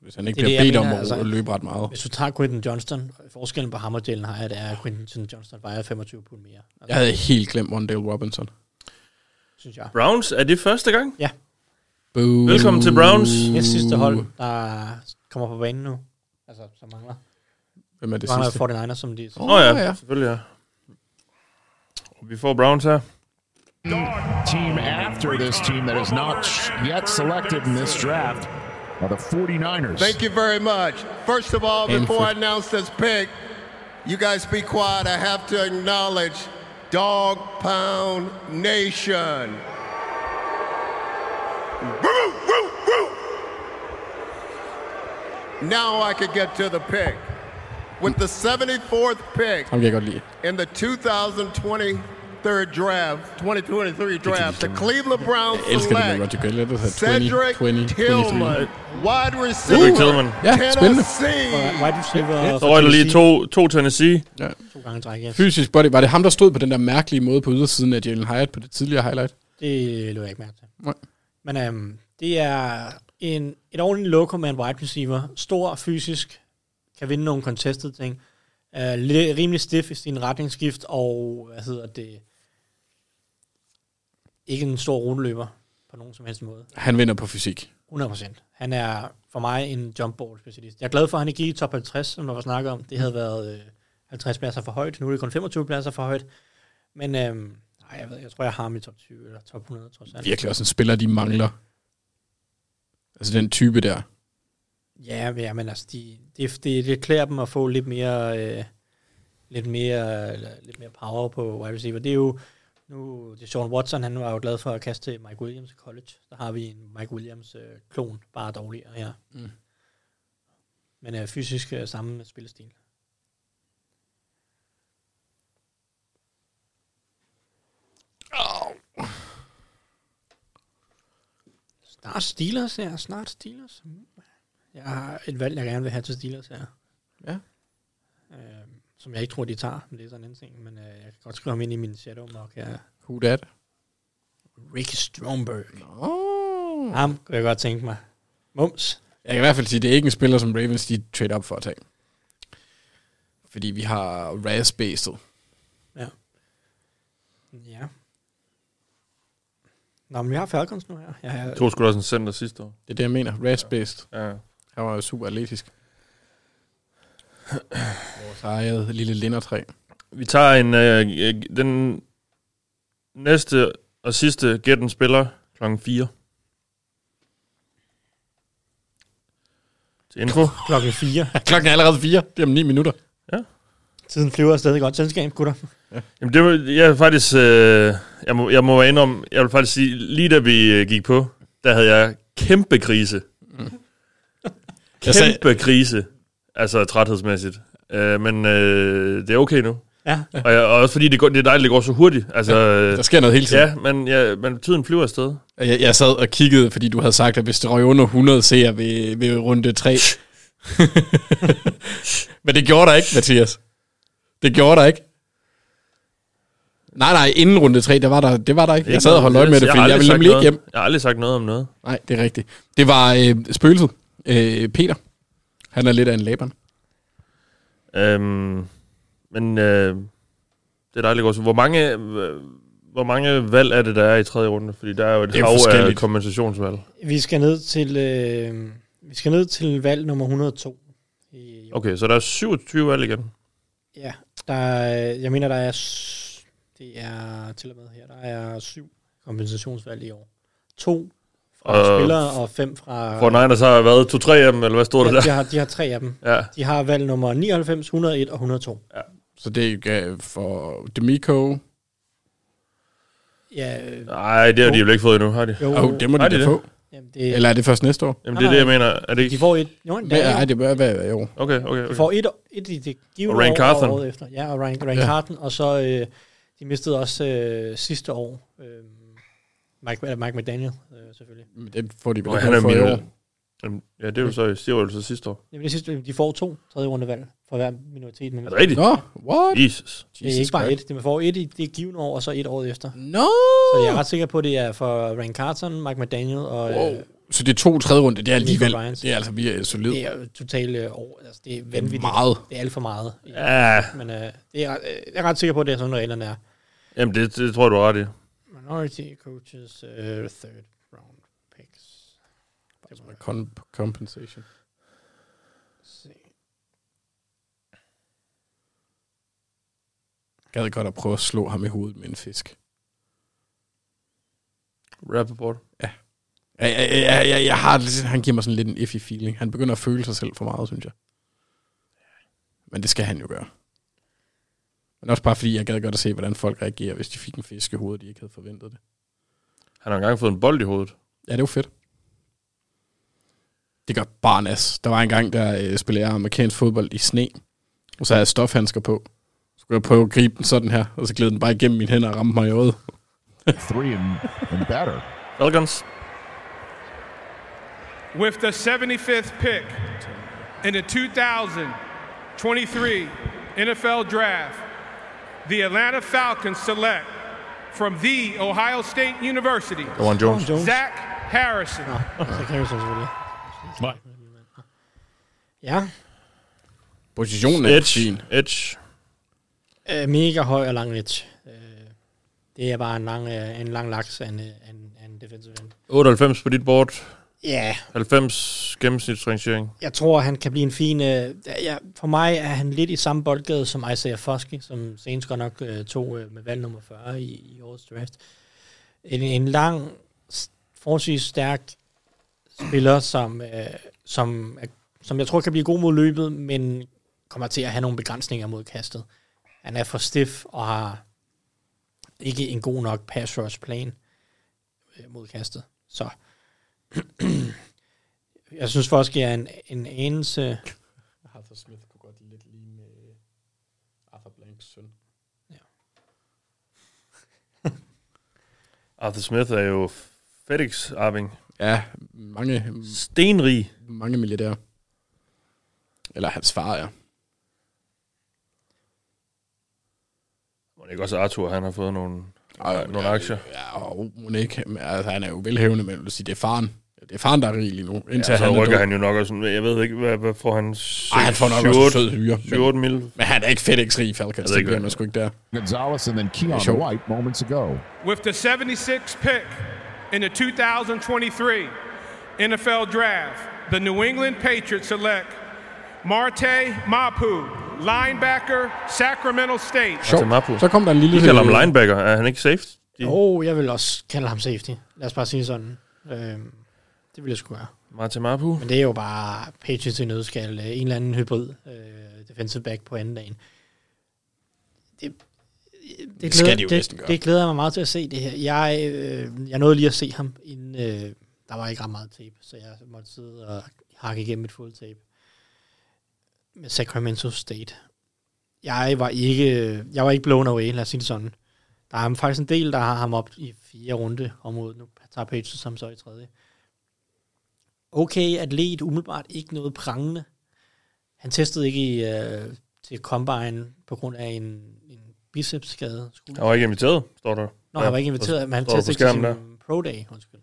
E: Hvis han ikke
F: Det er
E: bliver
F: det, jeg
E: bedt om
F: mener,
E: at
F: altså.
E: løbe ret meget.
F: Hvis du tager Quinton Johnston, forskellen på ham og Jalen Hyatt er, at Quinton Johnston vejer 25 pund mere. Altså,
E: Jeg havde helt glemt Mondale Robinson.
F: synes jeg.
D: Browns, er det første gang?
F: Ja.
E: Boo.
D: Velkommen til Browns.
F: Næst sidste hold, der kommer på banen nu. Altså, som mangler.
E: Hvem er det
F: mangler
E: sidste?
F: 49ers, som de...
D: Nå ja, selvfølgelig ja. Og vi får Browns her.
I: Hmm. Team after this team that is not yet selected in this draft are the 49ers.
G: Thank you very much. First of all, before I
I: Painful.
G: announce this pick, you guys be quiet. I have to acknowledge Dog Pound Nation. Woo, woo, woo. Now I could get to the pick. With the 74th pick
E: Ham kan jeg godt lide.
G: in the 2023 draft, 2023 draft, the Cleveland Browns
E: Jeg elsker det med
G: select
E: Roger Goodell, der hedder
G: Cedric
E: 20, 20, 23.
G: Tillman, wide receiver,
D: Cedric Tillman.
E: Ja, spændende.
G: Tennessee.
F: Wide receiver.
D: Så røg der lige to, to Tennessee.
E: Ja.
F: To gange træk, yes.
E: Fysisk body. Var det ham, der stod på den der mærkelige måde på ydersiden af Jalen Hyatt på det tidligere highlight?
F: Det lå jeg ikke mærke til.
E: Nej.
F: Men øhm, det er en, et ordentligt loco med en wide receiver. Stor fysisk. Kan vinde nogle contested ting. Øh, li- rimelig stiff i sin retningsskift. Og hvad hedder det? Ikke en stor rulleløber på nogen som helst måde.
E: Han vinder på fysik.
F: 100%. Han er for mig en jump ball specialist. Jeg er glad for, at han ikke gik i top 50, som der var snakket om. Det havde været øh, 50 pladser for højt. Nu er det kun 25 pladser for højt. Men øhm, nej, jeg, ved, jeg tror, jeg har ham i top 20 eller top 100, trods alt.
E: Virkelig også en spiller, de mangler. Altså den type der.
F: Ja, men- ja, men altså, de, det, det, det klæder dem at få lidt mere, øh, lidt mere, eller lidt mere power på wide receiver. Det er jo, nu, det er Sean Watson, han var jo glad for at kaste til Mike Williams i college. Der har vi en Mike Williams øh, klon, bare dårligere her.
E: Mm.
F: Men øh, fysisk øh, samme spillestil. Snart Steelers her, snart Steelers. Jeg har et valg, jeg gerne vil have til Steelers her.
E: Ja.
F: Øh, som jeg ikke tror, de tager, men det er sådan en ting. Men øh, jeg kan godt skrive ham ind i min shadow mock her.
E: Who that?
F: Ricky Stromberg. Oh. Ham kunne jeg godt tænke mig. Mums.
E: Jeg kan i hvert fald sige, at det er ikke en spiller, som Ravens de trade op for at tage. Fordi vi har Raz based.
F: Ja. Nå, men vi har Falcons nu her. Jeg har,
D: Jeg tog sgu da også en center sidste år.
E: Det er det, jeg mener. Raz based.
D: Ja.
E: Han var jo super atletisk. Vores eget lille lindertræ.
D: Vi tager en, øh, øh, den næste og sidste gæt en spiller klokken 4. Til info.
F: Klokken 4.
E: Klokken er allerede 4. Det er om 9 minutter.
F: Tiden flyver stadig godt selskab, gutter.
D: Jamen det var, jeg er faktisk, øh, jeg, må, jeg må være indrømme, jeg vil faktisk sige, lige da vi øh, gik på, der havde jeg kæmpe krise. Mm.
E: Jeg sagde-
D: Kæmpe krise, altså træthedsmæssigt. Øh, men øh, det er okay nu.
F: Ja.
D: Og, jeg, og også fordi det, går, det er dejligt, det går så hurtigt. Altså,
E: Ja, der sker noget hele tiden.
D: Ja, men, ja, men tiden flyver afsted.
E: Jeg, jeg sad og kiggede, fordi du havde sagt, at hvis det røg under 100 ser ved, ved runde 3. Men det gjorde der ikke, Mathias. Det gjorde der ikke. Nej, nej, inden runde 3, der var der, det var der ikke. Jeg sad og holdt øje med
D: har
E: det, fordi jeg,
D: aldrig
E: jeg ville
D: sagt
E: nemlig ikke
D: noget.
E: hjem.
D: Jeg har aldrig sagt noget om noget.
E: Nej, det er rigtigt. Det var øh, spøgelset. Øh, Peter. Han er lidt af en læberen.
D: Øhm, men øh, det er dejligt også. Hvor mange, øh, hvor mange valg er det, der er i tredje runde? Fordi der er jo et
E: Det er jo
D: hav af
E: forskelligt.
D: kompensationsvalg.
F: Vi skal ned til, øh, vi skal ned til valg nummer 102.
D: Okay, så der er 27 valg igen.
F: Ja, der er, jeg mener, der er, s- det er til og med her, der er syv kompensationsvalg i år. To fra
D: Og-
F: øh, spillere og fem fra...
D: For Niners har været 2-3 af dem, eller hvad stod det
F: ja,
D: der?
F: de, har, de har tre af dem.
D: Ja.
F: De har valg nummer 99, 101 og 102.
E: Så det gav for D'Amico.
F: Ja, øh,
D: Nej, det har de jo ikke fået endnu, har de?
F: Jo.
E: Åh, oh, det må de
D: Har
E: da
D: det?
E: få.
F: Jamen, det-
E: Eller er det først næste år?
D: Jamen, det er det, jeg mener. Er det ikke?
F: de får et... Jo,
E: Men,
F: der er
E: nej, det bør være i år.
D: Okay, okay,
F: De
D: okay.
F: får et, et i det givende
D: Og Rand
F: år
D: Carthen.
F: og året efter. Ja, og Ryan, Ryan
D: Ja.
F: Carthen, og så øh, de mistede også øh, sidste år øh, Mike, øh, Mike McDaniel, øh, selvfølgelig.
E: Men det får de vel
D: Nå,
E: ikke
D: han er
E: for i
D: min-
E: år.
D: Jamen, Ja, det er jo så i Stivøvelsen sidste år.
F: Jamen, det sidste, de får to tredje rundevalg for hver minoritet.
D: Er det rigtigt?
E: Nå, what?
D: Jesus.
F: det er ikke bare et, de får et i det givende år, og så et år efter.
E: No!
F: Så jeg er ret sikker på, at det er for Rand Carton, Mike McDaniel og...
E: Wow.
F: øh,
E: Så det er to tredje runde, det er alligevel.
F: Nico Ryans.
E: Det er altså virkelig solidt.
F: Det er jo totalt øh, over, altså det er vanvittigt.
E: meget.
F: Det er alt for meget.
D: Ja.
F: Men øh, det er, øh, jeg er ret sikker på, at det er sådan, reglerne er.
D: Jamen, det, det tror jeg, du har ret i.
F: Minority coaches, øh, third round picks. Det må være-
E: Con- compensation.
F: se.
E: Gad godt at prøve at slå ham i hovedet med en fisk.
D: Rappaport.
E: Jeg, jeg, jeg, jeg, jeg har, lidt- han giver mig sådan lidt en iffy feeling. Han begynder at føle sig selv for meget, synes jeg. Men det skal han jo gøre. Men også bare fordi, jeg gad godt at se, hvordan folk reagerer, hvis de fik en fisk i hovedet, de ikke havde forventet det.
D: Han har engang fået en bold i hovedet.
E: Ja, det var fedt. Det gør bare nas. Der var en gang, der øh, spillede jeg amerikansk fodbold i sne, og så havde jeg stofhandsker på. Så skulle jeg prøve at gribe den sådan her, og så gled den bare igennem mine hænder og ramte mig i øjet.
I: Three and, and better.
D: Elgons.
K: With the 75th pick in the 2023 NFL Draft, the Atlanta Falcons select from the Ohio State University
D: Dewan Jones. Dewan Jones.
K: Zach Harrison.
F: Zach Harrison selvfølgelig.
D: Nej.
F: Ja.
E: Positionen er
D: Edge. Edge.
F: Øh, mega høj og lang edge. Øh, det er bare en lang, øh, en lang laks af en, øh, af en, af en defensive end.
D: 98 på dit board.
F: Ja.
D: 90 gennemsnitsrangering.
F: Jeg tror, han kan blive en fin... Øh, ja, for mig er han lidt i samme boldgade som Isaiah Foskey, som senest godt nok øh, tog øh, med valg nummer 40 i, i årets draft. En, en lang, s- forholdsvis stærk spiller, som, øh, som, er, som jeg tror kan blive god mod løbet, men kommer til at have nogle begrænsninger mod kastet. Han er for stiff og har ikke en god nok pass rush plan øh, mod kastet. Så øh, jeg synes faktisk, jeg er en, en anelse...
E: Arthur Smith kunne godt lidt ligne øh, Arthur Blanks søn.
D: Arthur Smith er jo FedEx arving.
E: Ja, mange... øh,
D: Stenrig.
E: Mange milliardærer. Eller hans far, ja.
D: Må det ikke også Arthur, han har fået nogle,
E: Ej,
D: nogle aktier.
E: Ja, og Monik, men, altså, han er jo velhævende, men jeg vil sige, det er faren. Det er faren, der er rig lige nu. Indtil
D: Ja, så
E: er
D: rykker
E: død.
D: han jo nok også, jeg ved ikke, hvad, hvad får han? 6,
E: Ej, han får nok også en sød hyre. men-
D: 7 mil.
E: Men han er ikke FedEx-rig, Falcons.
D: ved
E: Det
D: ikke,
E: bliver
D: hvad-
E: man sgu ikke der.
I: Gonzalez and then Keon
E: Sure.
I: White moments ago.
K: With the 76th pick in the 2023 NFL Draft, the New England Patriots select Marte Mapu, linebacker, Sacramento State.
D: Sjovt. Mapu.
E: Så kom der en lille-
D: De kalder ham linebacker. Er han ikke safe?
F: Jo, oh, jeg vil også kalde ham safety. Lad os bare sige sådan. Øhm, det ville jeg sgu gøre.
D: Martin Mapu.
F: Men det er jo bare Patriots i nødskal. øh, En eller anden hybrid øh, defensive back på anden dagen. Det, det,
E: skal
F: glæder,
E: de jo næsten
F: det,
E: gøre.
F: det glæder jeg mig meget til at se det her. Jeg, øh, jeg nåede lige at se ham, inden øh, der var ikke ret meget tape, så jeg måtte sidde og hakke igennem et full tape med Sacramento State. Jeg var ikke, jeg var ikke blown away, lad os sige det sådan. Der er faktisk en del, der har ham op i fire runde området. Nu tager Patriots som så i tredje. Okay, atlet, umiddelbart ikke noget prangende. Han testede ikke i, øh, til Combine på grund af en, en bicepsskade. skulle-
D: Han var ikke inviteret, står der.
F: Nå, han var ikke inviteret, men han
D: står der på
F: testede ikke til sin
D: skærmen der.
F: pro day. Undskyld.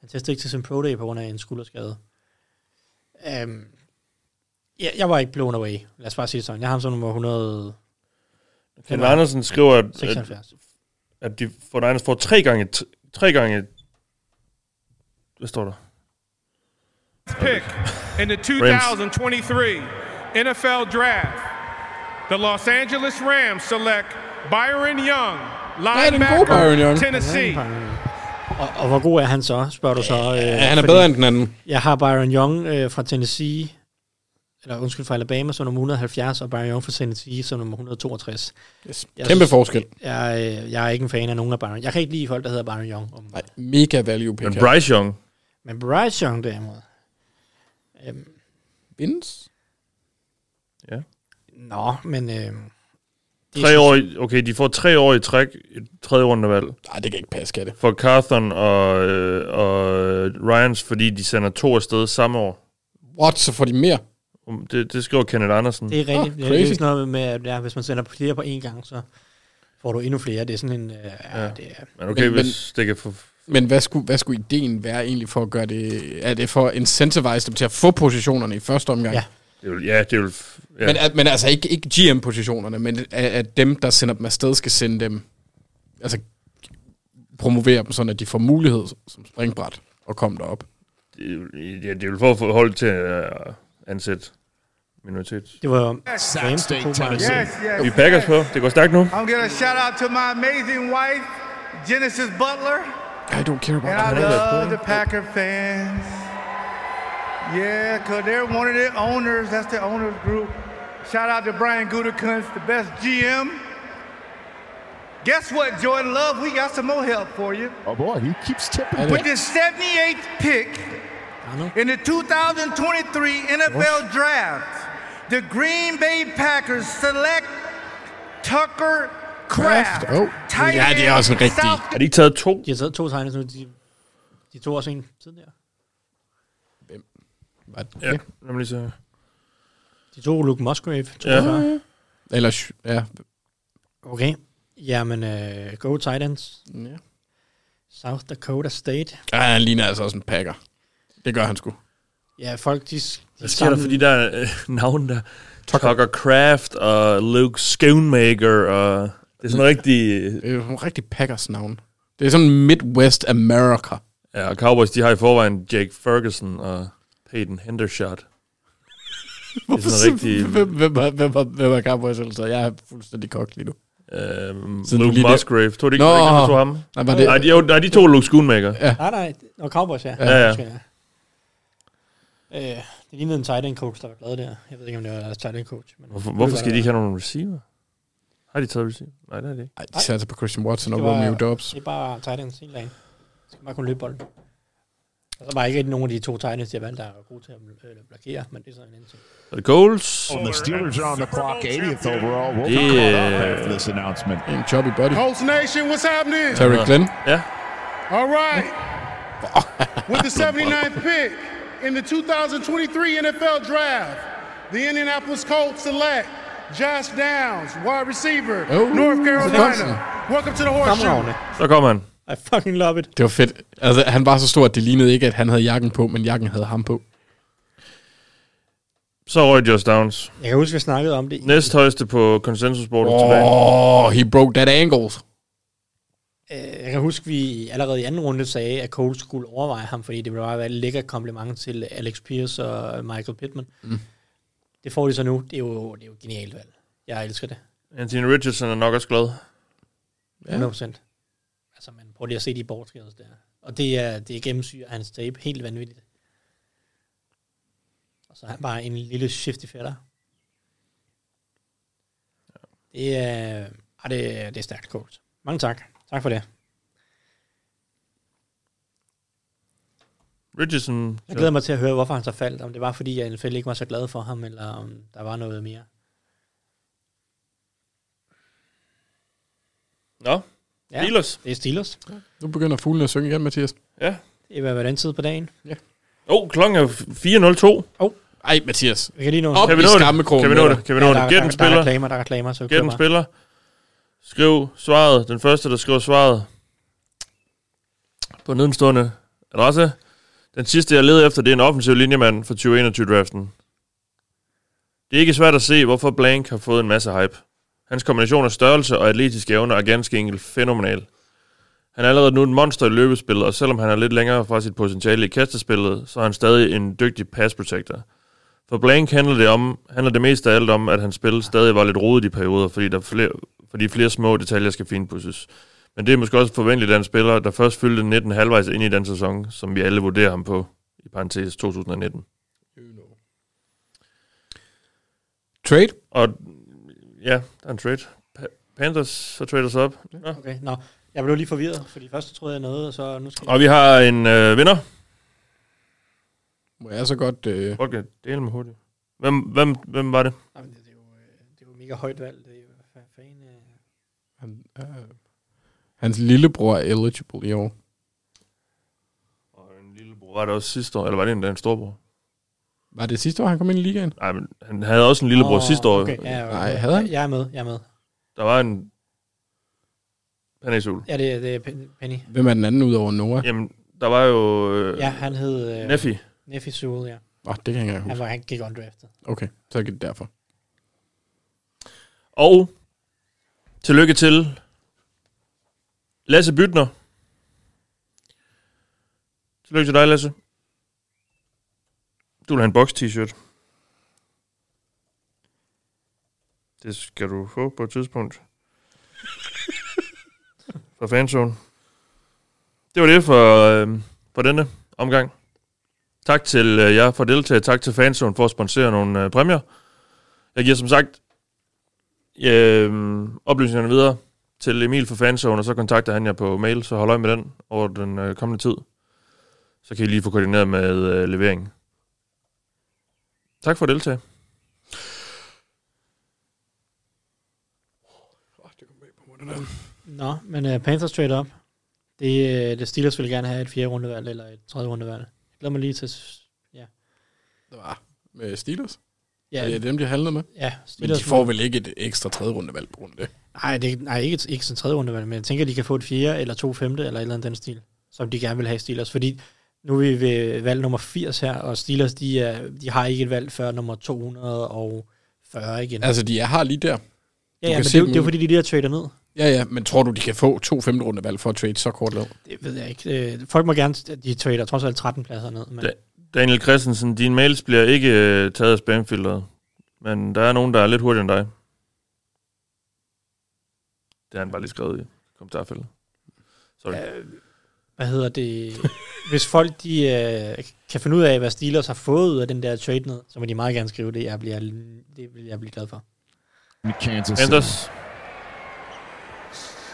F: Han testede ikke til sin pro day på grund af en skulderskade. Um, ja, jeg var ikke blown away. Lad os bare sige det sådan. Jeg har ham som nummer 100...
D: Ken Andersen skriver, at, at,
F: 76.
D: at de for Niners får tre gange, t- tre gange, hvad står der?
K: pick in the 2023 NFL Draft. The Los Angeles Rams select Byron Young,
E: den gode Byron
K: linebacker,
E: Young.
K: Tennessee.
F: Og, og hvor god er han så, spørger du så? Øh, ja,
E: han er bedre end den anden.
F: Jeg har Byron Young øh, fra Tennessee, eller undskyld, fra Alabama, som nummer 170, og Byron Young fra Tennessee som nummer 162.
E: Yes.
F: Jeg
E: Kæmpe
F: synes-
E: forskel.
F: Jeg, øh, jeg er ikke en fan af nogen af Byron. Jeg kan ikke lide folk, der hedder Byron Young. Om, Nej.
E: Mega value pick.
D: Men Bryce Young.
F: Men Bryce Young derimod. Øhm,
E: Vindes?
D: Ja.
F: Nå, men... Øh,
D: Tre år, i- okay, de får tre år i træk, et tredje rundevalg.
E: Nej, det kan ikke passe, kan det?
D: For Carthon og, øh, og Ryans, fordi de sender to afsted samme år.
E: What? Så får de mere?
D: Um, Det, det skriver Kenneth Andersen.
F: Det er rigtigt.
E: Ah,
F: Oh, det er
E: crazy.
F: sådan noget med, at ja, hvis man sender flere på én gang, så får du endnu flere. Det er sådan en... Øh, ja. det er,
D: Men okay, hvis det kan få...
E: Men hvad skulle, hvad skulle ideen være egentlig for at gøre det? Er det for at incentivize dem til at få positionerne i første omgang?
F: Ja.
D: Det vil, ja, det vil... Ja.
E: Men, at, men altså ikke, ikke GM-positionerne, men at, at dem, der sender dem afsted, skal sende dem, altså promovere dem, sådan at de får mulighed som springbræt og komme derop.
D: det, ja, det vil få få hold til at øh, ansætte minoritet.
F: Det var Rams,
D: Rams,
F: der tog mig.
D: yes,
F: Yes,
D: yes,
F: yes,
D: Vi Packers på. Det går stærkt nu.
L: I'm gonna shout out to my amazing wife, Genesis Butler,
E: I don't care about
L: and I love the Packer fans. Yeah, cause they're one of the owners. That's the owners group. Shout out to Brian Gutekunst, the best GM. Guess what, Jordan Love? We got some more help for you.
I: Oh boy, he keeps tipping.
L: With the 78th pick in the 2023 NFL Draft, the Green Bay Packers select Tucker Kraft.
D: Kraft. Oh.
L: tight
D: Ja, det er også en
L: end,
D: rigtig-
L: South
D: Har de ikke taget to?
F: De har taget to tegnelser nu. De, de tog også en tidligere.
D: Ja, lad mig lige se.
F: De tog Luke Musgrave. Tog
D: Ja.
F: ja.
E: Eller, sh- ja.
F: Okay. Jamen, øh, go Titans.
E: Ja.
F: South Dakota State.
E: Ej, han ligner altså også en packer. Det gør han sgu.
F: Ja, folk, de... de
D: Hvad sker der for de der øh, navne der? Tucker Kraft og Luke Schoonmaker og... Det er sådan en rigtig...
E: Det er jo en rigtig Packers navn. Det er sådan Midwest America.
D: Ja, og Cowboys, de har i forvejen Jake Ferguson og Peyton Hendershot. Det er sådan en rigtig...
E: Hvem, hvem, var- hvem, var- hvem er Cowboys ellers? Jeg er fuldstændig kogt lige nu.
D: Øhm,
E: Siden du
D: Luke
E: lige der-
D: Musgrave. Tog de ikke, var det ikke ham, der tog ham?
E: Nej, var det,
D: nej, de, jo, nej, de to Luke Schoonmaker.
E: Ja.
F: Nej, nej. Nå, Cowboys, ja.
D: Ja, ja.
F: Undskyld, Øh, det lignede en tight end coach, der var glad der. Jeg ved ikke, om det var deres tight end coach. Men
D: Hvorfor, hvorfor skal de ikke have nogen receiver? Har de taget receiver? Nej, det er det ikke.
E: Ej, de satte på Christian Watson og
F: Det var-
E: Romeo Dobbs.
F: Det er bare tight ends hele dagen. De skal bare kunne løbe bolden. Og så var ikke rigtig nogen af de to tight ends, de har valgt, der er gode til at øh, blokere, men det er sådan en anden ting.
D: Så er det goals.
I: And the Steelers are on the clock, 80th overall. We'll
D: Det,
I: call it off
D: øh,
I: after this announcement.
E: En chubby buddy.
G: Colts Nation, what's happening?
U: Uh-huh.
E: Terry Glenn.
D: Ja.
G: All right. With the 79th pick in the 2023 NFL Draft, the Indianapolis Colts select Josh Downs, wide receiver,
E: Oh,
G: North
E: Wisconsin.
G: Carolina. Welcome to the horseshoe.
D: Så kommer han.
F: I fucking love it.
E: Det var fedt. Altså, han var så stor, at det lignede ikke, at han havde jakken på, men jakken havde ham på.
D: Så røg Josh Downs.
F: Jeg kan huske, vi snakkede om det.
D: Næst højeste på konsensusbordet oh, tilbage.
E: Oh, he broke that ankle.
F: Øh, Jeg kan huske, vi allerede i anden runde sagde, at Cole skulle overveje ham, fordi det ville bare være et lækker kompliment til Alex Pierce og Michael Pittman.
E: Mm.
F: Det får de så nu. Det er jo, det er jo et genialt valg. Jeg elsker det.
D: Anthony Richardson er nok også glad.
F: Ja. 100%. Altså, man prøver lige at se de bortskridelser der. Og det er, det er gennemsyret hans tape. Helt vanvittigt. Og så er han bare en lille shifty fætter. Det er, ah, det, er- det er stærkt coach. Mange tak. Tak for det.
D: Richardson.
F: Jeg glæder mig til at høre, hvorfor han så faldt. Om det var, fordi jeg NFL ikke var så glad for ham, eller om der var noget mere.
D: Nå,
F: Ja,
D: Steelers.
F: Det er Steelers.
E: Nu begynder fuglen at synge igen, Mathias.
D: Ja.
F: Det er hvad den tid på dagen.
E: Ja.
D: Oh, klokken er 4.02.
F: Oh.
E: Ej, Mathias.
F: Vi kan lige nå
E: Op
D: Kan vi
E: i
D: nå det?
E: skammekrogen.
D: Kan vi nå det? Kan vi nå
F: Ja,
D: det?
F: der er-
D: Gæt
F: der-
D: en
F: der er
D: spiller.
F: reklamer, der er reklamer, så kør
D: Gæt en
F: bare.
D: spiller. Skriv svaret. Den første, der skriver svaret på nedenstående adresse. Den sidste, jeg leder efter, det er en offensiv linjemand for 2021-draften. Det er ikke svært at se, hvorfor Blank har fået en masse hype. Hans kombination af størrelse og atletiske evner er ganske enkelt fænomenal. Han er allerede nu en monster i løbespillet, og selvom han er lidt længere fra sit potentiale i kastespillet, så er han stadig en dygtig pass protector. For Blank handler det, om, handler det mest af alt om, at hans spil stadig var lidt rodet i perioder, fordi, der flere, fordi flere små detaljer skal finpudses. Men det er måske også forventeligt af en spiller, der først fyldte 19 halvvejs ind i den sæson, som vi alle vurderer ham på, i parentes 2019.
E: Trade?
D: Og ja, der er en trade. Pa- Panthers, så trader sig op. Ja.
F: Okay, nå. Jeg blev lige forvirret, fordi først troede jeg noget, og så nu skal
D: Og vi har en øh, vinder.
E: Må jeg så godt... Øh...
D: Folk kan dele med hurtigt. Hvem, hvem, hvem var det?
F: det er jo mega højt valg. Det er jo hvad fanden. øh.
E: Han, øh, hans lillebror er eligible i år.
D: Hvor var det også sidste år? Eller var det en af en storbror?
E: Var det sidste år, han kom ind i ligaen?
D: Nej, men han havde også en lillebror oh, sidste år.
F: Okay, ja, okay.
E: Nej, havde han?
F: Jeg- Jeg er med, jeg er med.
D: Der var en... Panasul.
F: Ja, det, er- det er Pen- Penny.
E: Hvem er den anden udover Noah?
D: Jamen, der var jo... Øh,
F: Ja, han hed... Øh,
D: Neffy.
F: Neffy Sewell, ja.
E: Åh, det kan jeg ikke engang
F: Han,
E: huske.
F: var, han gik undrafted.
E: Okay, så er det derfor.
D: Og tillykke til Lasse Bytner. Tillykke til dig, Lasse. Du vil have en box t-shirt. Det skal du få på et tidspunkt. Fra fanzone. Det var det for, øh, for denne omgang. Tak til øh, jer for at deltage. Tak til fanzone for at sponsere nogle øh, præmier. Jeg giver som sagt øh, oplysningerne videre til Emil for fanzone, og så kontakter han jer på mail, så hold øje med den over den øh, kommende tid. Så kan I lige få koordineret med øh, leveringen. Tak for at deltage.
F: Nå, men uh, Panthers trade up. Det, uh, det Steelers vil gerne have et fjerde rundevalg eller et tredje rundevalg. Jeg glæder mig lige til... Ja.
E: Det var med Steelers?
F: Ja.
E: Ja. Er det dem, de handlede med?
F: Ja,
E: Men
F: Steelers
E: de får
F: må-
E: vel ikke et ekstra tredje rundevalg på grund af det?
F: Nej, det, nej ikke, ikke sådan tredje rundevalg, men jeg tænker, at de kan få et fjerde eller to femte eller et eller andet den stil, som de gerne vil have i Steelers. Fordi nu er vi ved valg nummer 80 her, og Steelers, de, er, de har ikke et valg før nummer 240 igen.
E: Altså, de er her lige der.
F: Ja, ja men det, er jo- det er jo fordi, de lige har tradet ned.
E: Ja, ja, men tror du, de kan få to femte rundevalg for at trade så kort lav?
F: Det ved jeg ikke. Øh, Folk må gerne, de trader trods alt 13 pladser ned. Men...
D: Da- Daniel Christensen, dine mails bliver ikke øh, taget af spamfilteret, men der er nogen, der er lidt hurtigere end dig. Det har han bare lige skrevet i kommentarfeltet. Sorry.
F: Øh, hvad hedder det? Hvis folk de, øh, kan finde ud af, hvad Steelers har fået ud af den der trade ned, så må de meget gerne skrive det. Jeg bliver, det vil jeg blive glad for.
I: Kansas
D: Anders,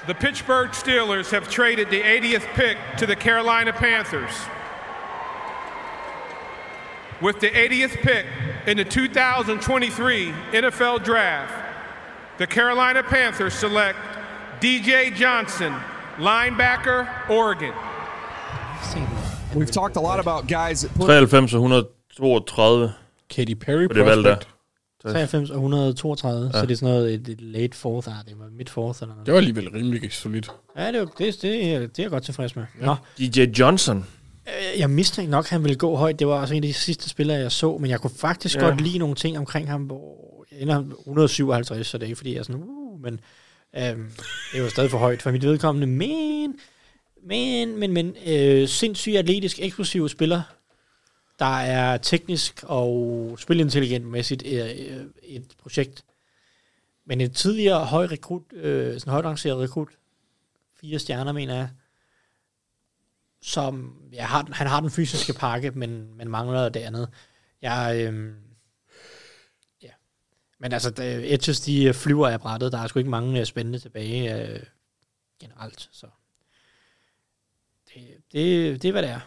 K: The Pittsburgh Steelers have traded the 80th pick to the Carolina Panthers. With the 80th pick in the 2023 NFL Draft, the Carolina Panthers select DJ Johnson, linebacker, Oregon.
Q: We've talked a lot about guys that put
D: 93 og 132.
E: Katy Perry
D: på det valg der.
F: 93 og 132, ja.
D: Ja.
F: så det er sådan noget et, et late fourth, ah, det var midt fourth eller noget.
E: Det var alligevel rimelig solidt.
F: Ja, det, var, det, det, det er jeg godt tilfreds med. Ja. Nå,
D: DJ Johnson.
F: øh, jeg mistænkte nok, at han ville gå højt. Det var også en af de sidste spillere, jeg så, men jeg kunne faktisk
D: Ja.
F: ja. godt lide nogle ting omkring ham, hvor jeg ender 157, så det er ikke fordi, jeg er sådan, uh, men øhm, det var stadig for højt for mit vedkommende. Men, men, men, men, øh, sindssygt atletisk, eksplosiv spiller, der er teknisk og spilintelligent mæssigt øh, øh, et projekt. Men en tidligere høj rekrut, øh, sådan højt rangeret rekrut, fire stjerner, mener jeg, som ja, har, den- han har den fysiske pakke, men, men mangler det andet. Jeg, øhm, ja. Men altså, da- Edges, de øh, flyver af brættet. Der er sgu ikke mange øh, spændende tilbage øh, generelt. Så det, det, det er, hvad det er.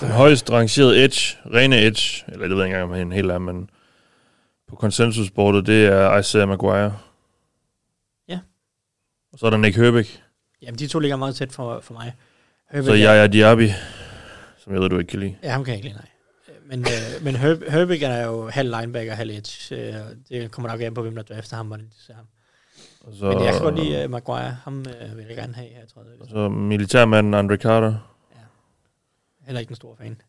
D: Den højst rangerede edge, rene edge, eller det ved jeg ikke engang, om han helt er, men på konsensusbordet, det er Isaiah Maguire.
F: Ja.
D: Og så er der Nick Herbig,
F: Jamen, de to ligger meget tæt for, for mig. Herbert,
D: så Yaya Diaby, som jeg ved, du ikke kan lide.
F: Ja, ham kan jeg ikke lide, nej. Men, øh, men Herb, Herbig er jo halv linebacker, halv edge. Øh, det kommer nok an på, hvem der drafter ham, hvordan de ser ham.
D: så-
F: Så... Men jeg kan godt lide uh, Maguire. Ham øh, vil jeg gerne have, jeg tror. Det er.
D: Så militærmanden Andre Carter.
F: Heller ikke en stor fan.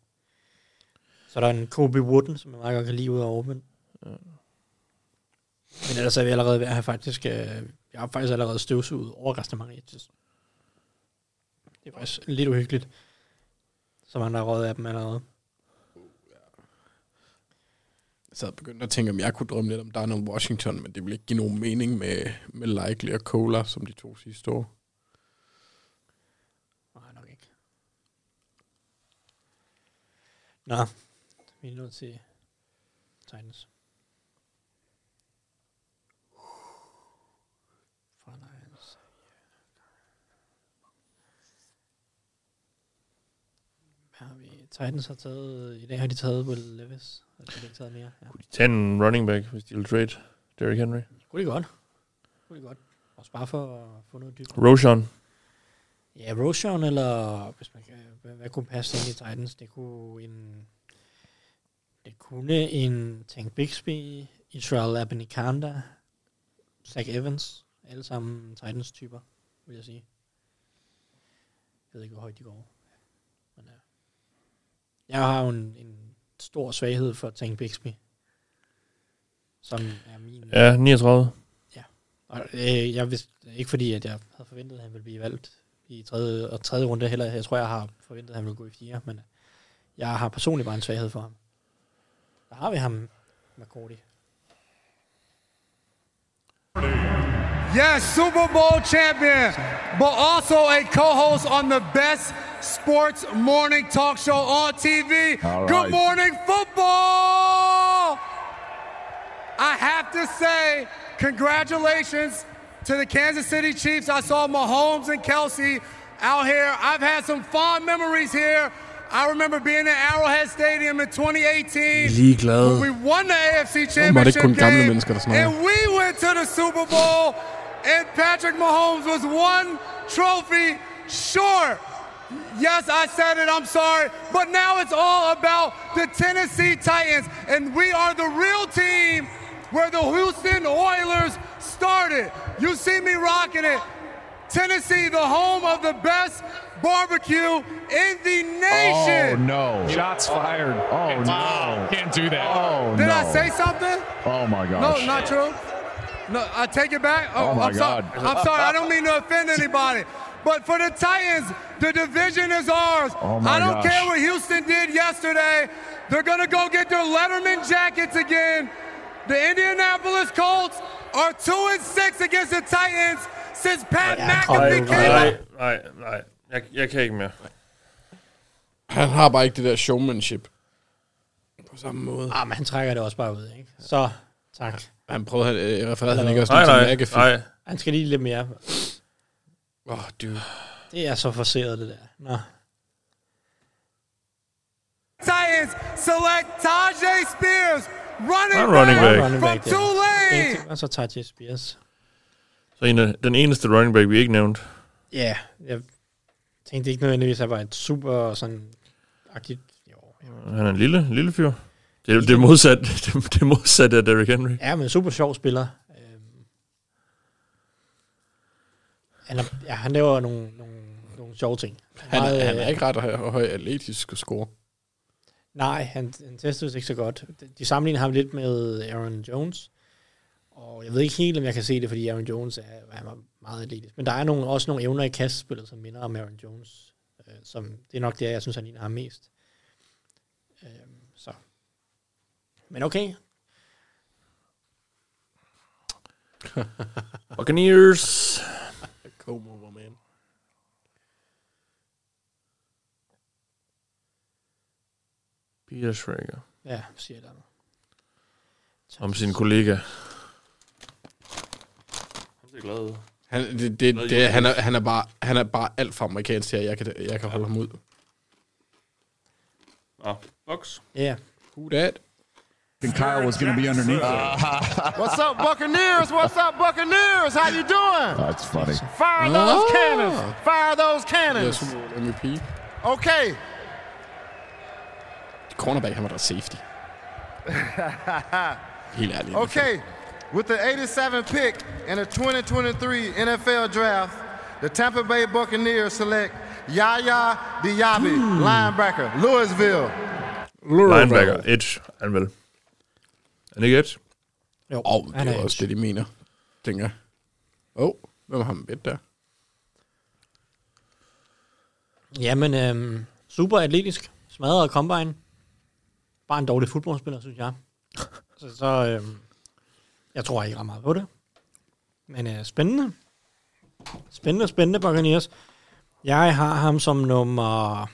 F: Så er der en Kobe Wooden, som jeg meget godt kan lide ud af Auburn. Men ellers er vi allerede ved at have faktisk... Øh, jeg har faktisk allerede støvsuget overraskende mange edges. Det er faktisk lidt uhyggeligt. Så mange der er røget af dem allerede.
E: Jeg sad og begyndte at tænke, om jeg kunne drømme lidt om Darnell Washington, men det ville ikke give nogen mening med, med Likely og Cola, som de to sidste år.
F: Nå, vi er nødt til Titans. Hvad har vi? Titans har taget, i dag har de taget Will Levis, og de har ikke taget mere. Ja.
D: Tag en running back, hvis de vil trade Derrick Henry.
F: Kunne de godt. Kunne de godt. Også bare for at få noget dybt.
D: Roshan.
F: Ja, Roshan, eller hvis man kan, hvad, hvad kunne passe ind i Titans? Det kunne en... Det kunne en Tank Bixby, Israel Abanikanda, Zach Evans, alle sammen Titans-typer, vil jeg sige. Jeg ved ikke, hvor højt de går. Men, ja. Jeg har jo en, en stor svaghed for Tank Bixby. Som er min...
D: Ja, 39.
F: Og, øh, jeg vidste ikke fordi, at jeg havde forventet, at han ville blive valgt i tredje, og tredje runde heller. Jeg tror, jeg har forventet, at han ville gå i fjerde, men øh, jeg har personligt bare en svaghed for ham. Der har vi ham, McCordy.
U: Yes, Super Bowl champion, but also a co host on the best
H: sports morning talk show on TV.
I: All
H: Good
I: right.
H: morning, football. I have to say, congratulations to the Kansas City Chiefs. I saw Mahomes and Kelsey out here. I've had some fond memories here. I remember being at Arrowhead Stadium in 2018. when
E: Ligeglad.
H: We won the
I: Oh,
H: AFC
E: Åbenbart er det ikke
H: Championship
E: kun gamle
H: game,
E: mennesker, der snakker.
H: and we went to the Super Bowl, and Patrick Mahomes was one trophy short. Yes, I said it, I'm sorry. But now it's all about the Tennessee Titans, and we are the real team where the Houston Oilers started. You see me rocking it. Tennessee, the home of the best barbecue in the
I: Oh,
H: nation.
I: no. Shots fired. Oh, no. Can't do that. Oh,
H: Did
I: no.
H: I say something?
I: Oh, my gosh.
H: No, not true. No, I take it back.
I: Oh, my
H: I'm sorry.
I: God.
H: I'm sorry. I don't mean to offend anybody. But for the Titans, the division is ours.
I: Oh, my
H: I don't
I: gosh.
H: care what Houston did yesterday. They're going to go get their Letterman jackets again. The Indianapolis Colts are 2 and 6 against the Titans since Pat
D: Nej,
H: McAfee came
D: nej,
H: up.
D: nej, nej. Jeg, jeg kan ikke mere.
E: Han har bare ikke det der showmanship. På samme måde.
F: Ah, men han trækker det også bare ud, ikke? Så, tak.
E: Han prøvede, han, øh, refererede han
F: Eller
E: ikke også
F: hvad?
E: lidt til McAfee?
F: Han skal lige lidt mere.
E: Åh, oh, dude.
F: Det er så forseret, det der. Nå.
H: Titans select Tajay Spears, running,
D: Not running back.
H: back,
D: Running
H: from
D: back, yeah.
H: Tulane.
F: Og så Tajay Spears.
D: Så en af, den eneste running back, vi ikke nævnte.
F: Ja, jeg tænkte ikke nødvendigvis, at han var et super sådan... Agtigt.
D: Han er en lille, lille fyr. Det, det er modsat, det, det er modsat af Derrick Henry.
F: Ja, men super sjov spiller. Øhm. Han, er, ja, han laver nogle, nogle, nogle sjove ting.
E: Han,
F: Meget,
E: han
F: øh,
E: er ikke ret høj, høj atletisk at score.
F: Nej, han, han testede ikke så godt. De- De sammenligner ham lidt med Aaron Jones. Og jeg ved ikke helt, om jeg kan se det, fordi Aaron Jones er, han var meget atletisk. Men der er nogle, også nogle evner i kastspillet, som minder om Aaron Jones. Øh, som, det er nok det, jeg synes, han ligner ham mest. Øh, så. Men okay.
D: Buccaneers.
E: Come over, man.
D: Peter Schrager.
F: Ja, siger jeg
D: Om sin kollega.
E: Han, det, det, det, han, er, han, er bare, han er bare alt for amerikansk her. Jeg kan, jeg kan holde ham ud.
D: Ah, Bucks.
F: Yeah.
E: Who that?
S: And Kyle was going to be underneath
W: Uh-huh.
S: it.
W: What's up, Buccaneers? What's up, Buccaneers? How you doing?
S: That's funny.
W: Fire those
E: Ah.
W: cannons! Fire those
E: Jeg er
W: cannons!
E: Super Bowl MVP.
W: Okay.
E: Cornerback, han var der safety. Helt ærligt.
W: okay. With the 87th pick in the 2023 NFL Draft, the Tampa Bay Buccaneers select Yaya Diaby, linebacker, Louisville.
D: Linebacker. Edge. Han vel. Er det ikke Edge?
F: Jo,
E: oh, det
D: han
E: er
D: er
E: også det, de mener, tænker jeg. Åh, oh, hvem har ham bedt der?
F: Jamen, øhm, super atletisk. Smadret combine. Bare en dårlig fodboldspiller, synes jeg. så så øhm, jeg tror ikke ret meget på det. Men øh, spændende. Spændende, spændende, Buccaneers. Jeg har ham som nummer...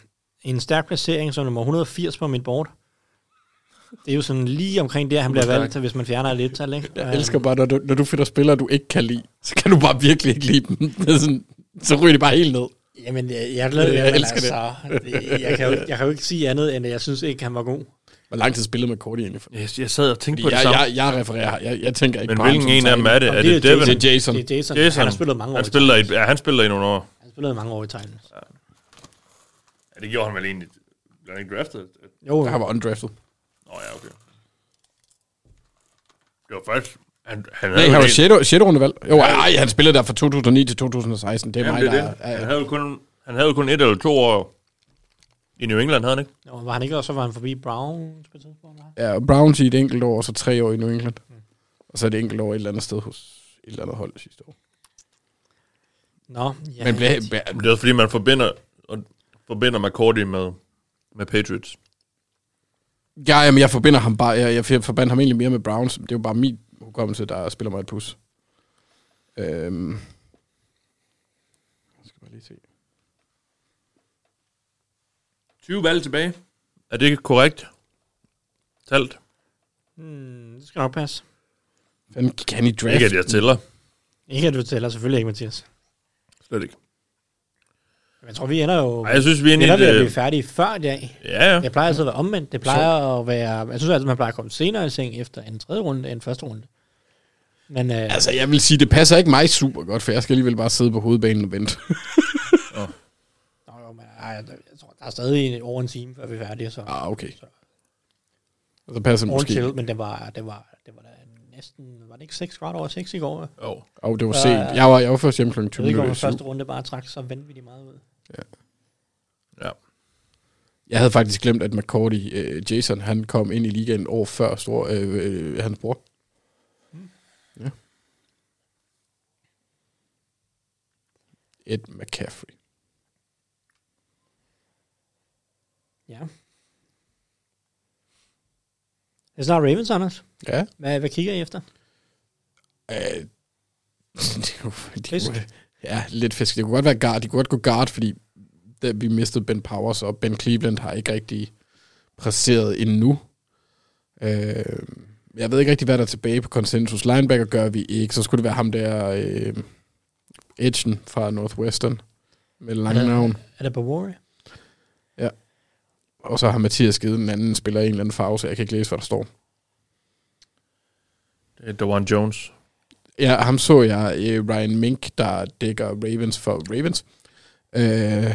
F: En stærk placering som nummer 180 på mit board. Det er jo sådan lige omkring der, han bliver valgt, hvis man fjerner lidt tal, ikke?
E: Jeg elsker bare, når du, når du finder spillere, du ikke kan lide, så kan du bare virkelig ikke lide dem. Det er sådan, så ryger de bare helt ned.
F: Jamen, øh, jeg, jeg, jeg,
E: Jeg
F: jeg
E: elsker
F: elsker
E: det.
F: altså, det. Jeg kan, jo, ikke- jeg kan jo ikke sige andet, end at jeg synes ikke, han var god.
E: Hvor lang tid spillede McCourty egentlig? For?
D: Jeg, jeg sad og tænkte
E: Fordi
D: på det
E: jeg,
D: samme.
E: Jeg, jeg refererer, jeg, jeg tænker ikke
D: Men
E: på ham
D: hvilken
E: som
D: en af dem er det?
E: tager-
D: Er det, Devin?
E: Det er Jason.
D: Jason. Han spiller i, ja, han spiller i nogle år.
F: Han spillede mange år i Titans.
D: Ja, det gjorde han vel egentlig. Blev han ikke draftet?
F: Jo,
E: Han var undrafted.
D: Nå ja, okay. Det var faktisk... Han, han
E: Nej,
D: jo
E: han var
D: en-
E: 6. 6. rundevalg. Jo, ej, han spillede der fra 2009 til 2016. Det er
D: Jamen,
E: mig,
D: det
E: der
D: er det. Han havde jo kun, han havde jo kun et eller to år i New England, havde han ikke?
F: Nå, var han ikke, og så var han forbi Brown på et tidspunkt? hva'?
E: Ja, og Browns i et enkelt år, og så tre år i New England.
F: Mm.
E: Og så et enkelt år et eller andet sted hos et eller andet hold sidste år.
F: Nå, ja.
E: Men blev-
D: det er også fordi, man forbinder, og forbinder McCourty med, med Patriots.
E: Ja, jamen, jeg forbinder ham bare. Jeg, jeg forbandt ham egentlig mere med Browns. Det er jo bare min hukommelse, der spiller mig et pus. Øhm. Jeg skal bare lige se.
D: 20 valg tilbage. Er det korrekt? Talt?
F: Hmm, det skal nok passe.
E: Hvem gik han i draften?
D: Ikke, at jeg tæller.
F: Ikke at du tæller, selvfølgelig ikke, Mathias.
D: Slet ikke.
F: Men Jeg tror, vi ender jo...
D: Ej, jeg synes, vi er inde i
F: ender
D: et,
F: ved at
D: øh,
F: blive færdige før i dag.
D: Ja, ja.
F: Det plejer altid at være omvendt. Det plejer at være... Jeg synes altid, man plejer at komme senere i seng efter en tredje runde end første runde. Men øh,
E: Altså, jeg vil sige, det passer ikke mig super godt, for jeg skal alligevel bare sidde på hovedbanen og vente.
F: ej, jeg, jeg tror, der er stadig over en time, før vi er færdige. Så.
E: Ah, okay. Og så passer det
F: All
E: måske.
F: chill, men det var, det var, det var da næsten... Var det ikke 6 kvart over 6 i går?
D: Jo.
E: Åh, det var sent. Jeg var- jeg var først hjemme klokken 20
F: Jeg ved ikke,
E: minutter
F: om
E: i syv.
F: første runde bare trak så vanvittigt meget ud.
E: Jeg havde faktisk glemt, at McCourty, øh, Jason, han kom ind i ligaen et år før stor, øh, øh, hans bror. Ja. Ed McCaffrey.
F: Ja. Det er snart Ravens, Anders.
E: Ja.
F: Hvad, hvad kigger I efter?
E: Øh, det er jo, de kunne, ja, lidt fisk. Det kunne godt være guard. De kunne godt gå guard, fordi der, vi mistede Ben Powers, og Ben Cleveland har ikke rigtig præsteret endnu. Øh, jeg ved ikke rigtig, hvad der er tilbage på konsensus. Linebacker gør vi ikke. Så skulle det være ham der, øh, Edgen fra Northwestern, med det lange
F: Er der-
E: navn.
F: Er det Bavarian?
E: Ja. Og så har Mathias givet en anden spiller en eller anden farve, så jeg kan ikke læse, hvad der står.
D: Det er Dewan Jones.
E: Ja, ham så jeg, øh, Ryan Mink, der dækker Ravens for Ravens. Øh,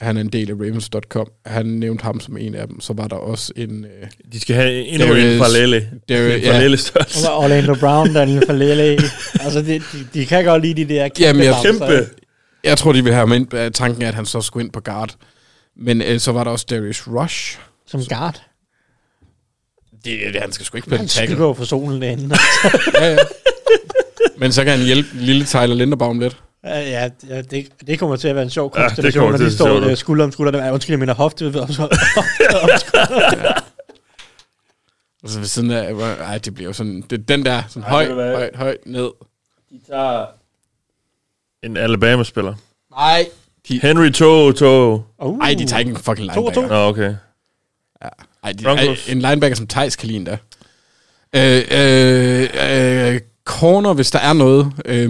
E: han er en del af Ravens.com. Han nævnte ham som en af dem. Så var der også en... Øh,
D: De skal have endnu en parallelle. En parallelle størrelse.
F: Og Orlando Brown, Daniel Falele. altså, de, de, de, kan godt lide de der kæmpe
E: Jamen, jeg,
F: bouncer, ikke?
E: Jeg tror, de vil have ham ind. Øh, Tanken er, at han så skulle ind på guard. Men øh, så var der også Darius Rush.
F: Som guard?
E: Det, det, han skal sgu ikke spille
F: Han
E: tackle.
F: skygger jo for solen derinde.
E: ja, ja. Men så kan han hjælpe lille Tyler Linderbaum lidt.
F: Ja, ja, ja, det, det kommer til at være en sjov
E: Ja, det
F: konstellation,
E: kommer
F: når
E: til
F: de
E: at se sjovt
F: står
E: ud.
F: øh, skulder om skulder. Ja, Undskyld, jeg mener hofte ved om skulder.
E: Altså ved siden af... hvor- Ej, det bliver jo sådan... Det er den der, sådan
D: Ej,
E: høj,
D: ved du hvad?
E: højt, højt, ned.
D: De tager... En Alabama-spiller.
E: Nej.
D: Henry Toe Toe.
F: Uh.
E: Ej, de tager ikke en fucking
D: To og
E: linebacker.
D: to. Nå, okay.
E: Ej, de, ej,
D: Broncos.
E: en linebacker som Thijs kan lide endda. Øh, øh, øh, corner, hvis der er noget. Øh,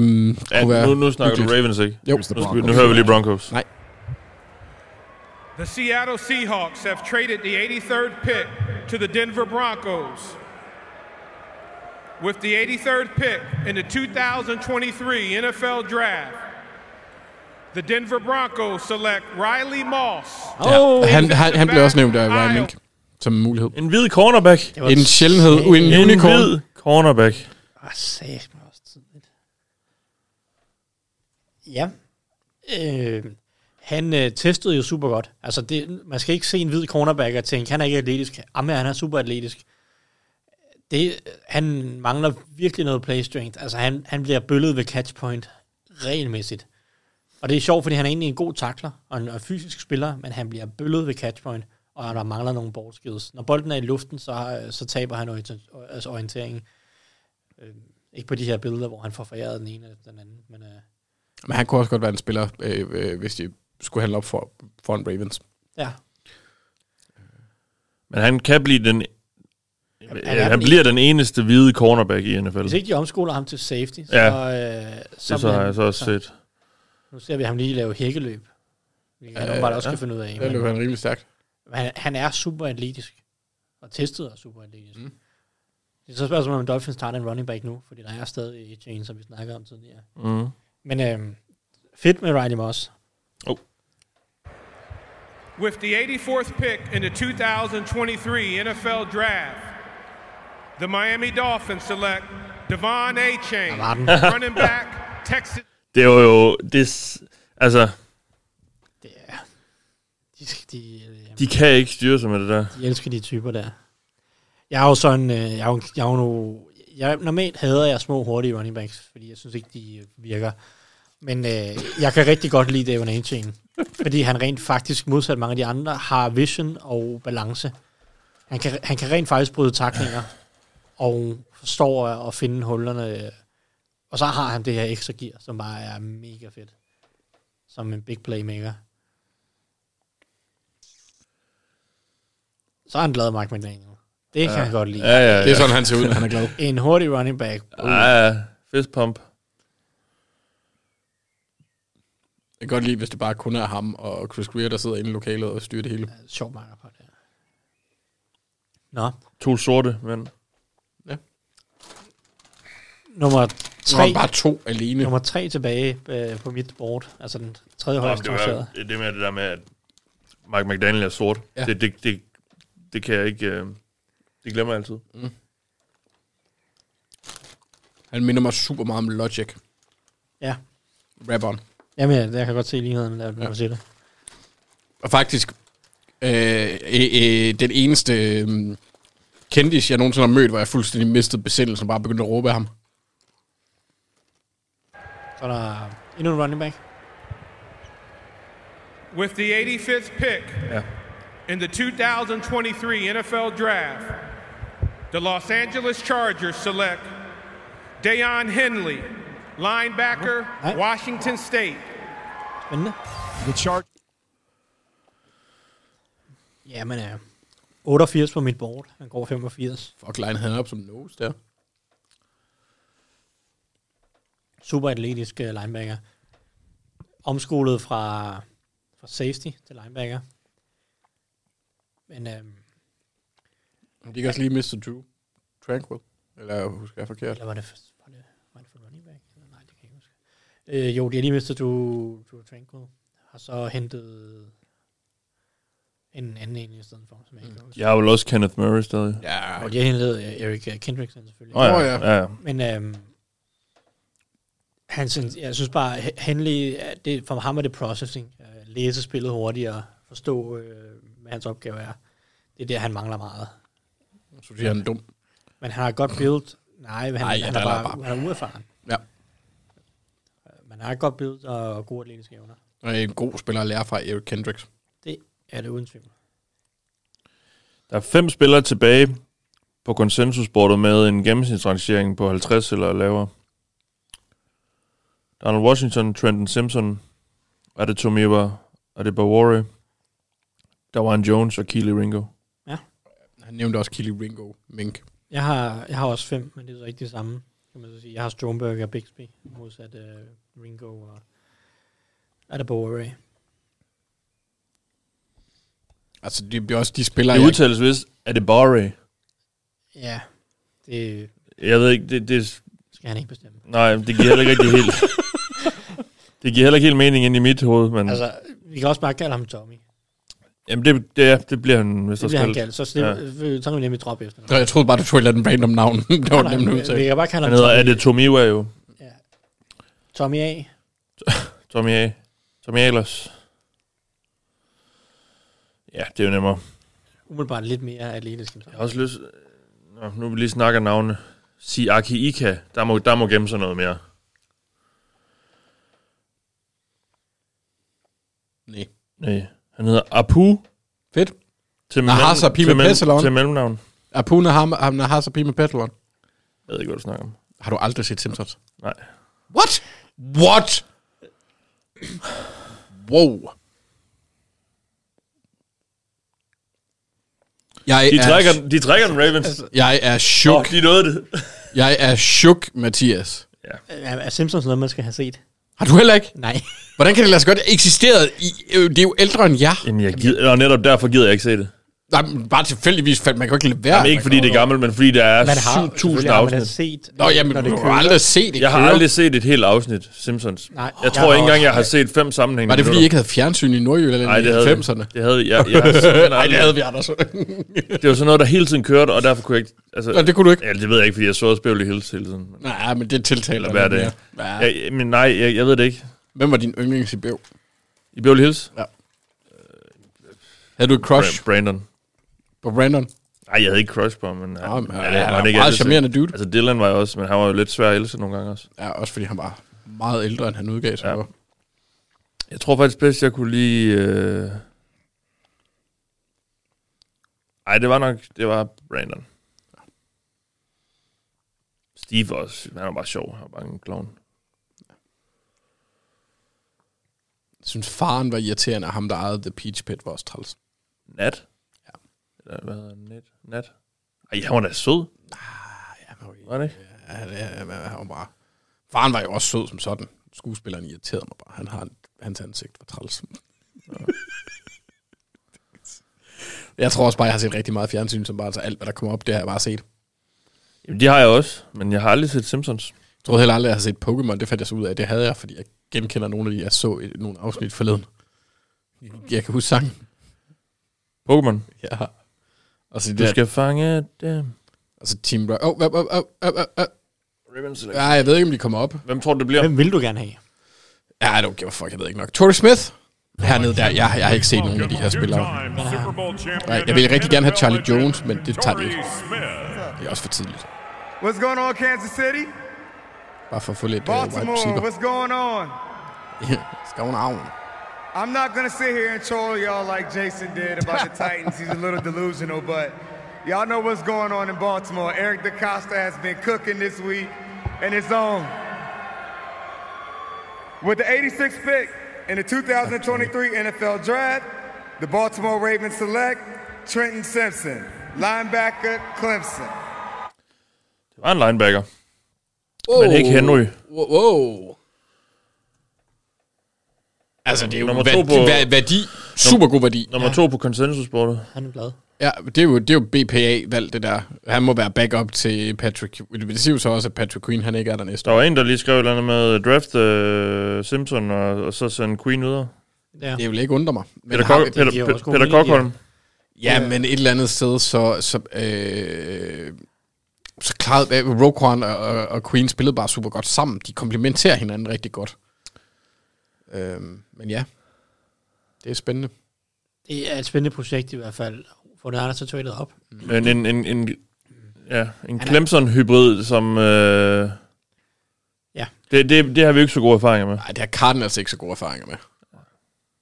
E: kunne
D: Ja, nu, nu snakker du Ravens, ikke?
E: Jo.
D: Nu, skal vi- nu hører vi lige Broncos.
E: Nej.
K: The Seattle Seahawks have traded the 83rd pick to the Denver Broncos. With the 83rd pick in the 2023 NFL Draft, the Denver Broncos select Riley Moss.
E: Ja, han, han, han blev også nævnt af Ryan Mink som en mulighed.
D: En hvid cornerback.
E: En sjældenhed. En, en unicorn.
D: En hvid cornerback.
F: Ah, sæt mig også tidligt. Ja. Øh, han øh, testede jo super godt. Altså, det, man skal ikke se en hvid cornerback og tænke, han er ikke atletisk. Jamen, han er super atletisk. Det, han mangler virkelig noget play strength. Altså, han, han bliver bøllet ved catch point regelmæssigt. Og det er sjovt, fordi han er egentlig en god takler og en og fysisk spiller, men han bliver bøllet ved catch point, og der mangler nogle ball skills. Når bolden er i luften, så, øh, så taber han orient- altså orienteringen. Øh, ikke på de her billeder, hvor han får foræret den ene eller den anden. Men, øh,
E: Men han kunne også godt være en spiller, øh, øh, hvis de skulle handle op for, for en Ravens.
F: ja.
D: Men han kan blive den...
F: han er
D: Han
F: den
D: bliver den eneste hvide cornerback i NFL.
F: Hvis ikke de omskoler ham til safety, så,
D: Ja.
F: øh, så,
D: Det så
F: bliver
D: har
F: han-
D: jeg så også set.
F: Nu ser vi ham lige lave hækkeløb. Det kan
E: Ja,
F: han åbenbart også
E: ja.
F: kan finde ud af.
E: Der løb han rimelig stærkt.
F: Men Han, han er super atletisk. Og testet er super atletisk. Mm. Det er så spørgsmålet, om Dolphins tager den running back nu, fordi der er stadig et chain, som vi snakkede om tidligere.
D: Mm.
F: Men øh, fedt med Riley Moss.
K: With the 84th pick in the 2023 NFL Draft, the Miami Dolphins select Devon A. Chain,
D: Martin.
K: running back, Texas.
D: Det var jo... Det, s- altså,
F: De, skal- de, øh,
D: de kan ikke styre sig med det der.
F: Jeg elsker de typer der. Jeg er jo sådan, øh, jeg er jo, jeg er jo nu, jeg, normalt hader jeg små hurtige running backs, fordi jeg synes ikke, de øh, virker. Men øh, jeg kan rigtig godt lide Devon Anchin, fordi han rent faktisk, modsat mange af de andre, har vision og balance. Han kan, han kan rent faktisk bryde taklinger, og forstår at at finde hullerne. Og så har han det her ekstra gear, som bare er mega fedt. Som en big playmaker. Så er han glad, Mark McDaniel. Det kan
D: Ja.
F: han godt lide.
D: Ja, ja, ja. Det er sådan, han ser ud, når
E: han er glad.
F: En hurtig running back. Uh,
D: Ja, ja. Fist pump.
E: Jeg kan godt lide, hvis det bare kun er ham og Chris Greer, der sidder inde i lokalet og styrer det hele.
F: Sjov marker på det.
D: To sorte mænd.
F: Nummer
E: Nu er
F: tre.
E: han bare to alene.
F: Nummer tre tilbage øh, på mit board. Altså den tredje
D: Nå, men
F: højeste
D: det, var,
F: rangerede.
D: det, det med det der med, at Mike McDaniel er sort.
F: Ja.
D: Ja. Det, det, det, det kan jeg ikke... Øh, det glemmer jeg altid.
E: Han minder mig super meget om Logic.
F: Ja.
E: Rapperen.
F: Jamen, ja, jeg kan godt se ligheden, der, når du siger det.
E: Og faktisk, øh, øh, øh, den eneste øh, kendis, jeg nogensinde har mødt, hvor jeg fuldstændig mistede besindelsen og bare begyndte at råbe af ham.
F: Så er der endnu en running back.
K: With the 85th pick
D: Yeah.
K: in the 2023 NFL Draft, the Los Angeles Chargers select Dayon Henley, linebacker, Washington State.
F: Spændende.
Q: The chart.
F: Jamen, ja. 88 på mit board. Han går 85.
E: Fuck, line han op som nose der.
F: Super atletisk øh, linebacker. Omskolet fra, fra safety til linebacker. Men øhm,
E: De kan også lige miste Drew. Tranquil. Eller husker jeg forkert?
F: Eller var det, var det, var det for running back? Eller Nej, det kan jeg ikke huske. Øh, jo, de har lige mistet Drew, Drew Tranquil. Har så hentet en anden en i stedet for, som jeg ikke kan huske.
D: Jeg har vel også Kenneth Murray stadig.
E: Ja.
F: Og de har hentet øh, Erik øh, Kendrickson selvfølgelig.
D: Åh, ja. Åh, ja. Ja, ja.
F: Men øhm, han, synes- jeg synes bare, H- Henley, øh, det, for ham er det processing. Øh, Læse spillet hurtigere, forstå, øh, hvad hans opgave er. Det er der, han mangler meget.
E: Så siger han dum.
F: Men han har godt build. Nej, men han,
E: Nej, ja,
F: han,
E: der
F: er
E: er
F: bare,
E: bare-
F: han er uerfaren.
E: Ja.
F: Man har et godt build og gode atletiske evner.
E: Og en god spiller at lære fra Eric Kendricks.
F: Det er det uden tvivl.
D: Der er fem spillere tilbage på konsensusbordet med en gennemsnitsrangering på 50 eller lavere. Donald Washington, Trenton Simpson, er det Tomiwa, er det Bawari, Dawan Jones og Keely Ringo.
E: Han nævnte også Killy Ringo Mink.
F: Jeg har, jeg har også fem, men det er så ikke det samme. Kan man så sige. Jeg har Stromberg og Bixby, modsat uh, Ringo og Adebowere.
E: Altså, det bliver også de spillere,
D: Det
E: jeg-
D: udtales vist, er det Bawari?
F: Ja, det
D: Jeg ved ikke, det, det...
F: Skal han ikke bestemme.
D: Nej, det giver heller ikke rigtig helt... det giver heller ikke helt mening ind i mit hoved, men...
F: Altså, vi kan også bare kalde ham Tommy.
D: Jamen, det, det, ja, det bliver han, hvis
F: Det
D: der
F: bliver han
D: skal-
F: kaldt. Så, slip,
D: Ja.
F: ja. så kan vi nemlig droppe efter.
E: Nå, jeg troede bare, du tog et eller andet random navn. det var
F: Nej,
E: nemt
F: vi-
E: udtale.
F: vi kan bare kalde
D: Han
F: ham
D: hedder
F: Tommy.
D: Adde Tomiwa jo.
F: Tommy A.
D: Tommy A. Tommy Ahlers. Ja, det er jo nemmere.
F: Umiddelbart lidt mere atletisk. end
D: Jeg har også lyst... Nå, nu vi lige snakker navne. Siaki Ika. Der må, der må gemme sig noget mere.
E: Nej.
D: Nej. Han hedder Apu.
E: Fedt.
D: Til,
E: Nahasa Pi
D: til,
E: med
D: mellem,
E: Pestalon.
D: til mellemnavn.
E: Apuna ham, ham Nahasa Pi med Pestalon.
D: Jeg ved ikke, hvad du snakker om.
E: Har du aldrig set Simpsons?
D: Nej.
E: What? What? wow. Jeg
D: De
E: er-
D: trækker, de trækker den
F: Altså,
D: Ravens.
E: Jeg er chok.
D: Oh, de nåede det.
E: Jeg er chok, Mathias.
F: Er, er Simpsons noget, man skal have set?
E: Har du heller ikke?
F: Nej.
E: Hvordan kan det lade sig godt? Det eksisterede i, øh, det er jo ældre end jer.
D: Jamen, jeg gider, og netop derfor gider jeg ikke se det.
E: Nej, men bare tilfældigvis fandt man kan jo ikke lade være.
D: Jamen, ikke fordi det er gammelt, men fordi der er
E: Man har-
D: 7.000
E: selvfølgelig har man da
D: afsnit.
F: set,
E: Nå, jamen, når det du har kører. aldrig set det
D: Jeg har
E: køre.
D: aldrig set et helt afsnit, Simpsons.
E: Nej.
D: jeg
E: Jeg
D: tror ikke
E: har
D: engang, jeg
E: også-
D: har set fem sammenhængende
E: Var det fordi, I
D: minutter.
E: ikke havde fjernsyn i Nordjylland
D: Nej,
E: i
D: det havde
E: 90'erne?
D: Det havde jeg. jeg har simpelthen
E: Nej, det
D: aldrig-
E: havde vi, Anders.
D: det var sådan noget, der hele tiden kørte, og derfor kunne jeg ikke... Altså,
E: Nå, det kunne du ikke.
D: Ja, det ved jeg ikke, fordi jeg så også Beverly Hills hele tiden.
E: Nej, men det tiltaler
D: Eller hver
E: mig
D: dag.
E: mere. Ja.
D: Ja. Jeg, men nej, jeg, jeg ved det ikke.
E: Hvem var din yndlings i Bev?
D: I Beverly Hills?
E: Ja. Havde du et crush?
D: Bra- Brandon.
E: På Brandon?
D: Nej, jeg havde ikke crush på ham, men...
E: Nå, men han
D: det
E: er
D: har
E: en meget
D: altid set.
E: charmerende dude.
D: Altså, Dylan var jeg også, men han var jo lidt svær at elske nogle gange også.
E: Ja, også fordi han var meget ældre, end han udgav sig ja.
D: Jeg tror faktisk bedst, jeg kunne lide... Øh... Ej, det var nok... Det var Brandon. Steve var også. Han var bare sjov. Han var bare en clown.
E: Jeg synes, faren var irriterende, og ham, der ejede The Peach Pit, var også træls.
D: Nat?
E: Ja.
D: Eller hvad hedder han? Net? Nat? Ej, han var da sød.
E: Nej,
D: var det ikke?
E: Ja, det er, men han var bare... Faren var jo også sød som sådan. Skuespilleren irriterede mig bare. Han har, hans ansigt var træls. jeg tror også bare, jeg har set rigtig meget fjernsyn, som bare så alt, hvad der kommer op, det har jeg bare set.
D: Jamen, de har jeg også, men jeg har aldrig set Simpsons.
E: Jeg troede heller aldrig, jeg havde set Pokémon. Det fandt jeg så ud af. Det havde jeg, fordi jeg genkender nogle af de, jeg så i nogle afsnit forleden. Jeg kan huske sangen.
D: Pokémon.
E: Ja. Altså, det
D: Du
E: der-
D: skal fange dem.
E: Altså Team Rocket. Åh, oh, oh, oh, oh, oh.
D: Ribbon Select.
E: Ja, jeg ved ikke, om de kommer op.
D: Hvem tror du, det bliver?
F: Hvem vil du gerne have?
E: Ja, I don't give a fuck, jeg ved ikke nok. Torrey Smith? Hernede der, jeg, jeg har ikke set nogen af de her spillere. Nej, jeg ville rigtig gerne have Charlie Jones, men det tager de ikke. Det er også for tidligt.
H: What's going on, Kansas City?
E: Bare for at få lidt uh, wide
H: Baltimore,
E: receiver.
H: what's going on?
E: Skal hun arven?
H: I'm not going to sit here and troll y'all like Jason did about the Titans. He's a little delusional, but y'all know what's going on in Baltimore. Eric DaCosta has been cooking this week, and it's on. With the 86th pick in the 2023 NFL Draft, the Baltimore Ravens select Trenton Simpson, linebacker Clemson.
D: Det var en linebacker. Men ikke Henry.
E: Wow. wow. Altså, det er jo
D: Nummer
E: værdi,
D: to på-
E: værdi, værdi, super god værdi.
D: Nummer
E: Ja.
D: to på konsensusbordet.
F: Han er glad.
E: Ja, det er jo, det er jo BPA-valg, det der. Han må være backup til Patrick... Det siger jo så også, at Patrick Queen, han ikke er der næste
D: Der var en, der lige skrev et eller andet med øh, draft øh, Simpson, og, og så sende Queen videre.
F: Ja.
E: Det vil ikke undre mig.
D: Peter
E: har
D: Kok-
E: vi-
D: Peter- De giver jo også gode Peter meninger. Kokholm.
E: Ja, men et eller andet sted, så... så øh, så klarede øh, Roquan og, og, og Queen spillede bare super godt sammen. De komplementerer hinanden rigtig godt. Øhm, men ja, det er spændende.
F: Det er et spændende projekt i hvert fald. For det er så traded op.
D: Men en, en, en, ja, en Clemson-hybrid, som... Øh,
F: Ja.
D: det, det, det har vi jo ikke så gode erfaringer med.
E: Nej, det har Cardinals ikke så gode erfaringer med.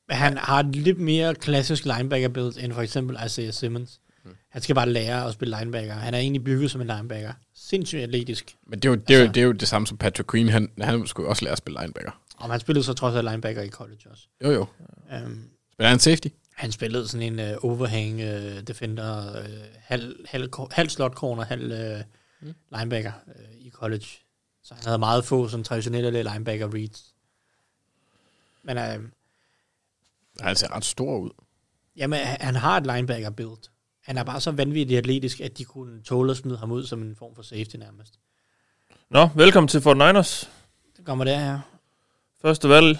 F: Men han har et lidt mere klassisk linebacker build end for eksempel Isaiah Simmons.
E: Hmm.
F: Han skal bare lære at spille linebacker. Han er egentlig bygget som en linebacker. Sindssygt atletisk.
E: Men det er jo det, er jo, det, er jo det samme som Patrick Queen. Han, han skulle jo også lære at spille linebacker.
F: Og han spillede så trods alt linebacker i college også.
E: Jo, jo.
F: Um,
E: Spiller han safety?
F: han spillede sådan en uh, overhang uh, defender, uh, halv, halv, ko- halv slot corner, halv uh, mm. linebacker uh, i college. Så han havde meget få sådan traditionelle linebacker reads. Men uh,
E: Han ser ret stor ud.
F: Jamen, han han har et linebacker build. Han er bare så vanvittigt atletisk, at de kunne tåle at smide ham ud som en form for safety nærmest.
D: Nå, velkommen til 49ers.
F: Det kommer der her.
D: Første valg.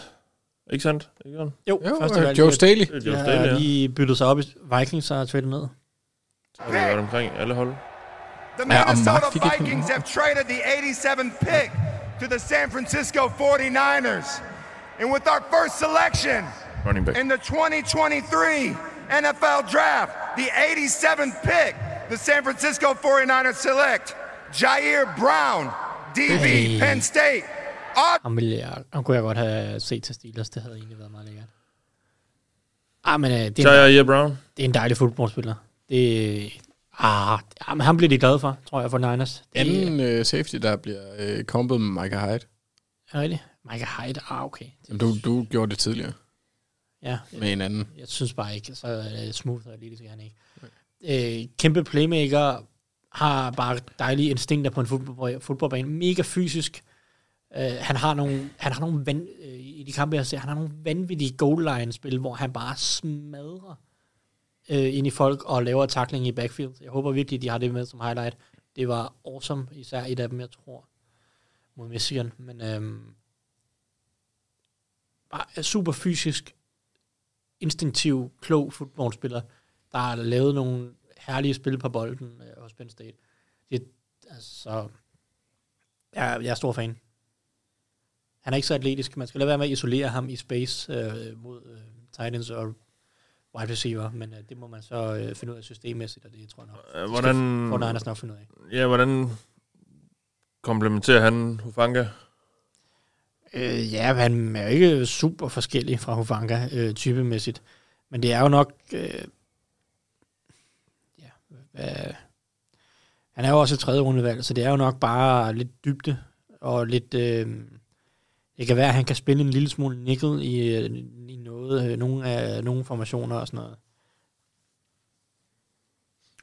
D: Ikke sandt? Ikke sådan?
F: Jo,
E: Jo,
F: første
E: øh,
F: valg.
E: Joe Staley.
D: Det er Joe
F: Joe
D: Staley,
F: Staley,
D: ja.
F: ja. De byttede sig op i Vikings og traded ned.
D: Så har vi været omkring alle hold.
T: The
D: Ja, og Mark
T: Minnesota
D: fik ikke
T: Vikings have traded the 87th pick to the San Francisco 49ers. And with our first selection
D: Running back.
T: in the 2023 NFL Draft, the 87th pick, the San Francisco 49ers select Jair Brown, DB,
F: Hey.
T: Penn State.
F: Ham, ville jeg, ham kunne jeg godt have set til Steelers. Det havde egentlig været meget lækkert. Ah, men øh, det, er
D: Jair
F: en,
D: Brown.
F: det er en dejlig fodboldspiller. Det ah, ah, men ham bliver de glade for, tror jeg, for Niners. Det er,
E: Anden øh, safety, der bliver øh, kompet med Micah Hyde.
F: er det rigtigt? Michael Hyde, ah, okay.
E: Jamen, du, du gjorde det tidligere.
F: Ja.
E: Med en anden.
F: Jeg synes bare ikke, så øh, smooth og atletisk er han ikke. Øh, kæmpe playmaker, har bare dejlige instinkter på en fodboldba- fodboldbane, mega fysisk. Øh, han har nogle, han har nogle van, øh, i de kampe, jeg ser, han har nogle vanvittige goal line spil, hvor han bare smadrer øh, ind i folk og laver tackling i backfield. Jeg håber virkelig, de har det med som highlight. Det var awesome, især et af dem, jeg tror, mod Michigan. Men øhm, bare er super fysisk, instinktiv, klog fodboldspiller, der har lavet nogle herlige spil på bolden øh, hos Penn State. Det, altså, jeg, jeg er stor fan. Han er ikke så atletisk. Man skal lade være med at isolere ham i space øh, mod øh, Titans og wide receiver, men øh, det må man så øh, finde ud af systemmæssigt, og det tror jeg nok.
D: Øh, Hvordan...
F: Hvordan Anders nok finde ud af.
D: Ja, hvordan komplementerer han Hufanga?
F: Øh, ja, han er jo ikke super forskellig fra Hufanga øh, typemæssigt, men det er jo nok... Øh, ja, øh, han er jo også et tredje rundevalg, så det er jo nok bare lidt dybde og lidt... Øh, det kan være, at han kan spille en lille smule nickel i, øh, i noget, øh, nogle, af, nogle formationer og sådan noget.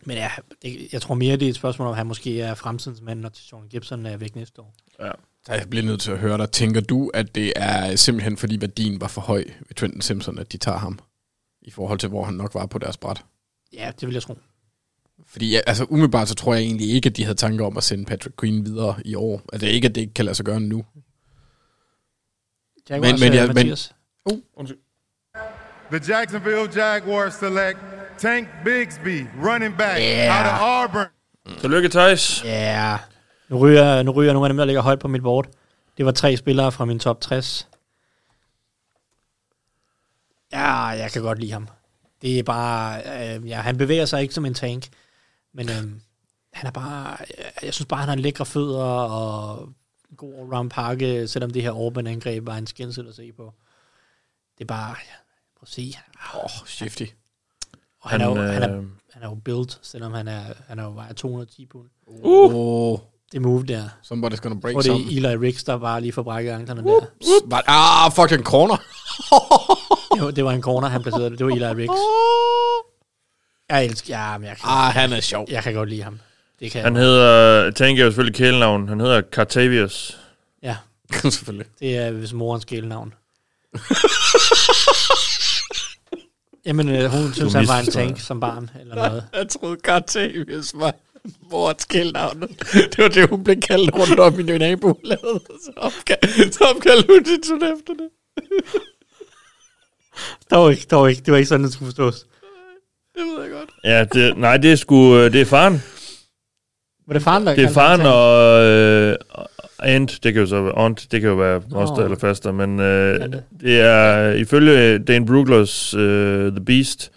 F: Men ja, det, jeg tror mere, det er et spørgsmål om, at han måske er fremtidens mand, når Sean Gibson er væk næste år.
D: Ja.
E: Jeg bliver nødt til at høre dig. Tænker du, at det er øh, simpelthen fordi værdien var for høj ved Trenton Simpson, at de tager ham? I forhold til, hvor han nok var på deres bræt.
F: Ja, det vil jeg tro.
E: Fordi ja, altså, umiddelbart så tror jeg egentlig ikke, at de havde tanker om at sende Patrick Queen videre i år. Altså ikke, at det ikke kan lade sig gøre nu.
F: Jaguars,
E: Men- men
F: øh,
E: jeg- men-
F: Mathias.
A: Oh, The Jacksonville Jaguars select Tank Bigsby, running back out of Auburn.
D: Mm. Tillykke, Thijs.
F: Ja. Yeah. Nu ryger, nu ryger nogle af dem, der ligger højt på mit board. Det var tre spillere fra min top 60. Ja, jeg kan godt lide ham. Det er bare... Øh, ja, han bevæger sig ikke som en tank, men øh, han er bare... øh, Jeg, jeg synes bare, han har lækre fødder og en god allround pakke, selvom det her Orban-angreb var en skændsel at se på. Det er bare... Ja, prøv at se. Åh,
E: oh, shifty.
F: Og han, han,
D: Han,
F: er, jo, han, er,
D: øh,
F: han er jo built, selvom han er, han er jo vejer 210 pund.
E: Uh!
F: Det move der.
E: Somebody's gonna break
F: Hvor det
E: something.
F: er Eli Riggs, der bare lige får brækket anklerne der.
E: Var, ah, fucking corner.
F: Det var, det var en corner, han placerede det. Det var Eli Riggs. Jeg elsker, ja, men jeg kan,
E: Ah, han er sjov.
F: Jeg kan godt lide ham. Det kan
D: Han
F: jeg.
D: hedder, Tank er jo selvfølgelig kælenavn, han hedder Cartavius.
F: Ja.
E: Selvfølgelig.
F: Det er hvis morens gældenavn. Jamen, øh, hun synes, han var en
E: misforstår.
F: tank som barn, eller noget.
E: Jeg troede Cartavius var vores kældnavn. Det var det, hun blev kaldt rundt om i nabolaget. Så opkald- Så opkaldte hun sit sådan efter det.
F: Dog ikke, dog ikke. Det var ikke sådan, det skulle forstås.
E: Det ved jeg godt.
D: Ja, det, nej, det er sgu, øh, det er faren.
F: Var det faren, der
D: Det er
F: kaldte ham
D: faren
F: tank?
D: og øh, og aunt, det kan jo så være aunt, det kan jo være moster eller faster, men øh, det er øh, ifølge Dan Bruglers øh, The Beast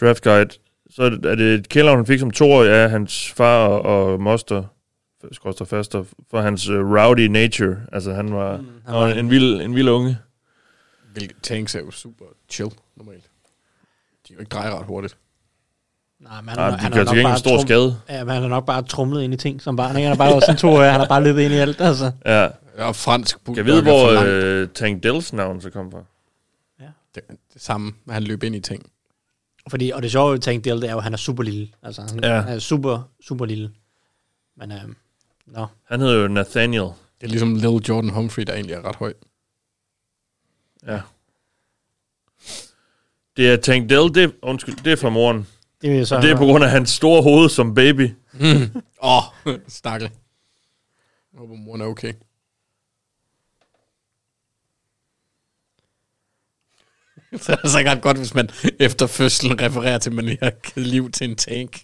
D: draft guide, så er det- er det et kældnavn, han fik som toårig af hans far og, og moster, skorster faster, for hans øh, rowdy nature. Altså han var, mm, han var en, vild, en vild unge.
E: Hvilket tanks er jo super chill, normalt. De kan jo ikke dreje ret hurtigt.
F: Nej, men
D: Ah,
F: er-
D: de
F: er
D: gør
F: nok
D: til gengæld
F: bare
D: stor
F: trum-
D: skade.
F: Ja, men han har nok bare trumlet ind i ting som barn. Ikke? Han er bare sådan to år, han har bare løbet ind i alt, altså.
D: Ja.
E: Og fransk bulldog
D: Jeg ved,
E: er for
D: hvor
E: langt.
D: øh, Tank Dells navn så kom fra.
E: Det, det samme, at han løb ind i ting.
F: Fordi, og det sjove ved Tank Dell, det er jo, at han er super lille. Altså, han
D: Ja.
F: ja. er super, super lille. Men, øhm, nå.
D: Han hedder jo Nathaniel.
E: Det er ligesom Little Jordan Humphrey, der egentlig er ret høj.
D: Ja. Det er Tank Dell, det, undskyld, det er fra moren.
F: Det vil jeg så
D: Og det er
F: høre.
D: på grund af hans store hoved som baby.
E: Åh, oh, stakkel. Jeg håber, moren er okay. Så er det altså ikke ret godt, hvis man efter fødslen refererer til, at man lige har givet liv til en tank.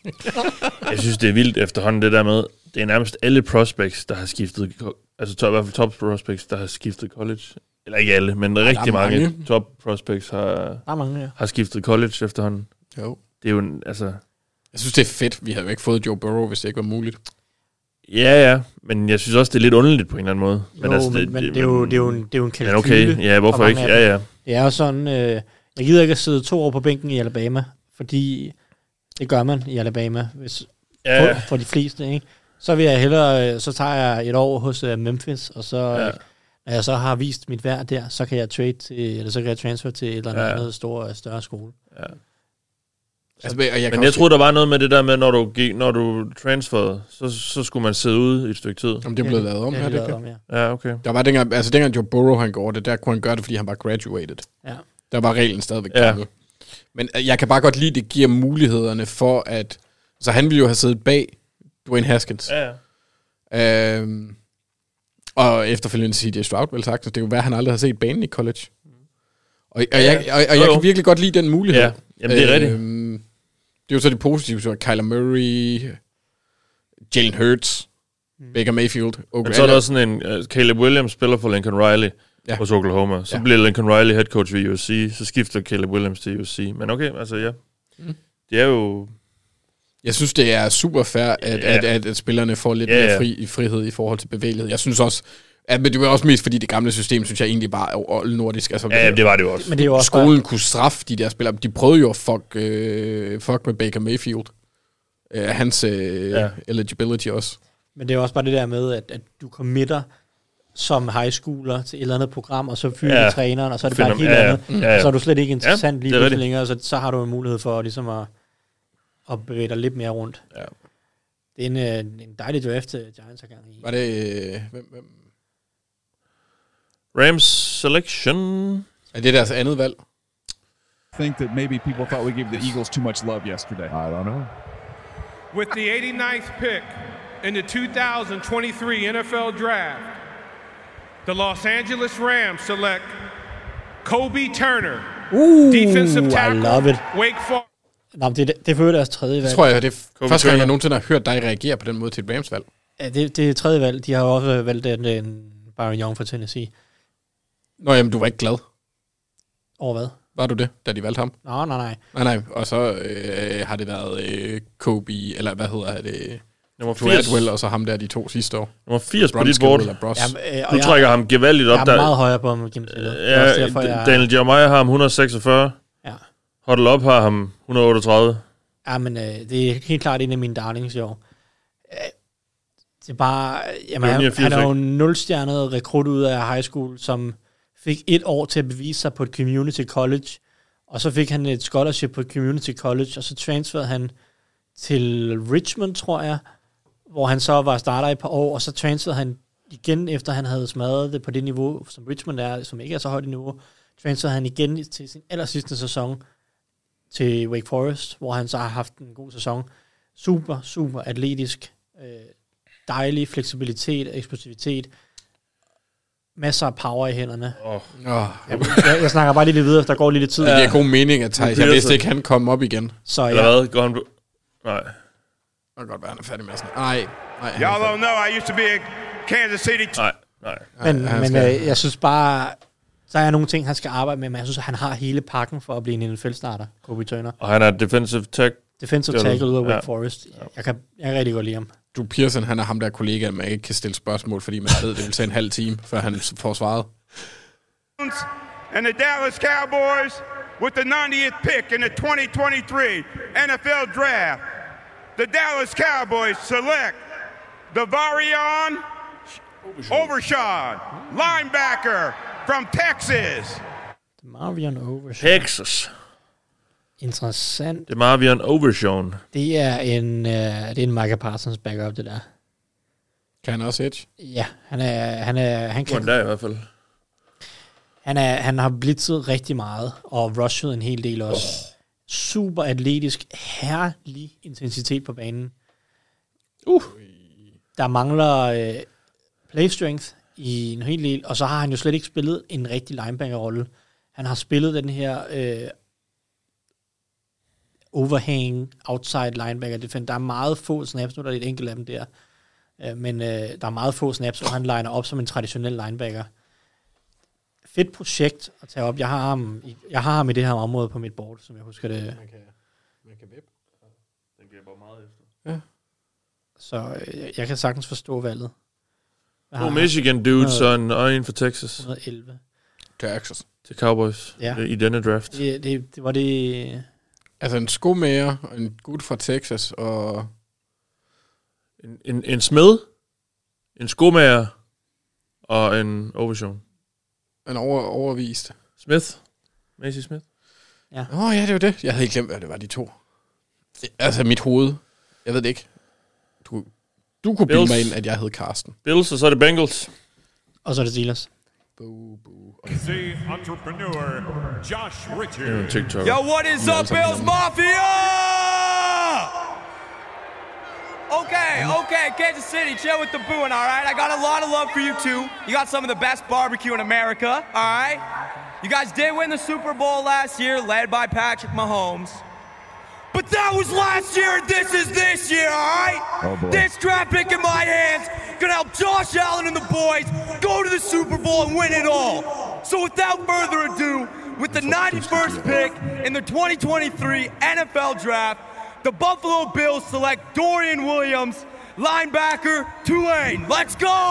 D: Jeg synes, det er vildt efterhånden, det der med, det er nærmest alle prospects, der har skiftet, co- altså top, i hvert fald top prospects, der har skiftet college. Eller ikke alle, men rigtig mange.
E: mange.
D: mange top prospects har,
F: er mange, ja.
D: har skiftet college efterhånden.
E: Jo.
D: Det er jo en, altså...
E: Jeg synes, det er fedt. Vi havde jo ikke fået Joe Burrow, hvis det ikke var muligt.
D: Ja, ja, men jeg synes også, det er lidt underligt på en eller anden måde.
F: Jo,
D: altså,
F: men- men det er jo- det er jo en- det er jo en
D: Men
F: kalkyle
D: okay, ja,
F: for
D: hvorfor
F: mange
D: ikke?
F: af dem.
D: Ja, ja.
F: Det er jo sådan, øh, jeg gider ikke at sidde to år på bænken i Alabama, fordi det gør man i Alabama, hvis,
D: Ja.
F: ja. for, for de fleste, ikke? Så vil jeg hellere, øh, så tager jeg et år hos øh, Memphis, og så, ja. når jeg så har vist mit værd der, så kan jeg trade til, eller så kan jeg transfer til et eller andet,
D: Ja.
F: ja. andet stor, øh, større skole.
D: Ja.
E: Altså, men- og jeg
D: Men jeg troede, der var noget med det der med, når du, gik, når du transferede, så, så skulle man sidde ude i et stykke tid.
E: Om det er blevet lavet om,
F: ja,
E: er
F: det
E: det
F: er
E: ikke
F: lavet
E: det?
D: om, ja. Ja, okay.
E: Der var dengang, altså dengang Joe Burrow han gjorde det, der kunne han gøre det, fordi han var graduated.
F: Ja.
E: Der var reglen stadigvæk
D: Ja.
E: ja. gammel. Men øh, jeg kan bare godt lide, det giver mulighederne for at... Så han ville jo have siddet bag Dwayne Haskins.
D: Ja,
E: ja. Øhm, og efterfølgende C.J. Stroud, vel sagt. Så det er jo hvad han aldrig har set banen i college. Og, og, jeg, og, og
D: Jo,
E: jeg
D: jo.
E: kan virkelig godt lide den mulighed.
D: Ja. Jamen, det er rigtigt.
E: Øhm, det er jo så det positive, så Kyler Murray, Jalen Hurts, Baker Mayfield,
D: Men så er der også sådan en, øh, Caleb Williams spiller for Lincoln Riley
E: Ja.
D: ja. hos Oklahoma. Så
E: Ja.
D: ja. bliver Lincoln Riley head coach ved USC, så skifter Caleb Williams til USC. Men okay, altså ja.
E: Mm.
D: Mm. Det er jo...
E: Jeg synes, det er super fair, at,
D: Ja.
E: at, at, at spillerne får lidt
D: Ja,
E: mere
D: ja.
E: fri, i frihed i forhold til bevægelighed. Jeg synes også, at, men det var også mest fordi det gamle system, synes jeg egentlig bare er oldnordisk. Altså,
D: Ja, det var det jo også.
F: Men det er jo også
E: Skolen kunne straffe de der spillere. De prøvede jo at fuck, øh, fuck med Baker Mayfield. Øh, hans øh,
F: Ja.
E: ja. eligibility også.
F: Men det er også bare det der med, at, at du committer som high schooler til et eller andet program, og så fyrer
D: Ja.
F: ja. træneren, og så er det
D: Finder
F: bare et
D: dem-
F: helt
D: ja, ja.
F: andet.
D: Ja, ja.
F: Så er du slet ikke interessant
D: Ja,
F: lige
D: det er
F: pludselig
D: rigtigt.
F: længere, så, så har du en mulighed for ligesom at og bevæge dig lidt mere rundt. Ja. Det er en, øh, en dejlig draft, øh, Giants har gang i.
E: Var det... øh, Hvem, hvem?
D: Rams selection.
E: Er det deres andet valg?
Q: think that maybe people thought we gave the Eagles too much love yesterday. I don't know.
K: With the 89th pick in the 2023 NFL Draft, the Los Angeles Rams select Kobe Turner,
F: Ooh,
K: defensive
F: Uh, I
K: tackle,
F: love it.
K: Wake Forest.
F: Nå, men det, er- det er for øvrigt deres tredje valg.
E: Det tror jeg, det er f- første gang, jeg nogensinde har hørt dig reagere på den måde til et Rams-valg.
F: Ja, det, det er tredje valg. De har jo også valgt en, en Byron Young fra Tennessee.
E: Nå, jamen, du var ikke glad.
F: Over hvad?
E: Var du det, da de valgte ham?
F: Nå, nej, nej.
E: Nej, nej. Og så øh, har det været øh, Kobe, eller hvad hedder det?
D: Nummer 80.
E: Gladwell, og så ham der de to sidste år.
D: Nummer 80 på dit
E: Brunskill
D: board.
E: eller Bros.
F: Jamen, øh, og
D: du
F: jeg-
D: trækker ham gevaldigt op
F: jeg er
D: der. Øh,
F: meget højere på ham, Jim Taylor. Det er også
D: Ja, derfor,
F: derfor, jeg-
D: jeg... Daniel Jeremiah har ham 146.
F: Ja.
D: Huddle op har ham 138.
F: Ja, men øh, det er helt klart en af mine darlings i år. Øh, det er bare... Jamen,
D: Det er jo
F: han,
D: 89,
F: han er jo en nulstjernet rekrut ud af high school, som fik et år til at bevise sig på et community college, og så fik han et scholarship på et community college, og så transferede han til Richmond, tror jeg, hvor han så var starter i et par år, og så transferede han igen, efter han havde smadret det på det niveau, som Richmond er, som ikke er så højt et niveau, transferede han igen til sin aller sidste sæson til Wake Forest, hvor han så har haft en god sæson. Super, super atletisk, øh, dejlig fleksibilitet, eksplosivitet, masser af power i hænderne.
D: Oh.
E: Åh.
F: Jeg, jeg, jeg snakker bare lige lidt videre, for der går lige lidt tid.
E: Det giver god mening, at Thijs, jeg
F: Nu
E: vidste
F: bliver
E: ikke, han kom op igen.
F: Så Eller ja.
D: Går han... Nej.
E: Det kan godt være, han er færdig med sådan. Nej, nej. han er
K: Y'all
E: færdig.
K: don't know I used to be a Kansas City.
D: Nej, nej.
F: Men,
T: Uh,
F: men øh, jeg synes bare, der er nogle ting, han skal arbejde med, men jeg synes, at han har hele pakken for at blive en NFL-starter, Kobe Turner.
D: Og han er defensive tack.
F: Defensive tackle ud af Wake
D: Ja.
F: Forest. Jeg kan, jeg kan rigtig godt lide ham.
E: Du Pearson, han er ham der kollega, man ikke kan stille spørgsmål, fordi man ved, det vil tage en halv time, før han får svaret.
T: and the Dallas Cowboys with the 90th pick in the 2023 NFL Draft. The Dallas Cowboys select Devarion Overshawn, linebacker from Texas.
F: Marvion Overshawn.
D: Texas.
F: Interessant.
D: Det er Marvion Overshawn.
F: Det er en, øh, det er en Micah Parsons backup, det der.
E: Kan han også hedge?
F: Ja, han er, han er, han kan,
D: Der i hvert fald.
F: han, er, han har blitzet rigtig meget, og rushet en hel del også. Oh. Super atletisk, herlig intensitet på banen. Uh. Der mangler øh, play strength i en hel del, og så har han jo slet ikke spillet en rigtig linebacker-rolle. Han har spillet den her øh, overhang, outside linebacker defense. Der er meget få snaps, nu er der et enkelt af dem der, øh, men øh, der er meget få snaps, hvor han liner op som en traditionel linebacker. Fedt projekt at tage op. Jeg har ham i, jeg har ham i det her område på mit board, som jeg husker det.
D: Den bliver bare meget efter.
F: Så øh, jeg, jeg kan sagtens forstå valget. Jeg
D: To
F: har-
D: Michigan dudes
F: Noget-
D: og en, og en for Texas.
F: 111.
E: Texas.
D: Til Cowboys.
F: Ja.
D: I denne draft.
F: Det, det, det var det...
E: Altså en skomager, og en gut fra Texas, og...
D: En, en, en smed, en skomager og en Overshawn.
E: En over, overvist.
D: Smith. Macy Smith.
F: Ja.
E: Åh oh, ja, det var det. Jeg havde helt glemt, hvad det var, de to. Det- Altså mit hoved. Jeg ved det ikke. Du, du kunne bilde
D: Bills.
E: mig ind, at jeg hed Karsten.
D: Bills, og så er det Bengals.
F: Og så er det Steelers.
M: The entrepreneur, Josh
D: Det er en
M: Richards.
D: TikToker.
M: Yo, what is
D: Ja,
M: up,
D: sådan
M: Bills
D: noget.
M: Mafia?
H: Okay, okay, Kansas City, chill with the booing, all right? I got a lot of love for you two. You got some of the best barbecue in America, all right? You guys did win the Super Bowl last year, led by Patrick Mahomes. But that was last year, and this is this year, all right?
M: Oh, boy.
H: This draft pick in my hands can help Josh Allen and the boys go to the Super Bowl and win it all. So without further ado, with the 91st pick in the 2023 NFL Draft, the Buffalo Bills select Dorian Williams, linebacker, Tulane. Let's go!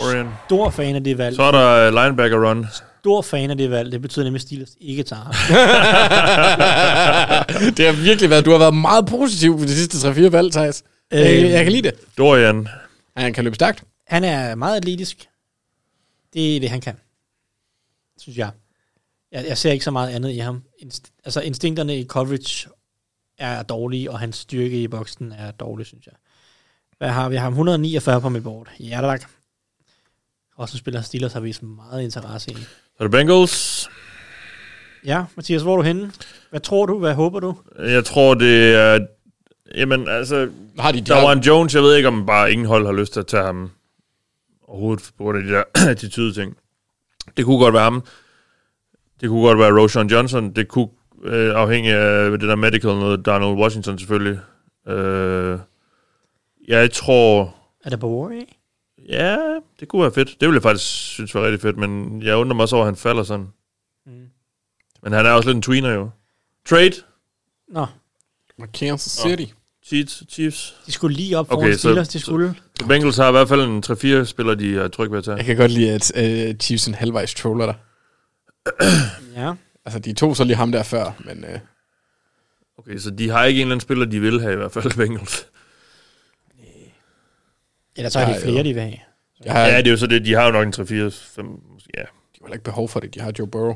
D: Orion.
F: Stor fan af det valg.
D: Så er der øh, linebacker run.
F: Stor fan af det valg. Det betyder nemlig, at Steelers ikke tager ham.
E: det har virkelig været... Du har været meget positiv på de sidste 3-4 valg, Thijs. Øh, jeg, jeg kan lide det.
D: Øhm, Dorian.
E: Han kan løbe stærkt.
F: Han er meget atletisk. Det er det, han kan. Synes jeg. Jeg, jeg ser ikke så meget andet i ham. Inst- altså, instinkterne i coverage er dårlige, og hans styrke i boksen er dårlig, synes jeg. Hvad har vi? Jeg har ham 149 på mit board. Ja, tak. Og så spiller Steelers har vist meget interesse i.
D: Så er det Bengals.
F: Ja, Mathias, hvor er du henne? Hvad tror du? Hvad håber du?
D: Jeg tror, det er... Jamen, altså...
E: Har de- de
D: der
E: har-
D: var en Jones, jeg ved ikke, om bare ingen hold har lyst til at tage ham overhovedet på grund af de der attitude-ting. Det kunne godt være ham. Det kunne godt være Roshan Johnson. Det kunne øh, afhænge af det der medical noget. Donald Washington selvfølgelig. Øh, jeg tror...
F: Er det Bavarian?
D: Ja, det kunne være fedt. Det ville jeg faktisk synes var rigtig fedt, men jeg undrer mig også over, at han falder sådan. Mm. Men han er også lidt en tweener jo. Trade?
F: Nå.
E: Kansas City.
D: Chiefs, Chiefs.
F: De skulle lige op foran okay, Steelers, de skulle.
D: Så, så Bengals har i hvert fald en 3-4 spillere, de er trygge ved at tage.
E: Jeg kan godt lide, at øh, Chiefs en halvvejs troller dig.
F: ja.
E: Altså, de tog så lige ham der før, men... Øh,
D: Okay, så de har ikke en eller anden spiller, de vil have i hvert fald, Bengals.
F: Eller så har de flere, de vil have.
E: Jeg har-
D: Ja, det er jo så det. De har jo nok en 3-4, 5, ja.
E: De har heller ikke behov for det. De har Joe Burrow.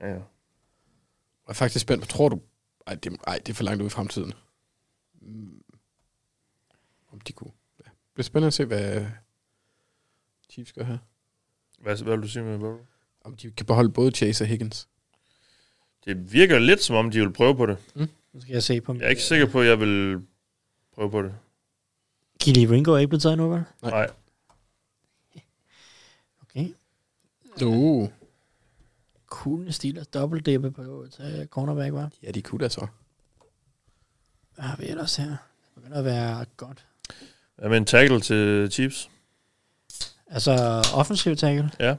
D: Ja. Jeg
E: er faktisk spændt. Hvad tror du? Ej det, ej, det er for langt ud i fremtiden. Mm. Om de kunne. Ja. Det bliver spændende at se, hvad Chiefs gør her.
D: Hvad, hvad vil du sige med Burrow?
E: Om de kan beholde både Chase og Higgins.
D: Det virker lidt, som om de vil prøve på det.
E: Mm.
F: Nu skal jeg se på dem.
D: Jeg er ikke sikker på, at jeg vil prøve på det.
F: Kili Ringo er ikke blevet taget endnu, vel?
D: Nej. Nej.
F: Okay.
E: Uh.
F: Kunne Steelers dobbeltdæppe på at tage cornerback, var?
E: Ja, de kunne da så.
F: Hvad har vi ellers her? Det begynder at være godt.
D: Hvad med en tackle til Chiefs?
F: Altså, offensiv tackle?
D: Ja.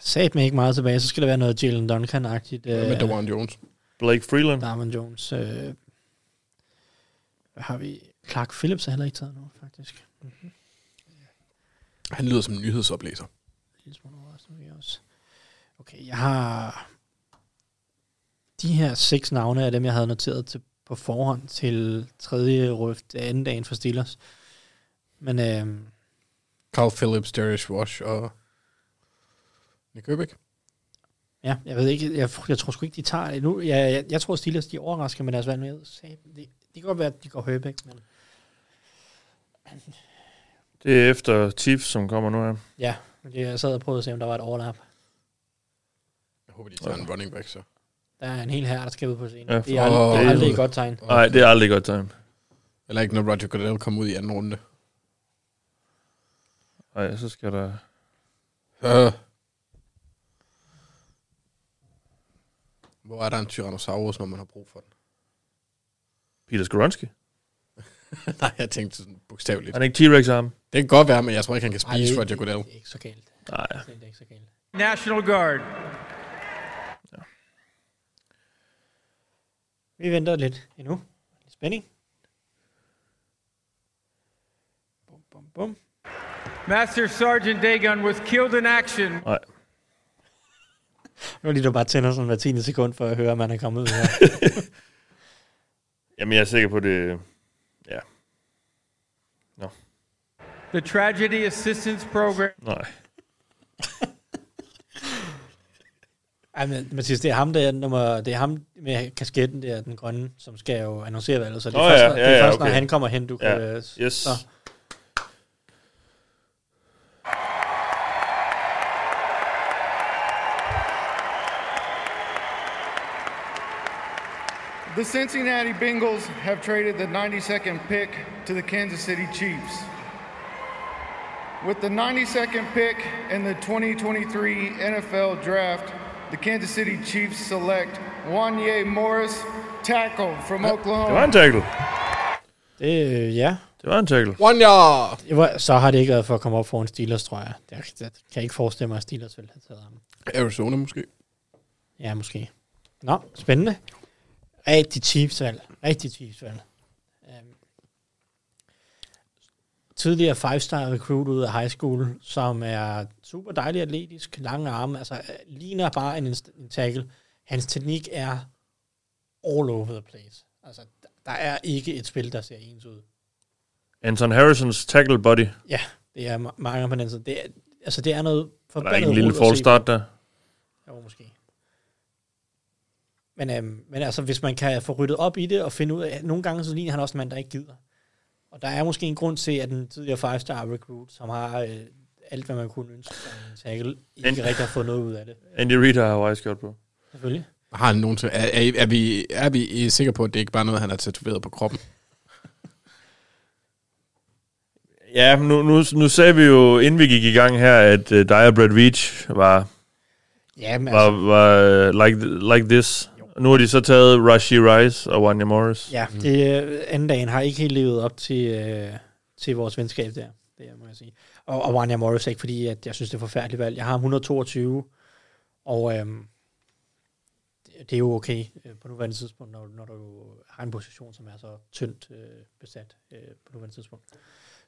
F: Sat mig ikke meget tilbage, så skal der være noget Jalen Duncan-agtigt. øh,
E: Hvad med Dawan Jones?
D: Blake Freeland?
F: Darwin Jones. Øh, hvad har vi? Clark Phillips er heller ikke taget nu, faktisk.
D: Mhm.
F: Mm-hmm.
E: Han lyder som en nyhedsoplæser.
F: Okay, jeg har... De her seks navne er dem, jeg havde noteret til, på forhånd til tredje røft anden dagen for Steelers. Men øh,
E: Carl Phillips, Darius Wash og Nick Herbig.
F: ja, jeg ved ikke, jeg, jeg tror sgu ikke, de tager det nu. Jeg, jeg, jeg tror, Steelers de overrasker med deres valg. men jeg sagde, Det, det kan godt være, at de går Højbæk, men
D: Det er efter Chiefs, som kommer nu her.
F: ja, det- jeg sad og prøvede at se, om der var et overlap.
E: Jeg håber, de tager en running back så.
F: Der er en hel her, der skal ud på scenen.
D: Ja,
F: Ja, det er
D: for-
F: aldrig, det er
D: Åh.
F: aldrig et godt tegn.
D: Nej, det er aldrig et godt tegn.
E: Eller ikke, når Roger Goodell kommer ud i anden runde.
D: Nej, så skal der...
E: Øh. Hvor er der en Tyrannosaurus, når man har brug for den?
D: Peter Skoronski?
E: Nej, jeg tænkte sådan bogstaveligt.
D: Han er ikke T-Rex arm.
E: Det kan godt være, men jeg tror ikke, han kan
F: Ej, det
E: spise
F: er
E: Roger Goodell.
F: Det er ikke så galt.
D: Nej.
F: Det er ikke så galt.
O: National Guard.
F: Vi venter lidt endnu. Lidt spænding. Bum, bum, bum.
O: Master Sergeant Dagon was killed in action.
D: Nej.
F: Det var lige, du bare tænder sådan hver 10. sekund, for at høre, om man er kommet ud her.
D: Jamen, jeg er sikker på det... Ja. Nå,
O: The Tragedy Assistance Program.
D: nej.
F: Ej, men Mathias, det er ham der, nummer, det er ham med kasketten der, den grønne, som skal jo annoncere valget, så det er
D: Nå,
F: først,
D: ja,
F: når,
D: ja,
F: det er
D: ja,
F: først når
D: okay.
F: han kommer hen, du
D: Ja,
F: kan... øh, s-
D: yes.
F: så.
G: The Cincinnati Bengals have traded the 92nd pick to the Kansas City Chiefs. With the 92nd pick in the 2023 NFL Draft, the Kansas City Chiefs select Wanye Morris, tackle from Oklahoma.
D: Det var en tackle.
F: Det, øh, ja.
D: Det var en tackle.
E: One yard!
F: Det var, så har det ikke været for at komme op foran Steelers, tror jeg. Jeg, jeg kan ikke forestille mig, at Steelers ville have taget ham.
E: Arizona måske.
F: Ja, måske. Nå, spændende. Rigtig Chiefs-valg. Rigtig Chiefs-valg. Øhm, Tidligere five-star recruit ud af high school, som er super dejlig atletisk, lange arme, altså øh, ligner bare en, inst- en tackle. Hans teknik er all over the place. Altså, der- der er ikke et spil, der ser ens ud.
D: Anton Harrisons tackle body.
F: Ja, det er ma- mange på den side. Det er, altså, det er noget
D: Der er ikke
F: forbandet
D: en lille
F: rod at se
D: false
F: på.
D: start der.
F: Jo, måske. Men, øhm, men altså, hvis man kan få ryddet op i det og finde ud af, at nogle gange så ligner han også en mand, der ikke gider. Og der er måske en grund til, at den tidligere five-star recruit, som har øh, alt, hvad man kunne ønske, sig i en tackle, ikke
D: Andy-
F: rigtig har fået noget ud af det.
D: Andy Reid har jo også gjort på.
F: Selvfølgelig.
E: Har han nogen til, er, er, er, vi, er vi sikre på, at det ikke bare er noget, han har tatoveret på kroppen?
D: Ja, nu, nu, nu sagde vi jo, inden vi gik i gang her, at uh, dig og Brad Veach var,
F: Ja, men altså-
D: var, var uh, like, like this. Nu har de så taget Rashi Rice og Wanya Morris.
F: Ja,
E: Mhm.
F: det øh, anden dagen har ikke helt levet op til, øh, til vores venskab der, det må jeg sige. Og, og Wanya Morris er ikke, fordi at jeg synes, det er et forfærdeligt valg. Jeg har ham 122, og øhm, det- det er jo okay øh, på nuværende tidspunkt, når, når du har en position, som er så tyndt øh, besat øh, på nuværende tidspunkt.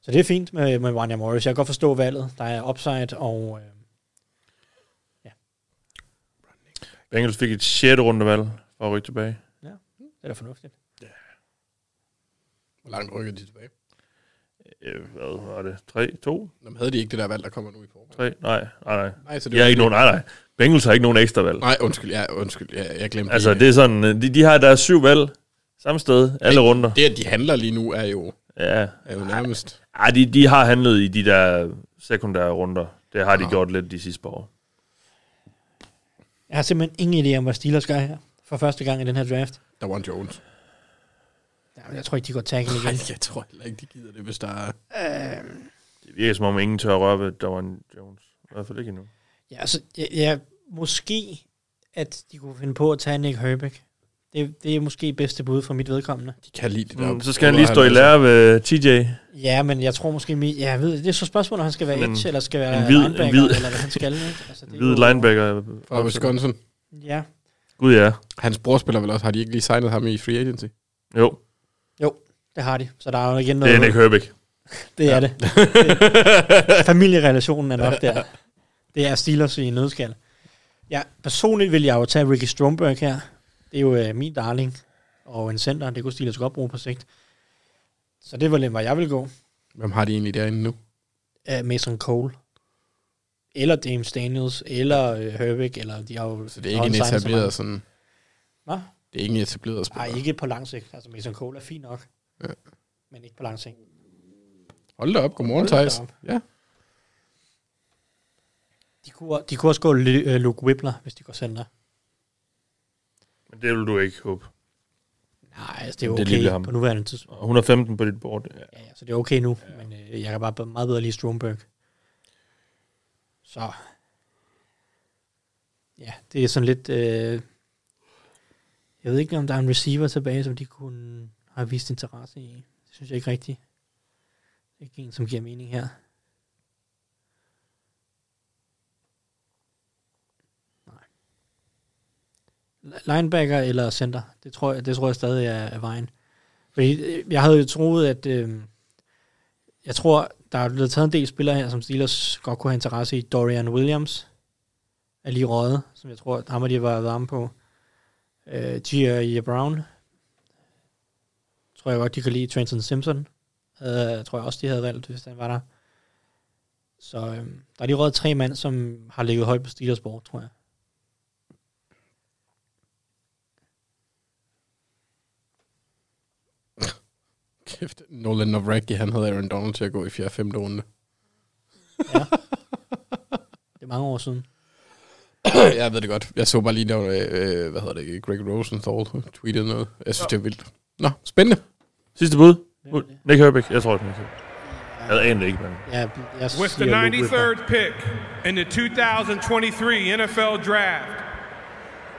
F: Så det er fint med, med Wanya Morris. Jeg kan godt forstå valget. Der er upside, og øh,
D: Bengals fik et 6. rundevalg for at rykke tilbage.
F: det er da fornuftigt.
E: Hvor langt rykker de tilbage?
D: Øh, hvad var det? 3, 2?
E: Jamen, havde de ikke det der valg, der kommer nu i forvejen?
D: 3? Nej, nej, nej.
E: Nej,
D: nej
E: så det
D: de har
E: var-
D: ikke nogen, nej, nej. Bengals har ikke nogen ekstra valg.
E: Nej, undskyld, ja, undskyld, ja, jeg glemte
D: Altså, det er sådan, øh, de, de har deres syv valg samme sted, alle runder.
E: Det, at de handler lige nu, er jo,
D: Ja.
E: er jo nærmest...
D: Ej, de, de har handlet i de der sekundære runder. Det har de gjort lidt de sidste par år.
F: Jeg har simpelthen ingen idé om, hvad Steelers gør her, for første gang i den her draft.
E: Der var en Jones.
F: Jamen, Jeg tror ikke, de går tackle igen.
E: Nej, jeg tror heller ikke, de gider det, hvis der er...
F: Øhm.
D: Det virker som om ingen tør at røre ved Dovan Jones. I hvert fald ikke endnu.
F: Ja, altså, ja, ja, måske, at de kunne finde på at tage Nick Herbig. Det, det er måske bedste bud for mit vedkommende.
E: De kan lide det der.
D: Mm, så skal han lige stå i lære ved TJ.
F: Ja, men jeg tror måske, mi- ja, jeg ved, det det er så spørgsmålet, om han skal være
D: Sådan en-
F: edge, eller skal være
D: en hvid- en
F: linebacker,
D: hvid-
F: eller hvad han skal. Ikke? Altså, det er
D: Hvide
F: jo-
D: linebacker.
E: Fra Wisconsin.
F: Ja.
D: Gud ja.
E: Hans bror spiller vel også. Har de ikke lige signet ham i free agency?
D: Jo.
F: Jo, det har de. Så der er jo igen noget...
D: Det er Nick Herbig.
F: Det er
E: Ja.
F: ja. det. Familierelationen er nok der. Det er Steelers i en nødskal. Ja, personligt vil jeg jo tage Ricky Stromberg her. Det er jo øh, min darling. Og en center, det kunne Steelers godt bruge på sigt. Så det var lidt, hvor jeg vil gå.
E: Hvem har de egentlig derinde nu?
F: Øh, Mason Cole. Eller James Daniels, eller øh, Herbig, eller de har jo...
E: Så det er ikke en etableret sådan...
F: Hvad?
E: Det er ikke en etableret spiller.
F: Nej, ikke på lang sigt. Altså, Mason Cole er fint nok.
E: Ja.
F: Men ikke på lang sigt.
E: Hold da op. Godmorgen,
F: Hold da
E: Thijs.
F: op.
E: Ja.
F: De kunne, de kunne også gå Lu- øh, Luke Whippler, hvis de går center.
D: Men det vil du ikke håbe.
F: Nej, altså, det er jo
D: lige
F: okay
D: ved
F: på nuværende tidspunkt.
D: Og 115 på dit bord. Ja.
F: Ja, så det er okay nu, ja. men øh, jeg kan bare be- meget bedre lide Stromberg. Så. Ja, det er sådan lidt... Øh, jeg ved ikke, om der er en receiver tilbage, som de kunne have vist interesse i. Det synes jeg ikke rigtigt. Det er ikke en, som giver mening her. Nej. Linebacker eller center, det tror jeg, det tror jeg stadig er, er vejen. Fordi øh, jeg havde jo troet, at... Øh, jeg tror, der er blevet taget en del spillere her, som Steelers godt kunne have interesse i. Dorian Williams er lige røget, som jeg tror, at ham og de har været varme på. Øh, G.R.E. Brown tror jeg godt, de kan lide. Trenton Simpson havde, tror jeg også, de havde valgt, hvis han var der. Så øh, der er lige røget tre mand, som har ligget højt på Steelers board, tror jeg.
E: Kæft, Nolan Novrecki, han havde Aaron Donald til at gå i 4. 5. runde.
F: Det er mange år siden.
E: jeg ved det godt. Jeg så bare lige, der var, øh, hvad hedder det, Greg Rosenthal tweetede noget. Jeg synes, det er vildt. Nå, spændende.
D: Sidste bud. Nick Herbig. Jeg tror, det er Nick Herbig. Jeg aner det ikke, men...
F: Ja, jeg
K: With the 93rd pick in the 2023 NFL Draft,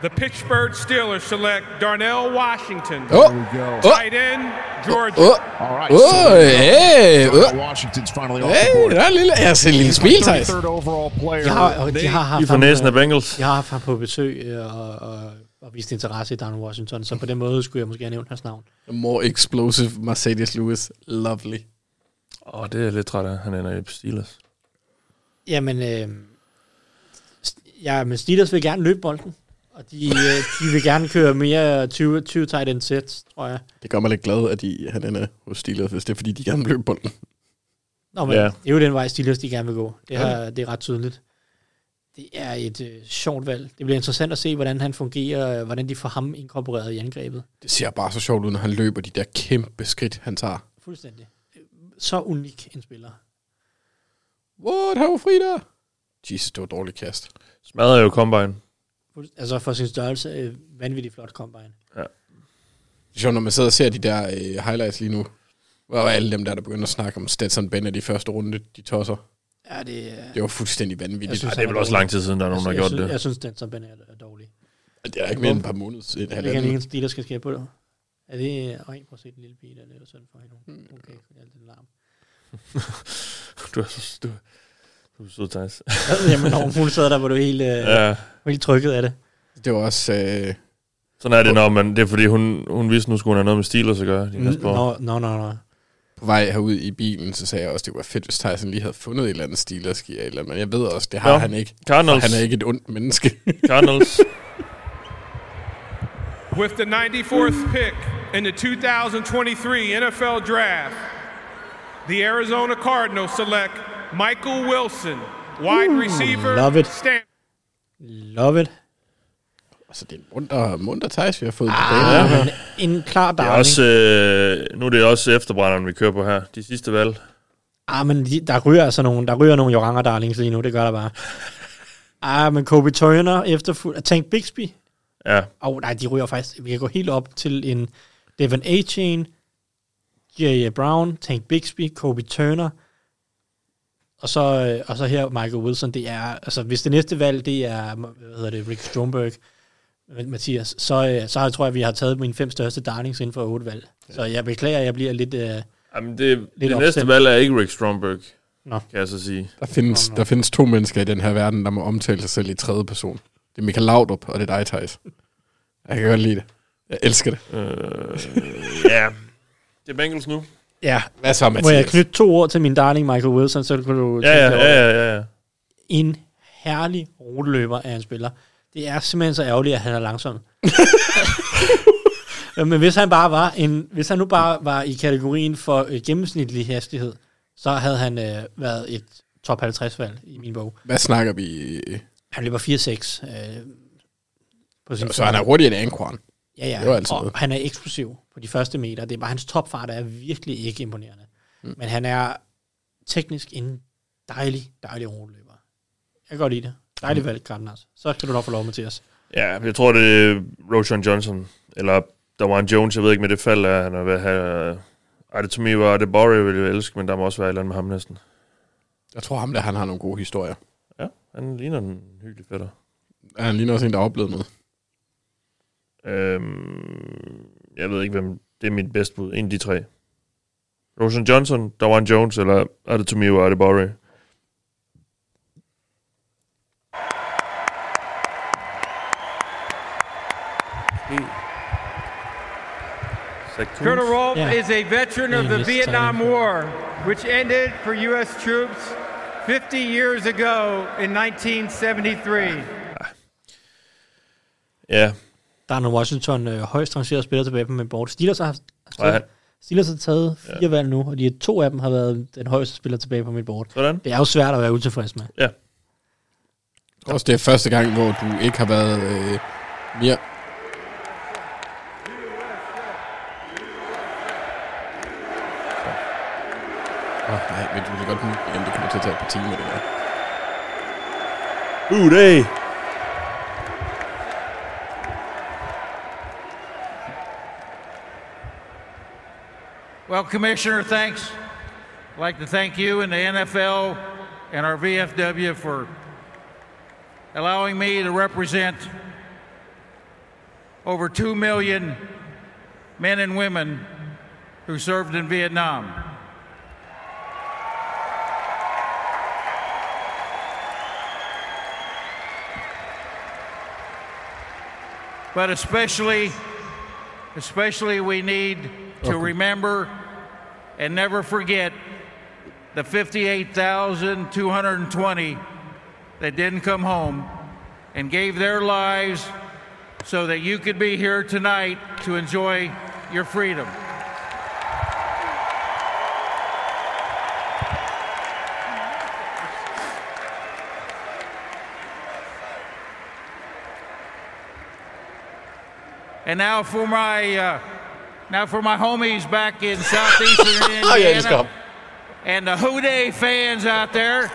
K: the Pittsburgh Steelers select Darnell Washington,
Q: Oh. There we go.
K: tight end, Georgia.
I: All right.
K: Oh,
E: hey,
I: Darnell
E: oh.
I: Washington's finally off
E: Hey,
I: the board.
E: der er en lille, jeg ser en lille smil, Thijs.
I: 23rd overall player.
F: De har, de har haft
D: får
F: ham,
D: næsen af
F: øh,
D: Bengals.
F: De har haft ham på besøg øh, og, og, og vist interesse i Dan Washington, så på den måde skulle jeg måske have nævnt hans navn.
E: More explosive Mercedes Lewis. Lovely.
D: Åh, det er jeg lidt træt af. Han ender i Steelers.
F: Jamen, øh, st- ja, men Steelers vil gerne løbe bolden, og de, øh, de vil gerne køre mere 20, 20 tight end sets, tror jeg.
E: Det gør mig lidt glad, at de, han ender hos Steelers, hvis det er, fordi de gerne løb bolden.
F: Nå, men
E: Ja.
F: ja. det er jo den vej, Steelers de gerne vil gå. Det,
E: Ja.
F: her, det er ret tydeligt. Det er et øh, sjovt valg. Det bliver interessant at se, hvordan han fungerer, øh, hvordan de får ham inkorporeret i angrebet.
E: Det ser bare så sjovt ud, når han løber de der kæmpe skridt, han tager.
F: Fuldstændig.
E: Øh,
F: Så unik en spiller.
E: What, how Frida? Jesus, det var et dårligt kast.
D: Smadrer jo Combine.
F: Fuldst- Altså for sin størrelse, øh, vanvittigt flot combine.
E: Det er sjovt, når man sidder og ser de der øh, highlights lige nu, hvor alle dem der, der begynder at snakke om Stetson Bennett i første runde, de tosser.
F: Ja, det er-
E: Det var fuldstændig vanvittigt.
F: Jeg synes,
E: Ej,
F: han dårlig.
E: har
F: jeg
E: gjort
F: synes,
E: det.
F: Jeg synes, den som Ben er, er dårlig.
E: Det er ikke mere end et par måneder siden,
F: Det er
E: halvandet.
F: ikke en eneste, der skal ske på det. Er det... Øj, prøv at se den lille pige, der laver sådan for hende.
E: Hmm.
F: Hun hun kan ikke alt den larm.
D: du er så... Du, du er så Thijs.
F: Jamen, når hun sad der, hvor du er helt, øh,
D: Ja.
F: helt trykket af det.
E: Det var også... Øh...
D: Sådan er det, når man... Det er fordi, hun, hun vidste, nu skulle hun have noget med Steelers at gøre.
F: Mm, Nå, nå, nå, nå.
E: På vej herud i bilen, så sagde jeg også, det var fedt, hvis Tyson lige havde fundet et eller andet stil, der sker et eller andet. Men jeg ved også, det har
D: Nå,
E: han ikke. for
D: Cardinals.
E: Han er ikke et ondt menneske.
D: Cardinals.
K: With the 94th pick in the 2023 NFL Draft, the Arizona Cardinals select Michael Wilson, wide receiver.
F: love it.
K: Stanford.
F: Love it.
E: Altså, det er en munter, munter Thijs, vi har fået
D: Ja.
E: ah,
F: Men en klar
D: Det er
F: darling.
D: også, øh, nu er det også efterbrænderen, vi kører på her. De sidste valg.
F: Ah, men de, der ryger altså nogle, der ryger nogle Joranger Darlings lige nu, det gør der bare. ah, men Kobe Turner efterfulgt. Tank Bixby.
D: Ja.
F: Åh, oh, nej, de ryger faktisk. Vi kan gå helt op til en Devin A-Chain, J.J. Brown, Tank Bixby, Kobe Turner, og så, øh, og så her Michael Wilson. Det er, altså, hvis det næste valg, det er, hvad hedder det, Rick Stromberg, Mathias, så, øh, så tror jeg, at vi har taget mine fem største darlings inden for otte valg. Så jeg beklager, at jeg bliver lidt... Øh,
D: Jamen, det,
F: Lidt
D: det næste
F: opstemt.
D: valg er ikke Rick Stromberg,
F: Nå.
D: kan jeg så sige.
E: Der findes, der findes to mennesker i den her verden, der må omtale sig selv i tredje person. Det er Michael Laudrup, og det er dig, Thijs. Jeg kan godt lide det. Jeg elsker det.
D: Øh, ja. Det er Bengals nu.
F: Ja.
E: Hvad så,
F: Må jeg
E: Mathias?
F: knytte to ord til min darling Michael Wilson, så kan du...
D: Ja, ja, ja, ja, ja, ja.
F: En herlig roteløber af en spiller. Det er simpelthen så ærgerligt, at han er langsom. Men hvis han bare var en, hvis han nu bare var i kategorien for øh, gennemsnitlig hastighed, så havde han øh, været et top 50 valg i min bog.
E: Hvad snakker vi?
F: Han løber 4-6. Øh, på sin
E: Så han er hurtigere end Anquan.
F: Ja, ja.
E: Det var altid
F: og han er eksplosiv på de første meter. Det er bare hans topfart er virkelig ikke imponerende. Mm. Men han er teknisk en dejlig, dejlig rodeløber. Jeg kan godt lide det. Dejligt
D: Mm.
F: valg, Cardinals. Så skal du nok få lov, Mathias.
D: Ja, jeg tror, det er Roshan Johnson, eller der var en Jones, jeg ved ikke med det fald, er han er ved at have... Ej, det to me var det Borre, ville jeg elske, men der må også være et eller andet med ham næsten.
E: Jeg tror ham der, han har nogle gode historier.
D: Ja, han ligner en hyggelig fætter.
E: Er han ligner også en, der har oplevet noget?
D: Øhm, jeg ved ikke, hvem... Det er mit bedste bud. En af de tre. Roshan Johnson, Dawan Jones, eller Adetomiwa Adebari.
O: Colonel Rolfe
D: Yeah.
O: is a veteran of
D: Yeah,
O: the
D: he's
O: Vietnam War, which ended for U.S. troops 50 years ago in 1973.
D: Ja.
F: Der er nogle Washington øh, højst rangerede spillere tilbage på min board. Steelers har, haft-
D: Ja.
F: Steelers har taget fire valg nu, og de to af dem har været den højeste spiller tilbage på mit board.
D: Sådan.
F: Det er jo svært at være utilfreds med.
D: Ja.
E: Jeg tror også, det er første gang, hvor du ikke har været øh, mere... Åh, oh, nej, men du vil godt nu. Jamen, det kommer til at tage et par timer, det der.
D: Uh, day.
C: Well, Commissioner, thanks. I'd like to thank you and the NFL and our VFW for allowing me to represent over 2 million men and women who served in Vietnam. But especially, especially we need to remember and never forget the 58,220 that didn't come home and gave their lives so that you could be here tonight to enjoy your freedom. And now for my uh, now for my homies back in southeastern Indiana
E: Oh, yeah, just go.
C: and the Houday fans out there.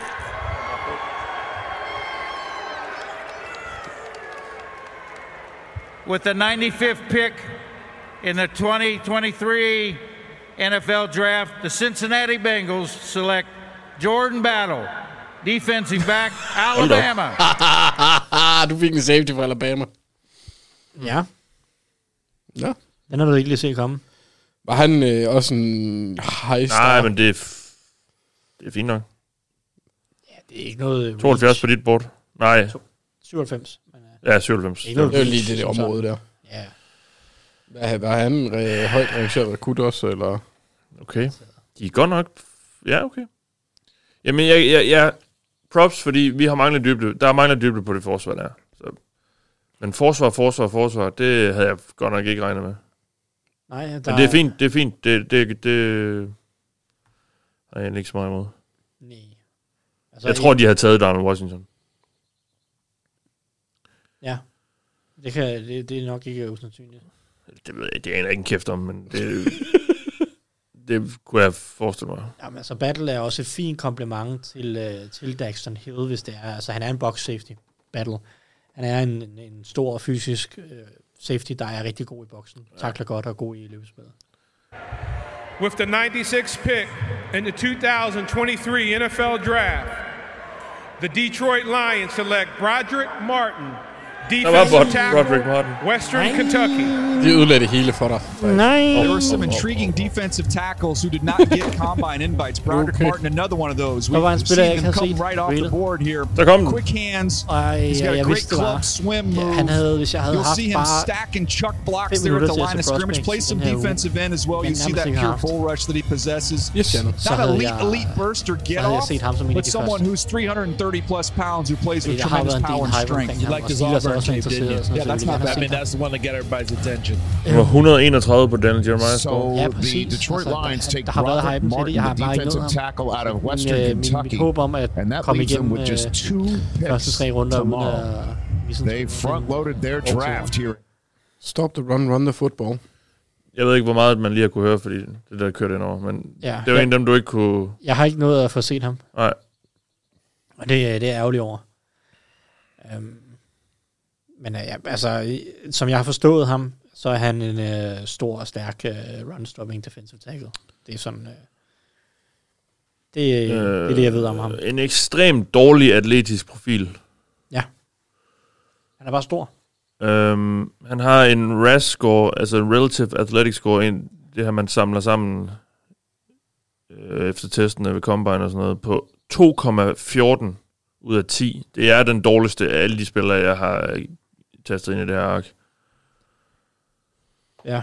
C: With the 95th pick in the 2023 NFL Draft, the Cincinnati Bengals select Jordan Battle, defensive back,
E: Hold da op.
C: Alabama.
E: Ah, du fik en safety fra Alabama.
F: Ja.
E: Mm. Ja.
F: Den har du ikke lige set komme.
E: Var han øh, også en high star?
D: Nej, men det er, f- det er fint nok.
F: Det er ikke noget...
D: 72 på dit bord. Nej.
F: 97.
D: Ja, 97.
E: Det var lige det, det område der.
F: Ja.
E: Hvad, var han øh, højt rangeret rekrut også, eller?
D: Okay. De er godt nok... Ja, okay. Jamen, jeg, jeg, jeg props, fordi vi har manglet dybde. Der mangler dybde på det forsvar, der. er. Så. Men forsvar, forsvar, forsvar, det havde jeg godt nok ikke regnet med.
F: Nej, der
D: Men det er fint, det er fint. Det, det, det har jeg egentlig ikke så meget imod.
F: Nej.
D: Altså, jeg tror, de havde taget Darnell Washington.
F: Ja. Det, kan, det, det er nok ikke usandsynligt.
D: Det ved jeg, det aner jeg ikke en kæft om, men det, det kunne jeg forestille mig.
F: Jamen, altså, Battle er også et fint komplement til, øh, til Daxton Hill, hvis det er. Altså, han er en box safety, Battle. Han er en, en- en stor og fysisk øh, safety, der er rigtig god i boksen. Takler godt og er god i løbespillet.
K: With the 96th pick in the 2023 NFL Draft, the Detroit Lions select Broderick Martin, defensive
E: Broderick
K: tackle,
E: Martin.
K: Western Kentucky.
E: De ødelagde det hele for dig.
F: Nice. Oh,
Q: There were some intriguing defensive tackles who did not get combine invites. Broderick
E: Okay.
Q: Martin, another one of those.
F: Der var en
Q: We've
F: spiller, jeg
Q: seen
F: ikke
Q: him
F: havde
Q: come
F: set.
Q: right off the
F: Really?
Q: board here.
D: Der kom den.
Q: Quick hands.
F: Ej,
Q: He's got
F: jeg
Q: a great
F: vidste, det var.
Q: club swim
F: Ja,
Q: move.
F: han havde, hvis jeg havde
Q: You'll
F: haft
Q: see him
F: bare
Q: stack and chuck
F: fem
Q: blocks there at
F: minutter
Q: the
F: til at
Q: line
F: se
Q: of scrimmage.
F: prospects
Q: Play some
F: den her uge.
Q: defensive end as well.
F: Den
Q: You see
F: nærmest
Q: that
F: ikke har
Q: pure
F: haft.
Q: bull rush that he possesses.
E: Yes, Shannon.
F: Så
Q: Not
F: havde
Q: elite,
F: jeg-
Q: elite burst or
F: så
Q: get
F: havde jeg
Q: off,
F: set ham som en af
Q: but
F: de
Q: someone
F: første.
Q: who's 330 plus pounds who plays
F: Fordi
Q: with
F: der har
Q: tremendous
F: været en
Q: power
F: del
Q: and
F: hype omkring
Q: strength.
F: ham, og Steelers er også interesseret. og sådan
Q: Yeah,
F: noget, så
Q: that's
F: vi vil
Q: not
F: gerne
Q: bad.
F: se
Q: I mean,
F: ham.
Q: that's the one that got everybody's attention.
D: Det var 131 på Daniel Jeremiah.
I: So
F: Ja,
I: the
F: præcis.
I: Detroit
F: Altså, der-
I: Lions take
F: der har været
I: Broderick
F: hypen til det.
I: Martin,
F: Jeg har
I: the
F: bare ikke
I: defensive
F: noget ham.
I: tackle out of
F: Min,
I: Western
F: øh, min-
I: Kentucky.
F: Mit håb om at
I: And that
F: komme
I: leaves them
F: igennem
I: with just two
F: øh, første
I: picks
F: tre runder uden at...
I: tomorrow.
F: ligesom-
I: They front-loaded their draft here.
E: Stop the run, run the football.
D: Jeg ved ikke, hvor meget man lige har kunne høre, fordi det der kørte ind over, men
F: Ja.
D: det var
F: Ja.
D: en af dem, du ikke kunne...
F: Jeg har ikke noget at få set ham,
D: Nej,
F: og det, er- det er jeg ærgerlig over. Um, men øh, ja, altså, i- som jeg har forstået ham, så er han en øh, stor og stærk øh, run-stopping defensive tackle. Det er sådan... Øh, det, øh, det er det, jeg ved om ham.
D: Øh, En ekstremt dårlig atletisk profil.
F: Han er bare stor.
D: Øhm, han har en RAS score, altså en Relative Athletic Score, en, det her man samler sammen øh, efter testene ved Combine og sådan noget, på 2,14 ud af 10. Det er den dårligste af alle de spillere, jeg har øh, tastet ind i det her ark.
F: Ja.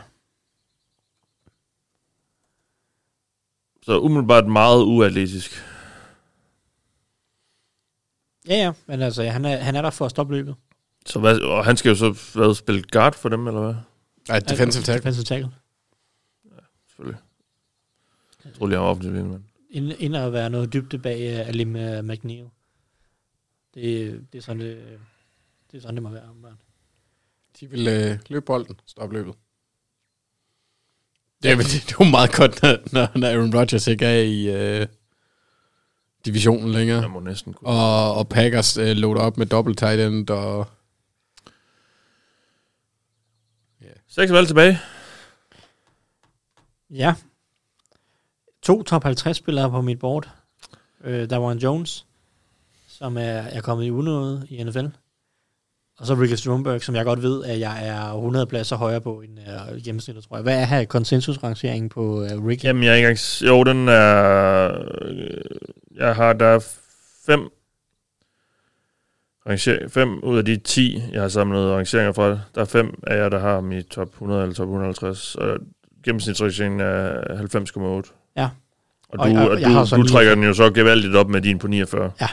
D: Så umiddelbart meget uatletisk.
F: Ja, ja, men altså, han er, han er der for at stoppe løbet.
D: Så hvad, og han skal jo så hvad, spille guard for dem, eller hvad?
E: Nej, defensive tackle.
F: Defensive tackle.
D: Selvfølgelig. Jeg tror lige, han var offensiv lineman.
F: Ind, ind at være noget dybde bag uh, Alim uh, McNeil. Det, det, er sådan, det, det er sådan, det må være. Man.
E: De vil øh, løbe bolden. Stop løbet. Det er, vel- det er jo meget godt, når- når, når Aaron Rodgers ikke er i øh, divisionen længere.
D: Jeg må næsten kunne.
E: Og, og Packers øh, loader op med dobbelt tight end og...
D: Seks valg tilbage.
F: Ja. To top 50 spillere på mit board. Øh, der var en Jones, som er, er kommet i unåde i NFL. Og så Ricky Stromberg, som jeg godt ved, at jeg er 100 pladser højere på end øh, gennemsnittet, tror jeg. Hvad er her konsensusrangeringen på øh, Ricky?
D: Jamen, jeg er ikke engang... s- Jo, den er... øh, Jeg har der er fem... Ranger, fem ud af de 10, jeg har samlet rangeringer fra. Der er fem af jer, der har dem i top 100 eller top 150. Og gennemsnitsrangeringen er 90,8.
F: Ja.
D: Og
F: Og
D: du,
F: jeg-
D: og
F: jeg har
D: du,
F: så
D: du
F: lige-
D: trækker den jo så gevaldigt op med din på 49.
F: Ja.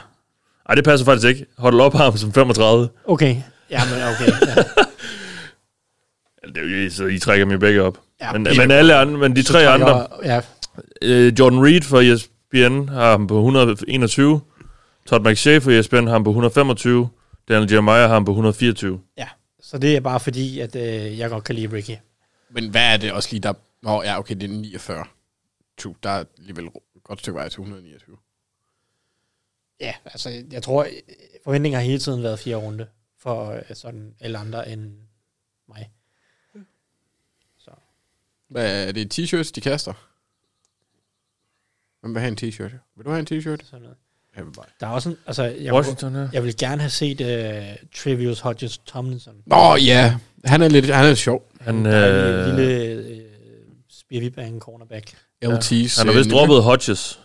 D: Ej, det passer faktisk ikke. Hold op ham som 35.
F: Okay. Ja, men okay. Ja.
D: Det er jo, ikke- så I trækker dem jo begge op.
F: Ja,
D: Ja, men,
F: vi-
D: men, alle andre, men de
F: Så
D: tre
F: trækker-
D: andre...
F: ja.
D: Øh, Jordan Reed fra ESPN har ham på 121. E Todd McShay fra ESPN har ham på 125. Daniel Jeremiah har ham på 124.
F: Så det er bare fordi, at øh, jeg godt kan lide Ricky.
E: Men hvad er det også lige der... Nå, ja, okay, det er 49. Tu, der er alligevel et godt stykke vej til 129.
F: Ja, altså jeg tror, øh, forventningen har hele tiden været fire runde for øh, sådan alle andre end mig.
E: Hvad er det? T-shirts, de kaster? Hvem vil have en t-shirt? Vil du have en t-shirt?
F: Sådan noget.
E: Jeg vil bare.
F: Der er også en, altså, jeg,
E: Washington,
F: kunne,
E: ja.
F: jeg vil gerne have set uh, Trevious Hodges Tomlinson.
E: Nå ja, han er lidt, han er lidt sjov.
D: Han,
F: Der er en lille øh, spirvibang cornerback.
E: LT's.
D: Han har vist droppet Hodges.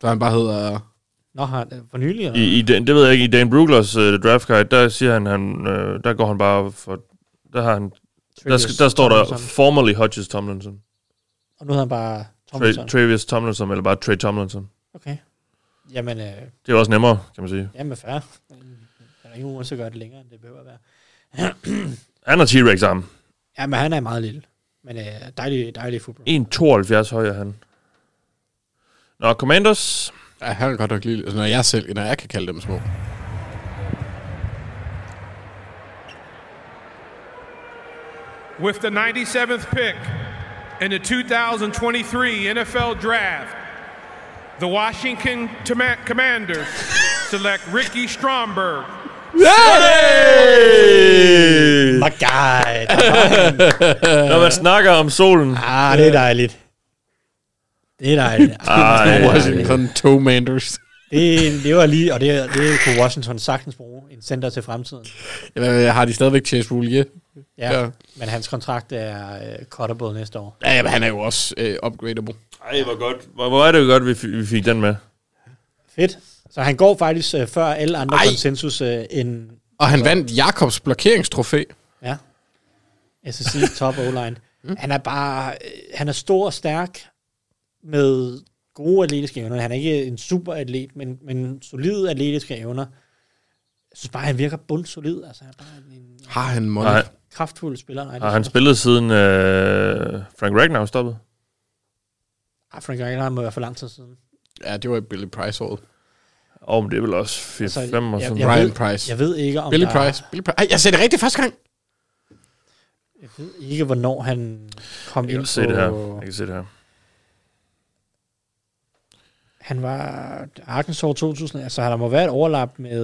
E: Så han bare hedder...
F: Nå, har han for nylig? eller?
D: I, i den, det ved jeg ikke. I Dan Bruglers uh, draft guide, der siger han, han øh, der går han bare for... Der, har han, der, skal, der står der
F: Tomlinson.
D: formerly Hodges Tomlinson.
F: Og nu hedder han bare Tomlinson.
D: Tomlinson. Travis Tomlinson, eller bare Trey Tomlinson.
F: Okay. Jamen, øh,
D: Det er jo også nemmere, kan man sige.
F: jamen fair. Der er ingen grund til at gøre det længere, end det behøver at være.
D: Han har T-Rex arm.
F: Ja, men han er meget lille. Men øh, dejlig, dejlig fodbold.
D: 1,72 høj er han. Nå, Commanders.
E: Ja, han er godt nok lille. Altså, når jeg selv, når jeg kan kalde dem små.
K: With the 97th pick in the 2023 NFL Draft, the Washington Toma- Commanders select Ricky Stromberg.
D: Hey!
F: My God.
D: Når man snakker om solen.
F: Ah, det er dejligt. Det er dejligt.
D: Ej,
F: det, er dejligt.
E: Washington Toe Manders.
F: det, det var lige, og det, det kunne Washington sagtens bruge en center til fremtiden.
E: Eller har de stadigvæk Chase Roulier?
F: Ja, ja. men hans kontrakt er øh, cuttable næste år.
E: Ja, ja, men han er jo også øh, upgradable.
D: Ej, hvor godt. Hvor, hvor er det jo godt, vi, f- vi fik den med.
F: Fedt. Så han går faktisk øh, før alle andre
E: Ej.
F: konsensus øh, end
E: Og han vandt Jakobs blokeringstrofæ.
F: Ja. SSC top O-line.
E: Mm.
F: Han er bare, øh, han er stor og stærk med gode atletiske evner. Han er ikke en super atlet, men, men solide atletiske evner. Jeg synes bare, han virker bundsolid. Altså, han er bare en
E: Har han mål?
D: Nej.
F: kraftfuld spiller. Nej, det
D: Har han
F: synes
D: spillet siden øh, Frank Ragnar stoppede?
F: jeg- Ah, Frank Ragnar må være for lang tid siden.
E: Ja, det var Billy Price året.
D: Åh, men det er vel også 4-5 altså, og sådan.
F: jeg
E: Brian
F: ved,
E: Price.
F: Jeg ved ikke, om
E: Billy
F: der,
E: Price. Billy Price. Ej, jeg sagde det rigtigt første gang.
F: Jeg ved ikke, hvornår han kom
D: Jeg kan
F: ind
D: godt se det her.
F: på...
D: Jeg kan se det her.
F: Han var Arkansas 2000. Altså, der må være et overlap med...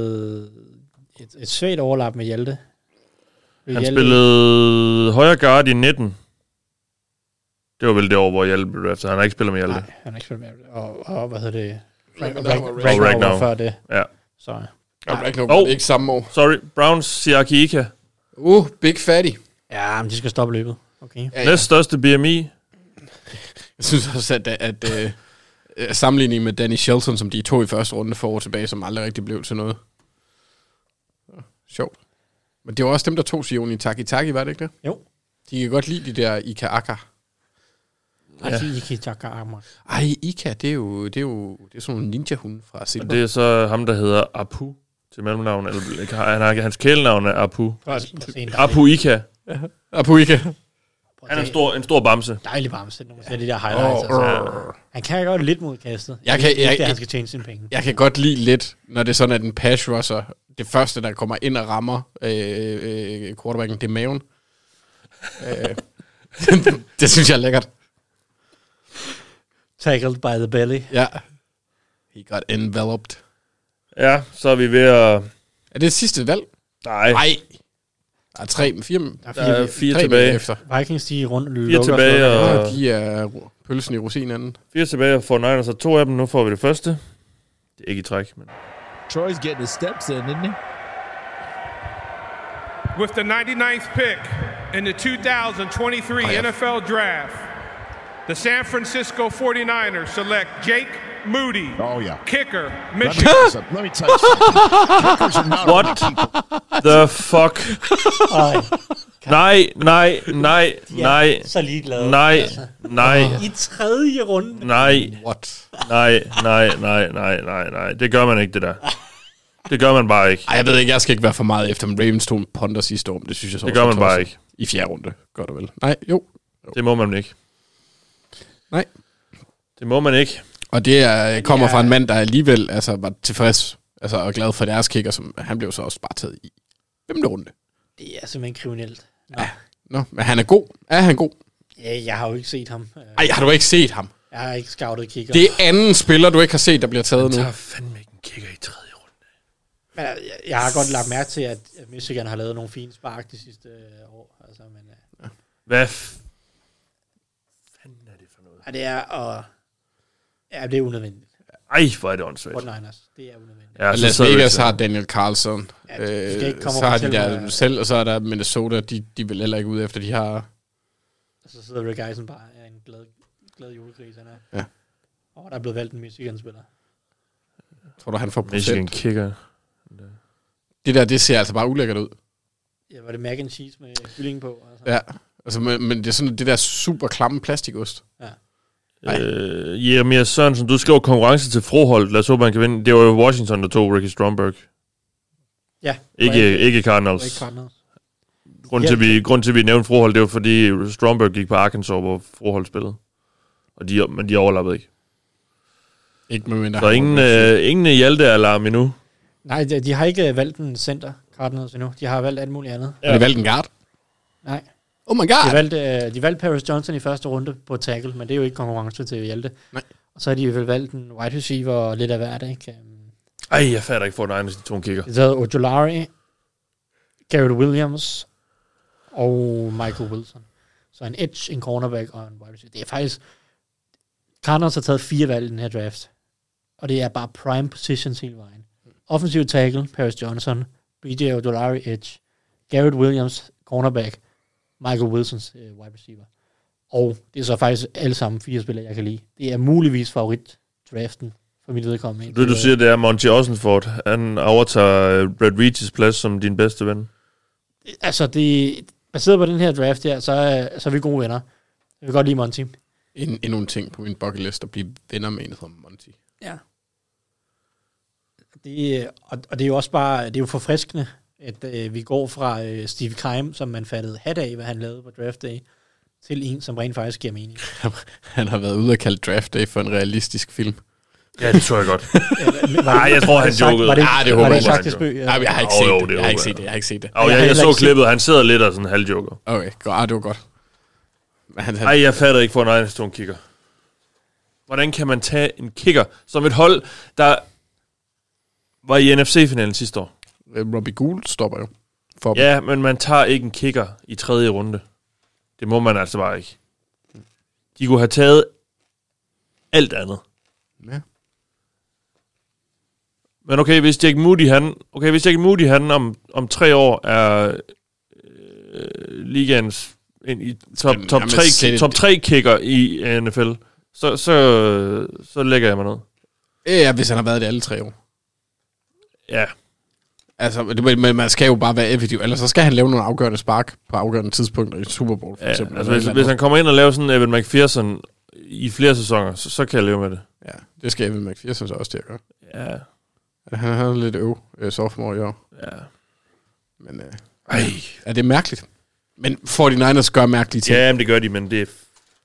F: Et, et svagt overlap med Hjalte. Med
D: Han spillede højre guard i 19. Det var vel det år, hvor Hjalte blev draftet. Han har ikke spillet med Hjalte.
F: Nej, han har ikke spillet med Og, og hvad hedder det?
E: Ragnar
F: Ragnar,
E: var
F: Ragnar,
E: Ragnar.
F: Ragnar,
D: Ragnar.
F: var før det.
D: Ja.
F: Så
E: Og Ragnar
D: Åh.
E: var det ikke samme år.
D: Sorry, Browns Siaki Ika.
E: Uh, Big Fatty.
F: ja, men de skal stoppe løbet. Okay.
E: Ja,
D: Ja,
E: ja.
D: største BMI.
E: Jeg synes også, at, at øh, øh, sammenligningen med Danny Shelton, som de to i første runde for år tilbage, som aldrig rigtig blev til noget. Nå, Sjovt. Men det var også dem, der tog Sion i Taki Taki, var det ikke det?
F: Jo.
E: De kan godt lide de der Ika Aka.
F: Ja. Altså, Iki Takamar.
E: Ej, Ika, det er jo, det er jo det er sådan nogle ninja-hunde fra Silver.
D: Og det er så ham, der hedder Apu til mellemnavn. Eller, ikke, han har, hans kælenavn er Apu. Apu Ika.
E: Apu Ika.
D: Han er en stor, en stor bamse.
F: Dejlig varmse, når man ser de der highlights.
E: Åh,
F: altså. Han kan godt lidt mod kastet.
E: Jeg
F: Det er
E: kan,
F: ikke
E: jeg,
F: det, han skal tjene sine penge.
E: Jeg kan godt lide lidt, når det er sådan, at en pass rusher, det første, der kommer ind og rammer øh, øh, quarterbacken, det er maven. øh, det synes jeg er lækkert.
F: Tackled by the belly.
E: Ja. He got enveloped.
D: Ja, så er vi ved at...
E: Er det sidste valg?
D: Nej,
E: Nej. Der er tre, fire, der
D: der er fire
E: tre
D: tilbage.
E: efter.
F: Vikings, de er rundt
D: Fire
F: lukker.
D: tilbage,
F: og...
D: og-
E: Og de er ru- pølsen i rosinen.
D: Fire tilbage og 49ers har to af dem. Nu får vi det første. Det er ikke i træk, men...
Q: Troy's getting his steps in, isn't he?
K: With the 99th pick in the 2023
I: Oh,
K: NFL Draft, the San Francisco 49ers select Jake Moody. Oh, yeah. Kicker, Michigan.
I: Let me tell you something. Kickers are not
D: What
F: Ah,
D: the fuck? Nej, nej, nej,
F: er
D: nej.
F: så ligeglade.
D: Nej,
F: Altså.
D: nej,
F: I tredje runde.
D: nej.
E: What?
D: Nej, nej, nej, nej, nej, nej. Det gør man ikke, det der. Det gør man bare ikke.
E: Ej, jeg ved ikke, jeg skal ikke være for meget efter, men Ravens tog en ponder sidste år, men det synes jeg så
D: Det
E: også
D: gør
E: var
D: man bare
E: tosset.
D: ikke.
E: I fjerde runde, gør du vel? Nej, jo.
D: Det må man ikke.
E: Nej.
D: Det må man ikke.
E: Og det er, øh, kommer fra en mand, der alligevel altså, var tilfreds altså, og glad for deres kicker, som han blev så også bare taget i femte runde.
F: Det er simpelthen kriminelt.
E: Nå, men han er god. Er han god?
F: Ja, jeg har jo ikke set ham.
E: Ej, har du ikke set ham?
F: Jeg har ikke scoutet kigger.
E: Det er anden spiller, du ikke har set, der bliver taget nu.
D: tager fandme ikke en kigger i tredje runde.
F: Men øh, jeg, jeg har godt lagt mærke til, at at Michigan har lavet nogle fine spark de sidste øh, år. Altså, men, øh,
D: Hvad? f-
F: ja, det er, og, ja, det er unødvendigt.
D: Ej, hvor er det åndssvagt.
F: Fortniners, det er unødvendigt.
E: Ja,
D: så
E: Las
D: sidder vi
E: Vegas
D: til-
E: har Daniel Carlson.
F: Ja, de- de skal ikke
E: Øh,
F: komme
E: så
F: og
E: har de
F: fortælle
E: der
F: mig-
E: selv, og så er der Minnesota. De, de vil heller ikke ud efter, de har...
F: Og så sidder Rick Eisen bare er en glad, glad julegris, han er.
E: Ja.
F: Og der er blevet valgt en Michigan-spiller.
E: Tror du, han får procent?
D: Michigan kicker.
E: Det der, det ser altså bare ulækkert ud.
F: Ja, var det mac and cheese med kylling på? Altså.
E: Ja. Altså, men, men det er sådan det der super klamme plastikost.
D: Øh, Jeremia Sørensen, du skriver konkurrence til Froholt. Lad os håbe, han kan vinde. Det var jo Washington, der tog Ricky Stromberg.
F: Ja.
D: Ikke, ikke Cardinals.
F: Ikke Cardinals.
D: Grunden til, vi, grund til, at vi nævnte Froholt, det var, fordi Stromberg gik på Arkansas, hvor Froholt spillede. Og de, men de overlappede ikke.
E: Ikke med mindre.
D: Så ingen, øh, ingen Hjalte-alarm endnu.
F: Nej, de, de har ikke øh, valgt en center, Cardinals endnu. De har valgt alt muligt andet.
E: Ja. Har de valgt en guard?
F: Nej.
E: Oh my god!
F: De valgte, øh, de valgte Paris Johnson i første runde på tackle, men det er jo ikke konkurrence til Hjalte.
E: Nej.
F: Og så har de vel valgt en wide receiver og lidt af hvert, ikke? Øhm,
D: Ej, jeg fatter ikke for en de to kigger.
F: De havde Ojolari, Garrett Williams og Michael Wilson. Så en edge, en cornerback og en wide receiver. Det er faktisk... Cardinals har taget fire valg i den her draft. Og det er bare prime positions hele vejen. Offensiv tackle, Paris Johnson, BJ Ojolari, edge, Garrett Williams, cornerback, Michael Wilsons øh, wide receiver. Og det er så faktisk alle sammen fire spillere, jeg kan lide. Det er muligvis favorit-draften for mit vedkommende.
D: Det, du siger, det er at Monty Osenford. Han overtager øh, Brad Reaches plads som din bedste ven.
F: altså det, baseret på den her draft her, så, er- så er vi gode venner. Jeg vil godt lide Monty.
E: En, endnu en ting på min bucket list at blive venner med en, der hedder Monty.
F: Ja. Det, øh, og, og det er jo også bare, det er jo forfriskende, at øh, vi går fra øh, Steve Keim, som man fattede hat af, hvad han lavede på draft day, til en, som rent faktisk giver mening.
E: Han har været ude og kaldt Draft Day for en realistisk film.
D: Ja, det tror jeg godt.
F: men var
D: Nej,
F: det-
D: jeg tror,
F: var
D: han
F: det sagt-
D: jokede.
F: var det ikke-
D: Ah,
F: var det
D: jeg
F: ikke
D: ikke,
F: sagt til
D: han gjorde.
F: spøg? Ja.
E: Nej, men jeg har ikke
D: Jo,
E: set
D: jo,
E: det.
D: det
E: Jeg har ikke
D: håber
E: set det. Jeg har ikke set det.
D: Og
E: Jeg
D: jeg,
E: har
D: jeg,
E: heller
D: så
E: ikke set
D: klippet, han sidder lidt og sådan halvjoker.
E: Okay, godt. Ah, det var godt. Men han, han,
D: Nej, jeg fatter ikke, for en Stone kigger. Hvordan kan man tage en kigger som et hold, der var i NFC-finalen sidste år?
E: Øh, Robbie Gould stopper jo. For dem.
D: Ja, men man tager ikke en kigger i tredje runde. Det må man altså bare ikke. De kunne have taget alt andet.
E: Ja.
D: Men okay, hvis Jack Moody, han, okay, hvis Jack Moody, han om, om tre år er øh, ligaens ind i top,
E: Jamen,
D: top,
E: jamen,
D: tre,
E: sæt et-
D: top tre kicker i NFL, så, så, så lægger jeg mig ned.
E: Ja, hvis han har været det alle tre år.
D: Ja.
E: Altså, det- men men man skal jo bare være effektiv. Ellers så skal han lave nogle afgørende spark på afgørende tidspunkter i Super Bowl, for
D: Ja,
E: eksempel.
D: altså,
E: eller
D: hvis,
E: et eller
D: hvis
E: andet.
D: han kommer ind og laver sådan Evan McPherson i flere sæsoner, så, så kan jeg leve med det.
E: Ja, det skal Evan McPherson så også til at gøre.
D: Ja.
E: Han har lidt øv øh, sophomore i år.
D: Ja.
E: Men øh,
D: Ej.
E: er det mærkeligt? Men 49ers gør mærkelige ting.
D: Ja, men det gør de, men det, det,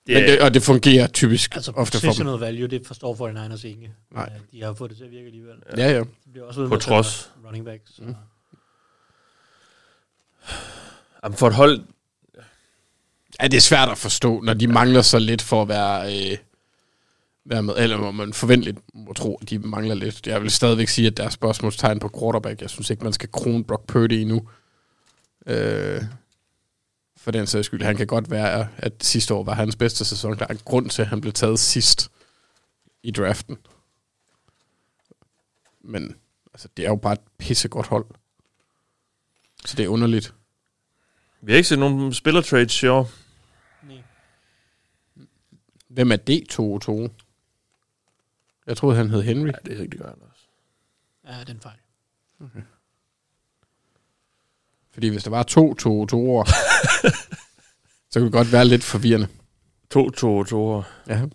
E: Men det og det fungerer typisk
F: Altså,
E: altså, ofte for dem.
F: positional value, det forstår 49ers ikke. Men,
E: Nej.
F: øh, De har fået det til at virke alligevel.
E: Ja, ja.
F: De bliver også ved
D: På
F: med at tage
D: trods.
F: Running back. Så. Mm.
D: Jamen, for et hold...
E: Ja, det er svært at forstå, når de mangler så lidt for at være, øh, være med. Eller må man forventeligt må tro, at de mangler lidt. Jeg vil stadigvæk sige, at der er spørgsmålstegn på quarterback. Jeg synes ikke, man skal krone Brock Purdy endnu. Øh, for den sags skyld. Han kan godt være, at sidste år var hans bedste sæson. Der er en grund til, at han blev taget sidst i draften. Men altså, det er jo bare et pissegodt hold. Så det er underligt.
D: Vi har ikke set nogen spillertrades i år.
E: Hvem er D202? Jeg troede, han hed Henry. Ja,
D: det er rigtig godt også.
F: Ja, den fejl.
E: Fordi hvis der var to 2 to år, så kunne det godt være lidt forvirrende.
D: To 2 to år.
E: Ja.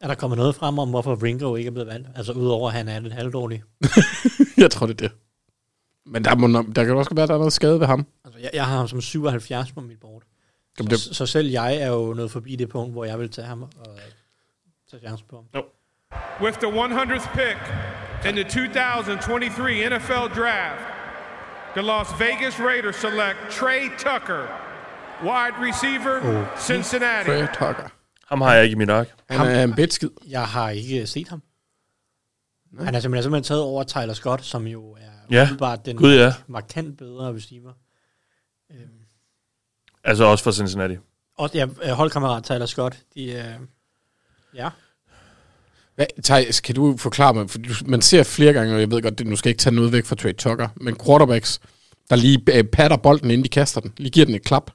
F: Er der kommet noget frem om, hvorfor Ringo ikke er blevet valgt? Altså udover, at han er lidt halvdårlig.
E: Jeg tror, det er det. Men der, må, nok- der kan også være, at der er noget skade ved ham.
F: Altså, jeg, jeg har ham som 77 på mit board.
E: Jamen,
F: Så, så selv jeg er jo nået forbi det punkt, hvor jeg vil tage ham og tage chancen på ham.
D: No.
K: With the 100th pick in the 2023 NFL Draft, The Las Vegas Raiders select Trey Tucker, wide receiver,
D: Oh,
K: Cincinnati.
E: Tucker.
D: Ham har jeg ikke i mit ark.
E: Han er en bedskid.
F: Jeg har ikke set ham. Nej. Han er simpelthen, simpelthen taget over Tyler Scott, som jo er
D: Ja.
F: umiddelbart den
D: Gud, ja.
F: markant bedre receiver. Øhm,
D: Altså også fra Cincinnati.
F: og ja, øh, holdkammerat Tyler Scott, de, øh, ja,
E: Hvad, Thijs, kan du forklare mig, for du- man ser flere gange, og jeg ved godt, det, nu skal jeg ikke tage noget væk fra Trey Tucker, men quarterbacks, der lige øh, patter bolden, inden de kaster den, lige giver den et klap.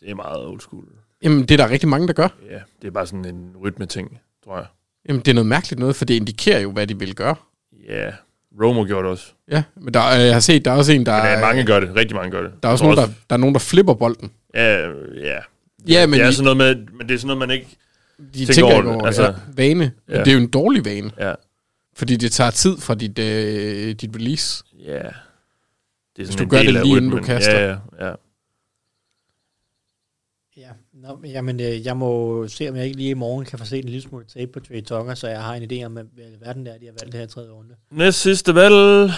D: Det er meget old school.
E: Jamen, det er der rigtig mange, der gør.
D: Ja, det er bare sådan en rytmeting, tror jeg.
E: Jamen, det er noget mærkeligt noget, for det indikerer jo, hvad de vil gøre.
D: Ja, Romo gjorde det også.
E: Ja, men der, øh, jeg har set, der er også en, der... øh,
D: Men, ja, mange gør det. Rigtig mange gør det.
E: Der er også
D: Jeg
E: nogen,
D: tror
E: der, der, er nogen, der flipper bolden.
D: Ja, ja.
E: Ja, men
D: det er
E: de-
D: sådan noget med, men det er sådan noget, man ikke
E: De tænker, tænker ikke over
D: Altså,
E: altså, det. Ja, Vane. Ja.
D: Ja.
E: Det er jo en dårlig vane.
D: Ja.
E: Fordi det tager tid fra dit, øh, dit release.
D: Ja. Det er
E: Hvis
D: sådan
E: du
D: en
E: gør
D: del
E: det
D: af
E: lige inden du
D: rytmen.
E: kaster.
D: Ja, ja, ja.
F: ja. Nå, men, jamen, øh, jeg må se, om jeg ikke lige i morgen kan få set en lille smule tape på Trey Tucker, så jeg har en idé om, hvad hvad i alverden det er, de har valgt det her i tredje runde.
D: Næst sidste valg.
F: Men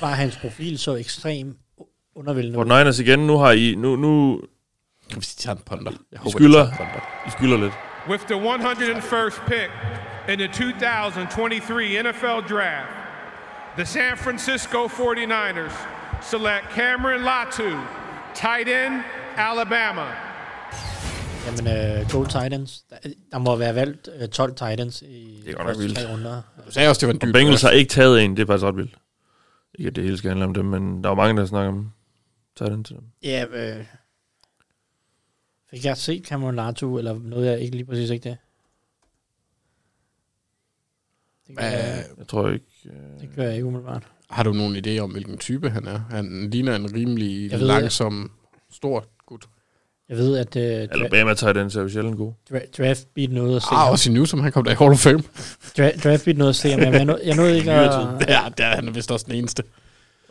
F: Bare hans profil så ekstrem u- undervældende.
D: Fort Niners igen. Nu har I... Nu, nu...
E: Hvis de tager en ponder. Jeg
D: I
K: håber, de
D: skylder,
K: tager en ponder.
D: I skylder lidt.
K: With the 101st pick in the 2023 NFL Draft, the San Francisco 49ers select Cameron Latu, tight end, Alabama.
F: Jamen, øh, go Titans. Der, der må være valgt øh, 12 Titans i
D: Det er godt nok
F: de første tre
D: vildt.
F: runder.
E: Du sagde også, det var en
D: Og
E: dyb
D: Bengals
E: draft.
D: har ikke taget en. Det er faktisk ret vildt. Ikke, at det hele skal handle om dem, men der er jo mange, der snakker om tight end til dem.
F: Ja, øh, fik jeg set Cameron Latu, eller noget, jeg ikke lige præcis ikke det? Det gør, jeg,
D: Jeg tror ikke... øh,
F: det gør jeg ikke umiddelbart.
E: Har du nogen idé om, hvilken type han er? Han ligner en rimelig
F: Jeg
E: jeg
F: ved,
E: langsom, stor gut.
F: Jeg ved, at øh, dra-
D: Alabama tight ends er jo sjældent god.
F: dra- draft beat noget at se.
E: Ah,
F: ham.
E: også i nu, som han kom der i Hall of Fame.
F: Dra- draft beat noget at se, ham, men jeg, nåede- jeg nåede ikke
E: I nyere
F: at...
E: tid. Ja, der er han vist også den eneste.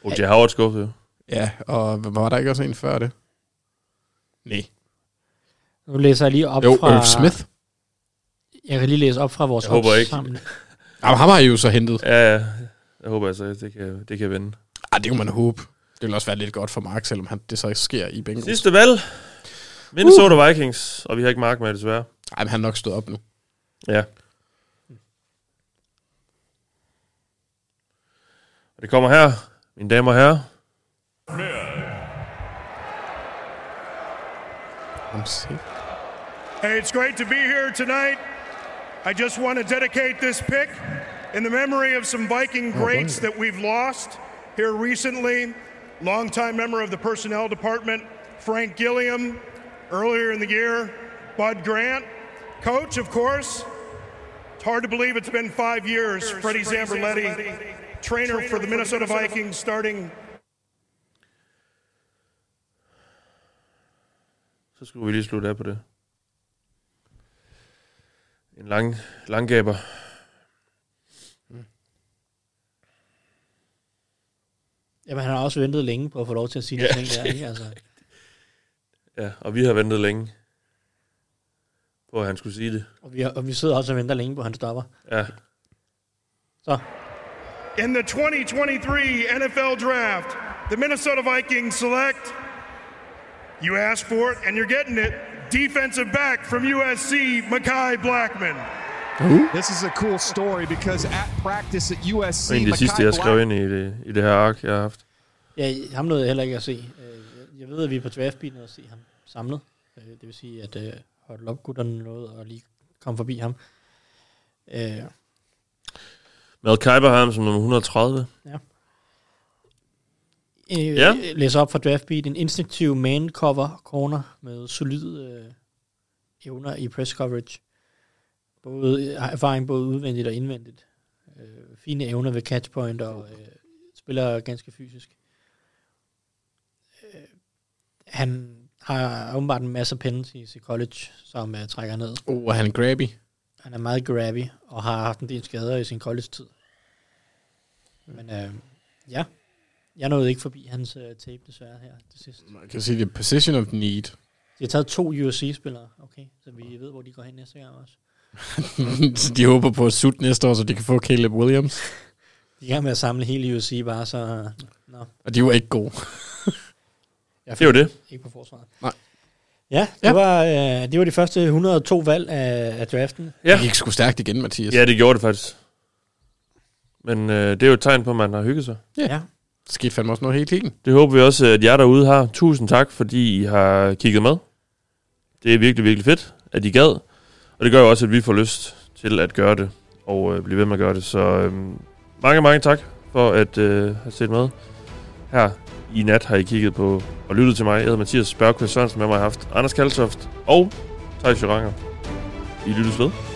D: O.J. Howard skuffede jo.
E: Ja, og hvad- var der ikke også en før det? Nej.
F: Nu læser jeg lige op
E: Jo,
F: fra...
E: Irv Smith.
F: Jeg kan lige læse op fra vores
D: Jeg håber ikke.
F: opsamling.
E: Jamen, ham har I jo så hentet.
D: Ja, ja. Jeg håber altså, at det kan, det kan vende.
E: Ah, det kunne man håbe. Det ville også være lidt godt for Mark, selvom han, det så ikke sker i Bengals.
D: Sidste valg. Minnesota uh. Vikings, og vi har ikke Mark med, desværre.
E: Ej, men han er nok stået op nu.
D: Ja. Og det kommer her, mine damer og herrer.
B: Hey, it's great to be here tonight. I just want to dedicate this pick in the memory of some Viking greats that we've lost here recently. Longtime member of the personnel department, Frank Gilliam, earlier in the year, Bud Grant, coach, of course. It's hard to believe it's been five years. Freddie Zamberletti, trainer for the Minnesota Vikings, starting
D: Så skulle vi lige slutte af på det. En lang, langgaber.
F: Jamen, han har også ventet længe på at få lov til at sige de
D: Ja.
F: ting der, ikke? Altså,
D: Ja, og vi har ventet længe på, at han skulle sige det.
F: og, vi, har- og vi sidder også og venter længe på, at han stopper.
D: Ja.
B: In the 2023 NFL Draft, the Minnesota Vikings select, you asked for it and you're getting it, defensive back from USC, Makai Blackman.
Q: This is a cool story because at practice at USC,
D: Og en af de sidste,
Q: Mekhi
D: jeg skrev ind i det, i det her ark, jeg har haft.
F: Ja, ham nåede jeg heller ikke at se. Øh, jeg- Jeg ved, at vi er på draftbeaten og se ham samlet. Øh, Det vil sige, at øh, hold op gutterne nåede at lige komme forbi ham. Øh,
D: Mad Kuiper har ham som nummer 130.
F: øh,
D: Ja.
F: ja. Læser op fra draftbeat. En instinktiv man-cover corner med solide øh, evner i press coverage. Både øh, har erfaring både udvendigt og indvendigt. Øh, fine evner ved catchpoint og øh, spiller ganske fysisk. Øh, han har åbenbart en masse penalties i college, som øh, trækker ned.
E: Oh, er han grabby?
F: Han er meget grabby og har haft en del skader i sin college-tid. Men øh, ja, jeg nåede ikke forbi hans øh, tape desværre her til sidst.
E: Man kan sige, det er position of need.
F: De har taget to USC-spillere, okay? Så vi ved, hvor de går hen næste gang også.
E: Så de håber på at sutte næste år, så de kan få Caleb Williams.
F: De er i gang med at samle hele USC bare, så... Nå.
E: Og de var ikke gode.
D: Det er jo det.
F: Ikke på forsvaret.
E: Nej.
F: Ja, det, ja. Var, øh, det var de første 102 valg af, af draften.
E: Ja. Det gik sgu stærkt igen, Mathias.
D: Ja, det gjorde det faktisk. Men øh, det er jo et tegn på, at man har hygget sig.
F: Ja. ja.
E: Det skete fandme også noget helt lignende.
D: Det håber vi også, at jer derude har. Tusind tak, fordi I har kigget med. Det er virkelig, virkelig fedt, at I gad. Og det gør jo også, at vi får lyst til at gøre det, og øh, blive ved med at gøre det. Så øh, mange, mange tak for at øh, have set med. Her i nat har I kigget på og lyttet til mig. Jeg hedder Mathias Børkvist Sørensen, med mig har jeg haft Anders Kaltoft og Thijs Joranger. I lyttes ved.